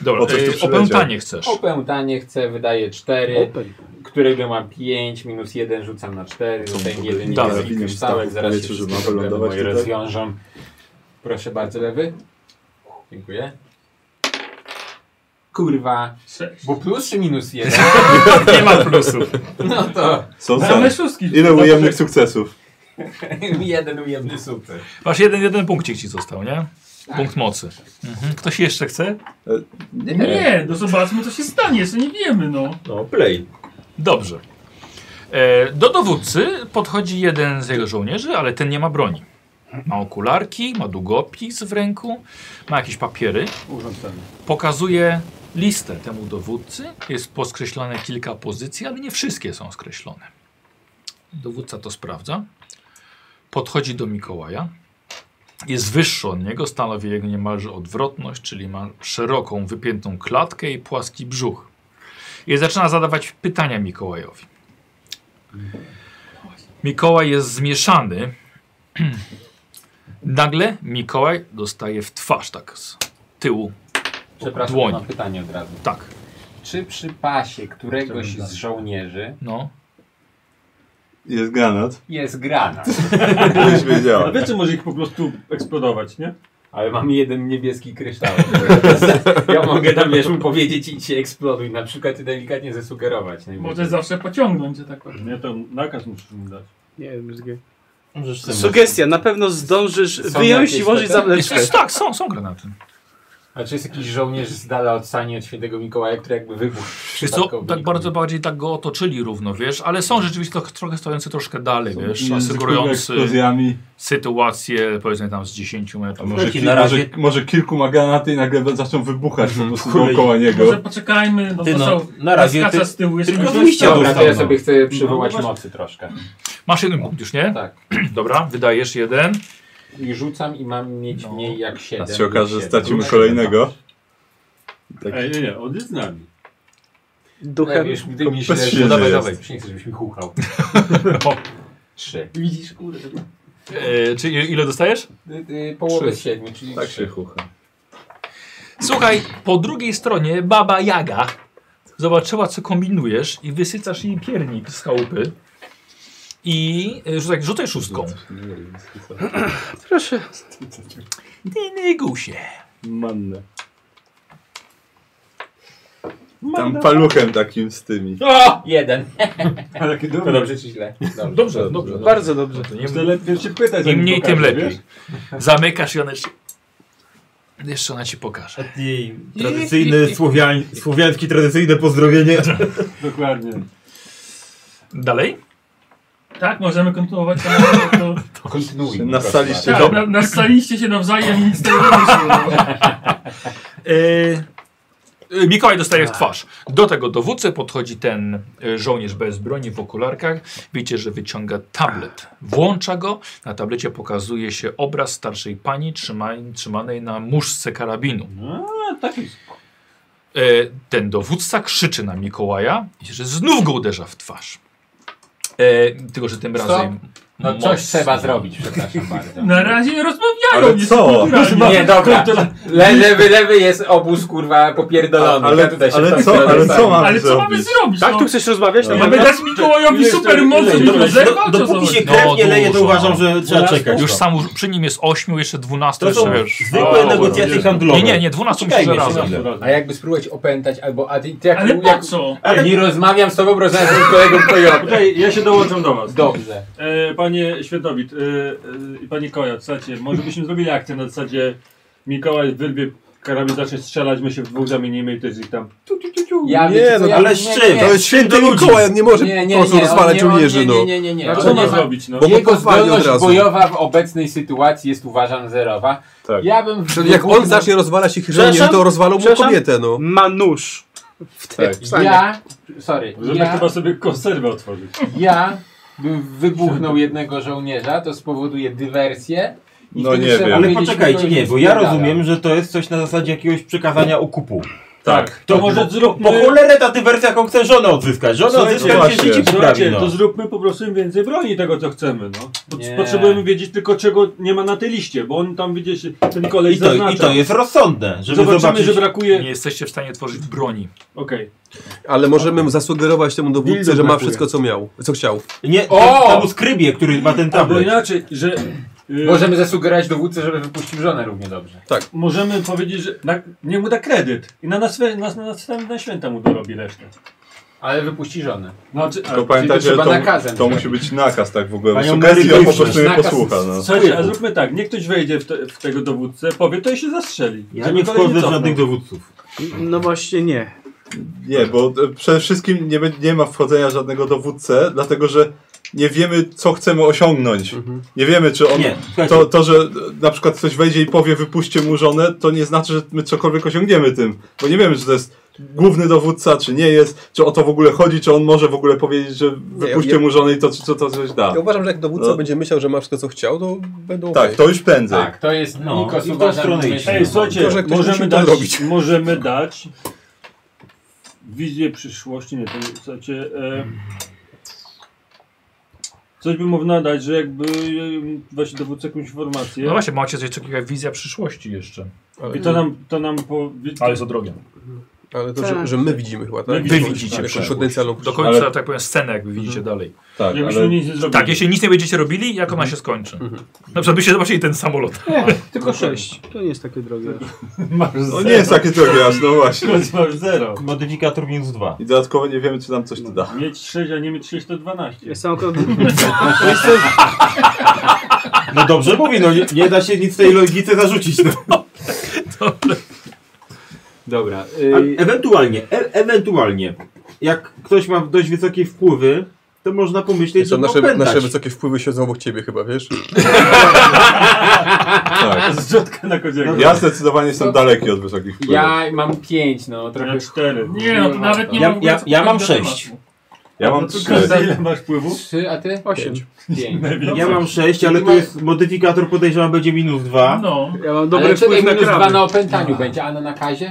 A: Dobra,
C: O, coś
A: e,
C: tu przyleciał.
A: opętanie chcesz.
G: Opętanie chcę, wydaje 4,
D: Open.
G: którego mam 5, minus 1 rzucam na 4, zostaje jeden
C: Dobra,
G: niebieski
C: widzę,
G: kryształek,
C: stachu
G: zaraz się
C: powietrzu, że
G: wszystkie
C: ma
G: problemy
C: wylądować
G: moje
C: tutaj.
G: rozwiążą. Proszę bardzo, lewy. Dziękuję. Kurwa.
F: Sześć.
G: Bo plus czy minus jeden?
C: tak,
A: Nie ma plusów.
G: No to
C: Są
F: No,
C: same.
F: ale szóstki.
C: Ile ujemnych sukcesów?
G: jeden ujemny sukces.
A: Masz jeden, jeden punkcik ci został, nie? Punkt mocy. Mhm. Ktoś jeszcze chce?
F: Nie, no zobaczmy co się stanie, jeszcze nie wiemy, no.
H: No, play.
A: Dobrze. E, do dowódcy podchodzi jeden z jego żołnierzy, ale ten nie ma broni. Ma okularki, ma długopis w ręku, ma jakieś papiery.
B: Urządzenie.
A: Pokazuje listę temu dowódcy. Jest poskreślone kilka pozycji, ale nie wszystkie są skreślone. Dowódca to sprawdza. Podchodzi do Mikołaja. Jest wyższy od niego, stanowi jego niemalże odwrotność, czyli ma szeroką, wypiętą klatkę i płaski brzuch. I zaczyna zadawać pytania Mikołajowi. Mikołaj jest zmieszany. Nagle Mikołaj dostaje w twarz tak z tyłu.
G: Przepraszam,
A: Dłoń.
G: mam pytanie od razu.
A: Tak,
G: Czy przy pasie któregoś z żołnierzy
A: no.
C: Jest granat.
G: jest granat?
C: Już
B: A
C: wiedziałem.
B: wiecie, może ich po prostu eksplodować, nie?
G: Ale mam jeden niebieski kryształ. ja mogę tam wiesz mu powiedzieć i ci eksploduj. Na przykład i delikatnie zasugerować. najwyżej.
F: Może zawsze pociągnąć, że tak powiem.
B: Nie, to nakaz musisz mi dać.
D: Nie wiem, z gier. Sugestia, na pewno zdążysz
G: Są
D: wyjąć
G: jakieś
D: i włożyć
G: takie?
D: zableczkę.
A: Jest, tak, są, są granaty.
G: A czy jest jakiś żołnierz z dala od sani od świętego Mikołaja, który jakby wybuchł?
A: Wiesz co, tak bardzo bardziej tak go otoczyli równo, wiesz, ale są rzeczywiście trochę- trochę stojący troszkę dalej, wiesz, asygurujący
C: eksplozjami.
A: sytuację powiedzmy tam z 10 metrów.
C: Może,
H: Taki
C: ki-
H: na razie-
C: może, może kilku ma granaty i nagle zaczną wybuchać po prostu
H: Chuj.
C: dookoła
F: Może
C: niego.
F: poczekajmy, no
H: Ty
F: to
H: no,
F: są...
H: na razie
F: kaskaca
H: ty-
F: z tyłu jest
H: tylko
F: myślę,
H: wyjście
G: Dobra, to ja
H: dostał, no.
G: sobie chcę przywołać mocy troszkę.
A: Masz jeden punkt już, nie?
G: Tak.
A: Dobra, wydajesz jeden.
G: I rzucam i mam mieć
A: No.
G: mniej jak 7.
C: Teraz się okaże, że stracimy kolejnego. Tak.
B: Ej, nie, nie, on jest z nami.
G: Duchem.
D: Duchem.
G: Wiesz, gdy mi się
C: bez
G: leży,
C: siebie
G: dawaj,
C: jest.
G: dawaj. Już nie chcę, żebyś mi huchał. Trzy. Widzisz, kurde.
A: E, czy i- ile dostajesz?
G: Y, y, Połowę
C: Trzy.
G: z siedmiu, czyli
C: Tak
G: trzy.
C: się chucha.
A: Słuchaj, po drugiej stronie baba Jaga zobaczyła, co kombinujesz i wysycasz jej piernik z chałupy. I e, rzucaj, rzucaj szóstką.
D: Proszę.
A: Dynygusie.
B: Manne.
C: Tam paluchem takim z tymi.
G: Jeden.
B: Ale kiedy
G: To dobrze czy źle? Dobrze.
A: dobrze.
D: Bardzo dobrze.
A: No To nie,
B: To lepiej się pytać.
A: Im
B: zanim
A: mniej,
B: pokażę,
A: tym lepiej.
B: wiesz?
A: Zamykasz i ona jeszcze... Jeszcze ona ci pokaże.
H: I tradycyjne słowiań, słowiańskie tradycyjne pozdrowienie.
B: Dokładnie.
A: Dalej?
F: Tak, możemy kontynuować. ale to- to-
G: Kontynuuj.
C: Na
G: proszę
C: sali
G: bardzo.
C: się-
F: Tak, na- nastaliście się nawzajem i nic z tego nie wyszło. no.
A: Y, Yy, Mikołaj dostaje w twarz. Do tego dowódcy podchodzi ten y, żołnierz bez broni w okularkach. Widzicie, że wyciąga tablet. Włącza go. Na tablecie pokazuje się obraz starszej pani trzymaj- trzymanej na muszce karabinu.
B: A, taki
A: E, ten dowódca krzyczy na Mikołaja i że znów go uderza w twarz. E, tylko, że tym
G: Stop.
A: razem.
G: No coś
A: mocno.
G: trzeba zrobić, przepraszam bardzo.
F: Na razie rozmawiają.
C: Ale
F: jest
C: co?
F: kulturalnie.
G: Nie, dobra. Le, lewy, lewy jest obóz, kurwa, popierdolony.
C: Ale-
G: ja tutaj się
C: ale
G: tak
C: co- ale
G: zastanawiam.
C: co ma-
F: Ale co
C: Zrobić.
F: mamy zrobić?
D: Tak,
F: no?
D: tu chcesz rozmawiać? No,
F: Mamy dać Mikołajowi
B: Ile-
F: super
B: ile-
F: mocy,
B: ile-
F: żeby zerwał czy
H: Dopóki
F: coś?
H: się krew nie
A: No,
H: leje, to
A: dużo,
H: uważam,
A: no.
H: że trzeba
B: Dwunastu?
H: czekać.
A: Już
H: no.
A: sam przy nim jest 8, jeszcze 12
H: To są
A: jeszcze wiesz.
H: zwykłe
A: O,
H: negocjacje
B: nie.
H: handlowe.
A: Nie, nie, nie, 12 myślę, że
H: Czekajmy się
A: razem.
H: na
G: A jakby spróbować opętać albo... A ty, ty jak,
F: Ale po
G: jak,
F: co?
G: Ale nie rozmawiam z tobą, rozmawiam z moim kolegą Kojotą.
B: Tutaj ja się dołączam do was.
G: Dobrze.
B: E, panie Świętowit e, e, i panie Koja, słuchajcie, może byśmy zrobili akcję na zasadzie Mikołaj wyrwie karabin, zacznie strzelać, my się w dwóch zamienimy i to jest ich tam.
G: Ja
I: Nie,
G: wiecie co,
I: no,
G: ja
H: ale
G: bym-
H: z czym?
G: nie,
I: To jest święty Mikołaj, on nie może
G: Nie, nie,
I: po
G: nie,
I: prostu
G: nie,
I: rozwalać
G: on nie-
I: żołnierzy,
G: Nie,
I: no.
G: nie, nie, nie.
B: A
G: nie.
B: co
G: On nie
B: ma
G: ma-
B: zrobić, no?
I: Bo mu
G: Jego
I: podwali od
G: zdolność
I: razu.
G: bojowa w obecnej sytuacji jest uważam zerowa.
C: Tak.
G: Ja bym...
I: Czyli jak on zacznie rozwalać ich
D: Przepraszam?
I: żołnierzy, to rozwalą mu
D: Przepraszam?
I: kobietę, no.
D: Ma nóż.
C: Tak.
G: Ja... Sorry.
B: Możemy
G: Ja,
B: chyba sobie konserwę otworzyć.
G: ja bym wybuchnął jednego żołnierza, to spowoduje dywersję. i
C: No
G: wtedy
C: nie
G: trzeba
C: wiem.
H: Ale
G: wiedzieć,
H: poczekajcie,
G: kogo
H: nie,
G: się
H: bo ja
G: spierdala.
H: rozumiem, że to jest coś na zasadzie jakiegoś przekazania okupu.
B: Tak, to może zróbmy...
H: Po cholerę ta dywersja, jaką chce żonę odzyskać. Żonę
B: Słuchajcie,
H: odzyskać się
C: właśnie.
H: życie poprawi,
B: Słuchajcie,
H: no.
B: to zróbmy po prostu im więcej broni tego, co chcemy, no. Pot-
G: Nie.
B: Potrzebujemy wiedzieć tylko, czego nie ma na tej liście, bo on tam, widzisz, ten kolej
H: I to,
B: zaznacza.
H: I to jest rozsądne, żeby
B: Zobaczymy,
H: zobaczyć...
B: że brakuje...
A: Nie jesteście w stanie tworzyć broni.
B: Okej.
I: Ale możemy zasugerować temu dowódcy,
D: Dildo
I: że ma
D: brakuje.
I: wszystko, co miał, co chciał.
H: Nie,
G: O!
H: o! temu skrybie, który ma ten
B: Albo
H: tablet.
B: inaczej, że Y,
G: Możemy zasugerować dowódcy, żeby wypuścił żonę równie dobrze.
B: Możemy powiedzieć, że na, nie mu da kredyt i na, następne na, na następne święta mu dorobi resztę.
G: Ale wypuści żonę.
B: Znaczy,
C: Tylko pamiętaj,
G: to
C: że
G: trzeba
C: to,
G: nakazem
C: to
G: zrobić.
C: musi być nakaz, tak w ogóle. Bo
H: Panią
C: sugestii
H: Mary
C: on po prostu
H: Krishna.
C: nie
G: Nakaz
C: posłucha. No.
B: Słuchajcie, a zróbmy tak, niech ktoś wejdzie w, te, w tego dowódcę, powie to i się zastrzeli.
H: Ja
B: Żeby
H: nie
B: kolej
H: wchodzę w
B: cofnął.
H: żadnych dowódców.
D: No właśnie nie.
C: Nie, bo e, przede wszystkim nie, be- nie ma wchodzenia żadnego dowódcę, dlatego że nie wiemy, co chcemy osiągnąć. Nie wiemy, czy on.
H: Nie, słuchajcie,
C: To, to, że e, na przykład ktoś wejdzie i powie, wypuśćcie mu żonę, to nie znaczy, że my cokolwiek osiągniemy tym. Bo nie wiemy, czy to jest główny dowódca, czy nie jest, czy o to w ogóle chodzi, czy on może w ogóle powiedzieć, że wypuśćcie
I: ja-
C: mu żonę i to, czy co to coś da.
I: Ja uważam, że jak dowódca
C: No.
I: będzie myślał, że ma wszystko co chciał, to będą
C: Tak,
I: okej.
C: to już prędzej.
G: Tak, to jest
H: No, i w
G: Nikos
H: tą
G: uważam,
H: stronę
G: że
H: idź.
G: myślę-
B: Ej, słuchajcie,
I: Gorzej, jak ktoś
B: możemy
I: musi to
B: dać,
I: zrobić.
B: możemy dać wizję przyszłości, nie, to nie, słuchajcie, e, coś by można dać, że jakby e, właśnie dowódcy jakąś informację
A: No właśnie, macie coś takiego jak wizja przyszłości jeszcze.
B: i to nam, to nam powie...
A: Ale jest drogie.
I: Ale to, że, że my widzimy chyba, tak?
B: My
A: Wy widzicie
I: Jakąś
A: przyszłość.
I: potencjalną
A: Do
I: przyszłość.
A: końca,
C: Ale-
A: tak powiem, scenę jakby widzicie dalej.
C: Tak,
B: Jakbyśmy nic nie zrobili.
A: Tak, jeśli nic nie będziecie robili, jak ona się skończy. Na przykład byście zobaczyli ten samolot.
D: Tylko sześć. To nie jest takie drogie.
B: Masz
C: No
B: zero.
C: nie jest takie drogie aż, no właśnie.
B: Masz zero.
H: Modyfikator minus dwa.
C: I dodatkowo nie wiemy, czy nam coś to da.
B: Mieć 6, a nie mieć 6 to 12.
D: Jest akurat...
H: No dobrze mówię, no nie, nie da się nic tej logice zarzucić. No.
D: Dobra.
H: A
F: y-
H: Ewentualnie, e ewentualnie, jak ktoś ma dość wysokie wpływy, to można pomyśleć,
I: To
H: że
I: nasze,
H: nasze,
I: nasze wysokie wpływy siedzą obok ciebie chyba, wiesz?
C: Tak.
B: Zrzutka na koziego.
C: Ja zdecydowanie jestem daleki od wysokich wpływów.
G: Ja mam pięć, no trochę
B: Ja 4.
F: Nie, no to nawet nie
H: Ja-
F: ma w ogóle
H: ja-
F: co
H: ja mam
F: powiedzieć na
H: sześć.
F: tematu.
C: Ja mam
B: No to
C: trzy.
B: każdy ile masz wpływu?
G: trzy, a ty?
D: Osiem.
G: Pięć.
F: No
H: Ja mam 6, ale to jest modyfikator podejrzewam będzie minus 2.
F: No.
D: Ja
G: Dobry
D: mam dobry
G: Ale czekaj,
D: wpływ na
G: minus dwa
D: kraby.
G: na opętaniu będzie, a na nakazie?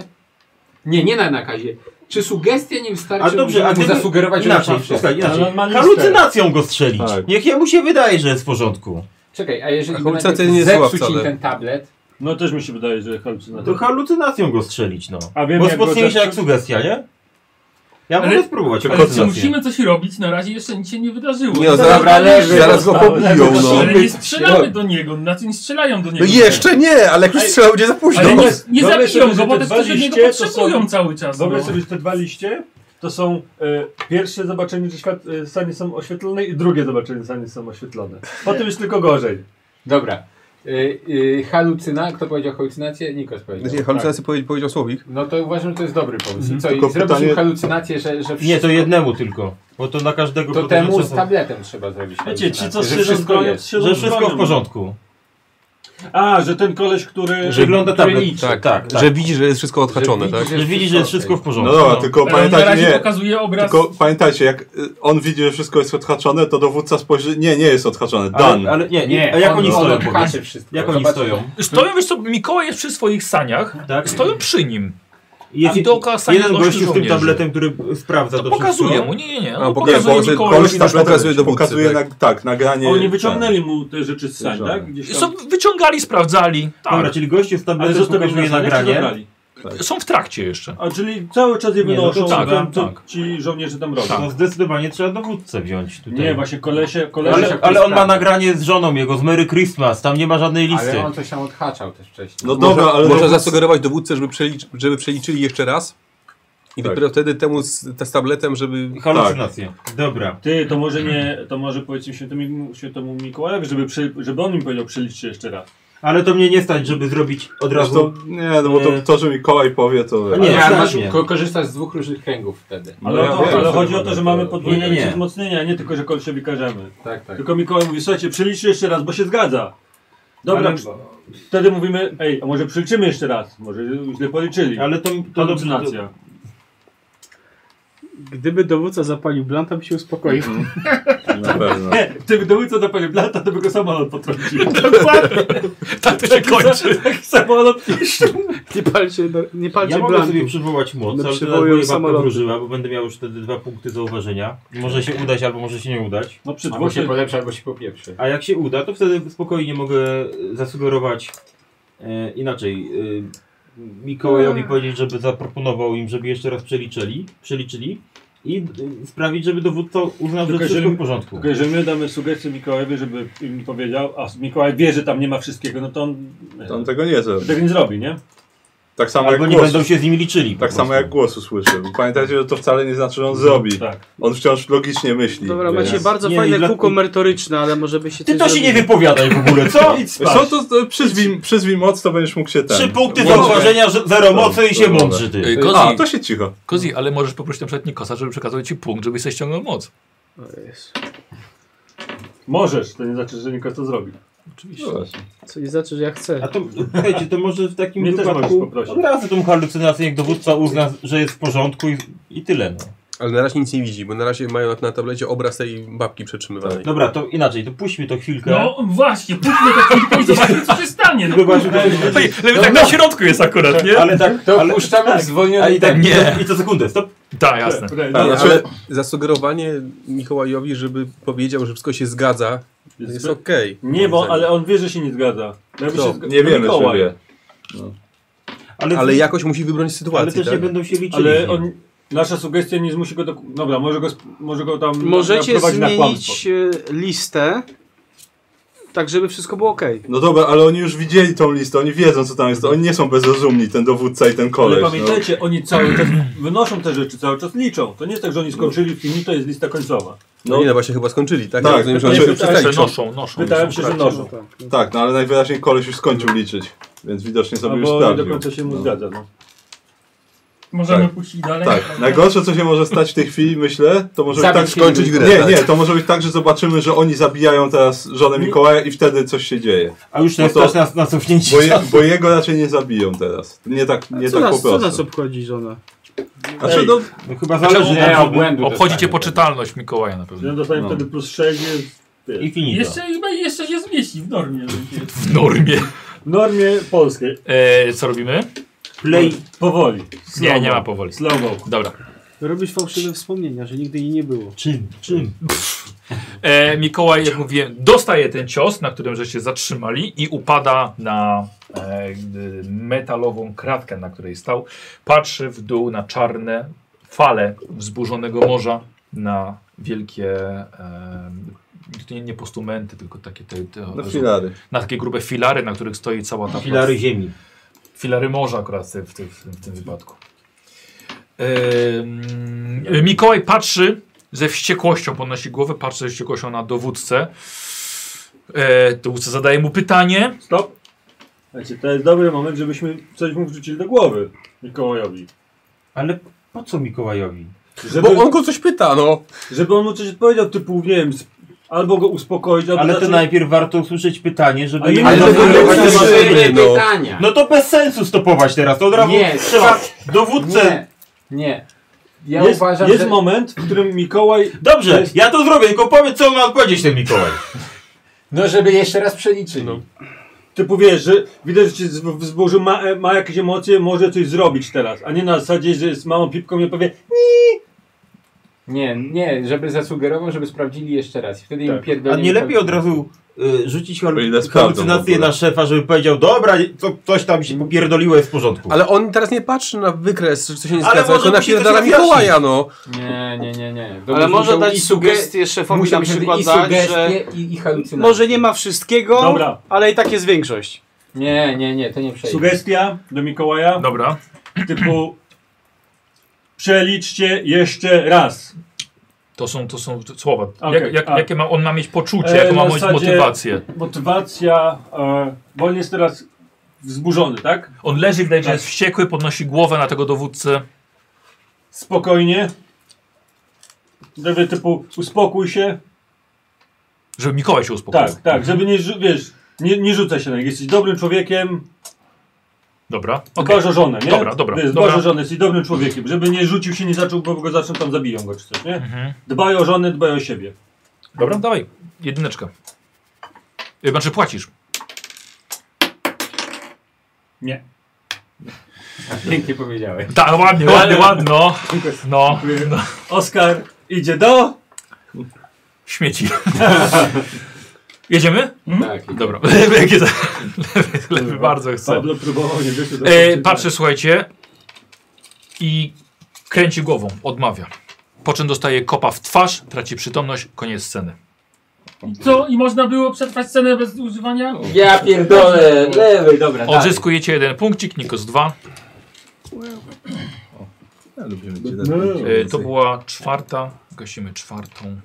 G: Nie, nie na nakazie. Czy sugestia nie wystarczy,
H: A dobrze, a
G: żeby
H: ty
G: mu zasugerować, że
H: inaczej,
G: ma wszystko?
H: słuchaj, inaczej.
B: Ale on ma listę.
H: Halucynacją go strzelić.
C: Tak.
H: Niech jemu się wydaje, że jest w porządku.
G: Czekaj, a jeżeli
I: A
G: by
I: halucynacja
G: najpierw
I: nie jest zła
G: zepsuć im
I: wcale.
G: ten tablet,
B: No też mi się wydaje, że halucynacja. No,
H: To halucynacją go strzelić, no.
B: A wiem,
H: Bo
B: jak go
H: mocniejsza
B: zepsuć?
H: jak sugestia, nie? Ja
F: Ale-
H: mogę spróbować
F: Ale czy
H: halucynację.
F: musimy No, coś robić? Na razie jeszcze nic się nie wydarzyło.
I: Nie, no,
G: dobra,
I: zaraz,
G: leży,
I: zaraz go
B: zostało,
I: pobiją,
B: leży.
I: no.
F: Ale nie strzelamy do niego, znaczy nie strzelają do niego.
I: No jeszcze nie, ale jak już
B: Ale-
I: strzelał, będzie za późno.
F: Ale nie, nie
B: Wyobraź
F: zabiją
B: sobie, że
F: go, bo
B: te
F: te coś do
B: waliście
F: niego
B: to są-
F: potrzebują cały czas. No.
B: Wyobraź sobie, że te dwa liście to są e, pierwsze zobaczenie, że świat, e, sanie są oświetlone i drugie zobaczenie, że sanie są oświetlone. Potem jest tylko gorzej.
G: dobra. Y, y, halucyna, kto powiedział halucynację? Nikos powiedział. Tak.
I: Nie, halucynację powie- powiedział Słowik.
G: No to uważam, że to jest dobry pomysł. I Co,
C: Tylko
G: i zrobić
C: pytanie-
G: im halucynację, że, że
H: Nie,
G: wszystko...
H: to jednemu tylko. Bo to na każdego
G: To
H: podejrzewam,
G: temu
H: że
G: z
H: są-
G: tabletem trzeba zrobić
B: Wiecie, ci co
G: halucynację,
B: siedzą
G: że
B: z
G: wszystko
B: bronią,
G: jest.
B: siedzą
H: Że
B: z
H: wszystko
B: bronią.
H: w porządku.
B: A, że ten koleś, który...
H: Że wygląda
G: który
H: tablet.
G: liczy.
H: Tak, tak.
I: Że widzi, że jest wszystko odhaczone,
G: widzi,
I: tak?
H: Że widzi, że jest wszystko w
C: No
H: porządku.
C: dobra, tylko
F: Ale on na
C: pamiętajcie,
F: razie
C: nie.
F: pokazuje obraz...
C: Tylko pamiętajcie, jak y, on widzi, że wszystko jest odhaczone, to dowódca spojrzy, nie, nie jest odhaczone, dan.
H: Ale, ale nie, nie.
G: Nie,
H: A jak oni
G: on,
H: stoją?
G: on
H: powiedz?
G: odhaczy wszystko.
H: Jak oni
G: Zobacz-
H: stoją?
A: Stoją, wiesz co, Mikołaj jest przy swoich saniach,
H: Tak.
A: stoją przy nim.
H: Jest
A: A do okazania
H: jeden
A: dość
H: gościu z tym
A: żołnierzy.
H: tabletem, który sprawdza to,
A: To
H: wszystko.
A: pokazuje mu, nie, nie, nie.
I: A,
A: On
I: bo-
A: pokazuje
I: bo-
A: Mikołaj.
I: koleś też pokazuje dowódcy,
C: pokazuje
I: tak.
C: na, tak, nagranie.
B: Oni wyciągnęli mu te rzeczy z sań,
C: Żadne.
B: tak? Gdzieś
A: Są,
B: tam.
A: wyciągali, sprawdzali.
H: Dobra,
A: Tak.
H: czyli gościu z
B: Ale
H: tabletem
B: zostawili
H: pokazuje
B: na saniach, czy
H: nagranie.
B: zabrali?
A: Są w trakcie jeszcze.
B: A czyli cały czas je
H: Nie, no to
B: wynoszą,
H: tak,
B: co tam,
H: tak.
B: co ci żołnierze tam robią.
H: To zdecydowanie trzeba dowódcę wziąć tutaj.
B: Nie, właśnie kolesie, kolesie...
H: Ale, ale on ma nagranie z żoną jego, z Merry Christmas, tam nie ma żadnej listy.
G: Ale on coś tam odhaczał też wcześniej.
C: No dobra, ale
I: Można
C: dowódca-
I: zasugerować dowódcę, żeby, przeliczy, żeby przeliczyli jeszcze raz. I
C: Tak.
I: dopiero wtedy temu z, z tabletem, żeby...
H: Halucynacje. Dobra.
B: Ty, to może nie, to może powiedzmy świętemu, świętemu Mikołajowi, żeby, przy, żeby on im powiedział przeliczcie jeszcze raz.
H: Ale to mnie nie stać, żeby zrobić od
C: Zresztą,
H: razu.
C: nie, no bo to, to, że Mikołaj powie, to.
G: No
H: Nie,
G: Nie, ale masz,
H: strasznie.
G: ko korzystasz z dwóch różnych kręgów wtedy.
B: Ale,
C: No ja
B: to,
C: wiem,
B: ale
C: co
B: chodzi o
C: wygląda,
B: to, że mamy
C: to-
B: podwójne
H: Nie, nie.
B: liczby wzmocnienia, nie tylko, że kolesiowi każemy.
G: Tak, tak.
B: Tylko Mikołaj mówi, słuchajcie, przeliczcie jeszcze raz, bo się zgadza. Dobra,
H: Ale-
B: przy- wtedy mówimy, ej, a może przeliczymy jeszcze raz, może źle policzyli.
H: Ale to, to dobrze.
B: Halucynacja.
D: Gdyby dowódca zapalił blanta, by się uspokoił.
C: Na pewno.
B: Nie, gdyby dowódca zapalił blata, to by go samolot potrącił.
A: Tak to się kończy.
B: Taki samolot
D: Nie palcie, do- nie palcie
H: Ja mogę
D: blantu.
H: sobie przywołać moc,
D: Będę
H: ale teraz
D: przywoływał
H: moja babka
D: samoloty.
H: wróżyła, bo będę miał już wtedy dwa punkty zauważenia. Może się udać, albo może się nie udać.
B: No przy
G: Albo
B: dwóch
G: się polepszy, albo się popieprzy.
H: A jak się uda, to wtedy spokojnie mogę zasugerować e, inaczej. E, Mikołajowi powiedzieć, żeby zaproponował im, żeby jeszcze raz przeliczyli, przeliczyli i y, sprawić, żeby dowódca uznał, że
B: Tylko
H: wszystko
B: jeżeli-
H: w porządku.
B: Tylko jeżeli my damy sugestię Mikołajowi, żeby im powiedział, a Mikołaj wie, że tam nie ma wszystkiego, no to on
C: To on tego nie zrobi.
B: tego nie zrobi, nie?
C: Tak samo
H: Albo
C: jak
H: nie
C: głos.
H: będą się z nimi liczyli. po
C: Tak samo
H: prostu.
C: jak głos usłyszy. Bo Pamiętajcie, że to wcale nie znaczy, że on zrobi.
B: Tak.
C: On wciąż logicznie myśli.
D: Dobra,
C: więc-
D: macie bardzo
H: Nie,
D: fajne
H: dla-
D: kółko merytoryczne, ale może by się
H: Ty
D: coś
H: to się
D: zrobiło.
H: nie wypowiadaj w ogóle, co?
C: Co to, to przyzwij, przyzwij moc, to będziesz mógł się ten...
H: Trzy
B: Tak.
H: punkty
C: włączyć.
H: zauważenia, że- zero mocy i się
C: Dobra.
H: mądrzy ty.
A: Ej, Kozi,
C: A, to się cicho.
A: Kozi, ale możesz poprosić na przykład Nikosa, żeby przekazał ci punkt, żebyś sobie ściągnął moc.
D: O Jezu.
B: Możesz, to nie znaczy, że Nikos to zrobi.
A: Oczywiście.
C: No właśnie.
D: Co nie znaczy, że ja chcę.
H: A to, słuchajcie, to może w takim
B: Mnie też możesz
H: wypadku
B: poprosić.
H: od razu tą halucynację, jak dowódca uzna, że jest w porządku i, i tyle. No.
I: Ale na razie nic nie widzi, bo na razie mają na tablecie obraz tej babki przetrzymywanej.
H: Dobra, to inaczej, to puśćmy to chwilkę.
F: No
A: Tak?
F: właśnie, puśćmy to chwilkę i zobaczmy co się stanie. No,
H: Tylko właśnie,
F: kurde.
A: Ej, ale
B: No,
A: tak na środku jest akurat, nie?
H: ale tak,
G: To
H: ale,
G: puszczamy w zwolniony
H: a i tak,
G: temp.
A: Nie.
H: I co sekundę, stop.
A: Tak, jasne.
B: Okej, no.
C: Tak,
I: Nie,
C: znaczy-
I: ale zasugerowanie Mikołajowi, żeby powiedział, że wszystko się zgadza,
B: Jest
I: jest
B: zbyt-
I: okej.
B: Nie, bo, ale on wie, że się nie zgadza. Jakby
I: Kto?
B: się zga-
C: Tak. Nie
B: no
C: wiemy, czy
B: Mikołaj.
C: wie.
H: Ale,
I: Ale jakoś musi wybronić
H: ale
I: sytuację,
H: też
I: tak?
H: nie będą się liczyli.
B: Ale on, nasza sugestia nie zmusi go do... Dobra, może go, sp- może go tam
D: Możecie
B: naprowadzić na kłamstwo.
D: zmienić e, listę, tak żeby wszystko było ok.
C: No dobra, ale oni już widzieli tą listę, oni wiedzą, co tam jest. Oni nie są bezrozumni, ten dowódca i ten
B: Ale
C: koleś. No.
B: pamiętajcie, oni cały czas wynoszą te rzeczy, cały czas liczą. To nie jest tak, że oni skończyli film, to jest lista końcowa.
I: No, nie, no właśnie chyba skończyli, tak?
C: Tak,
I: Ja rozumiem, że
C: znaczy-
I: oni się przestali.
A: Jeszcze noszą, noszą.
B: no, Wydaje się, że noszą.
C: Tak, no ale najwyraźniej koleś już skończył liczyć. Więc widocznie sobie już
B: Albo No nie
C: sprawdził.
B: do końca się mu
C: No.
B: zgadza. No.
F: Możemy
C: Tak.
F: puścić dalej.
C: Tak,
F: prawda?
C: najgorsze co się może stać w tej chwili, myślę, to może być
I: Zabić
C: tak...
I: się skończyć
C: nie,
I: grę, tak.
C: Nie, to może być tak, że zobaczymy, że oni zabijają teraz żonę Mikołaja i wtedy coś się dzieje.
H: A już to jest
C: No to-
H: czas na, na cofnięcie.
C: Bo, je, bo jego raczej nie zabiją teraz. Nie tak,
D: A
C: nie
D: co,
C: tak po
D: nas, co
C: prostu.
D: nas obchodzi żona?
C: Znaczy, no,
H: No, chyba zależy
G: Nie,
H: na
G: obłędu
A: Obchodzi cię
B: tak, no.
G: dostanie.
A: poczytalność Mikołaja na pewno.
B: Ja dostałem
C: No.
B: wtedy plus 6 jest
H: I finito.
F: Jeszcze, chyba jeszcze się zmieści w normie.
A: W normie.
B: w normie polskiej.
A: E, co robimy?
H: Play.
B: Powoli.
A: Nie,
B: Slow
A: nie ma
B: mo.
A: powoli.
B: Slow mo.
A: Dobra.
D: Robisz fałszywe wspomnienia, że nigdy jej nie było.
H: Czym? Czym?
A: E, Mikołaj, jak mówiłem, dostaje ten cios, na którym żeście zatrzymali i upada na e, gdy- metalową kratkę, na której stał. Patrzy w dół na czarne fale wzburzonego morza, na wielkie, e, to nie, nie postumenty, tylko takie te, te,
C: no filary.
A: na takie grube filary, na których stoi cała ta
H: Filary ziemi.
A: filary morza akurat w, tym- w, tym- w tym wypadku. Em, e, Mikołaj patrzy ze wściekłością, podnosi głowę, patrzy ze wściekłością na dowódcę. E, dowódca zadaje mu pytanie.
B: Stop. Słuchajcie, to jest dobry moment, żebyśmy coś mu wrzucili do głowy. Mikołajowi.
H: Ale po co Mikołajowi?
B: Żeby,
I: Bo on go coś pyta, no.
B: żeby on mu coś odpowiedział, typu, nie wiem, z- albo go uspokoić, albo
H: Ale to
B: zacząć-
H: najpierw warto usłyszeć pytanie, żeby...
B: Ale
H: nie
B: znaczy- nie-
H: było-
I: to
G: Ale
I: Dobra,
G: to jest
I: zobaczymy,
G: pytanie,
I: no.
G: pytania.
H: No to bez sensu stopować teraz, to od razu
G: Nie,
H: trzeba dowódcę...
G: Nie, nie. Ja
B: jest,
G: uważam,
B: jest
G: że...
B: moment, w którym Mikołaj
H: Dobrze, ja to zrobię, tylko powiedz co ma odpowiedzieć ten Mikołaj.
G: No żeby jeszcze raz przeliczyli.
B: Typu wiesz, że widać, że cię zw- wzburzył, ma, e, ma jakieś emocje, może coś zrobić teraz, a nie na zasadzie, że z małą pipką mi powie
G: Nie, nie, żeby zasugerował, żeby sprawdzili jeszcze raz. I Wtedy im
B: Tak.
H: A
G: pierdolimy.
H: nie lepiej od razu y, rzucić
C: O ile
H: hal-
C: sprawdzą w
H: halucynację
C: ogóle.
H: na szefa, żeby powiedział, dobra, to, coś tam się popierdoliło, jest w porządku.
I: Ale on teraz nie patrzy na wykres, czy coś się nie
H: Ale
I: zgadza,
H: może
I: tylko
H: mu się
I: napierdala
H: coś wyjaśni.
I: Mikołaja, no.
G: Nie, nie, nie, nie. To
D: Ale
G: musiał
D: może
G: i
D: dać
G: suge-
D: sugestie szefowi
G: Musiał
D: na
G: wtedy
D: przykład
G: i
D: dać, że
G: sugestie, i, i halucynacje.
D: może nie ma wszystkiego,
B: Dobra.
D: ale i tak jest większość.
G: Nie, nie, nie, to nie przejdzie.
B: sugestia do Mikołaja,
A: Dobra.
B: typu przeliczcie jeszcze raz.
A: To są, to są słowa.
B: Okej,
A: jak, jak,
B: a-
A: jakie ma, on ma mieć poczucie,
B: E,
A: jaką ma
B: na
A: mieć
B: zasadzie-
A: motywację.
B: Motywacja, e, bo on jest teraz wzburzony, tak?
A: On leży, widać, że
B: Tak.
A: jest wściekły, podnosi głowę na tego dowódcę.
B: Spokojnie. Żeby typu uspokój się.
A: Żeby Mikołaj się uspokoił.
B: Tak, tak, żeby nie, rzu- wiesz, nie, nie rzucaj się na nich. Jesteś dobrym człowiekiem,
A: Dobra.
B: Okay.
A: okej.
B: Dbasz o żonę, nie?
A: Dobra, dobra,
B: Wiesz,
A: dobra.
B: Dbasz o żonę, jesteś dobrym człowiekiem, żeby nie rzucił się, nie zaczął, bo go zaczną tam zabiją go czy coś, nie?
A: Mhm.
B: Dbaj o żonę, dbaj o siebie.
A: Dobra, dawaj. Jedyneczka. Y, Znaczy płacisz.
B: Nie.
G: Pięknie powiedziałeś.
A: Tak, ładnie, ładnie, ładnie. No, no.
B: Oskar idzie do...
A: Śmieci. Jedziemy?
G: Tak.
A: Dobra. Lewy, jak jest- lewy, lewy bardzo chce.
B: Pablo próbował, nie wyszedł. tak.
A: E, patrzę, słuchajcie. I kręci głową, odmawia. Po czym dostaje kopa w twarz, traci przytomność, koniec sceny.
F: I co? I można było przetrwać scenę bez używania?
L: Ja pierdolę, lewej, dobra, dalej.
A: Odzyskujecie jeden punkcik, Nikos dwa.
C: Ja lubimy cię
B: No.
A: E, to była czwarta. Gasimy czwartą.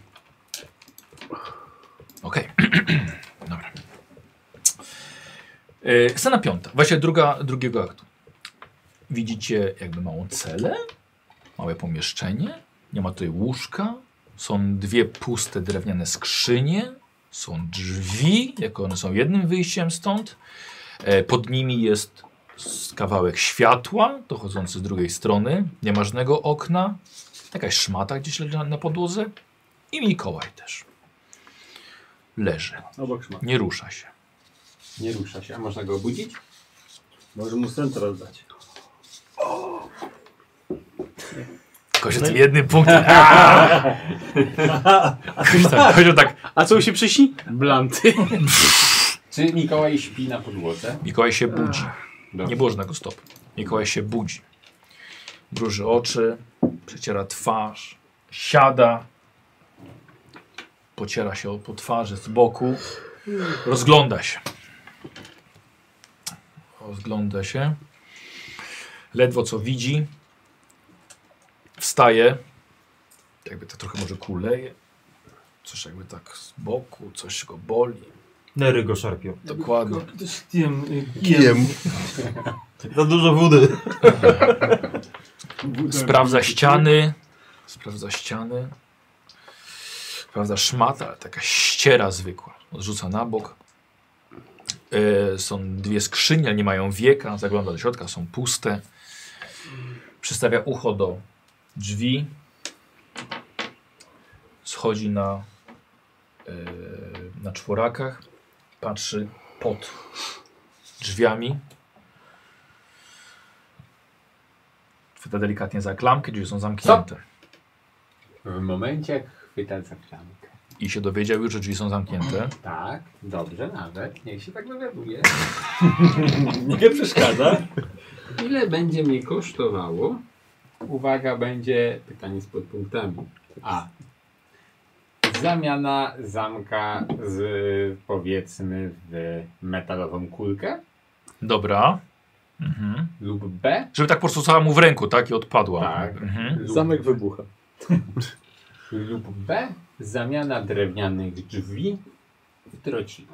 A: Okej. Dobra. E, scena piąta. Właśnie druga, drugiego aktu. Widzicie jakby małą celę, małe pomieszczenie. Nie ma tutaj łóżka. Są dwie puste drewniane skrzynie. Są drzwi, jako one są jednym wyjściem stąd. E, pod nimi jest s- kawałek światła dochodzący z drugiej strony. Nie ma żadnego okna. Jakaś szmata gdzieś leży na- na podłodze. I Mikołaj też. Leży.
B: Obok szmat.
A: Nie rusza się.
G: Nie rusza się, a można go obudzić?
B: Może mu sen teraz dać.
A: Tylko się tym jednym punktem. Aaaa! Ktoś tak, ktoś tak.
D: A co mu się przyśni? Blanty.
G: Czy Mikołaj śpi na podłodze?
A: Mikołaj się budzi. Nie było żadnego stopu. Mikołaj się budzi. Mruży oczy, przeciera twarz, siada, pociera się o- po twarzy z boku, rozgląda się. Rozgląda się. Ledwo co widzi. Wstaje. Jakby to trochę może kuleje. Coś jakby tak z boku, coś go boli.
H: Nery go szarpią.
A: Dokładnie.
F: Ktoś tym y,
E: Kijem.
H: Za dużo wody.
A: Sprawdza ściany. Sprawdza ściany. Sprawdza szmat, ale taka ściera zwykła. Odrzuca na bok. E, są dwie skrzynie, ale nie mają wieka. Zagląda do środka, są puste. Przystawia ucho do drzwi. Schodzi na, e, na czworakach. Patrzy pod drzwiami. Chwyta delikatnie za klamkę, drzwi są zamknięte.
G: W momencie jak chwyta za klamkę.
A: i się dowiedział już, że drzwi są zamknięte.
G: Tak, dobrze nawet. Niech się tak dowiaduje.
B: Nie przeszkadza.
G: Ile będzie mnie kosztowało? Uwaga, będzie pytanie z podpunktami. A. Zamiana zamka z powiedzmy w metalową kulkę
A: Dobra. Mhm.
G: lub B
A: Żeby tak po prostu stała mu w ręku, tak? I odpadła.
G: Tak.
A: Mhm.
G: lub,
E: Zamek wybucha.
G: lub B zamiana drewnianych drzwi w trociny.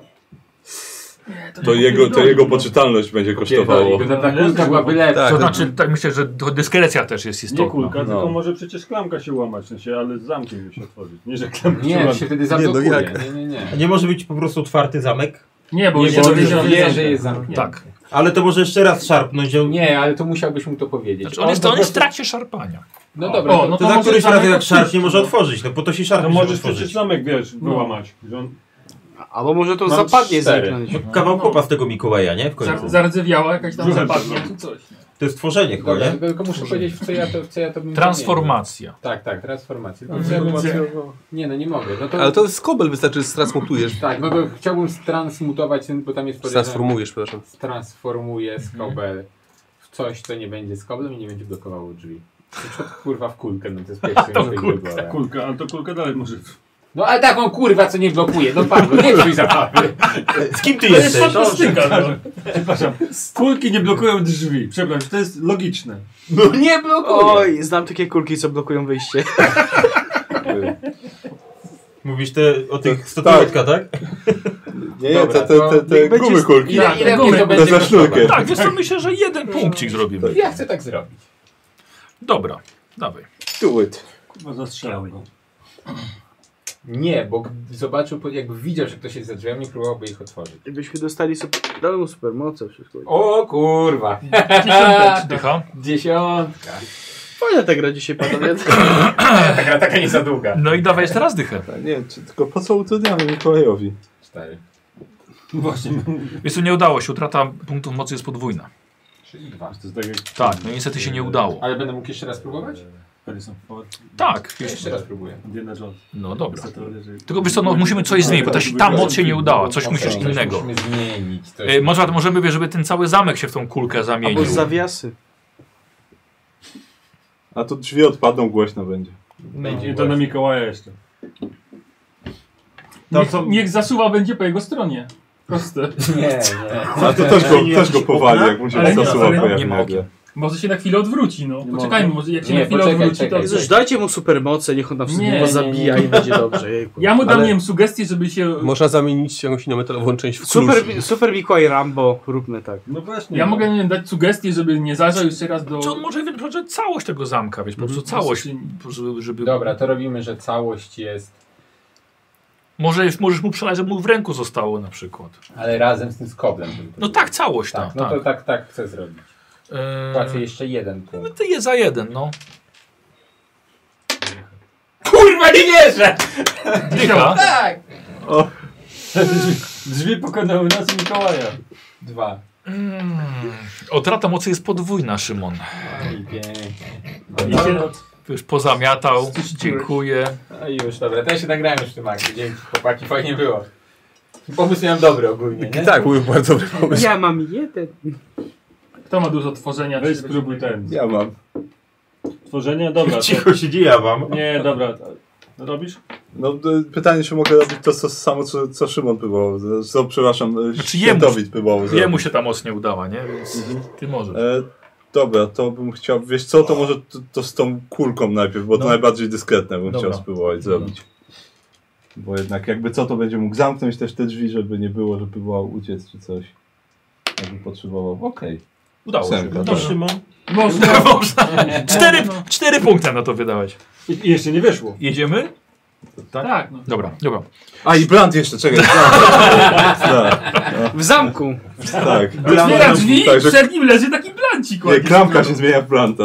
F: Nie,
C: To
F: nie
C: jego, to
F: powinno.
C: jego poczytalność będzie kosztowało.
G: Pierdoli, Ta kulka była byle
E: Tak.
A: To znaczy, tak myślę, że to dyskrecja też jest
B: Nie
A: istotna.
B: kulka, tylko
C: No.
B: może przecież klamka się łamać, w sensie, ale z zamkiem mi się otworzyć. Nie, że klamka się
G: Nie,
B: łamie.
G: się wtedy
E: no
G: zablokuje.
E: jak?
G: Nie, nie, nie.
H: A nie może być po prostu otwarty zamek?
F: Nie, bo
G: Nie,
F: już
G: bo on
F: jest
G: już wie,
F: zamknięty.
G: że jest zamknięty.
A: Tak.
H: Ale to może jeszcze raz szarpnąć. ją.
G: Nie, ale to musiałbyś mu to powiedzieć.
A: Znaczy on jest,
G: po
A: on jest w
G: prostu-
A: trakcie szarpania.
G: No dobra,
F: O,
G: to-
F: no
H: To za
F: może
H: któryś raz
F: zamek
H: jak szarpnie
F: otworzyć,
H: może
F: no.
H: otworzyć, no po to się szarpnie
B: No
H: może
B: możesz przecież
H: otworzyć.
B: zamek, wiesz, wyłamać. Że on-
D: Albo może to
B: Mam
D: zapadnie
B: cztery.
D: zniknąć.
H: No, Kawał kopa z tego Mikołaja, nie? W końcu.
F: Zar- Zardzewiała jakaś tam
B: Brzuchem
F: zapadnia
B: to,
F: czy coś. nie?
H: To jest tworzenie chyba,
G: Dobra,
H: nie?
G: tylko muszę powiedzieć, w co ja to, w co ja to bym zamienił.
A: Transformacja.
G: Tak, tak, transformację. Tylko co ja bym... Nie, no nie mogę. No to...
E: Ale to jest kobel, wystarczy, że transmutujesz.
G: Tak, no to chciałbym transmutować, ten- bo tam jest podejrzane...
E: Transformujesz, przepraszam.
G: Transformuję
A: Mhm.
G: skobel w coś, co nie będzie skoblem i nie będzie blokowało drzwi. Na przykład, kurwa w kulkę, no to jest pierwszy
A: To
G: mojej
A: kulka.
G: wybory.
B: Kulka, ale to kulka dalej może.
G: No ale taką kurwa, co nie blokuje. No Pablo, nie psuj zabawy.
H: Z kim ty
F: To jest
H: jesteś?
F: fantastyka. no.
B: Przepraszam. Kulki nie blokują drzwi. Przepraszam, to jest logiczne.
G: No nie blokuje.
D: Oj, znam takie kulki, co blokują wyjście.
H: Mówisz te, o tych statuetkach, tak?
C: Nie, nie, te,
G: Dobra,
C: te, te, te
D: niech będzie
C: gumy
D: z-
C: kulki.
G: Ile, ile mnie to
C: Te
G: będzie
C: ze
G: kosztować?
C: sznurkiem.
A: Tak, więc to myślę, że jeden punkcik zrobimy.
G: Ja chcę tak zrobić.
A: Dobra, dawaj.
C: Do it.
B: Kurwa zastrzelał go.
G: Nie, bo gdy zobaczył, po- jakby widział, że ktoś jest za drzwiami, próbowałby ich otworzyć.
D: Jakbyśmy dostali super, dali mu supermoce wszystko.
G: O kurwa!
F: Dziesiąteczka.
A: Dycha.
G: Dziesiątka.
D: Fajna ta gra dzisiaj, panowie.
G: Taka, taka nie za długa.
A: No i dawaj jeszcze raz dychę.
C: Nie wiem, czy, tylko po co utrudniamy Mikołajowi?
G: Cztery.
B: Właśnie,
A: Więc to nie udało się, utrata punktów mocy jest podwójna.
G: Czyli dwa.
B: to jest tak jak
A: Tak, no niestety się nie udało.
G: Ale będę mógł jeszcze raz próbować?
B: Harrison Ford.
A: Tak,
G: Jeszcze raz próbuję.
B: Indiana Jones.
A: No dobra.
B: Chcę to, że-
A: Tylko wiesz co, no, musimy coś zmienić, bo ta, ta moc się nie udała. Coś musisz
G: Coś
A: innego.
G: Musimy zmienić. Coś...
A: E, Może możemy, żeby ten cały zamek się w tą kulkę zamienił.
D: Albo zawiasy.
C: A to drzwi odpadną, głośno będzie.
B: I to na Mikołaja jeszcze.
F: Niech, niech zasuwa będzie po jego stronie. Proste.
G: Nie, nie.
C: A to też go, też go powali, jak mu się
F: Ale nie,
C: zasuwa
F: ale
C: pojawi
F: nie ma
C: nagle.
F: Może się na chwilę odwróci, no. Poczekajmy, może jak się
D: Nie,
F: na chwilę
D: poczekaj,
F: odwróci, to...
D: czekaj, Jezus, dajcie mu supermoce, niech on tam wszystkiego zabija i będzie dobrze. Jejku.
F: Ja mu dam,
D: Ale-
F: nie wiem, sugestię, żeby się...
I: Można zamienić jakąś inną metalową część w klucz.
D: Super, super Mikołaj Rambo, róbmy tak.
B: No właśnie.
F: Ja mogę, nie wiem, dać sugestię, żeby nie zajrzał jeszcze raz do...
A: Czy on może wyprowadzić całość tego zamka, wiesz, po
B: Mhm.
A: prostu całość, żeby... żeby...
G: Dobra, to robimy, że całość jest,
A: Może, możesz mu przelać, żeby mu w ręku zostało na przykład.
G: ale razem z tym skoblem. żeby to
A: No tak, całość tam,
G: Tak, no
A: tak.
G: to tak, tak chcę zrobić.
A: Eee,
G: Płacę jeszcze jeden punkt.
A: Ty je za jeden, no.
L: Kurwa, nie wierzę!
A: Dycha.
L: Tak!
B: Drzwi pokonały nas i Mikołaja.
G: Dwa.
A: Mm. Otrata mocy jest podwójna, Szymon.
G: No I pięknie.
A: I się już pozamiatał. Dziękuję.
G: No i już, dobra, to ja się nagrałem już w tym akcie. Dzięki, chłopaki, fajnie było. Pomysł miałem dobry ogólnie, nie?
I: Tak, był bardzo dobry pomysł.
D: Ja mam jeden.
F: Kto ma dużo tworzenia?
B: Weź
F: czy-
B: spróbuj ten.
C: Ja mam.
B: Tworzenie, dobra. To...
H: Cicho się dzieje, ja wam.
B: Nie, dobra. to- Robisz?
C: No d- pytanie, czy mogę robić to co, samo, co, co Szymon próbował, z- co, przepraszam,
A: Znaczy
C: znaczy
A: jemu-
C: Świętowit próbował
A: Jemu
C: zrobić.
A: się ta moc nie udała, nie? Więc
B: Mhm.
A: ty możesz.
C: E, dobra, to bym chciał, wiesz co, to może to, to z tą kulką najpierw, bo to
A: No.
C: najbardziej dyskretne bym
A: Dobra.
C: chciał
F: No.
C: spróbować zrobić. Bo jednak jakby co, to będzie mógł zamknąć też te drzwi, żeby nie było, że próbował uciec czy coś. Jakby potrzebował. Okej.
A: Udało się.
C: Ósemka,
A: Dobrze.
C: tak.
B: Szymon.
F: Można.
A: Można. Cztery, cztery punkty na to wydałeś.
B: I i jeszcze nie wyszło.
A: Jedziemy?
F: Tak, no.
A: Dobra, dobra.
C: A i Brand jeszcze, czekaj. tak,
D: W zamku.
C: tak.
F: Otwiera drzwi,
C: tak, że-
F: przed nim leży taki blancik
C: Nie,
F: ładnie.
C: klamka się zmienia w planta.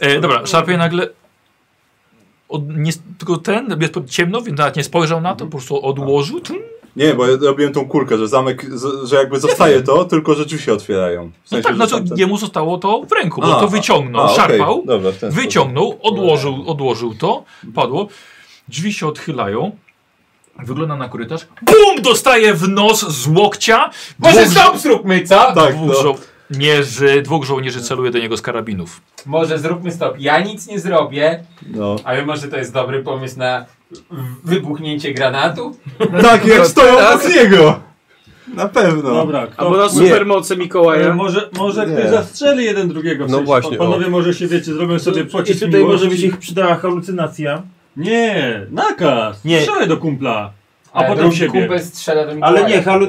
A: E, dobra, szarpie nagle. Od, nie, tylko ten, jest pod- ciemno, więc nawet nie spojrzał na to, po prostu odłożył.
C: Mhm.
A: Tyn.
C: Nie, bo ja robiłem tą kulkę, że zamek, z, że jakby zostaje to, tylko że drzwi się otwierają. W
A: No
C: sensie,
A: tak,
C: że
A: znaczy
C: tamten-
A: jemu zostało to w ręku,
C: A,
A: bo to
C: a,
A: wyciągnął,
C: okej, No,
A: szarpał,
C: Dobra, No, w ten sposób.
A: wyciągnął, odłożył, odłożył to, padło. Drzwi się odchylają. Wygląda na korytarz. BUM! Dostaje w nos z łokcia.
G: Może
A: Dwóch, żo-
G: sam zróbmy, co?
C: Tak,
A: dwóch,
C: no.
A: żo żołnierzy, dwóch żołnierzy celuje do niego z karabinów.
G: Może zróbmy stop. Ja nic nie zrobię,
C: no.
G: ale może to jest dobry pomysł na w- wybuchnięcie granatu?
C: Tak, jak stoją obok niego. Na pewno.
B: Dobra, kto...
D: Albo na supermoce
B: Ale
D: Mikołaja.
B: może, może
C: Nie.
B: ktoś zastrzeli jeden drugiego. w
I: No
B: sensie,
I: właśnie,
B: Panowie może się wiecie, zrobią sobie
H: I
B: pocisk
H: tutaj może by
B: miłości.
H: się przydała halucynacja.
B: Nie, nakaz.
H: Nie.
B: Strzelaj do kumpla. A
G: Ale
B: potem
G: drugi
B: siebie.
G: Kumpel E, strzela do Mikołaja.
H: Ale nie, halu...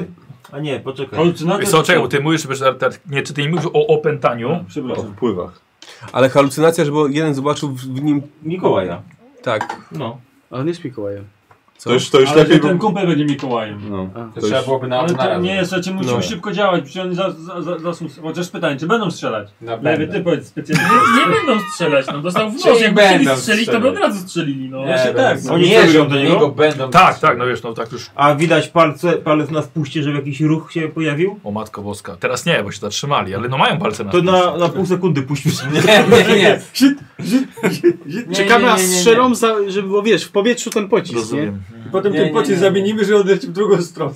H: A nie, poczekaj.
B: Halucynator-
A: Co, czekaj, bo ty mówisz, że- że- że- nie, czy ty nie mówisz o opętaniu?
C: O
B: Przepraszam.
C: wpływach.
I: Ale halucynacja, żeby jeden zobaczył w w nim...
H: Mikołaja.
I: Tak.
H: No.
D: Ale nie jest Mikołajem.
C: To już, to już
B: Ale że
C: lepiej by...
B: ten kumpel będzie Mikołajem.
C: No.
G: To
C: To
G: trzeba
C: już-
G: byłoby na,
B: Ale
G: na
B: to
G: raz.
B: nie, słuchajcie, musimy
I: No.
B: szybko działać, przecież oni za, za, za, zasą, chociaż pytanie, czy będą strzelać?
G: Na
B: Lewy,
G: pewno.
B: ty powiedz specjalnie.
F: Nie, nie będą strzelać, no. Dostał w nos.
G: Czyli
F: Jakby chcieli
G: będą
F: strzelić, to by od
G: strzelać.
F: razu strzelili, no.
G: Nie,
B: Właśnie tak,
G: będą.
H: oni
G: E, nie,
H: celują
G: że
H: do
G: w
H: niego?
G: będą
A: Tak, tak, no wiesz, no tak już.
H: A widać palce, palec na wpuście, żeby jakiś ruch się pojawił?
A: O matko boska. Teraz nie, bo się zatrzymali, ale no mają palce na
H: To na,
A: spuście.
H: na pół sekundy puśćmy sobie.
G: Nie, nie, nie.
D: Czy kamera strzelą, za- żeby było, wiesz, w powietrzu ten pocisk, nie?
A: Rozumiem.
B: I potem
G: Nie,
B: ten
G: nie,
B: pocisk
G: nie, Tak. nie.
B: zamienimy, że odleci w drugą stronę.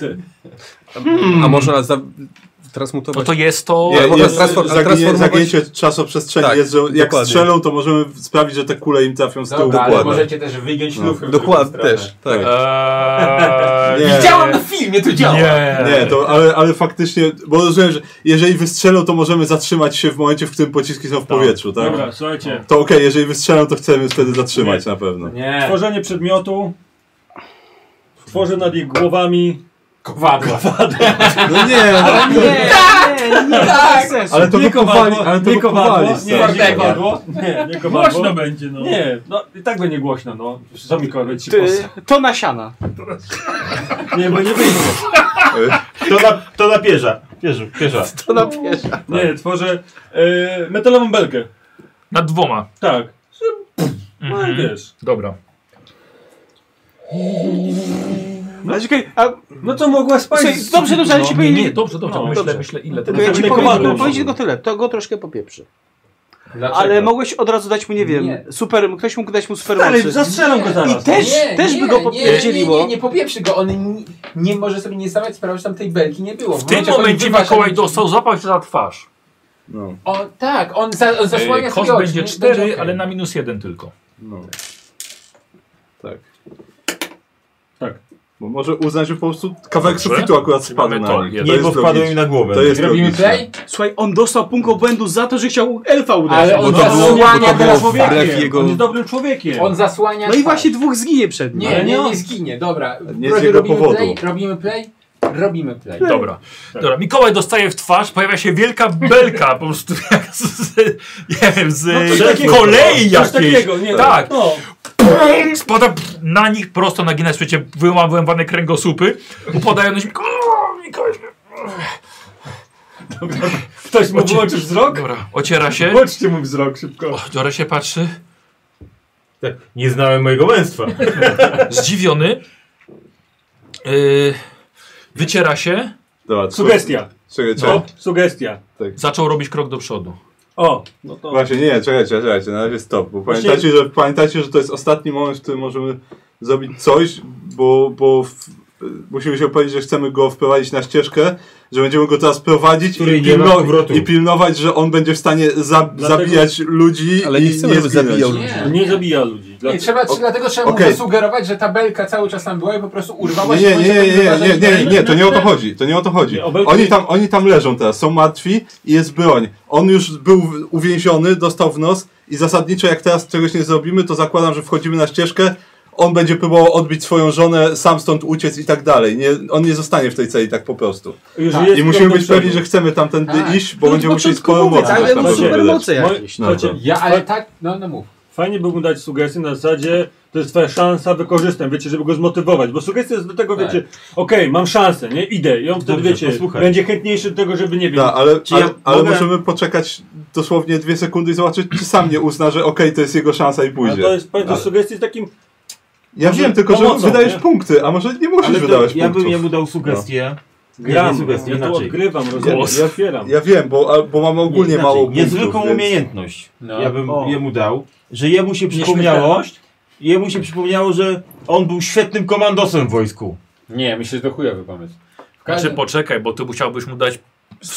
C: Mhm.
I: A można za...
A: No
I: transmutować...
A: to jest to...
I: Nie,
C: Je-
I: można
C: Jest,
I: transform-
C: zaginie,
I: transformować-
C: zagięcie czasoprzestrzeni
I: Tak,
C: jest, że jak
I: dokładnie.
C: strzelą, to możemy sprawić, że te kule im trafią z tyłu
G: Dobra, No tak, ale
C: dokładnie.
G: możecie też wygiąć
C: No.
G: lufę. w
I: Dokładnie,
G: drugą stronę.
I: też, tak.
A: Eee,
C: Nie.
G: Widziałam na filmie, to działa.
A: Nie,
C: Nie, to, ale, ale faktycznie, bo rozumiem, że jeżeli wystrzelą, to możemy zatrzymać się w momencie, w którym pociski są w powietrzu, tak?
B: Dobra, słuchajcie.
C: To okej, jeżeli wystrzelą, to chcemy wtedy zatrzymać na pewno.
G: Nie.
B: Tworzenie przedmiotu. Tworzę nad ich głowami.
G: Kowadła.
C: No nie, no,
D: Nie, nie, nie, nie, bez sensu.
C: ale to
B: nie
C: go powali,
B: kowadło,
C: ale to
B: nie
C: go powali.
B: kowadło, nie,
C: stary.
B: nie kowadło, nie, nie kowadło.
F: Głośno będzie, no.
B: Nie, no i tak będzie głośno, no. Co mi kowadło, ci
D: Ty, to nasiana.
B: Nie, bo nie wyjdzie.
H: To na, to na pierza. Pierzu, pierza.
D: To na pierwsza.
B: Nie, tworzę e, metalową belkę.
A: Nad dwoma.
B: Tak. No i wiesz.
A: Dobra.
D: A czekaj, a,
B: No to mogła
D: słuchaj,
B: spaść.
D: dobrze, dobrze, ale ci powiem...
A: Nie, dobrze, dobrze,
B: No,
A: myślę,
D: dobrze.
A: myślę ile to
D: Tylko ja ci
B: Nie
D: powiem,
B: komandą.
D: powiem ci tylko tyle, to go troszkę popieprzy.
G: Dlaczego?
D: Ale mogłeś od razu dać mu, nie wiem,
G: Nie.
D: super, ktoś mógł dać mu
B: Ale
D: supermocy.
B: zastrzelam go
D: I
B: zaraz.
D: też, też by go
G: Nie,
D: popierdzieliło.
G: nie, nie, nie popieprzy go. On nie, nie może sobie nie stawiać sprawy, że tam tej belki nie było.
A: W tym momencie Mikołaj dostał, złapał się za twarz. Eee,
C: No.
G: O, tak, on, za, on zasłania
A: Kosz
G: sobie oczy,
A: będzie
G: nie-
A: 4,
G: okej.
A: ale na minus 1 tylko.
C: No. Tak.
B: Tak.
C: Bo może uznać, że po prostu kawałek
A: Dobrze.
C: sufitu akurat spadł
A: Mamy
C: na
A: to.
C: nich.
A: Niebo
C: jest
A: wpadło
C: logiczne.
A: im na głowę.
C: To jest
A: Zrobimy
C: logiczne.
A: play?
D: Słuchaj, on dostał punkt obłędu za to, że chciał elfa uderzyć.
G: Ale
B: No,
G: on zasłania teraz wbrew
B: Jego... no, On jest dobrym człowiekiem.
G: On zasłania
D: No i
G: twarz.
D: właśnie dwóch zginie przed nim.
G: Nie, nie, nie zginie, dobra.
C: no. Nie z
G: Robi-
C: jego
G: robimy
C: powodu.
G: play, robimy play, robimy play.
A: Dobra. Dobra, Mikołaj dostaje w twarz, pojawia się wielka belka, po prostu jak z, z, nie wiem, z
B: No coś takiego.
A: kolei
B: Coś
A: jakiejś.
B: takiego, nie,
A: tak.
B: no.
A: Pum, Spada pff, na nich prosto na ginę, słuchajcie, wyłam- wyłamane kręgosłupy, upadają na ziemię. O, Mikołaj,
B: Ktoś mu
A: Ocie-
B: wyłączył wzrok?
A: Dobra, ociera się,
B: Włączcie mu wzrok szybko.
A: Dora się patrzy,
H: Tak, nie znałem mojego męstwa.
A: zdziwiony, yy, wyciera się,
C: Dobra,
B: Sugestia.
C: Czekaj, czekaj.
B: No, sugestia.
A: zaczął robić krok do przodu.
B: O, no to...
C: Właśnie nie, czekajcie, czekajcie, na razie stop, bo
B: Właśnie-
C: pamiętajcie, że, pamiętajcie, że to jest ostatni moment, w którym możemy zrobić coś, bo, bo w, musimy się upewnić, że chcemy go wprowadzić na ścieżkę, że będziemy go teraz prowadzić
H: Której
C: i,
H: nie ma
C: pilno,
H: powrotu.
C: i pilnować, że on będzie w stanie za,
B: Dlatego-
C: zabijać ludzi
I: Ale
C: i
I: nie chcemy, żeby
C: zginąć.
I: zabijał ludzi.
G: Nie,
B: Nie zabija ludzi.
G: nie trzeba,
C: O-
G: dlatego trzeba mu
C: okej.
G: zasugerować, że ta belka cały czas tam była i po prostu urwała
C: Nie,
G: się. tak
C: nie,
G: w
C: nie,
G: momencie,
C: nie,
G: kiedy
C: nie, nie,
G: uważali,
C: nie,
G: że-
C: nie, to nie o to chodzi, to nie o to chodzi.
B: Nie, obecnie-
C: Oni tam, oni tam leżą teraz, są martwi i jest broń. On już był w- uwięziony, dostał w nos i zasadniczo jak teraz czegoś nie zrobimy, to zakładam, że wchodzimy na ścieżkę, on będzie próbował odbić swoją żonę, sam stąd uciec i tak dalej. Nie, on nie zostanie w tej celi tak po prostu.
B: Już jest
C: I musimy
B: krok
C: być
B: do
C: pewni, że
B: przodu.
C: chcemy tamtędy
G: Tak.
C: iść, bo
D: No,
C: będziemy
D: od
C: musieli
D: początku
C: sporo
D: mówię,
C: mocy.
D: tak,
C: na
D: ale
C: pewno
D: może
C: wydać.
D: supermoce jakieś.
C: No to-
B: Słuchajcie,
G: Ja, ale tak, no, no mów.
B: Fajnie by mu dać sugestię na zasadzie, to jest twoja szansa, wykorzystam, wiecie, żeby go zmotywować, bo sugestia jest do tego,
G: Tak.
B: wiecie, okej, mam szansę, nie, idę i on wtedy,
H: Dobrze,
B: wiecie,
H: posłuchaj.
B: będzie chętniejszy do tego, żeby, nie wiem,
C: Da, Tak, ale,
H: Czy ja
C: ale, ale
H: mogę-
C: możemy poczekać dosłownie dwie sekundy i zobaczyć, czy sam nie uzna, że okej, to jest jego szansa i
B: ale
C: pójdzie.
B: to jest, pamiętaj,
C: Ale-
B: sugestia z takim,
C: Ja
B: Może
C: wiem, tylko że
B: pomocą,
C: wydajesz
B: nie?
C: punkty, a może nie musisz
H: Ale to,
C: wydawać
H: ja bym
C: punktów. No.
H: jemu dał sugestię. Nie,
B: gram,
H: nie sugestia,
B: ja tu
H: inaczej.
B: odgrywam, rozumiesz,
A: Głos.
B: ja otwieram.
C: Ja wiem, bo, a- bo mam ogólnie
H: Inaczej,
C: mało punktów.
H: znaczy, Niezwykłą
C: więc-
H: umiejętność.
G: No.
H: Ja bym
B: O.
H: jemu dał, Tak. że jemu się przypomniało, jemu się przypomniało, że on był świetnym komandosem w wojsku.
G: Nie, myślę, że to chujowy pomysł. W
A: Znaczy
G: każdym-
A: poczekaj, bo ty musiałbyś mu dać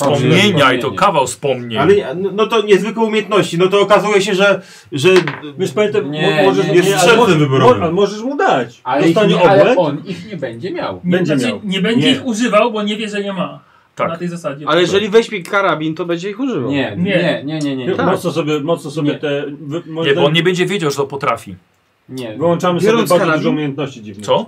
A: wspomnienia i to kawał wspomnień.
H: Ale ja- no, no to niezwykłe umiejętności. No to okazuje się, że, że
B: Wiesz, pamiętaj,
G: Nie,
B: mo- możesz,
G: nie,
H: jest
G: nie,
B: ale,
H: strzelcem
B: możesz, mo-
H: wyborowym.
B: ale możesz mu dać,
G: ale, ich,
B: dostanie
G: nie, ale
B: obłęd,
G: on ich nie będzie miał.
B: będzie
F: znaczy,
B: miał.
F: nie będzie
B: Nie.
F: ich używał, bo nie wie, że je ma.
A: Tak.
F: Na tej zasadzie.
D: Ale jeżeli weźmie karabin, to będzie ich używał.
G: Nie, nie,
F: Nie.
G: nie, nie, nie. nie.
C: Tak.
B: mocno sobie, mocno sobie
G: Nie.
B: te, wy, tak,
A: Nie, bo on nie będzie wiedział, że to potrafi.
G: nie.
B: wyłączamy sobie
D: Biorąc
B: bardzo
D: karabin-
B: dużo umiejętności dziwnych.
A: Co?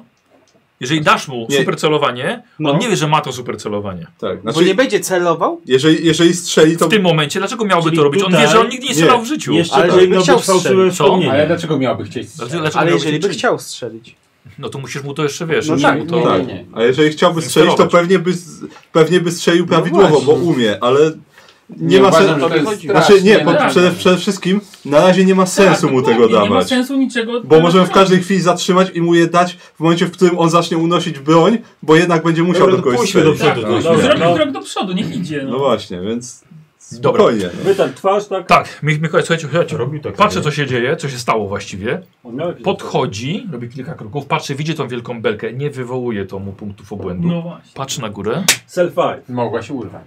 A: Jeżeli dasz mu
C: Nie.
A: supercelowanie,
D: No.
A: on nie wie, że ma to supercelowanie.
C: Tak,
D: Bo
C: znaczy,
D: nie będzie celował,
C: jeżeli, jeżeli strzeli, to...
A: W tym momencie, dlaczego miałby
H: Czyli
A: to robić? On wie, że on
H: tutaj-
A: nigdy nie
C: nie.
A: strzelał w życiu.
H: jeszcze
D: Ale
H: ale
D: jeżeli
H: powinno
D: chciał
H: być fałszywe
A: strzelić, co?
H: wspomnienie.
G: Ale dlaczego miałby chcieć
A: Dlaczego-
C: Znaczy,
G: strzelać?
A: dlaczego
D: ale
A: miałby
D: jeżeli by
A: uczynić?
D: chciał strzelić.
A: No to musisz mu to jeszcze wiesz.
D: No
A: No
D: tak,
A: tak, to...
G: nie,
C: Tak,
G: nie.
C: a jeżeli chciałby
A: Nie
C: strzelić, to
A: sterować.
C: pewnie by, z- pewnie by strzelił prawidłowo, bo
D: właśnie.
C: umie, ale nie,
G: Nie
C: ma
G: uważam,
C: sensu...
G: że to jest
C: Znaczy nie,
G: strasznie
C: po,
G: realne.
C: przede, przede wszystkim na razie nie ma sensu mu tego
F: Nie ma
C: dawać.
F: sensu niczego.
C: Bo możemy w każdej chwili zatrzymać i mu je dać w momencie, w którym on zacznie unosić broń, bo jednak będzie musiał
H: Dobra,
C: do
H: to
C: kogoś
H: pójdźmy
C: strzelić. Tak,
H: do przodu,
B: no,
H: to
B: dobra.
H: jest
F: Zrobił krok do przodu, niech idzie.
C: No
F: No.
C: właśnie, więc
A: Dobra.
C: spokojnie. no.
B: Wytarł twarz, tak?
A: Tak, Mi- Mikołaj, słuchajcie, słuchajcie.
H: Robił tak,
A: Patrzę,
H: nie?
A: co się dzieje, co się stało właściwie.
B: On miał jakieś-
A: Podchodzi, robi kilka kroków, patrzy, widzi tą wielką belkę, nie wywołuje to mu punktów obłędu.
F: no właśnie.
A: Patrzy na górę,
B: Self five.
G: Mogła się urwać.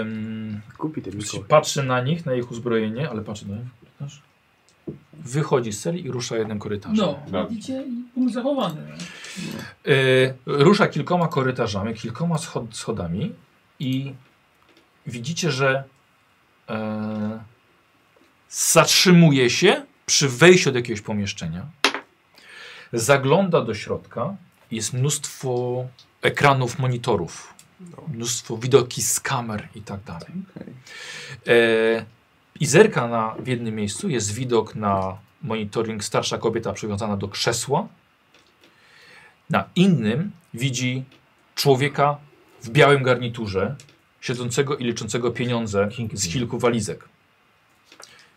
A: em,
D: Kupi ten Mikołaj.
A: patrzy na nich, na ich uzbrojenie, ale patrzy na korytarz. Wychodzi z celi i rusza jednym korytarzem.
F: No, widzicie, i punkt zachowany.
A: Y, rusza kilkoma korytarzami, kilkoma schod schodami i widzicie, że e, zatrzymuje się przy wejściu do jakiegoś pomieszczenia. Zagląda do środka. Jest mnóstwo ekranów, monitorów, mnóstwo widoki z kamer i tak dalej. E, I zerka na, w jednym miejscu jest widok na monitoring starsza kobieta przywiązana do krzesła. Na innym widzi człowieka w białym garniturze, siedzącego i liczącego pieniądze z kilku walizek.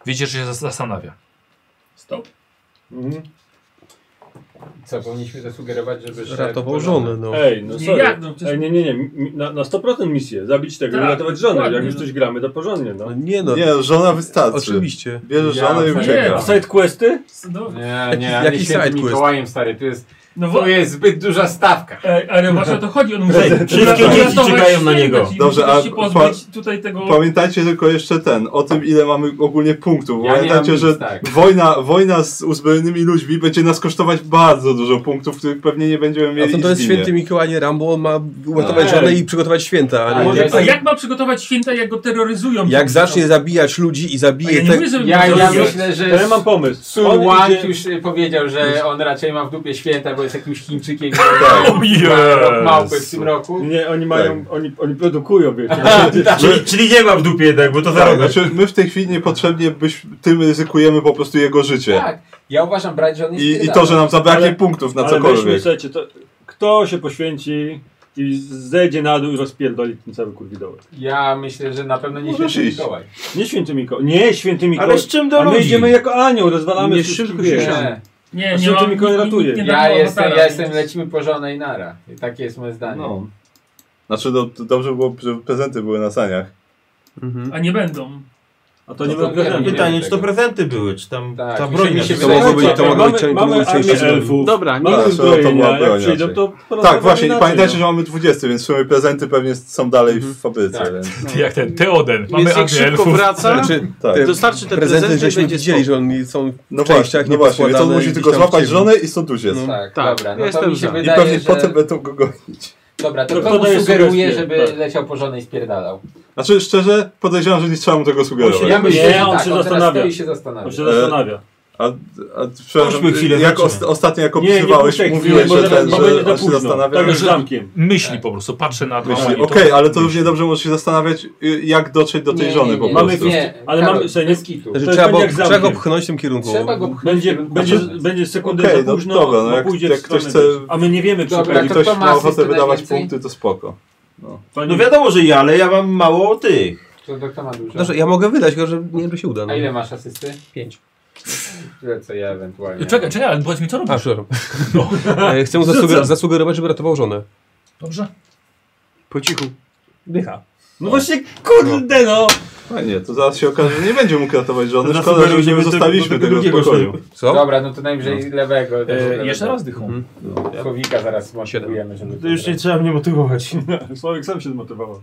A: Widzicie, że się zas- zastanawia.
F: Stop.
B: Mhm.
G: Co, powinniśmy zasugerować, żeby szedł
I: Ratował
G: do
I: żonę, no.
B: Ej, no
F: Nie,
B: sorry.
F: jak no, przecież-
B: Ej, nie, nie, nie. Mi- Na, na 100% misję. Zabić tego,
F: Tak,
B: uratować żonę. Jak
F: dokładnie,
B: już
F: no.
B: coś gramy, to porządnie, no.
I: No nie no,
C: Nie, żona wystarczy.
I: oczywiście.
C: Bierze
G: Ja
C: żonę i
G: nie,
C: ucieka.
B: A side questy?
F: Dobra.
G: Nie, nie,
I: Jaki
G: jaki
I: side
G: side
I: quest?
G: Mikołajem, stary, tu jest...
F: No,
B: No
G: to jest zbyt duża stawka.
F: E, ale właśnie o to chodzi, on musi
C: Wszystkie
F: uratować
C: dzieci czekają na
F: święta
C: niego.
F: i
C: Dobrze,
F: musi
C: a
F: się
C: pa-
F: pozbyć tutaj tego...
C: Pamiętajcie tylko jeszcze ten, o tym ile mamy ogólnie punktów.
F: Ja nie
C: Pamiętajcie,
F: mam nic,
C: że
F: tak.
C: wojna, wojna z uzbrojonymi ludźmi będzie nas kosztować bardzo dużo punktów, których pewnie nie będziemy
I: A
C: mieli
I: to, to jest
C: zimie.
I: święty Mikołaj, nie Rambo, on ma uratować
C: Tak.
I: żonę i przygotować święta.
F: A,
I: A nie,
F: może,
I: jak,
F: a jak ma przygotować święta, jak go terroryzują?
I: jak zacznie zabijać ludzi i
F: A ja
I: zabije
F: nie
I: te...
F: mówię, żeby
G: Ja,
F: to
G: ja
F: zrobić.
G: myślę, że.
F: To ja mam pomysł.
G: Sun
F: On
G: Wang
F: idzie-
G: już y, powiedział, że on raczej ma w dupie święta, bo jest jakimś Chińczykiem.
B: Tak.
G: który
B: Jezu.
G: ma rok małpy w tym roku. Tak,
B: Nie, oni mają, oni, oni produkują, wiecie.
C: nie ma w dupie jednak, bo to tak, znaczy, My w tej chwili niepotrzebnie byś, tym ryzykujemy po prostu jego życie.
G: Tak. Ja uważam, brać, że on jest
C: I, I
G: biedny.
C: to, że nam zabraknie
B: Ale-
C: punktów na
B: Ale weźmy,
C: cokolwiek.
B: słuchajcie, to kto się poświęci i zejdzie na dół i rozpierdoli ten cały kurwidołek?
G: Ja myślę, że na pewno nie
B: Możesz
G: święty
B: iść.
G: Mikołaj.
B: Nie święty Mikołaj. Nie święty Mikołaj.
G: Ale z czym do
B: A my
G: ludzi?
B: idziemy jako anioł, rozwalamy
G: Nie,
B: wszystkich,
G: szybko się
B: wiesz.
G: siada.
F: Nie,
B: A
A: Znaczy,
F: nie
B: święty
F: ma-
B: Mikołaj
F: nikt-
B: ratuje.
F: nikt nie
G: Ja
F: Dawno
G: jestem,
F: Avatara,
G: ja
F: nie?
G: jestem lecimy po żonę i nara. I takie jest moje zdanie.
C: No. Znaczy, do, to dobrze było, żeby prezenty były na saniach.
F: A nie będą.
B: A
G: to nie będą prezenty.
H: Pytanie, czy to prezenty były, czy tam
G: Tak,
H: ta
G: mi się-
H: broń
G: mi się
H: na-
G: wydaje, że tak. Mamy-
B: mamy armię elfów.
D: Dobra,
B: Mamy
C: Tak,
B: uzbrojenia,
C: to była
B: jak
C: broń
B: przyjdą,
C: raczej.
B: to porozmawiamy
C: Tak, właśnie, i
B: inaczej,
C: pamiętajcie,
B: no.
C: że mamy 20, więc w sumie prezenty pewnie są dalej
I: Mhm.
C: w fabryce.
A: Tak.
C: Więc...
A: Ty jak ten Teoden,
D: mamy jak szybko antyelfów. wraca,
C: tak.
D: dostarczy te prezenty,
I: żeśmy
D: będzie
I: widzieli,
D: spoko.
I: że oni są w
C: No właśnie,
I: częściach
C: no właśnie, więc on
I: nieposkładane
C: musi
I: i
C: tylko
I: gdzieś tam w
C: złapać
I: ciemno.
C: żonę i sodusiec.
I: No.
G: Tak,
I: Tak.
G: dobra. No to
I: Jestem
G: mi się
I: za. I
C: I
G: wydaje,
C: pewnie
G: że...
C: potem będą go gonić.
G: Dobra, to
B: To
G: komu
B: No, podaję
G: sugeruje,
B: sugestie,
G: żeby
B: tak.
G: leciał po żonę i spierdalał?
C: Znaczy, szczerze, podejrzewam, że nie trzeba mu tego sugerować.
G: Ja myślę,
B: Nie,
G: że
B: on
G: tak,
B: się
G: on teraz
B: zastanawia.
G: stoi i się zastanawia.
B: On się
C: e,
B: zastanawia.
C: A, a przepraszam,
B: Chodźmy chwilę,
C: jak
B: zobaczymy.
C: ost- ostatnio jak
B: Nie, nie
C: opisywałeś,
B: puszczaj chwili,
C: mówiłeś,
B: bo
C: że
B: zaraz-
C: ten,
B: bo
C: że
B: będzie za
C: on się
B: późno.
C: zastanawia.
B: Tak, już zamkiem.
A: Myśli po prostu, patrzy na to.
C: Myśli,
A: i to-
C: okej, ale to równie dobrze może się zastanawiać, y, jak dotrzeć do tej
G: Nie,
C: żony
G: nie,
C: po
G: nie,
C: prostu.
B: Mamy
G: Nie,
B: chwilę, ale
G: Karol,
B: mamy sobie
G: bez
B: nie...
G: kitu.
I: Że
B: To
I: trzeba,
B: jest
I: go,
B: jak zamkiem.
I: trzeba go pchnąć w tym kierunku.
G: Trzeba go pchnąć
B: Będzie,
G: w kierunku-
B: będzie, będzie sekundę
C: Okej,
B: za
C: no
B: późno,
C: dobra, no
B: bo
C: jak-
B: pójdzie
C: jak
B: w stronę
C: ktoś chce-
B: gdzieś. A my nie wiemy, czy
G: Dobra,
B: pewnie
C: Jak
G: to
C: ktoś
G: kto ma
C: ma ochotę
G: asystę
C: wydawać
G: najwięcej?
C: punkty, to spoko. No.
B: Fajnie.
H: No wiadomo, że ja, ale ja mam mało tych.
G: To do kto ma dużo?
I: Dobrze, ja mogę wydać go, że nie wiem, czy się uda. No.
G: A ile masz asysty? Pięć. Tyle co ja ewentualnie.
A: E, Czekaj, czekaj, ale powiedz mi, co
I: A,
A: robisz?
I: przepraszam.
A: No.
I: E, Chcę mu
A: Rzucam.
I: zasuger- zasugerować, żeby ratował żonę.
A: Dobrze.
I: Po cichu.
H: Dycha.
B: No właśnie, kurde no!
C: Fajnie, to zaraz się okaże, że nie będzie mógł ratować żony.
H: To
C: Szkoda, że
H: nasugeruj,
C: nie
H: żeby
C: zostawiliśmy
H: do tego
C: tego w
H: drugiego
C: spokoju.
I: Co?
G: Dobra, no to najwyżej lewego. też
A: E,
G: lewego.
A: jeszcze raz dychą.
G: Słowika zaraz montujemy, żeby...
H: To już nie trzeba mnie motywować.
B: Słowik sam się zmotywował.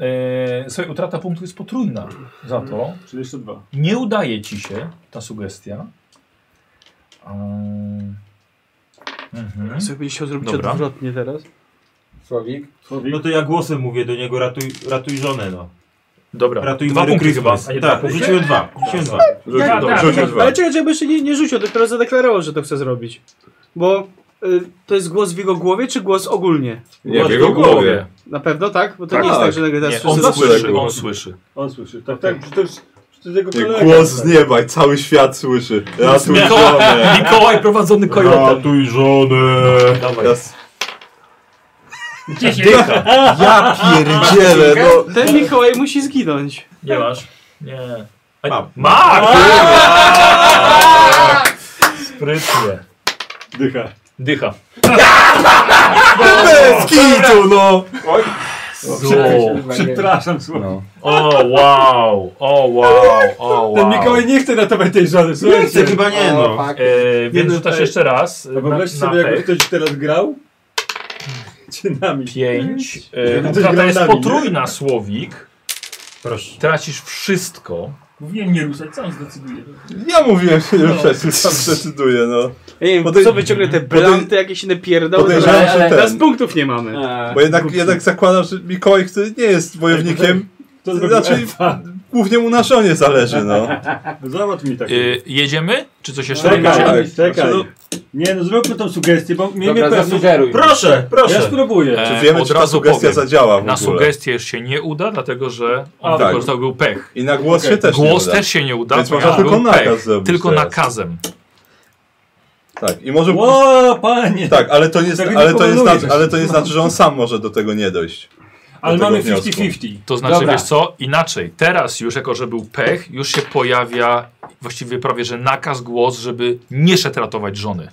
A: E, słuchaj, utrata punktu jest potrójna za to.
B: 32.
A: Nie udaje ci się ta sugestia. Um, mhm.
D: Co będzie chciał zrobić
A: Dobra.
D: odwrotnie teraz?
G: Słowik?
B: Słowik?
H: No to ja głosem mówię do niego, ratuj, ratuj żonę, no.
A: Dobra,
H: Ratuj
A: dwa
H: Merry
A: punkty chyba,
H: Christmas.
A: a nie dwa
H: Tak,
A: punkty.
H: rzuciłem dwa. Rzuciłem dwa.
C: Rzucił
F: Tak,
C: dwa,
F: tak,
C: rzucił
F: tak.
C: dwa.
D: Ale czekaj, czekaj, bo jeszcze nie, nie rzucił, dopiero zadeklarował, że to chce zrobić. Bo y, to jest głos w jego głowie, czy głos ogólnie?
C: Nie, w
B: Masz
C: jego
B: w
C: głowie.
D: Na pewno tak? Bo to
C: Tak.
D: nie jest tak, że nagle teraz
A: Nie, on
D: wszyscy-
C: zasłyszał.
A: słyszy, on słyszy.
B: On słyszy. Tak, tak, że to już... że to jest jego
C: Nie,
B: kolega.
C: Głos z nieba i cały świat słyszy. Ratuj żonę.
A: Mikołaj prowadzony kojotem.
H: żonę. Dawaj.
C: Teraz
F: Dziesięć.
C: Ja pierdzielę, no.
D: Ten Mikołaj musi zginąć.
B: Tak.
A: Nie masz? Nie. A,
H: Mam.
A: Ma! Sprytnie.
B: Dycha.
A: Dycha.
C: Bez kitu, no.
A: Zo.
B: Przepraszam, Słowik.
A: O wow, o wow, o wow.
B: Ten Mikołaj nie chce ratować tej żony,
H: Nie
B: słuchajcie.
H: chcę, chyba nie,
G: O,
H: no.
G: fuck.
A: E, więc
B: Jeden
A: rzucasz
B: pech.
A: jeszcze raz. e,
B: A
A: na-
B: wyobraź
A: na
B: sobie, jakby
A: pech.
B: ktoś teraz grał? Czy nami?
A: Pięć.
B: Jakby
A: E,
B: ktoś
A: utrata
B: grał
A: jest
B: nami, nie?
A: potrójna, Słowik.
H: Proszę.
A: Tracisz wszystko.
F: Mówiłem nie ruszać, co on zdecyduje.
C: Ja mówiłem,
B: No.
C: że przecież sam decyduje, no.
D: Ja nie wiem,
C: Podej-
D: co wy ciągle te blanty jakieś inne pierdoły.
C: Podejrzewam,
D: ale-
C: że
D: ale
C: ten.
D: Teraz punktów nie mamy.
G: Eee,
C: Bo jednak, jednak zakładam, że Mikołaj, który nie jest wojownikiem,
B: To
C: to
B: zrobił
C: znaczy
B: Efa.
C: głównie mu na żonie zależy, no.
B: Załatw mi tak.
A: E, Eee. jedziemy? Czy coś jeszcze
B: Czekaj,
A: robicie?
C: tak.
B: czekaj.
C: Znaczy,
B: Nie no, zróbmy tą sugestię, bo miejmy
G: Dobra,
B: pewność.
G: zasugeruj.
H: Proszę,
B: Ja
H: proszę.
B: spróbuję.
A: E,
C: Czy wiemy,
A: od
C: czy ta
A: razu
C: sugestia
A: powiem.
C: zadziała w
A: Na
C: ogóle?
A: sugestię już się nie uda, dlatego że on
C: A, tak.
A: wykorzystał był pech.
C: I na głos się też
A: Głos
C: nie uda.
A: też się nie uda,
C: Więc
A: ponieważ
C: można tylko
A: był
C: nakaz
A: pech.
C: zrobić
A: Tylko
C: teraz.
A: nakazem.
C: Tak, i może...
B: Ło, panie!
C: Tak, ale to nie,
B: Tego nie
C: ale to nie,
B: powoduję.
C: znaczy, ale to nie znaczy, że on sam może do tego nie dojść.
B: Ale
C: do
B: mamy
C: tego
B: 50-50.
A: To znaczy,
G: Dobra.
A: wiesz co, inaczej. Teraz już, jako że był pech, już się pojawia właściwie prawie, że nakaz, głos, żeby nie szedł ratować żony.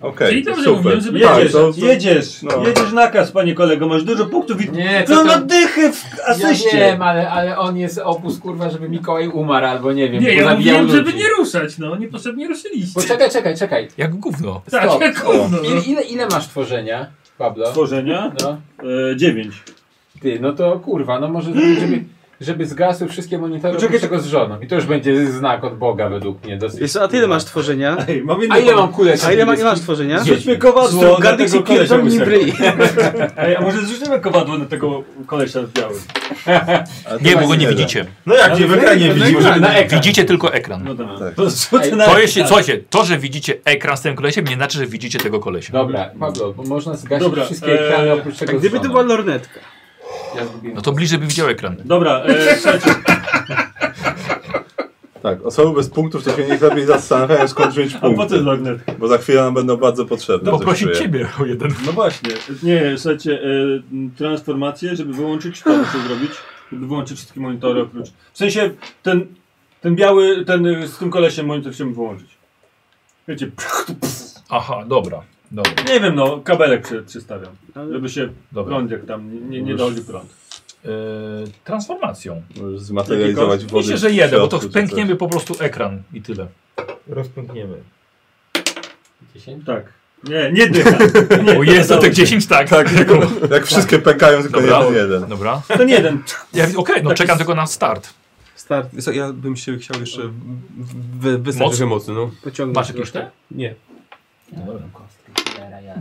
C: Okej,
F: Czyli dobrze
C: super.
F: mówiłem, żeby
C: Tak,
F: jedziesz.
C: to-
B: Jedziesz,
C: No.
B: jedziesz nakaz, panie kolego, masz dużo punktów i
G: Nie,
B: to na dychę w asyście.
G: Ja wiem, ale, ale on jest opus kurwa, żeby Mikołaj umarł albo nie wiem,
F: Nie, ja
G: pozabijał
F: mówiłem, żeby
G: ludzi.
F: nie ruszać, no. Niepotrzebnie ruszyliście.
G: Bo czekaj, czekaj, czekaj.
A: Jak gówno.
F: Tak,
G: Stop.
F: jak gówno, no.
G: Ile,
D: Mhm.
G: ile, ile masz tworzenia, Pablo?
B: Tworzenia?
G: No.
B: E, dziewięć.
G: Ty, no to kurwa, no może zrobić, żeby, żeby zgasły wszystkie monitory Poczekaj tego z żoną. I to już będzie znak od Boga według mnie dosyć.
D: Wiesz, a ty ile masz tworzenia?
B: Ej, mam
G: A ile mam kulek?
D: A ile ma, masz tworzenia?
B: Zrzućmy kowadło na tego
D: Gardek sobie
B: kolesia
D: pierdolni
B: łysego.
D: bryj.
B: Ej, a może zrzucimy kowadło na tego kolesia w białym?
A: Nie, bo go nie widzicie.
H: No jak cię w ekranie widzimy?
G: Na ekran.
A: Widzicie tylko ekran.
B: No dobra.
C: Tak.
B: To zrzucę na...
A: To jeśli, słuchajcie, to, że widzicie ekran z tym kolesiem, nie znaczy, że widzicie tego kolesia.
G: Dobra, Pablo, bo można zgasić
B: Dobra,
G: wszystkie ekrany
B: eee,
G: oprócz
D: e, A
G: tego
D: Tak, gdyby
G: z
D: to
G: żoną.
D: była lornetka?
G: Ja zgubiłem.
A: No to bliżej by widział ekran.
B: Dobra, e, słuchajcie,
C: Tak, osoby bez punktów to się niech lepiej zastanawiają skąd wziąć
B: a po co
C: punkty.
B: lognet?
C: Bo za chwilę nam będą bardzo potrzebne. coś
A: No Poprosić
C: czuję.
A: ciebie o jeden.
B: No właśnie. Nie, słuchajcie, y, transformację, żeby wyłączyć, to muszę zrobić, żeby wyłączyć wszystkie monitory oprócz. W sensie ten, ten biały, ten y, z tym kolesiem monitor chciałbym wyłączyć. Wiecie, pch, tu, pf.
A: Aha, dobra. Dobra,
B: nie wiem no, kabelek przy, przystawiam,
D: Ale-
B: żeby się
A: dobra.
B: prąd jak tam, nie, nie, nie dochodzi prąd.
A: Yy, transformacją.
C: Możesz zmaterializować wody.
A: Myślę,
C: w
A: że jeden, bo to
C: środku czy
A: pękniemy po prostu ekran i tyle.
H: Rozpękniemy.
G: 10?
B: Tak. Nie, nie dycha. Nie,
A: O Jezu,
B: to,
A: tak 10 tak.
C: Tak, coś. Jak wszystkie pękają, tylko
A: Dobra.
C: jeden jeden.
A: Dobra.
B: ten jeden.
A: Ja, Okej, no czekam tylko na start.
D: Start
I: Wiesz co, ja bym się chciał jeszcze w- wy, wystać
A: Moc?
I: trochę mocy, no.
D: pociągnąć.
A: Masz jakieś te?
I: Nie.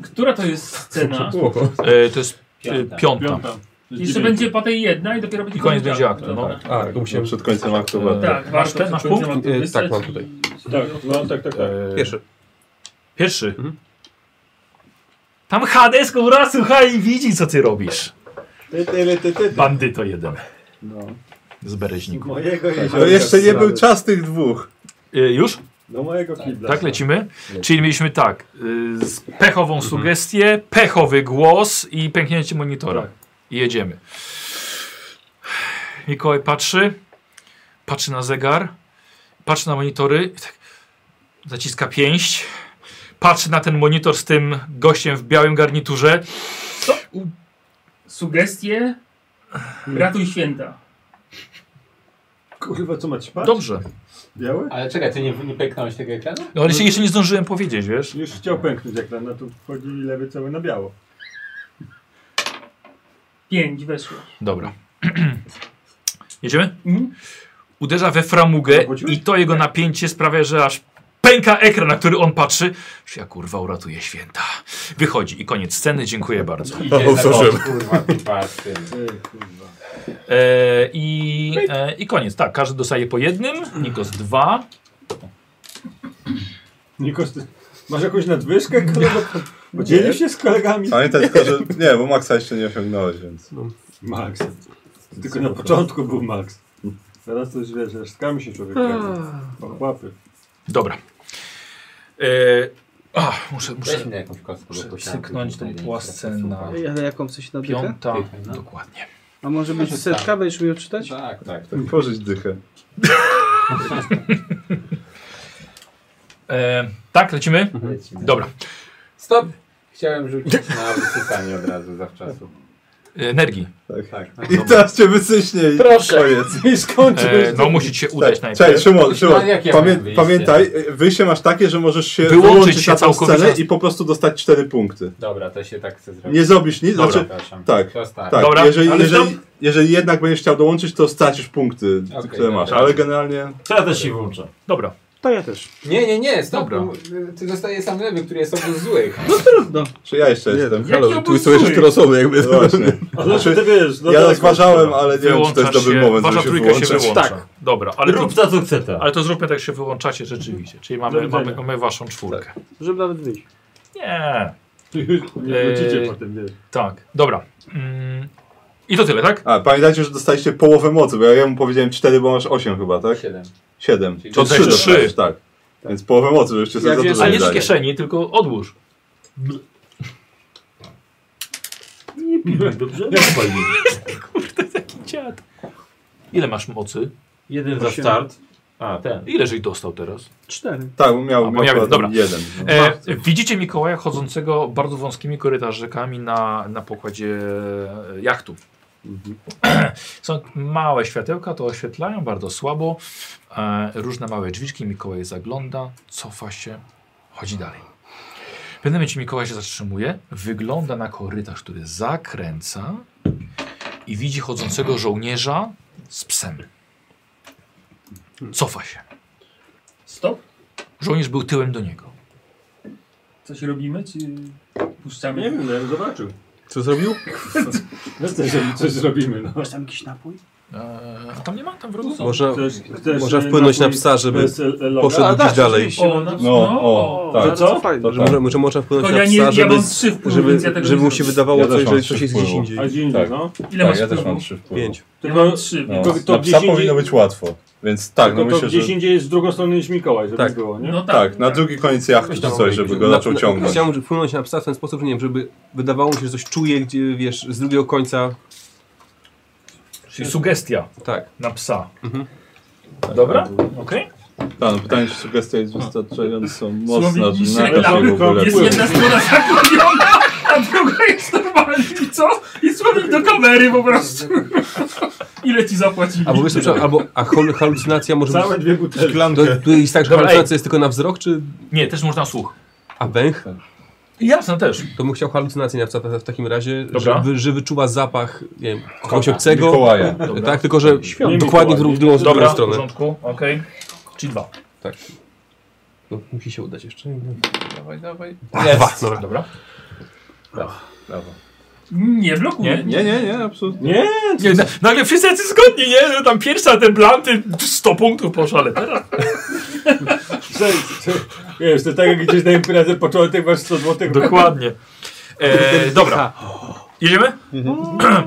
F: Która to jest scena?
I: Spoko.
A: E, to jest e,
G: Piąta.
A: piąta.
B: Piąta.
F: Jeszcze będzie patej jedna i dopiero będzie
A: I koniec będzie aktu,
F: Dobra.
A: no.
I: A, to musiałem...
C: Przed końcem aktu.
A: E,
F: Tak,
A: Masz
F: warto
A: ten, masz
F: przed końcem
A: punkt?
F: aktu
I: E,
F: wystać
I: tak, mam
F: i-
I: tutaj.
B: Tak, no tak, tak, tak.
A: E,
I: Pierwszy.
A: Pierwszy. Tam Hades, kurwa, słuchaj i widzi, co ty robisz.
D: Ty, ty, ty, ty, ty.
A: Bandyto jeden.
D: No.
A: Z Bereźniku.
B: Mojego
C: No jeszcze nie był czas tych dwóch.
A: E, już?
B: No mojego kibla.
A: Tak, lecimy? Czyli mieliśmy tak, y, z pechową sugestię, pechowy głos i pęknięcie monitora. I jedziemy. Mikołaj patrzy, patrzy na zegar, patrzy na monitory, i tak zaciska pięść, patrzy na ten monitor z tym gościem w białym garniturze.
F: Sugestie. Ratuj święta.
B: Kurwa, co macie spać?
A: Dobrze.
B: Białe?
G: Ale czekaj, ty nie, nie pęknąłeś tego ekranu?
A: No ale się jeszcze nie zdążyłem powiedzieć, wiesz?
B: Już chciał pęknąć jak na tu wchodzi lewy cały na biało.
F: Pięć weszło.
A: Dobra. Jedziemy?
F: Mhm.
A: Uderza we framugę
B: Obudziłeś?
A: i to jego napięcie sprawia, że aż pęka ekran, na który on patrzy. Czy ja kurwa uratuję święta. Wychodzi i koniec sceny, dziękuję bardzo.
G: Idzie
C: O,
G: za-
C: przeżyłem.
G: o, kurwa, ty pasty.
A: E, i, e, I koniec, tak, każdy dostaje po jednym, Nikos dwa.
B: Nikos, ty masz jakąś nadwyżkę? Kolego? Podzielisz się z kolegami?
H: Tak.
C: Pamiętaj tylko, że nie, bo Maxa jeszcze nie osiągnąłeś, więc...
B: Max. Tylko na początku był Max.
H: Hmm.
B: Teraz to już wiesz, że skamy się człowiek. O łapy.
A: Dobra. E, a, muszę, muszę
G: Weź mi jakąś kostkę.
A: muszę
G: bo posiadam
A: cyknąć tą
G: tutaj
A: płaskę
G: ręce,
A: na
D: Ej, Ale jaką coś na dychę?
A: piąta.
G: Piękna.
A: Dokładnie.
D: A może być setka? Będziesz mi odczytać?
G: Tak, tak.
C: Tak, pożyć dychę.
A: E, tak, lecimy?
D: Mhm.
G: Lecimy.
A: Dobra.
G: Stop! Chciałem rzucić na wysypanie od razu zawczasu.
A: E, Energii.
G: Tak.
C: I teraz cię wysyśnie i
L: Proszę.
C: koniec.
B: I skończyłeś.
A: E, no musicie się udać
C: Tak,
A: najpierw.
C: Czekaj, Szymon, Szymon
G: Ale No, jak ja
C: pamię
G: mam wyjście?
C: pamiętaj, e, wyjście masz takie, że możesz się
A: Wyłączyć
C: wyłączyć,
A: się
C: na tą
A: całkowicie.
C: scenę i po prostu dostać 4 punkty.
G: Dobra, to się tak chce zrobić.
C: Nie zrobisz nic,
A: Dobra.
C: znaczy...
G: Przepraszam.
C: tak,
G: To stary.
C: Tak,
A: Dobra,
C: jeżeli,
A: ale
C: jeżeli, jeżeli jednak będziesz chciał dołączyć, to stracisz punkty,
G: Okej,
C: które
G: dobra.
C: masz, ale generalnie...
H: To ja też się włączę.
A: Dobra.
D: To ja też.
G: Nie, nie, nie, stop.
A: Dobra.
G: bo y, Ty zostaje sam lewy, który jest obóz złych.
C: Czy ja jeszcze
I: Nie,
C: jestem?
I: tam, halo,
F: Jaki
I: tu są jeszcze
F: obozuj?
I: cztery osoby jakby.
C: No Właśnie.
B: Ale
G: znaczy,
B: ty wiesz, no
C: Ja
B: tak.
C: rozważałem, ale nie wiem, czy to
A: Wyłącza
C: jest dobry
A: się,
C: moment,
A: wasza
C: żeby się
A: trójka się
C: wyłączać. Tak.
A: wyłącza. Dobra, ale to,
H: Rób za co chce ta.
A: ale to zróbmy tak, że się wyłączacie rzeczywiście. Czyli mamy,
B: Do widzenia.
A: mamy, mamy waszą czwórkę.
D: Żeby nawet wyjść.
A: Nie,
B: Nie wrócicie
A: Eee.
B: potem, wiesz.
A: tak, dobra. Mm. I to tyle, tak?
C: A, pamiętajcie, że dostaliście połowę mocy, bo ja jemu powiedziałem 4, bo masz 8 chyba, tak?
G: Siedem.
C: 7.
G: Czyli
A: To
C: trzy
A: też
C: dostajesz,
A: trzy.
C: tak. Więc połowę mocy, żebyście sobie
D: Ja
C: za
D: wiem,
C: dużo
A: Ale
C: nie
A: nie z
C: dali.
A: kieszeni, tylko odłóż.
H: Dobrze? No, fajnie.
A: Ile masz mocy?
H: Jeden za
D: Osiem.
H: start.
E: A, ten.
A: Ileż ich dostał teraz?
D: Cztery.
C: Tak, miał,
A: A, bo
C: miał
A: ja wiem,
C: akurat
A: dobra.
C: jeden. No.
A: E, widzicie Mikołaja chodzącego bardzo wąskimi korytarzykami na, na pokładzie e, jachtu. Są małe światełka, to oświetlają bardzo słabo. E, różne małe drzwiczki. Mikołaj zagląda, cofa się, chodzi dalej. W pewnym momencie Mikołaj się zatrzymuje, wygląda na korytarz, który zakręca i widzi chodzącego żołnierza z psem. Cofa się.
H: Stop.
A: Żołnierz był tyłem do niego.
H: Coś robimy, czy puszczamy?
B: Nie wiem, no ja bym zobaczył.
I: Co zrobił?
B: No coś, coś zrobimy, no.
D: Masz tam jakiś napój?
A: Eee, a tam nie ma, tam w rogu są.
I: Może,
B: Chcesz- chcesz,
I: może
B: e,
I: wpłynąć na
B: napój
I: psa, żeby
B: bez, e, loga?
I: poszedł
B: A,
I: gdzieś
B: tak,
I: dalej.
B: rzeczywiście,
H: O,
B: no.
H: no.
C: No, o, tak.
I: Że co?
C: To tak.
I: Że może, może można wpłynąć
H: To
I: na
H: ja nie-
I: psa,
H: ja
I: żeby,
H: mam trzy wpływy,
I: żeby,
H: więc ja tego
I: żeby
H: nie
I: mu się
H: zrobię.
I: wydawało
C: Ja też
I: coś,
C: mam
I: że coś
C: trzy
I: jest gdzieś
C: wpływu.
I: indziej.
B: A gdzie indziej,
C: Tak.
B: no.
H: Ile
C: tak,
H: masz
C: ja też mam
H: wpływu?
C: trzy wpływy.
I: Pięć.
H: Ja
B: Tylko-
H: mam trzy,
C: No.
H: więc...
B: To- to
C: na psa
B: gdzieś
C: powinno
B: indziej-
C: być łatwo. Więc tak,
B: Tylko
C: no
B: to
C: myślę,
B: gdzieś
C: że...
B: indziej jest z drugą stroną niż Mikołaj, żeby
I: Tak.
B: było, nie?
H: No
C: Tak, na drugi koniec jachtu czy coś, żeby go zaczął
I: Na-
B: Znaczy,
I: na-
C: ciągnąć.
I: Chciałem żeby wpłynąć na psa w ten sposób, że nie wiem, żeby wydawało mu się, że coś czuje, gdzie wiesz, z drugiego końca.
A: Czyli sugestia
I: Tak.
A: na psa. Dobra? Okej.
C: Tak, no pytanie, czy sugestia jest wystarczająco mocna,
H: Słowik
C: że
H: niż
C: na to się w
H: reklamy.
A: Tak
C: ogóle
H: Jest
C: płynie.
H: jedna strona zaklejona, a druga jest normalnie, I co? I słowik do kamery po prostu. Ile ci zapłacili?
I: Albo, wiesz, przepraszam, albo a hol, halucynacja może
B: Całe
I: być.
B: dwie butelki.
I: To, to jest tak, że
A: Dobra,
I: halucynacja jest tylko na wzrok, czy.
A: Nie, też można słuch.
I: A węch?
A: Jasne też.
I: To bym chciał halucynację na psa w- w takim razie,
A: Dobra.
I: że, wy, że wyczuwa zapach, nie wiem, kogoś obcego.
C: Mikołaja.
I: Tak, tylko że
B: Nie
I: dokładnie w drugą, w drugą
A: Dobra, w
I: stronę.
A: porządku. Okej. Czyli dwa.
I: Tak. No, musi się udać jeszcze.
A: Dawaj, dawaj.
I: A, dwa, dobra.
A: Dobra.
H: Nie blokuje.
A: Nie,
C: Nie, nie, nie, absolutnie.
B: Nie,
A: Nie, na, nagle wszyscy jacy zgodni, nie? Że tam pierwsza, ten plan, ty 100 punktów poszło, ale teraz...
B: Cześć, cześć. Wiesz, to tak jak gdzieś na imprezę początek masz 100 złotych.
A: Dokładnie. E, dobra. Jedziemy?
C: Mhm.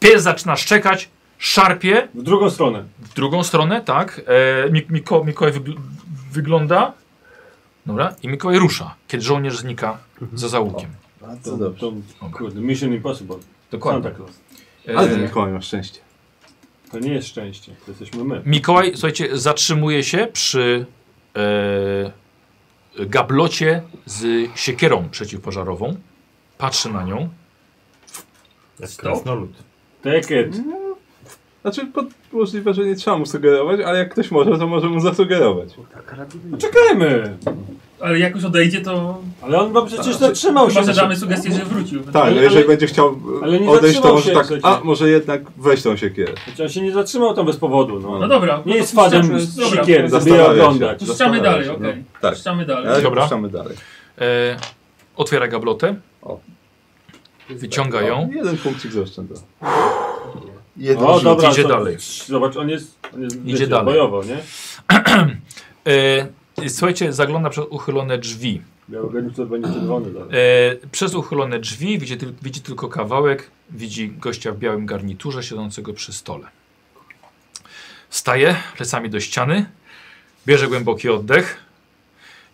A: Pies zaczyna szczekać, szarpie
B: W drugą stronę.
A: w drugą stronę, tak. E, Mik Miko Mikołaj wygl wygląda. Dobra. I Mikołaj rusza, kiedy żołnierz znika
C: Mhm.
A: za załukiem.
C: To
B: To,
C: dobrze.
B: to, kurde, Mission Impossible.
A: Dokładnie.
B: Santa Claus.
C: Ale
A: E,
C: ten Mikołaj ma szczęście.
B: To nie jest szczęście, to jesteśmy my.
A: Mikołaj, słuchajcie, zatrzymuje się przy e, gablocie z siekierą przeciwpożarową. Patrzy na nią.
E: Jak krasnolud.
B: Take it.
C: Znaczy, pod, możliwe, że nie trzeba mu sugerować, ale jak ktoś może, to może mu zasugerować.
B: Czekajmy!
H: Ale jak już odejdzie, to
B: Ale on chyba przecież zatrzymał się.
H: chyba zadamy sugestię, że wrócił.
C: Tak,
B: Ale-
C: no jeżeli
B: ale-
C: będzie chciał e,
B: ale nie
C: odejść, to
B: zatrzymał
C: może
B: się,
C: tak,
B: słuchajcie.
C: a może jednak weź tą siekierę.
B: Znaczy on się nie zatrzymał tam bez powodu, no.
H: No dobra.
B: Nie
H: no
B: jest
H: to puszczamy-
B: fadem z
H: dobra,
B: sikier, żeby je
C: Zastanawia się.
B: oglądać.
H: Puszczamy
C: Zastanawia
H: dalej,
C: się,
H: okej.
C: no. Tak.
H: Puszczamy
C: Ale
H: dalej.
A: Dobra.
C: puszczamy dalej.
A: E, otwiera gablotę.
C: O.
A: Wyciąga ją.
C: No, Jeden punkcik zaoszczędza. Jeden
B: O,
C: rzut.
B: dobra,
A: idzie
B: to-
A: dalej.
B: Zobacz, on jest, on jest
A: Idzie
B: wiecie,
A: dalej.
B: bojowo, nie?
A: E, słuchajcie, zagląda przez uchylone drzwi.
B: Białograniczer będzie czerwony dalej.
A: E, przez uchylone drzwi widzi, tyl- widzi tylko kawałek. Widzi gościa w białym garniturze siedzącego przy stole. Staje plecami do ściany, bierze głęboki oddech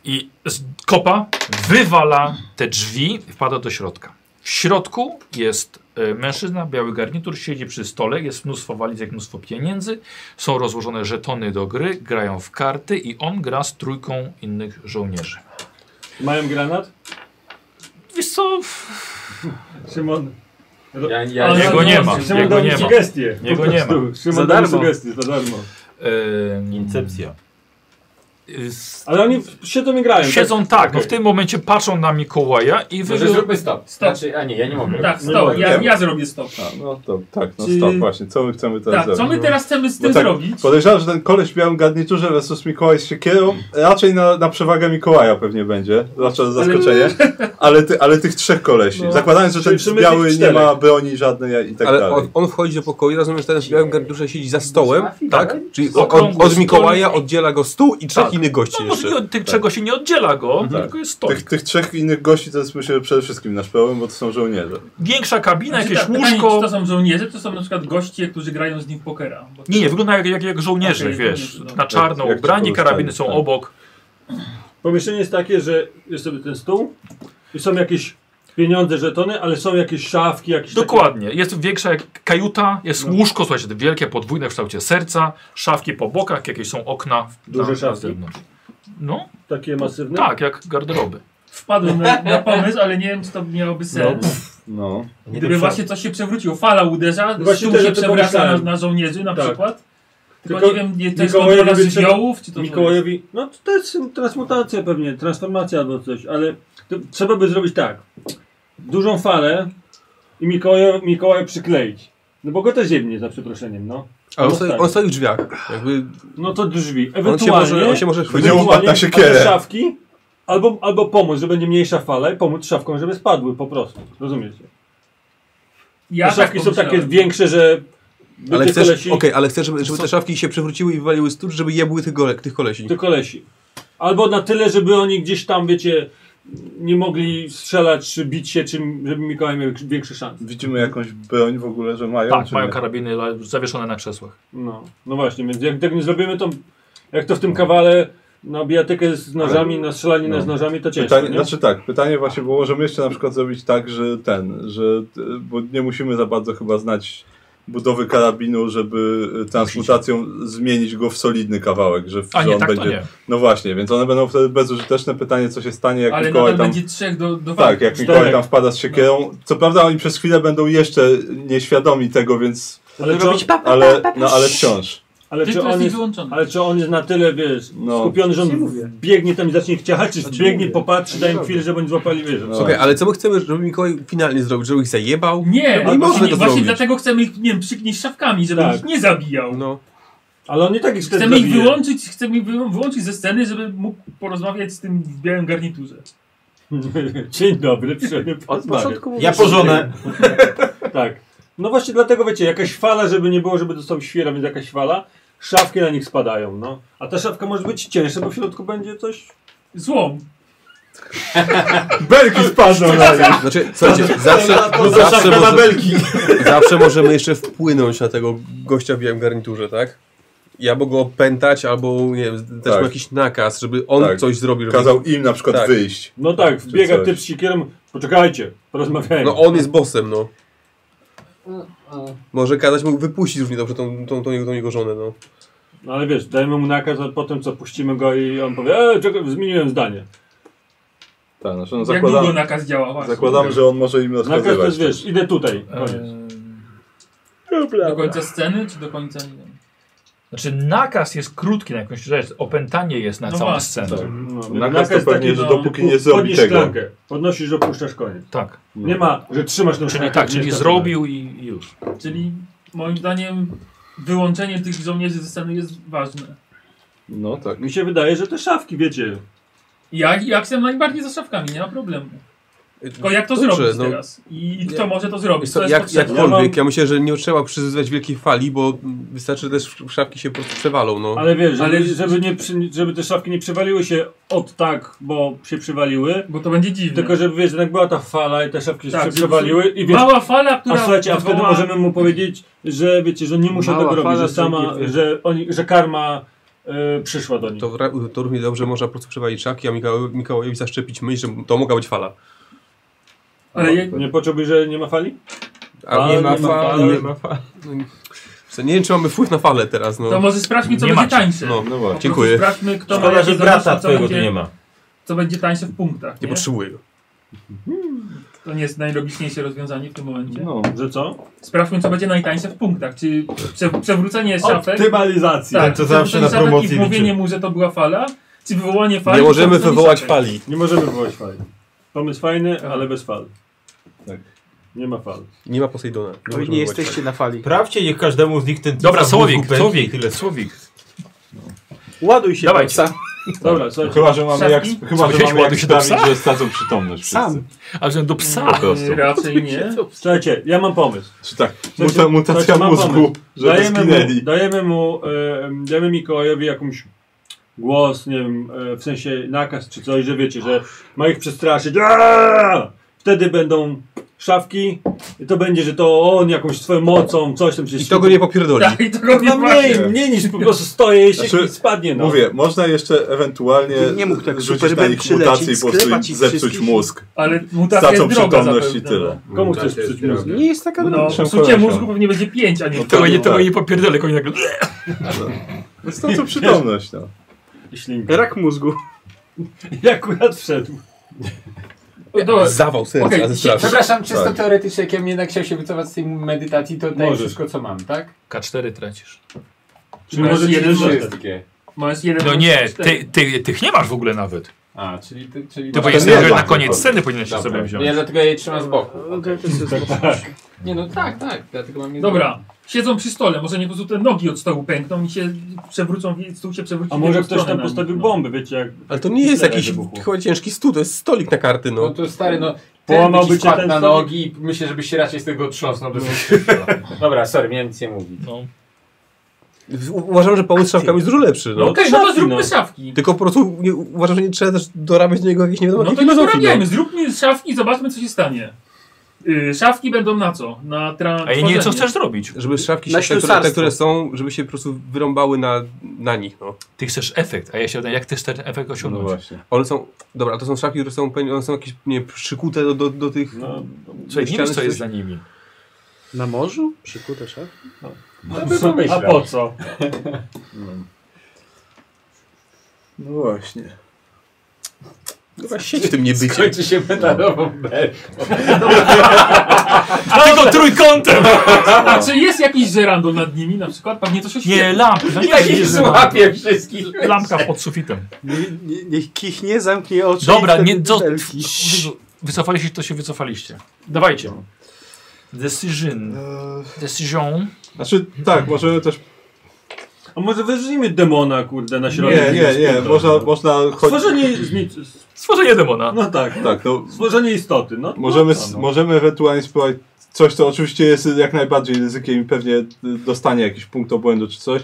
A: i z kopa wywala te drzwi i wpada do środka. W środku jest e, mężczyzna, biały garnitur, siedzi przy stole, jest mnóstwo walizek, mnóstwo pieniędzy, są rozłożone żetony do gry, grają w karty i on gra z trójką innych żołnierzy.
B: Mają granat?
A: Wiesz co,
B: Szymon.
G: Ja, ja,
H: Ale-
A: Jego nie ma,
B: Szymon
A: jego
B: dał
A: nie
B: mi
A: ma.
B: sugestie.
A: Jego
B: po prostu.
A: nie
D: Za
B: Szymon dał mi
D: darmo.
B: sugestie, za darmo.
A: Ym,
E: Incepcja.
A: z-
B: Ale oni w- siedzą i grają.
A: Siedzą tak, no w tym momencie patrzą na Mikołaja i
G: Może
A: wy...
G: zróbmy stop.
H: Stop.
G: Znaczy, a nie, ja nie mogę.
C: no
H: Tak,
B: Nie
H: stop.
B: mogę.
H: Ja, ja zrobię stop.
C: A, no to tak, no
B: Czy-
C: stop, właśnie, co my chcemy teraz
H: Tak, co
C: zrobić?
H: my teraz chcemy z
C: Bo
H: tym
C: tak,
H: zrobić?
C: Podejrzewam, że ten koleś w białym garniturze versus Mikołaj z siekierą raczej na, na przewagę Mikołaja pewnie będzie, zwłaszcza zaskoczenie, ale, ty, ale tych trzech kolesi.
H: No.
C: Zakładając, że ten
B: Czyli w sumie
C: biały
B: tych
C: nie
B: czterech.
C: ma broni żadnej i tak
I: Ale
C: dalej.
I: on, on wchodzi do pokoju, rozumiem, że ten w białym garniturze siedzi za stołem, tak? Czyli od, od,
A: Okrągły
I: od
A: stół.
I: Mikołaja oddziela go stół i trzech
A: Tak.
I: innych gości
A: No może nie
I: jeszcze.
A: od tych czego się nie oddziela go, tylko jest to.
C: Tych, tych trzech innych gości to jest myślę przede wszystkim nasz problem, bo to są żołnierze.
A: Większa kabina,
H: Znaczy,
A: jakieś
H: tak, pytanie,
A: łóżko.
H: Czy to są żołnierze, czy to są na przykład goście, którzy grają z nim w pokera? Bo
A: Nie, nie, wygląda jak, jak, jak żołnierze,
H: Okej,
A: wiesz,
F: no.
H: żołnierze, dobra.
A: na czarno
C: Jak- jak ci
A: ubrani,
C: pozostaje,
A: karabiny są
C: tak.
A: obok.
B: Pomieszczenie jest takie, że jest sobie ten stół i są jakieś pieniądze, żetony, ale są jakieś szafki, jakieś
A: Dokładnie. Jest większa jak kajuta, jest
F: No.
A: łóżko, słuchajcie, te wielkie, podwójne w kształcie serca, szafki po bokach, jakieś są okna. w-
B: Duże
A: na-
B: szafki?
A: Na zewnątrz. No.
B: Takie masywne?
A: Tak, jak garderoby.
F: Wpadłem na, na pomysł, ale nie wiem, czy to miałoby sens.
C: No.
F: Gdyby właśnie coś się przewróciło, fala uderza,
B: Właśnie
F: stół
B: też
F: się
B: o tym
F: przewraca na,
B: pomyślałem.
F: na żołnierzy na
B: Tak.
F: przykład. Tylko,
B: Tylko
F: nie wiem, nie, to jest kontrola
B: Mikołajowi,
F: żywiołów, czy to
B: Mikołajowi, no to jest transmutacja pewnie, transformacja albo coś, ale to trzeba by zrobić tak. Dużą falę i Mikołaja, Mikołaja przykleić. No bo go też ziemnie za przeproszeniem, no.
I: Ale on
B: No
I: stoi,
B: tak.
I: on stoi w drzwiach. Jakby
B: No to drzwi.
I: on się
B: Ewentualnie.
I: może, on się może chwycić.
C: Będzie upadł na
B: a te
C: siekierę.
B: szafki albo, albo pomóc, że będzie mniejsza fala i pomóc szafkom, żeby spadły po prostu. Rozumiecie?
F: Ja tak
B: te szafki są takie
F: pomyślałem.
B: większe, że. by
I: Ale
B: tych
I: chcesz,
B: kolesi-
I: okej, ale chcesz, żeby, żeby
B: są-
I: te szafki się przewróciły i wywaliły z tłucz, żeby jebły tych, gole, tych kolesi.
B: do kolesi. Albo na tyle, żeby oni gdzieś tam, wiecie, nie mogli strzelać, czy bić się, czy żeby Mikołaj miał większe szanse.
C: Widzimy jakąś broń w ogóle, że mają.
A: Tak,
C: czy
A: mają
C: nie?
A: karabiny la- zawieszone na krzesłach.
B: No, no właśnie, więc jak tego nie zrobimy, to jak to w tym kawale na bijatykę z nożami, na strzelanie
C: no.
B: z nożami, to ciężko,
C: Pytanie,
B: nie?
C: znaczy tak, pytanie właśnie było, możemy jeszcze na przykład zrobić tak, że ten, że, e, bo nie musimy za bardzo chyba znać budowy karabinu, żeby e, transmutacją zmienić go w solidny kawałek, że,
A: A
C: że
A: nie,
C: on
A: tak to
C: będzie...
A: nie.
C: No właśnie, więc one będą wtedy bezużyteczne. Pytanie, co się stanie, jak
F: Ale
C: Mikołaj
F: nadal
C: tam...
F: będzie No. trzech do, do
C: Tak,
F: walki.
C: jak Mikołaj
B: Czterech.
C: tam wpada z siekierą. Co prawda oni przez chwilę będą jeszcze nieświadomi tego, więc...
B: Ale czy, on,
C: Ale, no, ale wciąż.
B: ale,
F: Ty,
B: czy
F: to
B: on
F: jest
B: jest,
F: wyłączony.
B: ale czy on jest na tyle, wiesz,
C: No.
B: skupiony, że
D: Nic nie
B: on
D: mówię.
B: biegnie tam i zacznie chciać, czy
F: Znaczy
D: Nic nie
B: biegnie,
D: mówię.
B: popatrzy,
D: Nic
B: daj
D: nie
B: im chwilę, żeby oni złapali, wiesz.
C: Znaczy No.
I: Okej, ale co my chcemy, żeby Mikołaj finalnie zrobił? Żeby ich zajebał?
F: Nie,
I: No i można
F: właśnie,
I: to
F: właśnie
I: zrobić.
F: dlatego chcemy ich, nie wiem, przyknieść szafkami, żeby
B: Tak.
F: ich nie zabijał.
I: No.
B: Ale on nie tak ich wtedy
F: Chcemy ich
B: zabije.
F: wyłączyć, chcemy ich wy- wyłączyć ze sceny, żeby mógł porozmawiać z tym w białym garniturze.
B: Dzień dobry, przyjemny
D: Od początku mówię,
H: Ja
D: że-
H: pożonę.
B: Tak. No właśnie dlatego, wiecie, jakaś fala, żeby nie było, żeby dostał świra, więc jakaś fala, szafki na nich spadają, no. A ta szafka może być cięższa, bo w środku będzie coś...
F: Złom.
C: Belki spadną na nią.
I: Znaczy, słuchajcie, zawsze, zawsze, może,
C: belki.
I: zawsze możemy jeszcze wpłynąć na tego gościa w białym garniturze, tak? I albo go opętać, albo nie wiem, dać
C: Tak.
I: mu jakiś nakaz, żeby on
C: Tak.
I: coś zrobił. Żeby...
C: Kazał im na przykład
I: Tak.
C: wyjść.
B: No tak,
C: Czy
B: wbiega
C: coś.
B: typ z siekierą, poczekajcie, porozmawiajmy.
I: No on jest bossem, no. Może kazać mu wypuścić równie dobrze tą, tą, tą, jego, tą jego żonę, no.
B: No ale wiesz, dajemy mu nakaz, a potem co, puścimy go i on powie, e, czekaj, zmieniłem zdanie.
C: Tak, znaczy, no,
F: Jak długo
C: zakładam,
F: nakaz działa? Właśnie.
C: zakładam, że on może im
B: Nakaz to
C: rozkazywać.
B: jest, wiesz, idę tutaj.
A: E,
B: Koniec.
F: Ehm, Do końca sceny, czy do końca, nie wiem.
A: Znaczy nakaz jest krótki na jakąś rzecz, opętanie jest na
F: No
A: całą
F: właśnie,
A: scenę.
B: No,
C: Nakaz to pewnie, że
F: no,
C: dopóki nie
B: pu-
C: zrobi
B: podnieś
C: tego. No.
B: szklankę, podnosisz, że opuszczasz koniec.
A: Tak.
B: Nie ma, że trzymasz tą
A: Czyli
B: szklankę,
A: tak,
B: nie
A: czyli
B: jest tak.
A: zrobił i i już.
F: Czyli moim zdaniem wyłączenie tych żołnierzy ze sceny jest ważne.
C: No tak.
B: Mi się wydaje, że te szafki, wiecie,
F: Ja, ja chcę najbardziej za Tak szafkami, nie ma problemu. Tylko jak to
I: Dobrze,
F: zrobić
I: no.
F: teraz? I, i kto
I: Ja-
F: może to
I: Wiesz
F: zrobić?
I: co,
F: To jest
I: jak,
F: potrzebne.
B: jak- Ja
I: jakkolwiek,
B: mam-
I: ja myślę, że nie trzeba przyzywać wielkiej fali, bo wystarczy że też szafki się po prostu przewalą, no.
B: Ale wiesz, żeby,
F: Ale-
B: żeby, nie, przy- żeby te szafki nie przywaliły się od tak, bo się przywaliły,
F: Bo to będzie dziwne.
B: tylko żeby wiesz, jednak była ta fala i te szafki
F: Tak,
B: się przywaliły i wiesz,
F: Mała fala, która...
B: a słuchajcie, a wtedy
F: wywoła-
B: możemy mu powiedzieć, że wiecie, że nie musiał
D: Mała
B: tego robić,
D: fala,
B: że sama,
D: czyli nie-
B: że, oni, że karma e, przyszła do nich.
I: To, ra- to równie dobrze można po prostu przewalić szafki, a Mikołaj, Mikołajowi zaszczepić myśl, że to mogła być fala.
F: Ale je,
B: Nie poczułbyś, że nie ma fali?
I: A
B: nie ma fal.
I: Nie, ma fal. No, w sensie nie wiem, czy mamy wpływ na falę teraz,
F: to
I: no.
F: może sprawdźmy, co
K: Nie
F: będzie
K: macie.
F: tańsze.
I: No,
F: Po
C: No
F: prostu
C: właśnie.
I: dziękuję.
F: Sprawdźmy, kto ma
K: Szkoda,
F: jakie
K: że
F: zadanie,
K: brata
F: co
K: twojego tu nie
F: będzie,
K: ma.
F: co będzie tańsze w punktach.
I: Nie
F: Nie?
I: potrzebuję go.
F: To nie jest najlogiczniejsze rozwiązanie w tym momencie.
C: No.
B: Że co?
F: Sprawdźmy, co będzie najtańsze w punktach. Czy prze, przewrócenie szafek...
B: Optymalizacja.
F: Tak,
K: to zawsze
F: przewrócenie
K: na
F: szafek
K: promocji
F: I mówienie
K: liczy.
F: mu, że to była fala, czy wywołanie fali...
I: Nie
F: czy
I: możemy
F: przewrócenie
I: wywołać
F: szafek.
I: fali.
B: Nie możemy wywołać fali. Pomysł fajny, ale bez fal.
C: Tak.
B: Nie ma fal.
I: Nie ma Posejdona. Nie
D: Wy
I: możemy
D: nie
I: wywołać
D: jesteście na fali.
H: Prawcie, niech każdemu z nich ten
A: Dobra,
H: cyca w
A: Słowik,
H: mózgu pęknie i
A: Słowik,
H: tyle.
A: Słowik.
D: Ładuj się,
A: Dawajcie.
D: Dawajcie.
B: Dobra, słuchajcie.
C: Tak. Chyba, że mamy jak,
F: Szafki?
C: chyba, że
A: Powiedziałeś,
C: mamy jak
A: ładuj się do
C: sprawić, że stracą przytomność wszyscy.
D: Sam.
A: A wziąłem do
C: Po
A: psa.
C: prostu.
F: Raczej nie.
B: Słuchajcie, ja mam pomysł.
C: Czy tak,
B: Słuchajcie,
C: muta, mutacja
B: słuchajcie, mam
C: mózgu,
B: pomysł.
C: żeby
B: mu,
C: zginęli.
B: dajemy mu, e, dajemy Mikołajowi jakąś głos, nie wiem, e, w sensie nakaz czy coś, że wiecie, że ma ich przestraszyć. Aaaa! Wtedy będą szafki i to będzie, że to on jakąś swoją mocą, coś tam się
I: I to go nie popierdoli.
F: Tak, i to go nie
B: No mniej,
F: właśnie.
B: mniej niż po prostu stoję i się
C: Znaczy,
B: i spadnie. No.
C: Mówię, można jeszcze ewentualnie
D: Nie mógł tak
C: rzucić na
D: Superman
C: nich mutację i
D: przylecieć,
C: po prostu
D: sklepać
C: im
D: ich
C: zepsuć
D: wszystkich.
C: mózg.
F: Ale
B: Tak,
F: mutacja
C: Stracą
F: jest droga
C: przytomność
F: zapewne.
C: i tyle.
B: Komu chcesz psuć mózg?
D: Nie jest taka
F: No,
D: dobra.
F: psucie mózgu pewnie będzie 5, a nie
A: Tego No nie, tego
C: tak.
A: nie popierdolę, tak- koń nagle...
B: no.
C: Stracą przytomność, no.
B: Ślinka.
D: Rak mózgu.
B: Jak akurat wszedł.
F: O, Dobra,
I: Zawał serca
F: Okej,
I: ze strachu.
G: Przepraszam, czysto
C: Tak.
G: teoretycznie, jak ja bym jednak chciał się wycofać z tej medytacji, to daję
B: Możesz.
G: wszystko, co mam, tak?
A: K4 tracisz.
B: Czyli może
G: Znaczy,
F: Raz,
B: jeden
F: jeden,
B: zostać.
G: Wszystkie.
F: masz jeden.
A: No
F: masz
A: nie,
F: cztery.
A: ty, ty, tych nie masz w ogóle nawet.
G: A, czyli... Ty, czyli
A: Ty
G: Dobra,
A: powinieneś
G: No nie,
A: sobie na
G: dobra.
A: koniec sceny powinieneś się
G: Dobra.
A: sobie wziąć.
G: Ja dlatego ja je trzymam z boku.
D: Tak.
G: Nie no, tak, tak, dlatego mam je z
F: Dobra, siedzą przy stole, może nie po prostu te nogi od stołu pękną i się przewrócą, i stół się przewróci.
B: A
F: w
B: może
F: drugą
B: ktoś
F: stronę
B: tam
F: na
B: postawił
F: nich,
B: bombę, wiecie jak...
I: Ale to nie jest
B: Tyle
I: jakiś
B: wybuchło.
I: chyba ciężki stół, to jest stolik na karty,
G: No
I: no.
G: to stary, no.
B: Połamałby
G: Połamałby
B: cię
G: cię
B: ten
G: na
B: sam-
G: nogi i myślę, żeby się raczej z tego otrząsnął. Bez Dobra, sorry, miałem nic nie mówić.
A: No.
I: U- Uważam, że pomysł z szafkami jest dużo lepszy,
F: No
I: no.
F: okej, no to
B: Szafki,
F: zróbmy
B: no.
F: szafki.
I: Tylko po prostu nie, uważam, że nie trzeba też dorabiać do niego jakiejś nie wiadomo
F: No
I: jakiej
F: to nie
I: filozofii,
F: porabiajmy, zróbmy szafki i zobaczmy co się stanie. Yy, szafki będą na co? Na tra...
A: A ja nie wiem, co chcesz zrobić.
I: no. Żeby szafki
D: Na
I: się, te, które, te,
D: ślusarstwo.
I: które są, żeby się po prostu wyrąbały na, na nich, no.
A: Ty chcesz efekt, a ja się pytam, jak ty chcesz ten efekt osiągnąć?
C: właśnie.
I: One są, dobra, to są szafki, które są, pewnie- one są jakieś, nie wiem, przykute do, do, do tych...
B: No,
A: Słuchaj, nie
I: ściany
A: wiesz, co
I: czy
A: jest
I: coś?
A: za nimi.
D: Na morzu? Przykute szaf?
B: a po co?
C: No właśnie.
I: Chyba sieć w tym nie bycie.
G: Kończy się metalową belką.
A: A tylko trójkątem!
F: A czy jest jakiś żerandol nad nimi na
B: No
F: przykład? Pewnie coś się
A: Nie,
F: świeci.
A: lampy. No
G: I
A: nie,
G: tak
A: nie,
G: ich złapie wszystkich.
A: lampka pod sufitem.
D: Niech nie, niech kichnie, zamknie oczy.
A: Dobra,
D: i wtedy
A: nie, co-
D: belki.
A: Wycofaliście, to się wycofaliście. Dawajcie. Decision. Decision.
C: Znaczy, tak, możemy też...
B: A może wyrzucimy demona, kurde, na środek?
C: Nie, nie, nie,
B: Dobra.
C: można, można chodzić...
B: Stworzenie z nic...
A: Stworzenie demona.
B: No tak,
C: Tak, no,
B: stworzenie istoty, no.
C: możemy,
B: no, no.
C: możemy ewentualnie spróbować coś, co oczywiście jest jak najbardziej ryzykiem i pewnie y, dostanie jakiś punkt obłędu czy coś,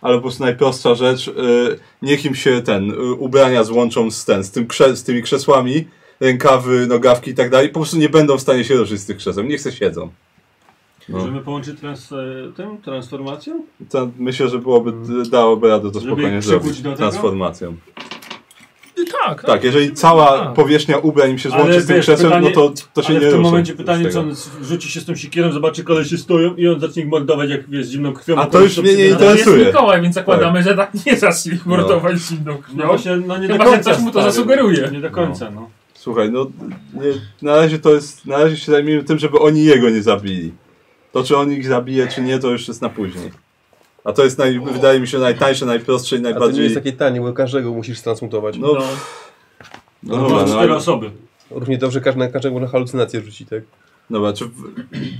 C: ale po prostu najprostsza rzecz, y, niech im się ten, y, ubrania złączą z ten, z, tym krze, z tymi krzesłami, rękawy, nogawki i tak dalej, po prostu nie będą w stanie się ruszyć z tych krzeseł, niech se siedzą. no.
B: Możemy połączyć trans, e, tym, transformacją?
C: To myślę, że byłoby, dałoby radę to
B: Mm. Żeby
C: spokojnie
B: ich przykuć
C: zrobić
B: do tego?
C: transformacją.
A: Tak,
C: Tak, jeżeli cała
A: A.
C: powierzchnia ubrań im się złączy
B: Ale
C: z tym
B: wiesz,
C: krzesłem,
B: pytanie-
C: no to, to się
B: Ale
C: nie
B: w tym
C: ruszą
B: momencie
C: z
B: pytanie,
C: tego.
B: co on z- rzuci się z tą siekierą, zobaczy kolesie stoją i on zacznie ich mordować jak wiesz, zimną krwią.
C: A to
B: koleś
C: już mnie nie
B: przybiera.
F: Ale jest
C: interesuje. No.
F: Mikołaj, więc zakładamy, że tak nie zacznie ich mordować zimną
B: No
F: krwią.
B: właśnie, no nie
F: Chyba,
B: do
F: że
B: końca.
F: coś mu to
B: stary,
F: zasugeruje.
B: Nie do końca, no.
C: Słuchaj, no nie, na razie to jest, na razie się zajmijmy tym, żeby oni jego nie zabili. To czy on ich zabije, czy nie, to już jest na później. A to jest, naj, wydaje mi się, najtańsze, najprostsze i
I: A to nie
C: najbardziej...
I: jest takie tanie, bo każdego musisz transmutować.
C: No,
F: No.
C: no,
B: No,
C: dobra, no,
B: cztery
C: ale,
B: osoby.
I: Równie dobrze każdy na każdego na halucynację rzuci, tak?
C: dobra, czy... w-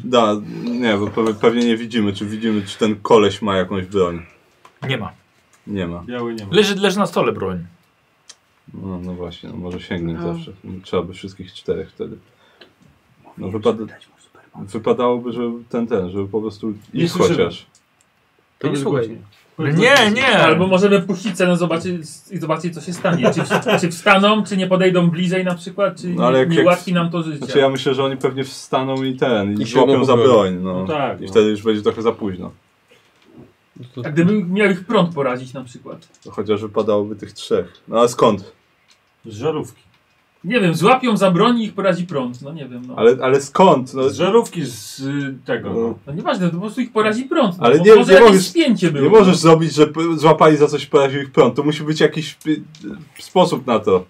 C: Da, nie, bo pe- pewnie nie widzimy, czy widzimy, czy ten koleś ma jakąś broń.
A: nie ma.
C: Nie ma.
B: Biały nie ma.
A: Leży, leży na stole broń.
C: No, no właśnie, no, może sięgnąć
D: A.
C: zawsze. Trzeba by wszystkich czterech wtedy. No wypada... Wypadałoby, żeby ten, ten, żeby po prostu
B: Nie
C: ich
B: słyszymy.
C: chociaż.
D: To nie słuchaj.
A: Nie, nie.
F: Albo możemy puścić cenę zobaczyć, i zobaczyć, co się stanie. Czy, w- czy wstaną, czy nie podejdą bliżej na przykład, czy
C: No, ale
F: nie,
C: jak-
F: nie
C: jak-
F: ułatwi nam to życie.
C: Znaczy ja myślę, że oni pewnie wstaną i ten, i,
I: I się
C: złapią za
I: odnowią.
C: broń, no.
B: No tak,
C: I
B: no.
C: wtedy już będzie trochę za późno.
F: A gdyby miał ich prąd porazić na przykład.
C: To Chociaż wypadałoby tych trzech. No ale skąd?
B: Z żarówki.
F: Nie wiem, złapią za broń i ich porazi prąd. No nie wiem, no.
C: Ale, ale skąd? No,
B: Z żarówki z y, tego.
C: no.
B: No.
F: No nieważne, to po prostu ich porazi prąd. No,
C: Ale
F: bo
C: nie-
F: może
C: nie
F: jakieś
C: możesz-
F: spięcie było.
C: Nie możesz zrobić, że p- złapali za coś poraził ich prąd. To musi być jakiś y, y, sposób na to.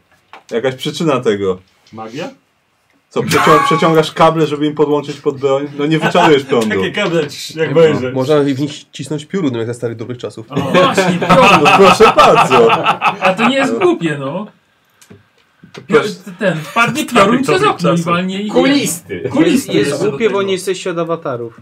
C: Jakaś przyczyna tego.
B: Magia?
C: Co, przecią przeciągasz kable, żeby im podłączyć pod broń? No nie wyczarujesz prądu.
F: No.
B: Takie kable, ci- jak wejrze.
I: Można w nich cisnąć piórunem jak za starych dobrych czasów.
F: No właśnie, prąd.
C: No proszę bardzo.
F: A to nie jest głupie, no.
C: proszę.
F: Pio- Ten, wpadnie piorun przez okno i walnie ich.
G: Kulisty.
F: Kulisty.
D: Jest
F: do
D: głupie,
F: tego.
D: bo nie jesteście od awatarów.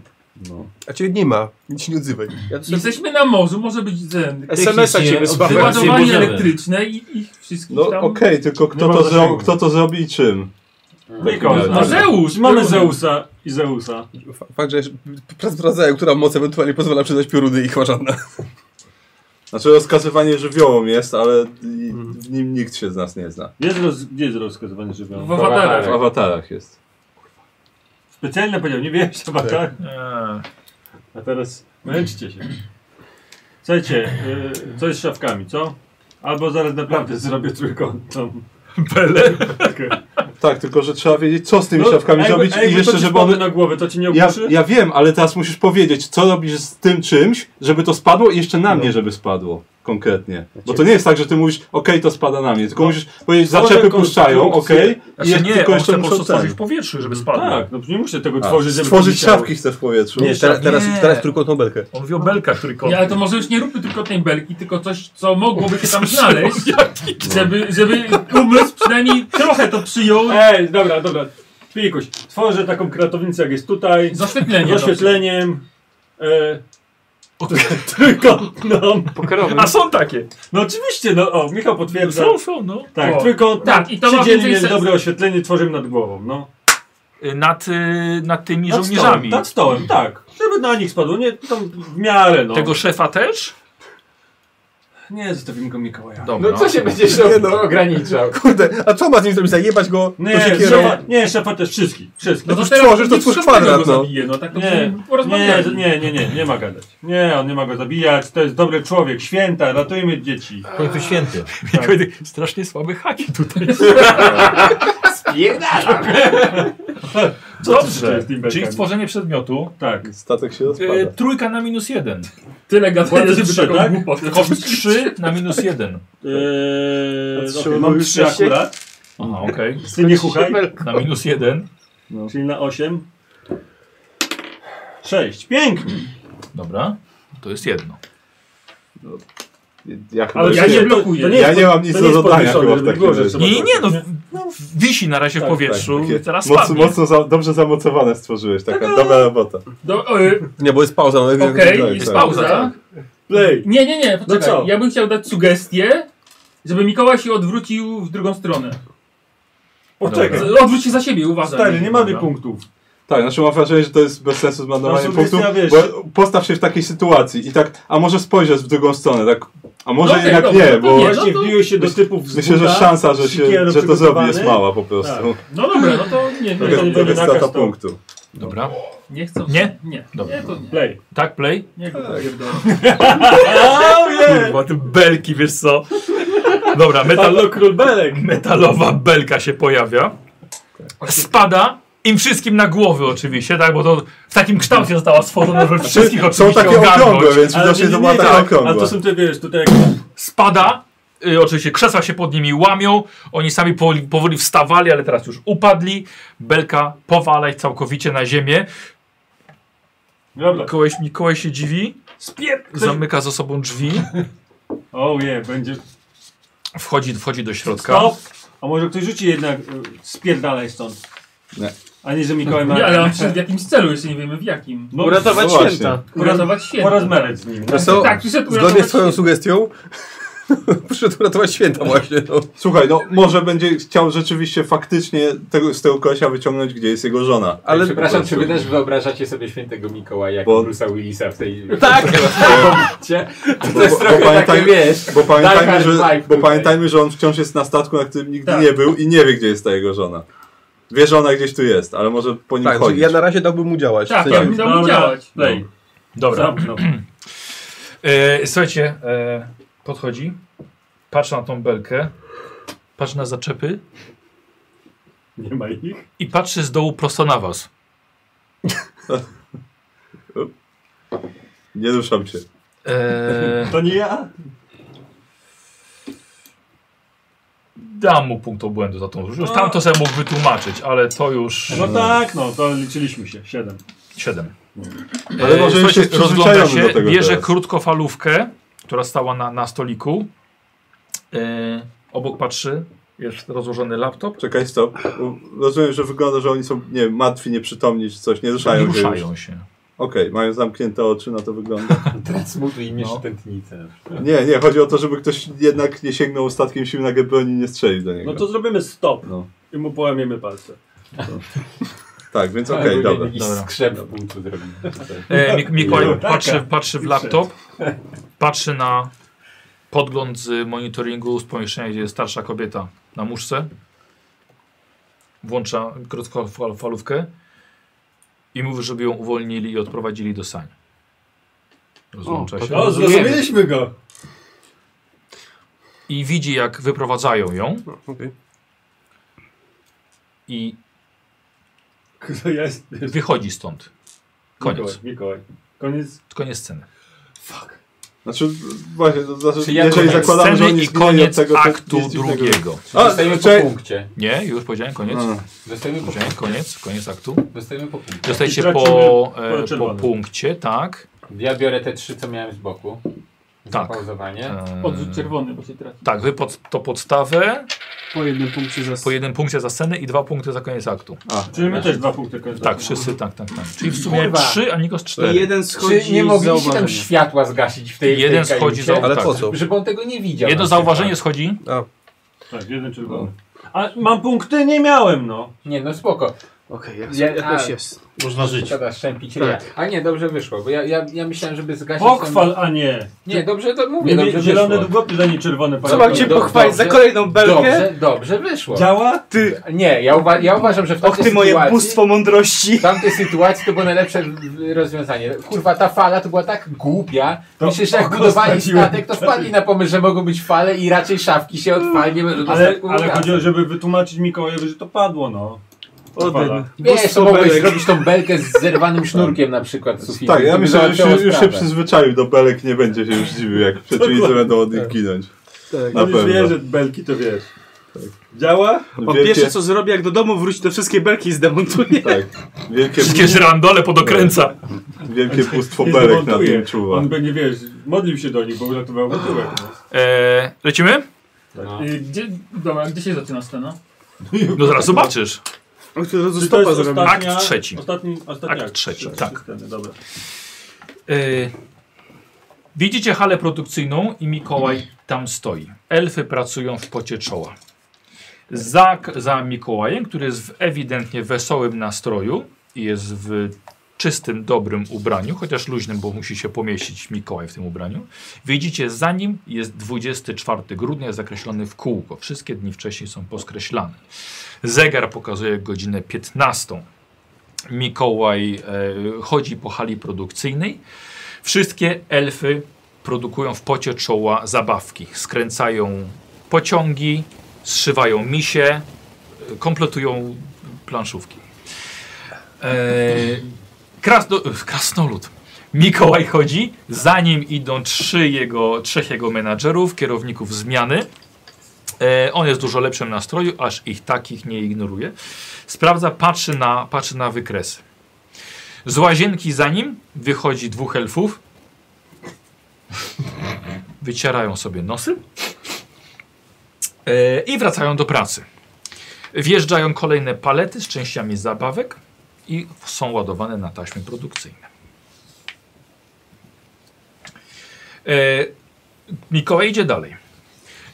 I: A ciebie nie ma, nic się nie odzywaj.
D: Ja to sobie...
F: Jesteśmy na morzu, może być ten.
D: SMS-a ci wysłałem.
K: odzywa-
F: Wyładowanie
K: możemy.
F: elektryczne i ich wszystkich
C: No okej,
F: tam.
C: tylko
B: Nie
C: kto
B: ma
C: to,
B: zasięgu.
C: zro- kto to zrobi i czym?
B: Mikołaj.
F: No Zeus!
B: Mamy
F: Zeus.
B: Zeusa i Zeusa.
I: F- Fakt, że sprawdzają, która moc ewentualnie pozwala przydać pioruny i chyba żadna.
C: Znaczy rozkazywanie żywiołom jest, ale i- w nim nikt się z nas nie zna.
G: No,
C: Tak.
B: Jest roz... Gdzie jest rozkazywanie żywiołów?
F: W awatarach.
C: W awatarach jest.
B: Specjalnie powiedział, nie wiem, chyba
I: Tak.
B: tak.
F: E.
B: A teraz
F: No
B: męczcie się. Słuchajcie, y, co jest z szafkami, co? Albo zaraz naprawdę zrobię trójkątną.
A: Belę.
C: Tak, tylko że trzeba wiedzieć, co z tymi szafkami
B: a No, jakby-
C: zrobić
B: a jakby
C: i jeszcze,
B: to ci
C: żeby one...
B: spadło na głowę, to ci nie
C: Ja,
B: ogłuszy?
C: ja wiem, ale teraz musisz powiedzieć, co robisz z tym czymś, żeby to spadło i jeszcze na mnie, żeby spadło konkretnie. Bo to nie jest tak, że ty mówisz, okej, to spada na mnie, tylko musisz powiedzieć,
B: Stworzę
C: zaczepy
B: konstrukcję.
C: puszczają, okej,
A: Znaczy nie, on chce po prostu
C: ten.
A: stworzyć w powietrzu, żeby spadło.
B: Tak, no nie muszę tego
C: A,
B: tworzyć, żeby
C: stworzyć
B: wisiało.
C: szafki chcesz w powietrzu.
I: Nie, teraz, teraz,
F: Nie.
I: teraz trójkątną belkę.
A: On mówi o belkach trójkątnych.
F: Nie, ale to może już nie róbmy tylko tej belki, tylko coś, co mogłoby się tam znaleźć, żeby, żeby umysł przynajmniej trochę to przyjął.
B: Ej, dobra, dobra. Pikuś, tworzę taką kratownicę, jak jest tutaj.
F: Z oświetleniem.
B: Z oświetleniem. E, trójkątną.
A: A są takie.
B: No oczywiście, no o, Michał potwierdza.
A: Są, są, no.
B: Tak,
F: O.
B: trójkątną.
F: Tak, i to ma
B: Siedzieli,
F: więcej
B: mieli
F: sensu.
B: dobre oświetlenie, tworzymy nad głową, no.
A: Y, Nad, y, nad tymi
B: Nad stołem,
A: żołnierzami.
B: nad stołem, tak. Żeby na nich spadło, nie tam w miarę, no.
A: Tego szefa też?
B: Nie, zostawimy go Mikołaja.
A: Dobra.
G: No co się będziesz robił?
I: no.
G: ograniczał.
I: Kurde, a co ma z nim zrobić? Zajebać go?
B: Nie,
I: to się
B: szefa, nie, szefa też wszystkich, wszystkich.
F: No to
I: już
F: teraz
I: tworzysz, to
F: nic
I: twórz
F: szkodliwego
I: kwadrat,
F: go
I: no.
F: zabije, no tak to
B: Nie, nie,
F: porozmawiamy.
B: nie, nie, nie, nie ma gadać. Nie, on nie ma go zabijać, to jest dobry człowiek, święta, ratujmy dzieci.
K: W końcu święty.
B: Tak.
A: Strasznie słabe haki tutaj.
G: Spierdalam.
B: to
A: Dobrze.
B: jest Timberkan?
A: Czyli stworzenie przedmiotu.
B: Tak.
C: Statek się rozpada.
A: Y, trójka na minus jeden.
F: Tyle gadania,
B: Władzy
F: żeby
B: trzy,
F: taką
B: tak?
F: głupotę
A: Hobbit
F: robić.
A: 3 na minus jeden.
B: Eee,
I: Trzy,
B: okay,
I: no
B: mam
I: już
B: trzy
I: wcześniej.
B: akurat,
A: Aha, okej.
B: ty nie chuchaj,
A: Na minus jeden.
B: czyli na osiem. Sześć, pięknie.
A: Dobra. To jest jedno.
C: Jak
B: Ale
F: ja
B: to
F: nie
B: to-
F: blokuję.
B: to nie
C: Ja
B: jest-
C: nie mam
B: to
C: nic
B: nie
C: do
B: jest
C: zadania
B: podwyższone,
C: chyba w
B: żeby
C: takim
B: było, że
C: razie.
B: trzeba
A: Nie, nie, nie, no
B: Nie?
A: w- wisi na razie w
B: Tak,
A: powietrzu
C: Takie
A: i teraz
C: mocno,
A: spadnie.
C: mocno za, dobrze zamocowane stworzyłeś, taka dobra robota.
F: Do, y,
I: Nie, bo jest pauza. No,
F: Okej,
I: tak,
A: jest
I: tak.
A: pauza.
F: Pauza.
B: Play.
F: Nie, nie, nie,
B: No
F: poczekaj.
B: co?
F: ja bym chciał dać sugestię, żeby Mikołaj się odwrócił w drugą stronę.
B: Poczekaj,
A: Dobra.
F: Z- Odwróć się za siebie, uważaj.
B: stary, nie mamy
A: Dobra.
B: punktów.
C: Tak, znaczy mam wrażenie, że to jest bez sensu zmarnowanie
B: No,
C: punktu,
B: sugestia, wiesz.
C: bo postaw się w takiej sytuacji i tak, a może spojrzeć w drugą stronę, tak, a może
F: No okej,
C: jednak
F: dobra,
C: nie,
F: no to
C: bo
F: nie,
B: Właśnie
F: no to-
B: wbiłeś się do typów z
C: myślę, że
B: buta,
C: szansa, że,
B: sikiero
C: się, że to zrobi jest
B: przygotowany.
C: mała po prostu.
F: No dobra, no to nie, nie,
C: To
B: Tak.
F: nie,
C: jest-
F: nie,
C: To
B: będzie
C: jest
B: nakaz,
C: strata
B: to-
C: punktu.
A: Dobra.
F: nie chcę.
A: Nie?
F: Nie,
A: Dobra.
F: nie, to nie.
B: Play.
A: Tak, play?
F: Nie, go pierdolę.
A: Kurwa, te belki, wiesz co? Dobra, metal,
B: Halo, król Belek.
A: metalowa belka się pojawia. Spada im wszystkim na głowy oczywiście, tak? Bo to w takim kształcie została stworzona, że wszystkich
C: Są
A: oczywiście
C: takie okrągłe,
A: ogarnąć.
C: więc widocznie to była taka
B: A tak, to
C: okrągła.
B: są te, wiesz, tutaj
A: Spada, y, oczywiście krzesła się pod nimi łamią, oni sami powoli, powoli wstawali, ale teraz już upadli. Belka powala ich całkowicie na ziemię.
B: Dobra.
A: Mikołaj, Mikołaj się dziwi,
B: Spier...
A: zamyka za sobą drzwi,
B: Oh yeah, będzie...
A: wchodzi, wchodzi do środka.
B: Stop! A może ktoś rzuci jednak... y, Spierdalaj stąd.
C: Nie.
B: A nie, że Mikołaj ma...
F: Nie, ale on przed w jakimś celu, jeszcze nie wiemy w jakim.
B: No,
C: No
D: Uratować
C: właśnie.
D: święta.
F: Uratować święta.
B: Porozmawiać z nim.
I: Wiesz No co?
F: Tak, przyszedł
I: Zgodnie z
F: uratować
I: twoją
F: święta.
I: sugestią, przyszedł ratować święta właśnie. No.
C: Słuchaj, no może będzie chciał rzeczywiście faktycznie tego, z tego kolesia wyciągnąć, gdzie jest jego żona.
I: Ale-
C: Po
G: Przepraszam,
C: prostu.
G: czy wy też wyobrażacie sobie świętego Mikołaja, jak
C: Bo-
G: Bruce'a Willisa w tej...
I: Tak.
G: Cię? To jest trochę takie, wiesz...
C: bo, pamiętajmy,
G: Dark Knight
C: że,
G: Mike
C: bo
G: tutaj.
C: pamiętajmy, że on wciąż jest na statku, na którym nigdy
F: Tak.
C: nie był i nie wie, gdzie jest ta jego żona. Wie, że ona gdzieś tu jest, ale może po nim
I: Tak, czyli
C: chodzić.
I: ja na razie dałbym mu działać.
F: Tak,
I: w
F: ja
I: sensie,
F: bym dał mu
B: Dobra.
F: działać.
B: Play.
A: Dobra.
B: Zamknął.
A: E, słuchajcie, e, podchodzi, patrzy na tą belkę, patrzy na zaczepy
B: Nie ma ich.
A: i patrzy z dołu prosto na was.
C: Nie ruszam cię.
A: E,
B: To nie ja.
A: dam mu punkt obłędu za tą. Już tam to sobie mógł wytłumaczyć, ale to już
B: No tak, no, to liczyliśmy się. Siedem.
A: 7.
C: Ale może
A: E, słuchajcie,
C: jeszcze
A: rozgląda
C: przyzwyczajony
A: się,
C: do tego
A: bierze
C: teraz.
A: krótkofalówkę, która stała na, na stoliku. E, obok patrzy, jest rozłożony laptop.
C: Czekaj, stop. U- Rozumiem, że wygląda, że oni są, nie wiem, martwi, nieprzytomni czy coś, nie ruszają
A: Nie
C: się już.
A: ruszają się.
C: Okej, mają zamknięte oczy, na to wygląda.
G: Teraz mówię im jeszcze
A: No.
G: tętnicę.
C: Nie, nie, chodzi o to, żeby ktoś jednak nie sięgnął ostatkiem sił na broni i nie strzelił do niego.
B: No to zrobimy stop.
C: No.
B: I mu połamiemy palce.
C: Tak, więc okej, dobra.
G: Jakiś
A: dobra.
G: skrzep w punktu zrobimy. tutaj.
A: E, Mik Mikołaj
M: No,
G: Taka.
M: tak,
A: patrzy, patrzy w laptop, patrzy na podgląd z monitoringu z pomieszczenia, gdzie jest starsza kobieta na muszce. Włącza krótkofalówkę. I mówisz, żeby ją uwolnili i odprowadzili do sani. Rozłącza
M: O, to-
A: się.
B: No,
M: o, zrozumieliśmy
B: go.
A: I widzi, jak wyprowadzają ją. I wychodzi stąd. Koniec.
B: Mikołaj, Mikołaj. Koniec.
A: Koniec sceny.
C: Znaczy, właśnie, to znaczy,
A: Czy ja
C: jeżeli
A: koniec
C: zakładamy, że
A: sceny
C: on
A: i
C: jest
A: koniec
C: tego, to
A: aktu
C: nic dziwnego.
A: drugiego.
C: A, czekaj.
A: Nie, już powiedziałem koniec.
C: A.
G: Dostajemy po
A: Powiedziałem koniec, koniec aktu.
G: Dostajemy po punkcie.
A: Dostajecie
G: Tak. I
A: po,
G: tracimy
A: e,
G: po
A: po
G: czerwonym.
A: punkcie, tak.
G: Ja biorę te trzy, co miałem z boku.
A: Tak.
G: Pauzowanie.
A: Eee,
F: Odrzut czerwony, bo się traci.
A: Tak, wy pod, to podstawę.
D: Po jednym punkcie za
A: Po jednym punkcie za scenę i dwa punkty za koniec aktu.
C: A,
B: Czyli my też dwa punkty koniec
A: Tak,
B: aktu.
A: wszyscy tak, tak, tak. Czyli w sumie
B: Kurwa.
A: trzy, a Nikos cztery.
G: Czy nie mogliście tam światła zgasić w tej w tej
A: Jeden schodzi
G: kajucie?
A: za- Ale tak. po co?
G: Żeby on tego nie widział. Znaczy,
A: Jedno
G: na przykład.
A: zauważenie schodzi.
B: Tak, jeden czerwony. A mam punkty? Nie miałem, no.
G: Nie, no spoko.
D: Okej,
B: ja-
G: Ja-
B: jakoś
G: a,
B: jest.
H: Można żyć.
G: Szkoda szczępić
B: Tak.
G: ja. A nie, dobrze wyszło, bo ja, ja, ja myślałem, żeby zgasić...
B: Pochwal,
G: ten-
B: a nie.
G: Nie, dobrze to mówię,
B: Nie,
G: dobrze
B: Zielony
G: wyszło.
B: długopis, a nie czerwony.
G: Co mam cię pochwalić za kolejną belkę? dobrze wyszło.
B: Działa?
G: Ty. Nie, ja, uwa ja uważam, że w tamtej
D: ty moje
G: sytuacji-
D: bóstwo mądrości.
G: W tamtej sytuacji to było najlepsze w- rozwiązanie. Kurwa, ta fala to była tak głupia. Myślę, że jak
B: oko
G: budowali
B: straciłem.
G: statek, to wpadli na pomysł, że mogą być fale i raczej szafki się od fal nie tak będą do
B: Ale,
G: statku
B: ale
G: wracać.
B: chodziło, żeby wytłumaczyć Mikołajowi, że to padło, no.
G: O,
B: Fala.
G: ten- Wiesz, to mogłeś zrobić tą belkę z zerwanym sznurkiem na przykład z sufitu.
C: Tak,
G: To
C: ja
G: by
C: myślę, że
G: załatwiało
C: już, już się
G: sprawę.
C: przyzwyczaił do belek, nie będzie się już dziwił, jak przeciwnicy będą od nich ginąć.
D: Tak.
C: Na
B: On już wie,
C: pewno.
B: że belki to wiesz. Działa?
D: Po pierwsze co zrobię, jak do domu wróci, to wszystkie belki zdemontuję.
C: Tak. Wielkie
A: Wszystkie żrandole podokręca.
C: Wielkie pustwo
B: Nie
C: belek nad
B: zdemontuje.
C: nim czuwa.
B: On będzie, wiesz, modlił się do nich, bo uratował mu tyłek. no.
A: Eee, lecimy?
F: Y, Gdzie, dobra, gdzie się zaczyna scena?
A: No zaraz zobaczysz.
B: Czy to jest ostatnia-
A: Akt trzeci.
B: Ostatni, ostatni
A: Akt trzeci,
B: Trzy-
A: tak.
B: trzy sceny, Dobra.
A: Y, widzicie halę produkcyjną i Mikołaj tam stoi. Elfy pracują w pocie czoła. Za, za Mikołajem, który jest w ewidentnie wesołym nastroju i jest w czystym, dobrym ubraniu, chociaż luźnym, bo musi się pomieścić Mikołaj w tym ubraniu. Widzicie, za nim jest 24 grudnia, jest zakreślony w kółko. Wszystkie dni wcześniej są poskreślane. Zegar pokazuje godzinę 15. Mikołaj e, chodzi po hali produkcyjnej. Wszystkie elfy produkują w pocie czoła zabawki. Skręcają pociągi, zszywają misie, e, kompletują planszówki. E, krasno, e, krasnolud. Mikołaj chodzi, za nim idą trzy jego, trzech jego menadżerów, kierowników zmiany. E, on jest w dużo lepszym nastroju, aż ich takich nie ignoruje. Sprawdza, patrzy na, patrzy na wykresy. Z łazienki za nim wychodzi dwóch elfów. Wycierają sobie nosy. E, I wracają do pracy. Wjeżdżają kolejne palety z częściami zabawek i są ładowane na taśmy produkcyjne. E, Mikołaj idzie dalej.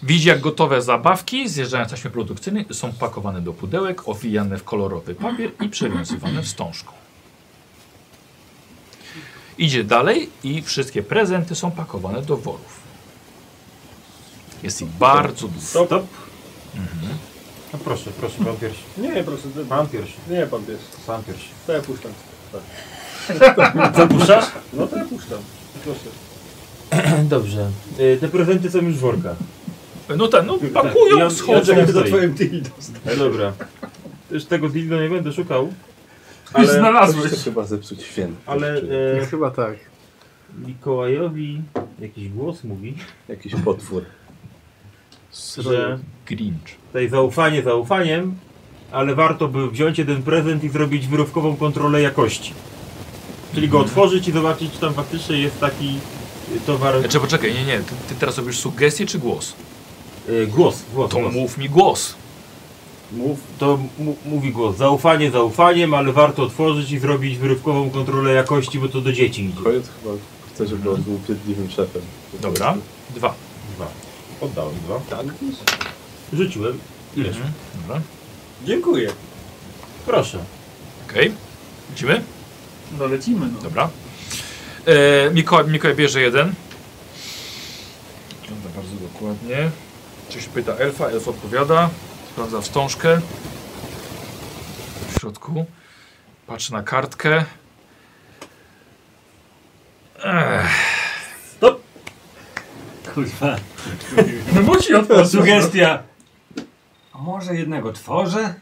A: Widzi jak gotowe zabawki zjeżdżają z taśmy produkcyjnej, są pakowane do pudełek, owijane w kolorowy papier i przewiązywane wstążką. Idzie dalej i wszystkie prezenty są pakowane do worów. Jest ich bardzo dużo.
B: Stop.
A: Mhm.
H: No proszę, proszę, pan pierwszy.
B: Nie, proszę. ty-
H: Pan pierwszy.
B: Nie, pan pierwszy.
H: Sam pierwszy.
B: To ja puszczam. Tak.
H: Zapuszczasz?
B: No to ja puszczam. Proszę.
H: Dobrze. E, Te prezenty są już w workach. Tak,
A: No ten, no pakują,
H: Ja- ja
A: schodzą.
H: czekam za
A: Stoi.
H: twoim
B: dildo.
H: E, Dobra. Już tego dildo nie będę szukał.
C: Ale
F: znalazłeś.
C: to chyba zepsuć święto.
H: Ale e,
D: Chyba tak.
H: Mikołajowi jakiś głos mówi,
C: Jakiś potwór.
H: że
A: Grinch.
H: tutaj zaufanie zaufaniem, ale warto by wziąć jeden prezent i zrobić wyrówkową kontrolę jakości. Czyli
A: Mhm.
H: go otworzyć i zobaczyć, czy tam faktycznie jest taki y, towar.
A: Znaczy poczekaj, nie, nie, ty, ty teraz robisz sugestię czy głos?
H: Y, głos, głos.
A: No To
H: głos.
A: mów mi głos.
H: Mów, to mu- mówi głos. Zaufanie zaufaniem, ale warto otworzyć i zrobić wyrywkową kontrolę jakości, bo to do dzieci idzie.
C: Koniec chyba chce, żeby on był pierdliwym szefem.
A: Dobra, dwa.
H: Dwa. Oddałem dwa. Tak. Rzuciłem. Ile?
A: Mhm. Dobra.
B: Dziękuję.
H: Proszę.
A: Okej, lecimy?
F: No lecimy, no.
A: Dobra. E, Mikołaj, Mikołaj bierze jeden. Wygląda bardzo dokładnie. Coś pyta elfa, elf odpowiada. Sprawdza wstążkę. W środku. Patrz na kartkę. Ech.
B: Kurwa.
N: No musi odpocząć.
B: Sugestia. A może jednego tworzę?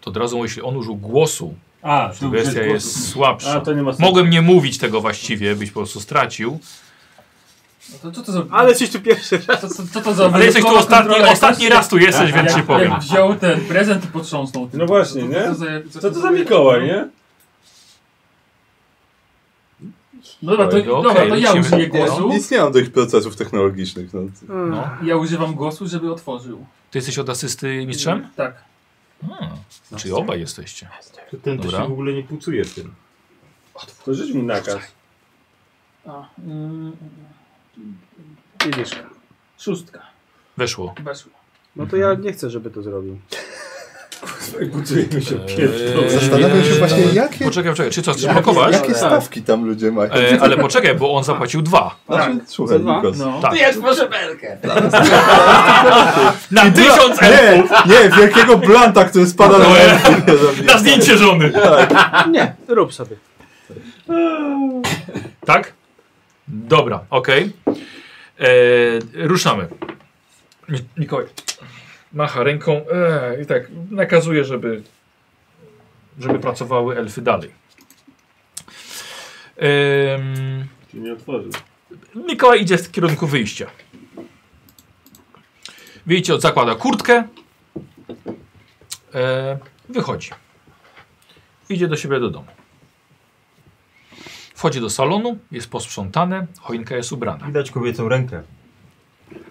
A: To od razu, jeśli on użył głosu,
B: A, tu
A: sugestia
B: użyć
A: jest
B: głosu.
A: słabsza.
B: A, to nie ma sensu.
A: Mogłem nie mówić tego właściwie, byś po prostu stracił.
N: No to co to za...
D: Ale jesteś tu pierwszy raz.
N: Co, co, co to za
A: Ale jesteś tu
N: wyjątkowa
A: ostatni-
N: kontrola?
A: ostatni
N: Jak-
A: raz tu jesteś, więc
N: jak-
A: ci powiem.
N: Jak wziął ten prezent i potrząsnął. tym.
B: No właśnie, nie?
N: to
B: Co to za Mikołaj, nie?
N: No dobra, to,
A: Okej,
N: dobra, to ja
A: lecimy.
N: użyję
O: No,
N: głosu.
O: istnieją tych procesów technologicznych. No.
A: No.
N: Ja używam głosu, żeby otworzył.
A: Ty jesteś od asysty mistrzem?
N: Tak.
A: Hmm. Czyli obaj jesteście.
H: To ten to
A: Dobra.
H: się w ogóle nie płucuje w tym.
B: To żyć mu nakaz.
N: A, mm,
D: Jedzieszka.
N: szóstka.
A: Weszło.
N: Weszło.
D: No to ja nie chcę, żeby to zrobił.
B: Budzimy się
A: Eee,
B: pierdolę.
A: eee,
C: Zastanawiam się właśnie,
A: eee,
C: jakie-
A: Poczekaj, poczekaj, czy coś, czy
C: Jakie,
A: blokować?
C: jakie stawki tam ludzie mają?
A: E, ale poczekaj, bo on zapłacił dwa.
C: Znaczy, Słuchaj,
D: dwa?
C: Nikos.
A: No.
P: Ty
A: Tak.
P: jest może belkę.
A: Na tysiąc
C: Nie,
A: elfów!
C: nie, wielkiego blanta, który spada na
A: Na zdjęcie żony!
D: Nie, rób sobie.
A: Tak? Dobra, okej. E, Ruszamy. Mi- Mikołaj macha ręką e, i tak nakazuje, żeby, żeby pracowały elfy dalej. Em,
B: Ci nie otworzył.
A: Mikołaj idzie w kierunku wyjścia. Widzicie, zakłada kurtkę. E, wychodzi. Idzie do siebie do domu. Wchodzi do salonu, jest posprzątane, choinka jest ubrana.
H: Widać kobiecą rękę.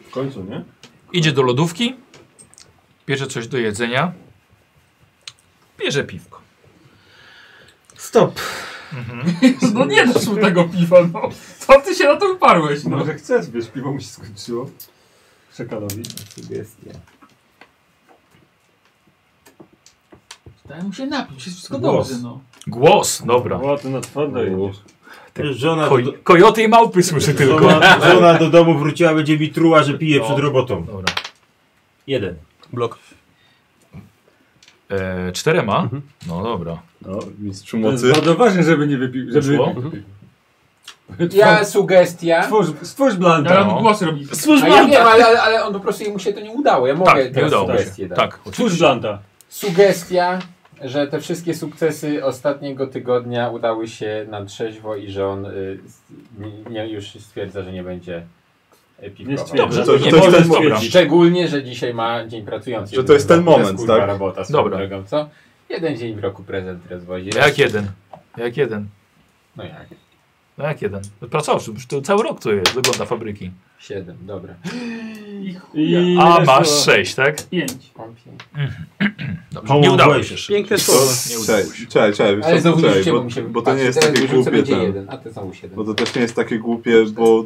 B: W końcu, nie?
A: Idzie do lodówki, bierze coś do jedzenia, bierze piwko.
H: Stop.
N: No nie doszło tego piwa, no. Co ty się na to wyparłeś, no?
B: Może chcesz, wiesz, piwo mu się skończyło. Szekalowi.
H: Sugestia.
N: Daj mu się Tak, napić, jest wszystko
H: Głos.
N: dobrze, no.
A: Głos, dobra.
B: O, ty na twardo idziesz.
A: Tak.
H: Żona, do,
A: Koj, kojoty i małpy słyszy tylko.
H: żona, żona do domu wróciła, będzie mi truła, że pije przed robotą.
A: Dobra.
H: Jeden.
I: Blok.
A: E, czterema?
B: Mhm.
A: No dobra.
C: No, mistrzu
B: To jest
C: mocy.
B: bardzo ważne, żeby nie wypił. Żeby
A: Wyszło?
G: Ja sugestia.
B: Stwórz, stwórz blanta.
N: Ja
A: No.
N: mam głos robić.
G: A ja wiem, ale, ale on po prostu mu się to nie udało. Ja mogę
A: Tak, nie
G: tę
A: udało
G: sugestię
A: się.
G: dać.
A: Tak,
B: Stwórz blanta.
G: Sugestia, że te wszystkie sukcesy ostatniego tygodnia udały się na trzeźwo i że on y, s- nie, już stwierdza, że nie będzie y,
B: Nie
G: piwkował.
B: stwierdzam.
A: Dobrze,
C: To-
A: nie,
C: to jest
A: może
C: ten
A: dobra.
B: moment.
G: Szczególnie, że dzisiaj ma dzień pracujący.
C: Że to jest ten
G: Kurwa,
C: moment,
G: kurwa
C: tak?
G: robota swoją
A: Dobra.
G: drogą, co? Jeden dzień w roku prezent rozwozi.
A: Jak jeden. Jak jeden.
G: No jak?
A: No jak jeden? Pracował, przecież to cały rok to jest, wygląda fabryki.
G: Siedem, dobra.
B: I no,
A: A
B: weszło.
A: masz sześć, tak?
N: Pięć.
G: Kąpień.
A: Dobrze. Nie udało się.
D: Piękne słowo.
A: Nie udało
C: Czekaj,
A: się.
C: czekaj, czekaj,
G: Ale
C: wiesz co,
G: znowu
C: czekaj,
G: rzucicie, bo, mi się
C: bo, bo to
G: patrzy,
C: nie jest
G: teraz
C: takie głupie
G: wyrzucę, będzie
C: ten.
G: jeden, a to znowu siedem.
C: Bo to też nie jest takie głupie, bo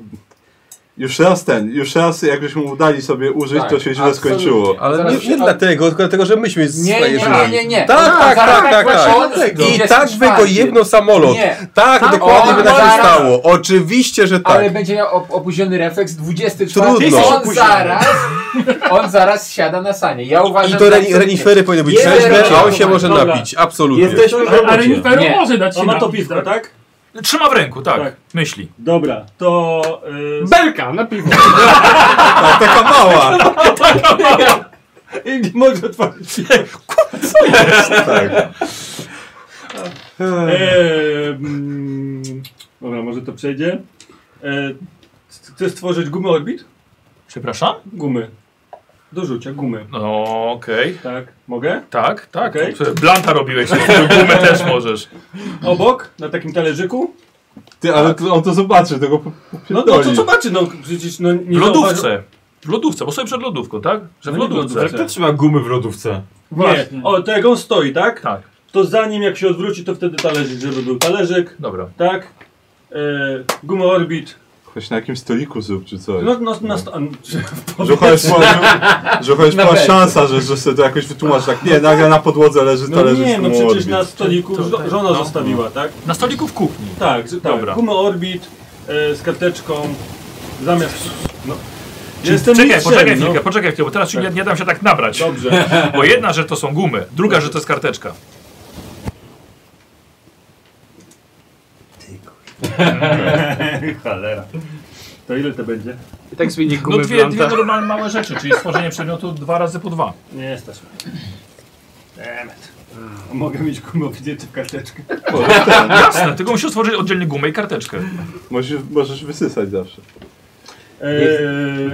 C: już raz ten, już raz jakbyśmy udali sobie użyć,
G: Tak,
C: to się źle
G: absolutnie.
C: skończyło.
I: Ale
G: Zaraz
I: nie, nie
G: się-
I: dlatego, tylko dlatego, że myśmy
G: Nie, nie,
I: swoje
G: nie,
I: żonami.
G: nie, nie.
I: Tak, tak, tak, tak,
G: On
I: tak.
G: dlatego.
I: I
G: Jest
I: tak by go
G: czwarty.
I: jedno samolot.
G: Nie.
I: Tak,
G: Tak,
I: dokładnie
G: on
I: by tak się
G: zaraz-
I: stało. Oczywiście, że tak.
G: Ale będzie miał op- opóźniony refleks 24.
I: Trudno.
G: On zaraz, on zaraz siada na sanie. Ja uważam,
I: I to
G: że tak
I: reni, renifery powinny być
G: Jeden
I: trzeźwe, a on się
G: renifer.
I: może
B: Dobra.
I: napić. Absolutnie. Jesteśmy
N: Ale, ale Reniferu
G: Nie.
N: może dać się
B: On ma to
N: napić,
B: piwko, tak?
A: Trzyma w ręku, tak.
B: Tak.
A: Myśli.
B: Dobra, to... y,
D: Belka na piwo.
C: A taka mała!
B: I nie mogę otworzyć.
C: tak.
B: Eee, mm, dobra, może to przejdzie. Eee, c- chcesz stworzyć gumy orbit?
A: Przepraszam?
B: Gumy. Do rzucia, gumy.
A: No okej.
B: Tak, mogę?
A: Tak, tak.
B: Okej.
A: Okay. Blanta robiłeś, gumę też możesz.
B: Obok, na takim talerzyku?
C: Ty, ale to, on to zobaczy, tego
B: No, no to zobaczy, no przecież no,
A: W
B: nie zauważy-
A: lodówce. W lodówce, bo sobie przed lodówką, tak? Że w
B: No nie w
A: lodówce.
B: lodówce.
H: Kto trzyma gumy w lodówce?
B: Nie, o, to jak on stoi, tak?
A: Tak,
B: To zanim jak się odwróci, to wtedy talerzyk, żeby był talerzyk,
A: dobra.
B: tak? Eee, gumy orbit.
C: Choć na jakimś stoliku zrób czy coś.
B: No, no, na sto...
C: Że chociaż była, że, że chociaż
G: Na
C: była
G: pewno.
C: szansa, że, że sobie to jakoś wytłumacz. Tak, nie, nagle na podłodze leży
B: No
C: talerzyk z
B: nie, no
C: gumą
B: przecież
C: Orbit.
B: na stoliku
A: To-
B: żo-
A: to-
B: żona
A: no.
B: zostawiła, tak?
A: Na stoliku w kuchni.
B: Tak, z,
A: Dobra.
B: tak. Gumę Orbit e, z karteczką zamiast... No. Jestem
A: Czekaj,
B: mistrzem,
A: poczekaj
B: no.
A: chwilkę, poczekaj chwilkę, bo teraz się nie, nie dam się tak nabrać.
B: Dobrze.
A: Bo jedna, że to są gumy, druga, że to jest karteczka.
B: Cholera. To ile to będzie?
D: I tak zmieni gumę
A: No dwie,
D: Blanta.
A: dwie normalne małe rzeczy, czyli stworzenie przedmiotu dwa razy po dwa.
B: Nie jesteśmy. Demet. A Mogę mieć gumę obcięcie w karteczkę.
A: Jasne, tylko musisz stworzyć oddzielnie gumę i karteczkę.
M: Możesz, możesz wysysać zawsze.
B: Eee,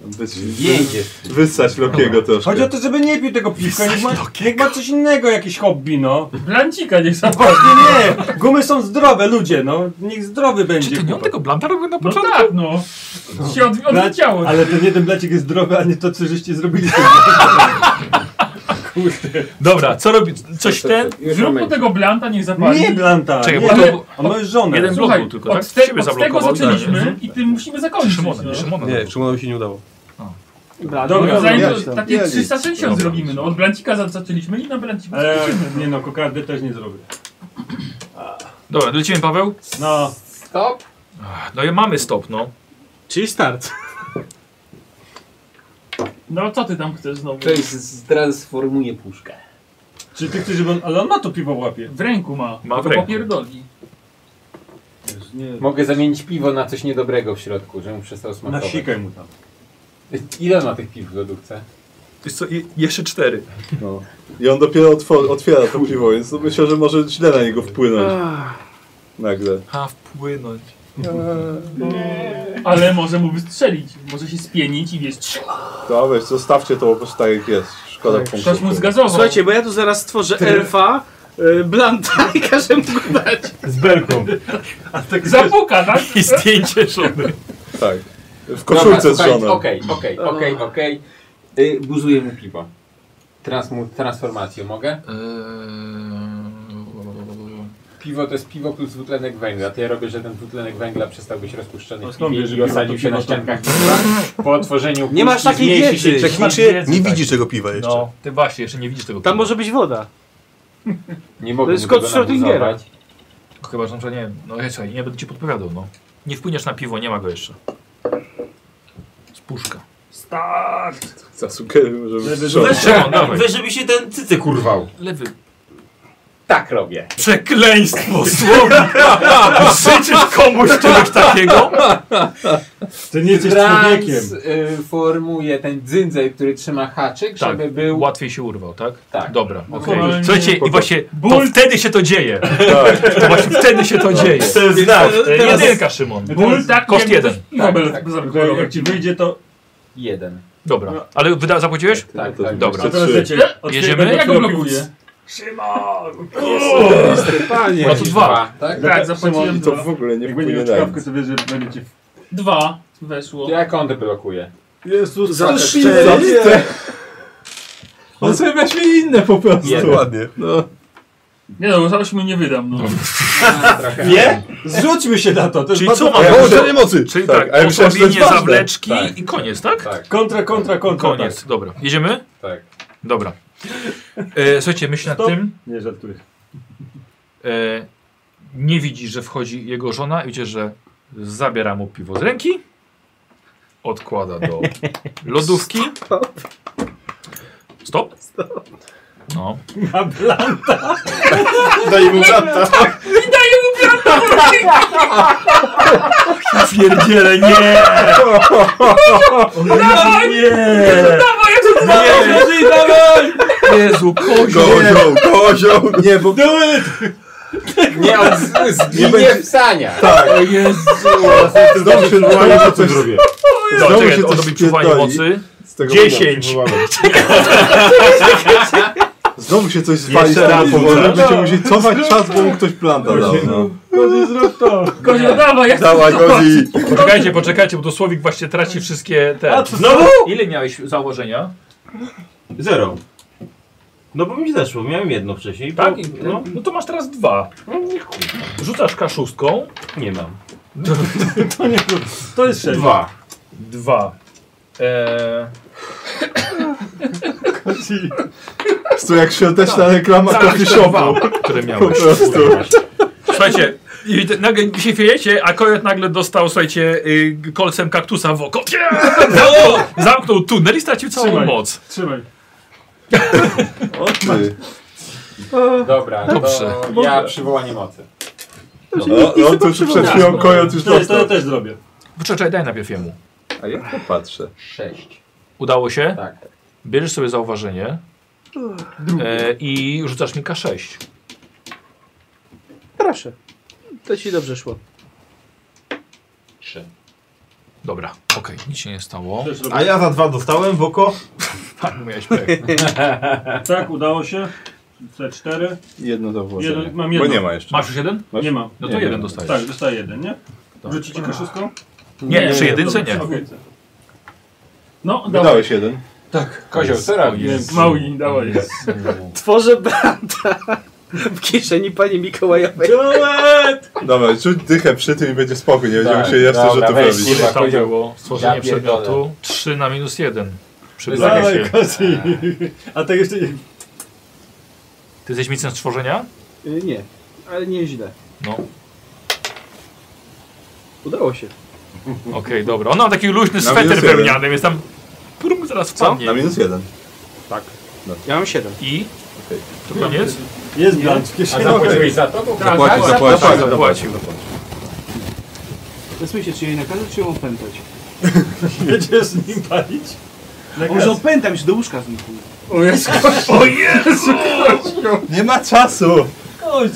M: Wys,
H: Jedzie.
M: wysać Lokiego troszkę.
B: chodzi o to, żeby nie pił tego piwka, niech ma, niech ma coś innego, jakieś hobby, no.
F: Blancika niech sam
B: Właśnie nie, gumy są zdrowe, ludzie, no. Niech zdrowy będzie.
A: Czy ty nie on
B: chłopak.
A: tego blanta robił na
F: No
A: początku?
F: tak, no. Się od, odleciało.
B: Ale ten jeden blecik jest zdrowy, a nie to, co żeście zrobili. z tym. Kurde.
A: Dobra, co robi? Coś ten?
I: Już
F: Zrób mu
I: moment.
F: tego blanta, niech zapali.
B: Nie, Blanta,
A: Czekaj,
B: nie.
A: bo to-
B: A moją żonę.
A: jeden blok
F: Słuchaj,
A: był tylko, tak?
F: od, te,
A: Ciebie
F: od tego
A: zablokował,
F: zaczęliśmy
A: tak?
F: i tym musimy zakończyć.
A: Szymona,
F: no.
A: nie Szymona.
I: Nie, Szymonowi się nie udało.
F: Dobra,
B: Dobra,
F: zanim
B: ja
F: to-
B: ci tam-
F: takie
M: ja ci-
F: 360
A: dobra.
F: zrobimy. No, od blancika za- zaczęliśmy i na blanciku
B: Ale
F: skończymy.
B: nie no, kokardy też nie zrobię.
A: Dobra, lecimy Paweł?
B: No,
G: Stop.
A: No i mamy stop, no.
D: Czyli start.
F: No co ty tam chcesz znowu?
L: Ktoś z- transformuje puszkę.
B: czy ty chcesz, żeby on... Ale on ma to piwo w łapie.
F: W ręku ma.
A: Ma w
F: to
A: ręku.
F: popierdoli.
G: Mogę zamienić piwo na coś niedobrego w środku, żeby mu przestał smakować.
B: Nasikaj mu tam.
G: Ile ma tych piw w lodówce?
A: Wiesz co, je- jeszcze cztery.
M: No. I on dopiero otwo- otwiera to piwo, więc no myślę, że może źle na niego wpłynąć nagle.
A: A, wpłynąć.
F: Ale może mu wystrzelić. Może się spienić i wiesz, trz-
M: To a weź, zostawcie to po prostu tak jak jest. Szkoda punktów.
F: ktoś mu zgazował.
D: Słuchajcie, bo ja tu zaraz stworzę elfa, y, Blanta i każę mu go dać.
H: Z belką.
F: zapuka, tak?
A: I zdjęcie żony.
M: Tak. W koszulce z
G: słuchajcie,
M: żoną.
G: Okej, okej, okej, okej. Y, Buzuję mu piwo. Transmu- transformację mogę? Piwo to jest piwo plus dwutlenek węgla. To ja robię, że ten dwutlenek węgla przestał być rozpuszczony
B: A
G: w
B: skąd
G: piwie
B: wiesz, że
G: i
B: piwo
G: osadził
B: to
G: się na
B: piwo to-
G: ściankach piwa. Po otworzeniu
D: Nie masz
G: puszki
D: takiej
G: zmniejszy
D: wiedzy.
G: się ciśnienie.
I: Technicznie
A: Wiedzy,
I: nie
A: tak.
I: widzisz tego piwa jeszcze.
A: No, ty właśnie, jeszcze nie widzisz tego.
D: Tam
A: piwa.
D: może być woda.
G: Nie mogę
D: To jest
G: mu tego
D: kod Schrödingera.
G: nabuzować.
A: Chyba, że na przykład nie wiem. No ja słuchaj, nie będę ci podpowiadał, no. Nie wpłyniesz na piwo, nie ma go jeszcze. Z puszka.
F: Start!
M: Zasugeruję, żeby strzelał.
B: Weź-
A: Szymon, dawaj.
L: Weź, żeby się ten cycyk urwał.
A: Lewy.
G: Tak robię.
A: Przekleństwo słowne. Życzysz komuś czegoś takiego?
B: Ty nie jesteś człowiekiem.
G: Transformuję y, ten dzyndzel, który trzyma
A: Tak.
G: haczyk, żeby był...
A: Łatwiej się urwał, tak?
G: Tak.
A: Dobra,
F: No,
A: okej.
F: Normalnie-
A: Słuchajcie, i właśnie to
F: Ból-
A: wtedy się to dzieje. Tak. To właśnie wtedy się to dzieje.
K: To jest znak.
A: E, Jedynka, Szymon.
F: Ból tak
A: Koszt
F: jakby
A: jeden.
F: ktoś piwo
G: Tak, tak.
F: bez- bez
B: Tylko
F: alkoholowe.
B: Jak ci wyjdzie, to...
G: Jeden.
A: Dobra, ale wyda- zapłaciłeś?
G: Tak,
M: No to-
G: tak.
A: Dobra.
B: To teraz
M: Trzy.
B: lecie.
A: Jedziemy?
F: Ja go
B: Otwieram
F: blokuję.
A: No to dwa.
G: Tak?
F: Tak,
M: I
F: zapłaciłem
M: to
F: dwa.
M: w ogóle nie
B: Jak
M: wpłynie
B: będzie miał
M: na
B: czkawkę,
M: nic.
B: to wiesz, że będzie cię...
F: Dwa weszło.
G: Jak on deblokuje?
I: Jezus,
M: Za cztery.
C: No
M: On sobie weźmie inne po prostu.
G: Jeden.
I: Ładnie.
M: No.
F: Nie no, zaraz mu nie wydam, no.
G: Trochę.
B: Nie? Zrzućmy się na to. to jest
A: Czyli
B: bardzo-
A: co
M: A
A: mamy?
M: połączenie mocy!
A: Czyli
M: Tak,
A: tak,
M: a ja myślałem, że to jest
A: osłabienie
M: ważne. No
A: zawleczki
G: Tak.
A: i koniec, tak?
G: Tak,
B: Kontra, kontra, kontra. tak.
A: Koniec, dobra. Jedziemy?
G: tak.
A: Dobra. E, słuchajcie, myśl nad
B: Stop.
A: tym.
B: tak. Nie, żartuję.
A: E, nie widzisz, że wchodzi jego żona i widzisz, że zabiera mu piwo z ręki, odkłada do lodówki. Stop. No.
B: Na blan.
M: Daj mu czata.
A: Pierdziele, nie!
B: Nie!
M: No,
A: No Jezu, kozio!
M: Kozioł, kozioł! No,
I: Nie, bo
G: Nie, on z- zginie
M: będzie-
G: w saniach.
A: O Jezu!
M: Znowu się wyłania, że coś
H: zrobię.
A: Dobra, no, czekaj,
M: no, się
A: on
M: coś
A: robi czuwanie
M: pierdoli.
A: mocy.
M: z tego
A: Dziesięć.
M: wyłania. Znowu się coś zwali z
H: Jeszcze raz
M: tego
H: powtórzę.
M: że będziemy musieli cofać czas, bo mu ktoś planta dał. No.
B: Kozie, zrób to.
F: Kozio, dawaj, jak
M: Dawaj, Gozi!
A: Poczekajcie, poczekajcie, bo to Słowik właśnie traci wszystkie te...
H: Znowu?
A: Ile miałeś założenia?
H: No Zero. No bo mi zeszło, miałem jedno wcześniej.
A: Tak?
H: bo-
A: No, no to masz teraz dwa. Rzucasz kaszustką.
H: Nie mam.
B: To jest sześć.
H: Dwa.
A: Dwa. Eee,
M: To jak świąteczna reklama
A: tak,
M: coffee shopu.
A: dwa, które
M: Po
A: miałeś.
M: prostu.
A: Słuchajcie, i te- nagle się wiejecie, a kojot nagle dostał, słuchajcie, y, kolcem kaktusa w oko. Nie! Zamknął- Zamknął tunel i stracił całą
B: Trzymaj.
A: moc.
B: Trzymaj.
M: O ty.
G: Dobra,
A: Dobrze.
G: to ja przywołanie mocy.
C: No, no to już przed chwilą kojot już
B: To, to ja
C: dostał.
B: też zrobię.
A: Poczekaj, daj najpierw jemu.
C: A ja to patrzę.
G: Sześć.
A: Udało się?
G: Tak.
A: Bierzesz sobie zauważenie e, i rzucasz mi K6.
D: Proszę. To ci dobrze szło.
G: Trzy.
A: Dobra, okej, nic się nie stało.
B: Też
E: A
B: zrobię.
E: ja za dwa dostałem w oko.
A: Tak, miałeś pech.
B: Tak, udało się. C4.
C: Jedno zauważenie.
B: Jeden- mam jedno.
C: Bo nie ma jeszcze.
A: Masz już jeden?
C: Masz?
B: Nie ma.
A: No to
C: Nie,
A: jeden
C: nie.
A: dostajesz.
B: Tak, dostaję jeden, nie?
A: Tak.
B: Rzucić koszystką?
A: Nie, przy jedynce nie.
B: Okej.
Q: No, dawaj.
C: Wydałeś jeden.
G: Tak, kozioł, co robisz?
Q: Jest mały, dawaj.
D: Tworzę brata w kieszeni pani Mikołajowej.
C: Dobra, rzuć dychę przy tym i będzie spokój, nie będziemy się jeszcze, że
G: dobra,
C: to
G: weź,
C: robić.
G: kurwa.
A: Tam
G: kozioł.
A: było stworzenie
G: Ja pierdolę.
A: przedmiotu 3 na minus 1. Przy
G: Wysokie
A: blacie.
B: Dawaj, kozi. A tak jeszcze...
A: Ty jesteś micem stworzenia?
D: Y, Nie, ale nie źle.
A: No,
D: Udało się.
A: okej, dobra. Ona ma taki luźny
C: Na
A: sweter
C: minus jeden.
A: wełniany, więc tam... Prum, zaraz wpadnie.
C: Na minus jeden.
D: Ja mam 7.
A: I?
C: Okej.
A: To koniec?
B: Jest blanc w
G: A
B: kieszeni.
G: zapłaciłeś za to? Bo
C: Zapłacił, zapłacił,
A: zapłacił,
C: zapłacił.
D: Zasłuchajcie, czy jej nakazać, czy ją opętać?
B: Będziesz z nim palić?
D: Może opętam się do łóżka z nim.
Q: O Jezu.
A: O Jezu!
C: Nie ma czasu!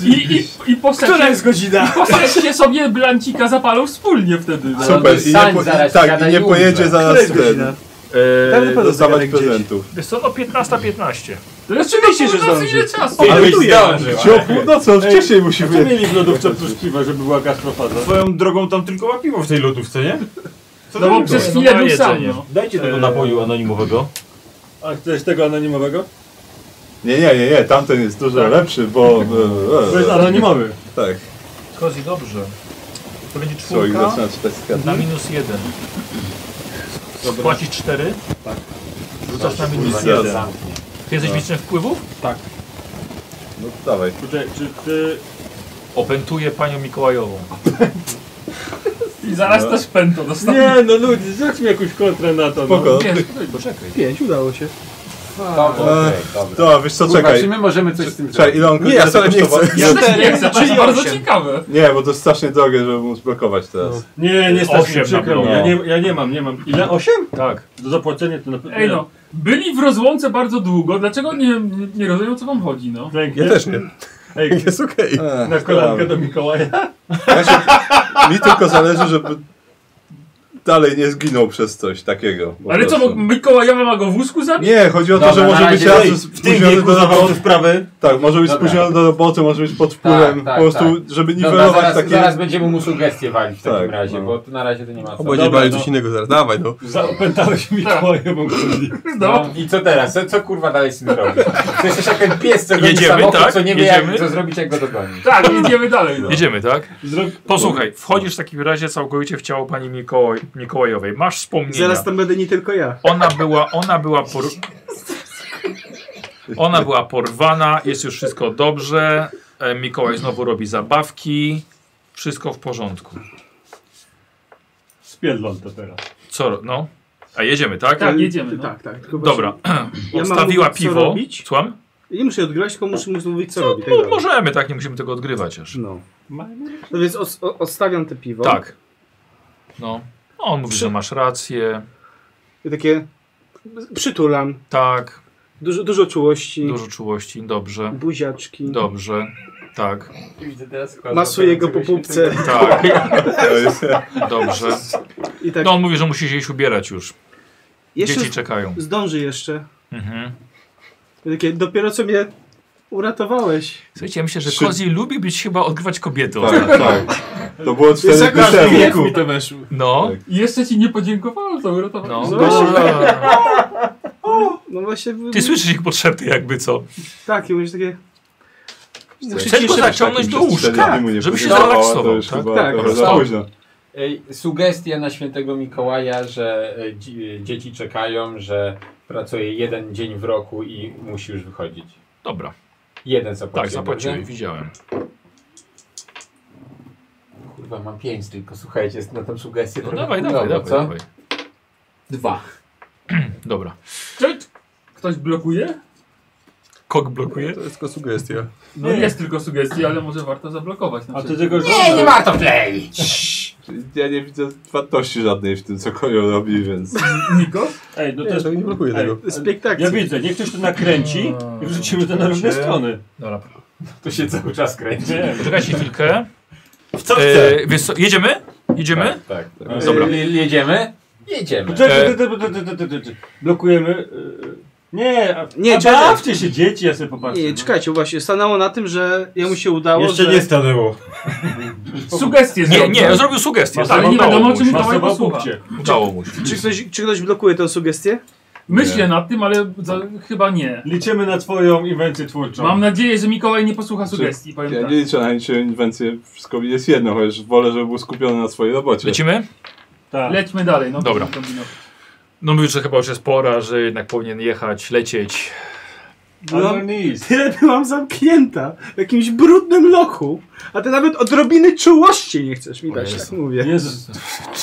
Q: I, i, i posadźcie,
D: godzina?
Q: posadźcie sobie blancika zapalą wspólnie wtedy.
G: Za-
C: Super, i nie,
G: Sań
C: po,
G: zaraz
C: tak,
G: siada
C: i nie
G: i
C: pojedzie
G: umrze.
C: za
D: Która
C: nas
D: jest godzina?
C: ten,
D: Tam na
C: e,
D: pewno
C: dostawać
D: zegarek gdzieś.
C: prezentów.
A: Wiesz co, no 15-15.
Q: To oczywiście, że zdąży. czasu.
C: Ale
G: byś zdążył,
C: Gdzie o północy, on wcześniej musi
B: Co
C: wyjechać.
B: mieli w lodówce oprócz piwa, żeby była gastrofaza?
E: Swoją drogą tam tylko ma piwo w tej lodówce, nie? Co
Q: No
E: za
Q: bo
E: piwo?
Q: przez
A: No,
Q: chwilę
A: na
Q: był sam.
A: jedzenie.
Q: No.
E: Dajcie tego
B: Eee.
E: napoju anonimowego.
B: A chcesz tego anonimowego?
C: Nie, nie, nie, nie, tamten jest dużo
B: Tak.
C: lepszy, bo...
B: To
C: E,
B: jest
C: e,
B: anonimowy.
C: tak,
A: Kozi, dobrze. To będzie
C: człowiek
A: czwórka
C: zaczyna czytać skarb.
A: na minus 1. Spłacić 4? Tak. Rzucasz na minus
C: Kurwa,
A: 1.
C: zaraz.
A: Ty jesteś mistrzem wpływów?
C: No dawaj.
B: Poczekaj, czy ty...
A: Opętuję panią Mikołajową.
Q: I zaraz też pęto dostanie.
B: Nie no ludzie, zrób mi jakąś kontrę na to. no,
C: Spoko.
Q: Nie,
A: Poczekaj.
D: 5, udało się.
G: Dobra, okej, dobra.
C: To, wiesz co,
G: Kurwa, czy
C: czekaj.
G: my możemy coś z tym
C: Czekaj,
G: zrobić?
C: ile on
I: Nie, ja
C: ile
I: wcale nie
C: kosztowało?
I: chcę.
Q: ja też nie chcę, to jest
D: Czyli
Q: bardzo
D: osiem.
Q: ciekawe.
C: Nie, bo to jest strasznie drogie, żeby mu zblokować
B: No.
C: teraz.
B: Nie, nie stać
A: Osiem
B: mi,
A: na
B: przykro
A: pewno.
B: mi. Ja nie, ja nie mam, nie mam. Ile? Osiem?
A: Tak.
B: Do zapłacenia to na pewno.
Q: Ej no, byli w rozłące bardzo długo, dlaczego nie, nie, nie rozumiem o co wam chodzi, no.
B: Pięknie.
I: Ja też nie.
B: Ej,
I: Jest okej.
C: Ech,
B: na kolankę do Mikołaja.
C: Ja się, mi tylko zależy, żeby dalej nie zginął przez coś takiego. po
Q: Ale co,
C: prostu.
Q: bo Mikołajowa ma go w wózku zabić?
C: Nie, chodzi o to,
G: Dobra,
C: że
G: na
C: może być
G: razie-
C: raz
G: Ej,
E: W tym
C: spóźniony
E: wieku
C: do
E: zawał
C: roboty.
E: te sprawy.
C: Tak, może być
G: Dobra.
C: spóźniony do roboty, może być pod wpływem.
G: Tak, tak,
C: po prostu, żeby
G: Dobra,
C: niwelować
G: zaraz,
C: takie...
G: zaraz będziemy mu sugestie walić w
C: Tak,
G: takim razie,
C: no.
G: bo tu na razie to nie ma co.
I: Bo będzie
B: Dobra,
I: bali
B: no.
I: coś innego zaraz. Dawaj no.
B: Zaopętałeś Mikołaja, bo chodzi.
Q: No.
G: No, I co teraz? Co, co kurwa dalej z tym robić? To jesteś jak ten pies, co goni
A: Jedziemy,
G: samochód,
A: tak?
G: co nie wie
A: Jedziemy?
G: jak, co zrobić, jak go dogonić.
Q: Tak, idziemy dalej, no.
A: Jedziemy, tak?
B: Zrób...
A: Posłuchaj, wchodzisz w takim razie całkowicie w ciało pani Mikołaj, Mikołajowej. Masz wspomnienia.
D: Zaraz tam będę nie tylko ja.
A: Ona była, ona była por... Ona była porwana, jest już wszystko dobrze. E, Mikołaj znowu robi zabawki. Wszystko w porządku.
B: Spiedlon to teraz.
A: Co, ro- no? A jedziemy, tak?
Q: Tak, jedziemy, no.
D: Tak, tak. tylko
A: Dobra.
D: mam
A: Odstawiła
D: mówić, co
A: piwo.
D: robić?
A: Słucham?
D: właśnie- Nie muszę jej odgrywać, tylko muszę mu mówić, co robi. Tak
A: No,
D: dalej.
A: możemy, tak? Nie musimy tego odgrywać aż.
D: No. No więc os- o- odstawiam te piwo.
A: Tak. No. On mówi, że masz rację.
D: I takie przytulam.
A: Tak.
D: Dużo, dużo czułości.
A: Dużo czułości. Dobrze.
D: Buziaczki.
A: Dobrze. Tak.
G: Widzę teraz skład
D: Masuję go po
G: operującego się
D: pupce.
A: Tak.
C: To jest,
A: Dobrze.
D: I tak.
A: No on mówi, że musi się iść ubierać już.
D: jeszcze
A: Dzieci czekają.
D: zdąży jeszcze.
A: Mhm.
D: I takie, dopiero co mnie uratowałym.
A: Słuchajcie, ja myślę, że
C: Czy-
A: Kozi lubi być chyba odgrywać kobiety.
C: tak,
A: ostatnio.
C: tak. To było
D: Jest
C: 4
D: jakaś
C: dni temu.
D: wieku.
A: No,
G: Tak.
Q: I jeszcze ci nie podziękowałem za uratowanie.
A: no.
D: Zobaczcie. No właśnie.
A: Ty słyszysz ich potrzeby jakby co.
D: Tak, i mówisz takie.
A: Chcesz go zaciągnąć do łóżka, żeby się
C: No,
A: zrelaksował. Tak?
D: Tak,
C: Tak, za
A: tak.
C: późno.
G: Ej, Sugestia na świętego Mikołaja, że e, dzi- e, dzieci czekają, że pracuje jeden dzień w roku i musi już wychodzić.
A: Dobra,
G: Jeden
A: tak,
G: zapłacił.
A: zapłaciłem, widziałem.
G: Kurwa, mam pięć tylko, słuchajcie, jest na tą sugestię
A: No
G: trochę
A: dawaj, dawaj,
G: chujowo,
A: dawaj,
G: co?
A: dawaj.
G: Dwa.
A: Dobra.
Q: Czy ktoś blokuje?
A: Kok blokuje?
I: To jest tylko sugestia.
F: No
I: Nie.
F: jest tylko sugestia, ale może warto zablokować. na
B: A ty
F: przykład.
B: tylko- Nie, nie
G: warto play!
M: Ja nie widzę wartości żadnej w tym, co Kojo robi, więc...
F: Niko?
B: Ej, no
I: Nie,
B: to jest...
I: to nie blokuje
B: Ej,
I: tego.
B: Ja widzę, niech ktoś to nakręci
F: No,
B: i wrzucimy to na różne strony.
A: Dobra.
G: To się cały czas kręci.
B: Nie.
A: Poczekajcie chwilkę. W
G: co chce?
A: wiesz co, jedziemy? Jedziemy?
G: Tak, tak.
A: tak. Dobra.
G: Y, Jedziemy? Jedziemy.
B: Czekaj, ty, ty, ty, ty, ty, ty, ty, ty. Blokujemy... y, Nie, a,
D: Nie,
B: a
D: czekaj.
B: bawcie się dzieci, ja sobie popatrzę. no.
D: Nie, czekajcie, bo właśnie stanęło na tym, że jemu się udało,
H: Jeszcze
D: że...
H: nie stanęło.
F: Sugestie
A: Nie,
F: zrobił.
A: nie, zrobił sugestię.
F: Ale Tak, nie
A: udało
F: wiadomo,
A: mu
F: czy
A: się.
F: mi to
B: Masowa
F: posłucha.
B: pupcie.
A: Udało mu się.
D: Czy ktoś, czy ktoś blokuje tę sugestię?
F: Myślę nad tym, ale za, chyba nie.
B: Liczymy na twoją inwencję twórczą.
F: Mam nadzieję, że Mikołaj nie posłucha sugestii, powiem
M: Ja
F: tak.
M: nie liczę na niczą inwencję, wszystko mi jest jedno, chociaż wolę, żeby był skupiony na swojej robocie.
A: Lecimy?
B: Tak.
F: Lećmy dalej. No,
A: Dobra.
F: kombinować.
A: No mówisz, że chyba już jest pora, że jednak powinien jechać, lecieć.
B: Ale on nic.
D: Tyle byłam zamknięta w jakimś brudnym lochu, a ty nawet odrobiny czułości nie chcesz mi dać, tak mówię.
B: Jezus.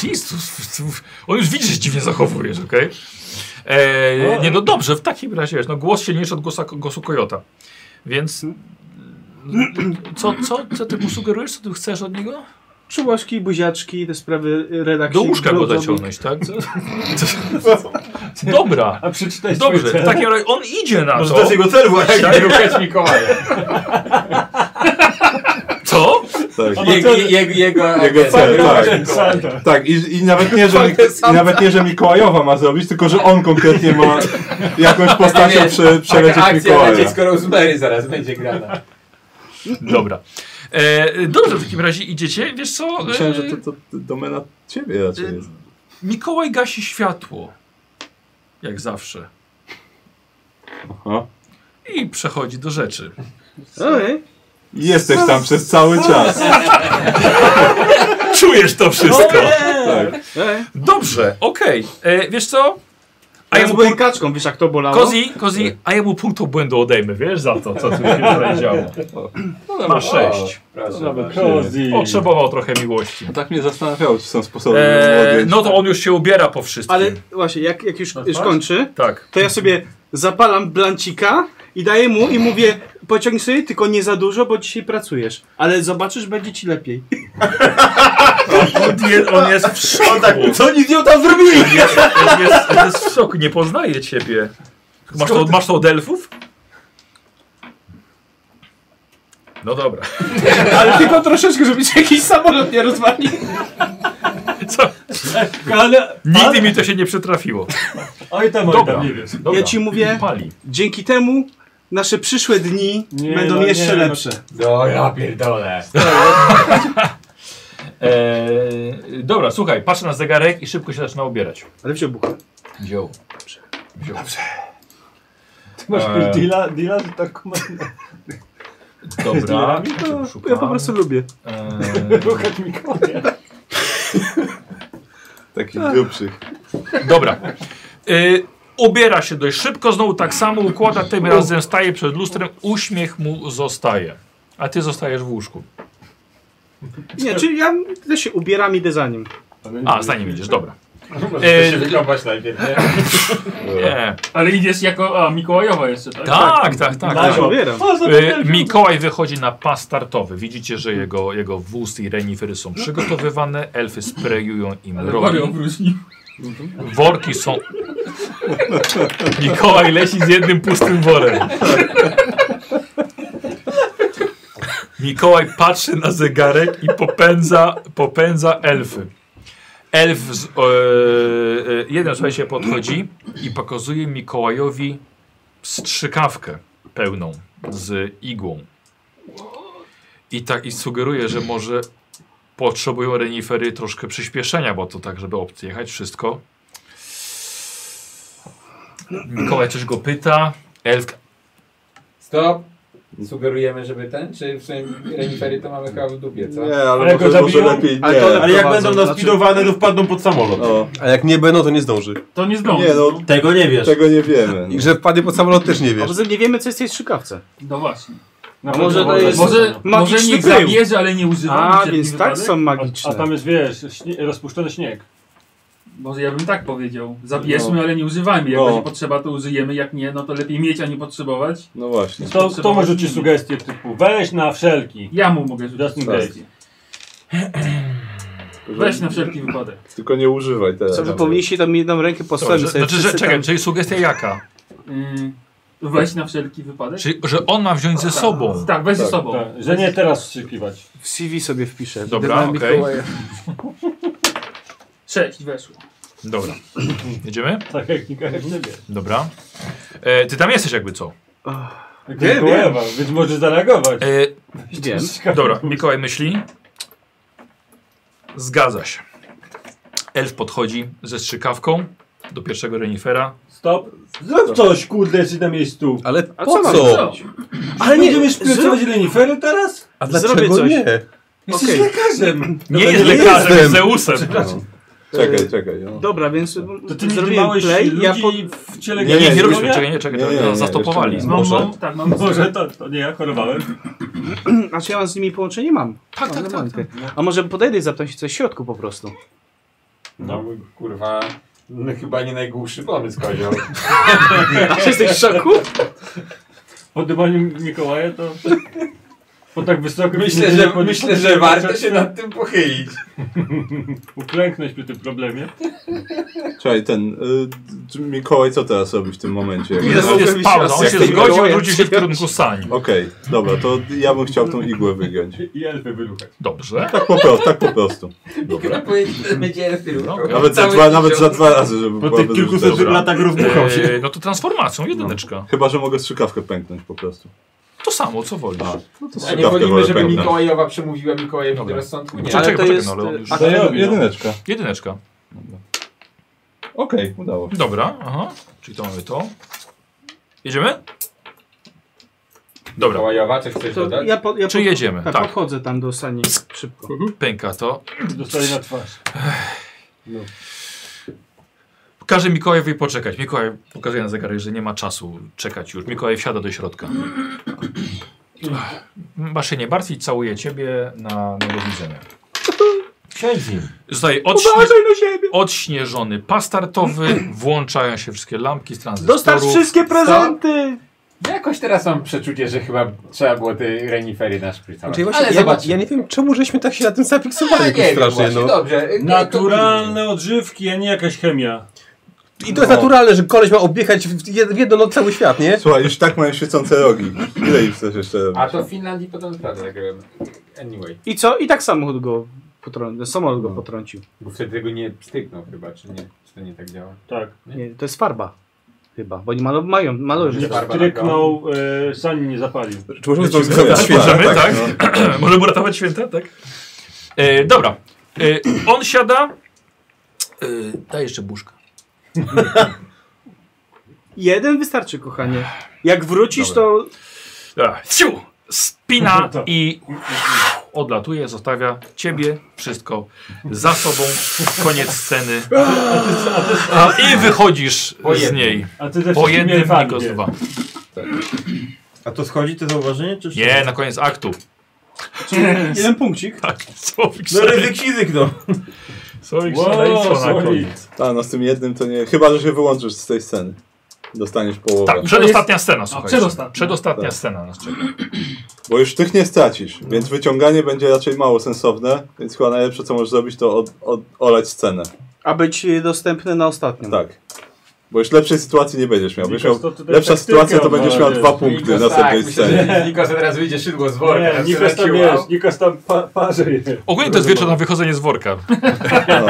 A: Jezus, on już widzi, że się dziwnie zachowujesz, okej? E, Nie, no dobrze, w takim razie wiesz, no głos silniejszy od głosa, głosu kojota. Więc... Co, co, co ty mu sugerujesz? Co ty chcesz od niego?
D: Czułości, buziaczki, te sprawy
H: Tak
D: redakcji.
A: Do łóżka go
D: blogowik.
A: zaciągnąć, tak? Dobra.
B: A przeczytaj
A: Dobrze,
B: swoje
A: w takim razie on idzie na
H: Może
A: to.
H: to jest jego cel właśnie.
G: Nie ruchać Mikołaja.
A: Co?
M: Tak.
G: Jego, jego, jego,
M: Jego cel, tak.
B: Santa.
M: Tak, i, i, nawet nie, że, i nawet nie, że Mikołajowa ma zrobić, tylko że on konkretnie ma jakąś postacią prze, przelecieć
G: Taka akcja
M: Mikołaja.
G: lecieć z Rosemary zaraz będzie grana.
A: Dobra. E, dobrze, w takim razie idziecie. Wiesz co? E,
M: Myślałem, że to, to, to domena ciebie
I: Y,
M: raczej jest.
A: Mikołaj gasi światło. Jak zawsze.
M: Aha.
A: I przechodzi do rzeczy.
D: Okej.
M: Jesteś tam przez cały czas.
A: Czujesz to wszystko.
M: Tak.
D: Ej,
A: Dobrze, okej. E, Wiesz co?
D: A
A: A ja
D: ja
A: mu
D: byłem kaczką, wiesz jak to bolało?
A: Kozi, kozi, a jemu pół to błędu odejmę, wiesz, za to, co tu się tutaj działo. Ma sześć.
B: Nawet cozy.
A: Potrzebował trochę miłości.
C: No
M: Tak mnie zastanawiało, czy są sposoby. żeby
A: E,
M: odjąć.
A: no to on już się ubiera po wszystkim.
D: Ale właśnie, jak, jak już, już kończy,
A: Tak.
D: to ja sobie zapalam blancika i daję mu i mówię pociągnij sobie, tylko nie za dużo, bo dzisiaj pracujesz. Ale zobaczysz, będzie ci lepiej.
A: On jest, on jest w szoku.
H: Co oni z nią tam zrobili?
A: On jest, on jest w szoku, nie poznaje ciebie. Masz to, masz to od elfów? No dobra.
D: Ale tylko troszeczkę, żeby ci jakiś samolot nie rozwalił.
A: Co?
B: Ale...
A: Nigdy mi to się nie przytrafiło.
B: Oj tam, oj
A: Dobra.
B: tam, nie wiem.
A: Dobra.
D: Ja ci mówię-
A: Pali.
D: Dzięki temu nasze przyszłe dni
B: Nie,
D: będą
B: no,
D: jeszcze
B: nie, no.
D: lepsze.
G: No ja pierdolę.
A: Eee, dobra, słuchaj, patrzę na zegarek i szybko się zaczyna ubierać.
D: Ale wziął buchę.
A: Wziął. Wziął. Dobrze.
B: Ty masz
A: Eee.
B: jakiegoś deala, deala że tak ma...
A: Dobra.
D: No,
A: Szukam.
D: ja po prostu lubię.
A: Eee,
B: Ruchać Mikołaja.
M: Takich grubszych.
A: Dobra. Y, ubiera się dość szybko, znowu tak samo układa, tym razem staje przed lustrem, uśmiech mu zostaje. A ty zostajesz w łóżku.
D: Nie, czyli ja też się ubieram i idę za nim.
L: Tak,
A: A, za nim idziesz, dobra. E,
G: Muszę się wykąpać najpierw, nie?
A: Nie.
F: Ale idziesz jako. A, Mikołajowa jeszcze, tak?
A: Tak, tak, tak.
D: Ja
A: tak.
D: się ubieram.
A: Y, Mikołaj wychodzi na pas startowy. Widzicie, że jego, jego wóz i renifery są przygotowywane, elfy sprayują im
F: Ale
A: rogi.
F: Mario obróżni.
A: Worki są. Mikołaj leci z jednym pustym worem. Mikołaj patrzy na zegarek i popędza, popędza elfy. Elf, z, e, e, jeden słuchajcie, podchodzi i pokazuje Mikołajowi strzykawkę pełną z igłą. I tak i sugeruje, że może potrzebują renifery troszkę przyspieszenia, bo to tak, żeby odjechać wszystko. Mikołaj coś go pyta. Elf.
G: Stop. Sugerujemy, żeby ten, czy w sumie renifery to mamy chyba w dupie, co?
M: Nie, ale,
B: Ale go
M: może, może
B: zabiją?
M: lepiej
I: Ale to-
M: nie.
H: Ale jak
I: Prowadzą,
H: będą
I: znaczy-
H: naspidowane, to wpadną pod samolot.
M: O,
I: A jak nie będą, to nie zdąży.
F: To nie zdąży.
M: nie no,
H: Tego nie wiesz.
M: tego nie wiemy.
I: I że wpadnie pod samolot też nie
D: A
I: wiesz.
D: poza tym nie wiemy, co jest w tej strzykawce.
F: No właśnie.
B: Na
D: może
B: pewno
D: to jest-
F: Może, może
D: Magiczny
F: niech
D: pył.
F: zabierze, ale nie używa.
D: A,
F: Widzisz,
D: więc
F: jaki
D: tak
F: wypadek?
D: są
B: A,
D: magiczne.
B: a tam jest, wiesz, śnie, rozpuszczony śnieg.
R: Może ja bym tak powiedział. Zabierzmy,
C: No.
R: ale nie używajmy. Jak
C: No.
R: będzie potrzeba, to użyjemy. Jak nie, no to lepiej mieć, a nie potrzebować.
C: No właśnie.
R: Niż
B: To, to
R: potrzebować
B: może ci
R: nie mieć.
B: sugestie typu weź na wszelki.
R: Ja mu mogę rzucić
B: Just in
R: sugestie.
B: case.
R: Weź na wszelki wypadek.
C: Tylko nie używaj teraz.
D: Co, że powinniście tam jedną rękę po sobie
A: Znaczy, znaczy że, czekaj, czyli sugestia jaka?
R: Yy, weź na wszelki wypadek.
A: Czyli, że on ma wziąć ze sobą.
R: Tak, weź ze sobą.
B: Tak, że nie teraz wstrzykiwać.
D: W CV sobie wpiszę.
A: Dobra,
D: Dywan
A: okej.
D: Mikołaja.
R: Sześć, weszło.
A: Dobra. Jedziemy?
B: Tak jak nikt jak nie wie.
A: Dobra. E, ty tam jesteś jakby co?
B: Jak
D: Nie,
B: Mikołajewa, Więc może zareagować.
A: E,
D: Wiem.
A: Dobra, Mikołaj myśli. Zgadza się. Elf podchodzi ze strzykawką do pierwszego renifera.
B: Stop. Zrób coś, kurde, jesteś na miejscu.
I: Ale
D: A
I: po
D: mam
I: co?
D: zrobić?
B: Ale
D: nie,
B: nie będziesz pracować Lenifery teraz?
I: A
D: Zrobię
I: dlaczego
D: coś.
I: No nie?
B: Jesteś
D: Okej.
B: lekarzem.
A: Nie jest
I: nie
A: lekarzem,
I: jestem.
A: jest Zeusem.
C: Czekaj, czekaj. No.
D: Dobra, więc
B: To ty
D: zrobiłem
B: zrobiłeś
D: play,
B: ludzi
D: ja po...
B: w ciele
A: Nie, nie, nie
B: Gdańska?
A: robiliśmy. Czekaj, nie, czekaj.
C: Nie,
A: to-
C: nie,
A: no,
C: nie,
A: zastopowali.
C: jeszcze nie.
R: Mam,
C: Może.
R: mam, tak, mam.
B: Może to, to nie ja chorowałem.
D: Znaczy ja mam z nimi połączenie? Mam.
A: Tak,
D: mam
A: tak, tak.
D: normalnie. A może podejdę i zapytam się coś w środku po prostu.
G: No kurwa, no, chyba nie najgłupszy pomysł kozioł.
D: A jesteś w szoku?
B: Po dymaniu Mikołaja to... Po tak wysokim...
G: Myślę, że, myślę, że warto się nad tym pochylić.
B: Uklęknąć przy tym problemie.
C: Czekaj, ten. Y, d- Mikołaj, co teraz robi w tym momencie? Jak-
A: Jest, jest pauza. On
C: No, Jak
A: się
C: ty-
A: zgodził, odwrócił się w kierunku sani.
C: Okej, dobra, to ja bym chciał tą igłę wygiąć.
B: I elfy wyruchać.
A: Dobrze.
C: Tak po prostu, tak po prostu. Dobra.
S: Będzie tylko.
A: Okej.
C: Nawet za,
S: Cały
C: dwa, nawet za
S: tydzień.
C: dwa razy, żeby
H: Po
C: była
H: tych
C: bez
H: kilkuset
C: użyteczna.
H: latach rozbuchał się.
A: E, no to transformacją, jedyneczka.
C: Chyba, że mogę strzykawkę pęknąć po prostu.
A: To samo, co wolisz.
G: A nie
C: Słuchawkę
G: wolimy,
C: wolę
G: żeby
C: pełne.
G: Mikołajowa przemówiła Mikołajowi do
A: Dobra.
G: rozsądku? Nie.
A: Czekaj,
D: Ale to
A: poczekaj,
D: jest,
A: no, ale on
G: e,
A: już...
D: a-
C: To
B: ja
C: jed,
B: robię, no.
C: jedyneczka.
A: Jedyneczka.
C: Okej, udało się.
A: Dobra, aha. Czyli to mamy to. Jedziemy? Dobra,
G: Mikołajowa, coś chcesz
D: To
G: dodać?
D: ja po, ja
A: czy
D: po-
A: jedziemy?
D: Tak,
A: Tak,
D: podchodzę tam do sani szybko.
A: pęka to.
B: Dostaje na twarz.
A: Każe Mikołajowi poczekać. Mikołaj pokazuje na zegarek, że nie ma czasu czekać już. Mikołaj wsiada do środka. Maszynie, bardziej całuję ciebie na, na do widzenia.
S: Siedź z nim.
A: Zostaje odśnie... odśnieżony pastartowy, włączają się wszystkie lampki z tranzystorów.
D: Dostarcz wszystkie prezenty!
G: Jakoś teraz mam przeczucie, że chyba trzeba było te renifery naszprycować.
I: Czyli właśnie,
G: Ale
I: Znaczy, ja,
G: zobaczmy.
I: ja nie wiem, czemu żeśmy tak się na tym
G: Ja
I: zafiksowali
G: nie
I: jakoś
G: wiem,
I: strasznie.
G: właśnie,
I: No.
G: dobrze. No,
B: Naturalne odżywki, a nie jakaś chemia.
I: I to jest naturalne, że koleś ma objechać w jed- w jedną noc cały świat, nie?
C: Słuchaj, już tak mają świecące rogi. Ile ich chcesz jeszcze
G: to- A
C: robić?
G: to w Finlandii potem sprawdzę, jak robią. Anyway,
D: I co? I tak samochód go potrącił. Samolot
A: No.
D: go potrącił.
G: bo wtedy tego nie pstryknął chyba, czy nie? Czy to nie tak działa?
B: Tak.
D: Nie, to jest farba. Chyba, bo oni malu, mają, malują
G: Nie
D: rzeczy.
G: Barbara
B: Stryknął, e, sani nie zapalił.
I: Czy możemy
C: Wiecie,
I: to zrobić?
C: tak,
A: Możemy,
C: tak,
A: tak?
C: no.
A: Możemy uratować święta, tak? E, dobra. E, on siada. E, daj jeszcze buszka.
D: Jeden wystarczy, kochanie. Jak wrócisz, to
A: Dobra. E, Ciu! Spina i odlatuje, zostawia ciebie, wszystko za sobą. Koniec sceny. A, I wychodzisz z niej.
B: A ty ze
A: Po
B: wszystkim
A: jednym
B: elfami
A: Nikos
B: wiesz.
A: dwa.
H: A to schodzi to zauważenie, czy jeszcze
A: Nie, na koniec aktu.
D: jeden punkcik.
A: Tak, słowik
H: No
A: szaleństwo.
H: ryzyk fizyk, no.
A: Słowik Tak,
B: Wow,
A: szaleństwo na
B: słowik.
A: koniec.
C: A, no z tym jednym to nie. Chyba, że się wyłączysz z tej sceny. Dostaniesz połowę.
A: Tak, przedostatnia scena, słuchajcie.
R: przedostatnia.
A: Przedostatnia
C: Tak.
A: scena nas czeka.
C: Bo już tych nie stracisz, więc wyciąganie będzie raczej mało sensowne, więc chyba najlepsze co możesz zrobić to od, od, olać scenę.
D: A być y, dostępny na ostatnią.
C: Tak. Bo już lepszej sytuacji nie będziesz miał. Będziesz miał
B: Nikos, to tutaj
C: lepsza
B: taktyka,
C: sytuacja to
B: no,
C: będziesz miał
B: wiesz,
C: dwa punkty na
D: tak,
C: następnej scenie.
G: tak, że Nikos od razu idzie szydło z worka.
B: Nie, Nikos tam wiesz, Nikos tam pa, parze je.
A: Ogólnie to jest wieczór na wychodzenie z worka.
C: No.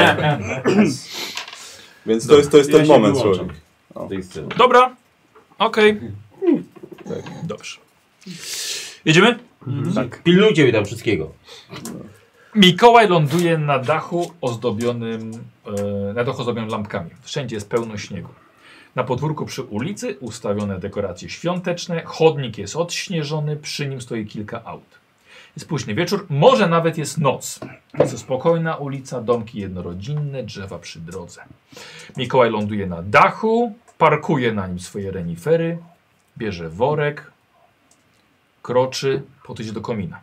C: Więc to jest, to jest
H: Ja
C: ten
H: się
C: moment,
H: wyłączam.
C: człowiek.
S: Tej sceny.
A: Dobra, okej. Dobrze. Jedziemy?
H: Tak. Pilnujcie mi tam wszystkiego.
A: Mikołaj ląduje na dachu ozdobionym, e, na dachu ozdobionym lampkami. Wszędzie jest pełno śniegu. Na podwórku przy ulicy ustawione dekoracje świąteczne, chodnik jest odśnieżony, przy nim stoi kilka aut. Jest późny wieczór, może nawet jest noc. Jest to spokojna ulica, domki jednorodzinne, drzewa przy drodze. Mikołaj ląduje na dachu, parkuje na nim swoje renifery, bierze worek, kroczy, podejdzie do komina.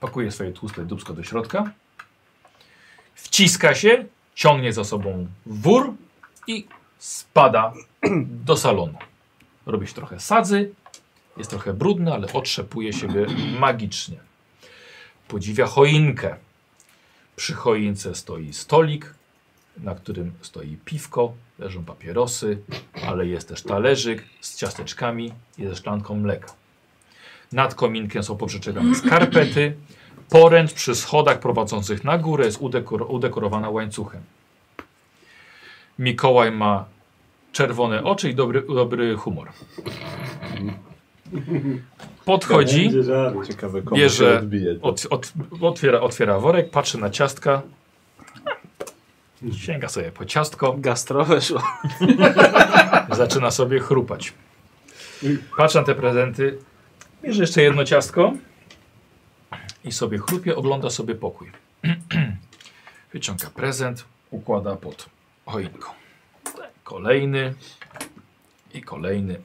A: Pakuje swoje tłuste dubsko do środka. Wciska się, ciągnie za sobą wór i spada do salonu. Robi się trochę sadzy, jest trochę brudny, ale otrzepuje siebie magicznie. Podziwia choinkę. Przy choince stoi stolik, na którym stoi piwko, leżą papierosy, ale jest też talerzyk z ciasteczkami i ze szklanką mleka. Nad kominkiem są poprzeczekane skarpety. Poręcz przy schodach prowadzących na górę jest udekor udekorowana łańcuchem. Mikołaj ma czerwone oczy i dobry, dobry humor. Podchodzi,
C: Ciekawe, komu się
A: bierze,
C: odbije.
A: od, od, otwiera, otwiera worek, patrzy na ciastka. Sięga sobie po ciastko.
D: Gastro weszło.
A: Zaczyna sobie chrupać. Patrzę na te prezenty. Bierze jeszcze jedno ciastko. I sobie chrupie, ogląda sobie pokój. Wyciąga prezent, układa pod choinką. Kolejny i kolejny.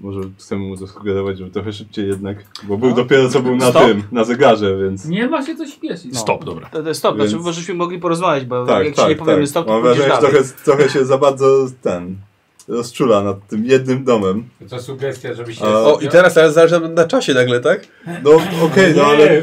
C: Może chcemy mu zasugerować, żeby trochę szybciej jednak, bo
D: No.
C: był dopiero co był na tym, na zegarze, więc...
T: Nie ma się co śpieszyć.
A: Stop, dobra.
D: To, to jest stop,
C: Więc-
D: znaczy żeśmy mogli porozmawiać, bo
C: Tak,
D: jak
C: tak,
D: ci No, nie powiemy
C: tak.
D: stop, to
C: Mam
D: pójdziesz
C: wrażenie, że
D: dalej.
C: trochę, trochę się za bardzo ten rozczula nad tym jednym domem.
G: To sugestia, żeby się...
I: O, i teraz ale zależy nam na czasie nagle, tak?
C: No okej, no ale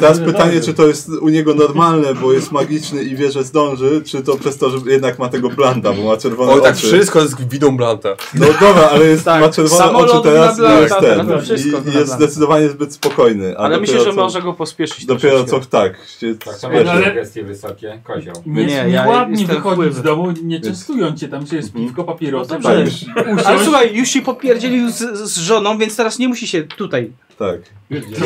C: teraz pytanie, czy to jest u niego normalne, bo jest magiczny i wie, że zdąży, czy to przez to, że jednak ma tego blanta, bo ma czerwone
I: O,
C: oczy.
I: tak wszystko jest widą Blanta.
C: No dobra, ale jest,
D: Tak,
C: ma czerwone
D: samolot
C: oczy teraz i
D: na
C: jest
D: blanta,
C: ten.
D: teraz wszystko
C: I, i jest
D: na blanta.
C: zdecydowanie zbyt spokojny. a
D: Ale myślę, że
C: dopiero co-
D: można go pospieszyć
C: Dopiero
D: troszeczkę.
C: co tak się
G: Tak, to
C: spieszy.
G: ma
T: ale-
G: sugestie wysokie, kozioł.
T: Nie,
D: Nie,
T: nie,
D: ja
T: ładnie
D: jestem
T: wychodzić
D: wpływy.
T: z domu, nie częstują cię, tam się jest piwko, papierosy.
D: No dobrze.
T: tak.
D: Ale słuchaj, już się popierdzielił z, z żoną, więc teraz nie musi się tutaj
C: Tak.
D: pierdzielić.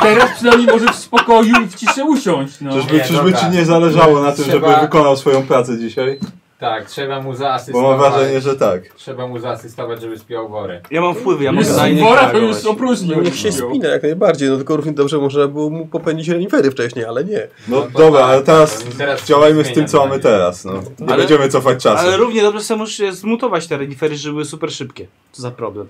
T: Teraz przynajmniej może w spokoju i w ciszy usiąść, no.
C: Czyżby,
G: Nie,
C: czyżby
G: dobra.
C: ci nie zależało na tym,
G: Trzeba-
C: żeby wykonał swoją pracę dzisiaj?
G: Tak, trzeba mu
C: Bo mam
G: zaasystować.
C: wrażenie, że tak.
G: Trzeba mu zaasystować, żeby spiął worę.
D: Ja mam wpływy, ja mogę
T: Jest
D: na innych
T: wora, to
D: reagować.
T: już opróżnił.
I: No niech się spina jak najbardziej, no tylko równie dobrze można było mu popędzić renifery wcześniej, ale nie.
C: No
G: No to
C: dobra,
G: tak,
C: ale teraz,
G: to teraz
C: działajmy z
G: zmieniamy
C: tym, co mamy
G: zdanie.
C: teraz. No. Nie
D: Ale-
C: będziemy cofać czasu.
D: Ale równie dobrze sobie możesz zmutować te renifery, żeby były super szybkie. Co za problem.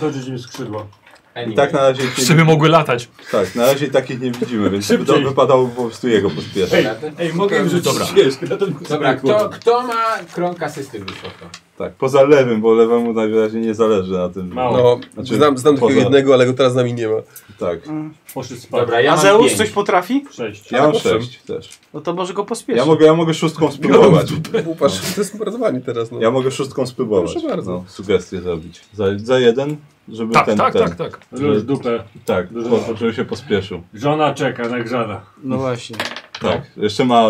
B: Dożyć mi skrzydła.
G: Anyway.
C: I tak na razie, ich nie,
A: Żeby mogły latać.
C: tak, na razie takich nie widzimy, więc to
B: Szybciej.
C: wypadało po prostu jego pospieszać.
B: Ej, mogę im rzucić
A: Dobra.
B: śmieszkę na ten
G: Dobra, kto, kto ma krąg asysty wysoko?
C: Tak, poza lewym, bo lewemu najwyraźniej nie zależy na tym.
B: Mało.
I: No,
C: Znaczy,
I: znam, znam
C: poza-
I: takiego jednego, ale go teraz z nami nie ma.
C: Tak,
B: Poszedł spać.
G: Dobra, ja
D: A
G: mam
D: Zeus
G: pięć.
D: coś potrafi?
B: Sześć.
C: ja mam
I: owszem.
C: sześć też.
D: No to może go
C: Ja
D: pospieszyć.
C: mogę, ja mogę szóstką spróbować.
I: Upatrz, to jest mordowani teraz, no.
C: Ja mogę szóstką spróbować.
I: Proszę bardzo.
C: No, sugestie zrobić. Za, za jeden, żeby
A: Tak,
C: ten,
A: tak,
C: ten.
A: tak, tak.
B: Róż dupę.
C: Tak,
B: Dużo.
C: po- po- żeby się pospieszył.
B: Żona czeka, nagrzana.
D: No właśnie.
C: Tak, jeszcze ma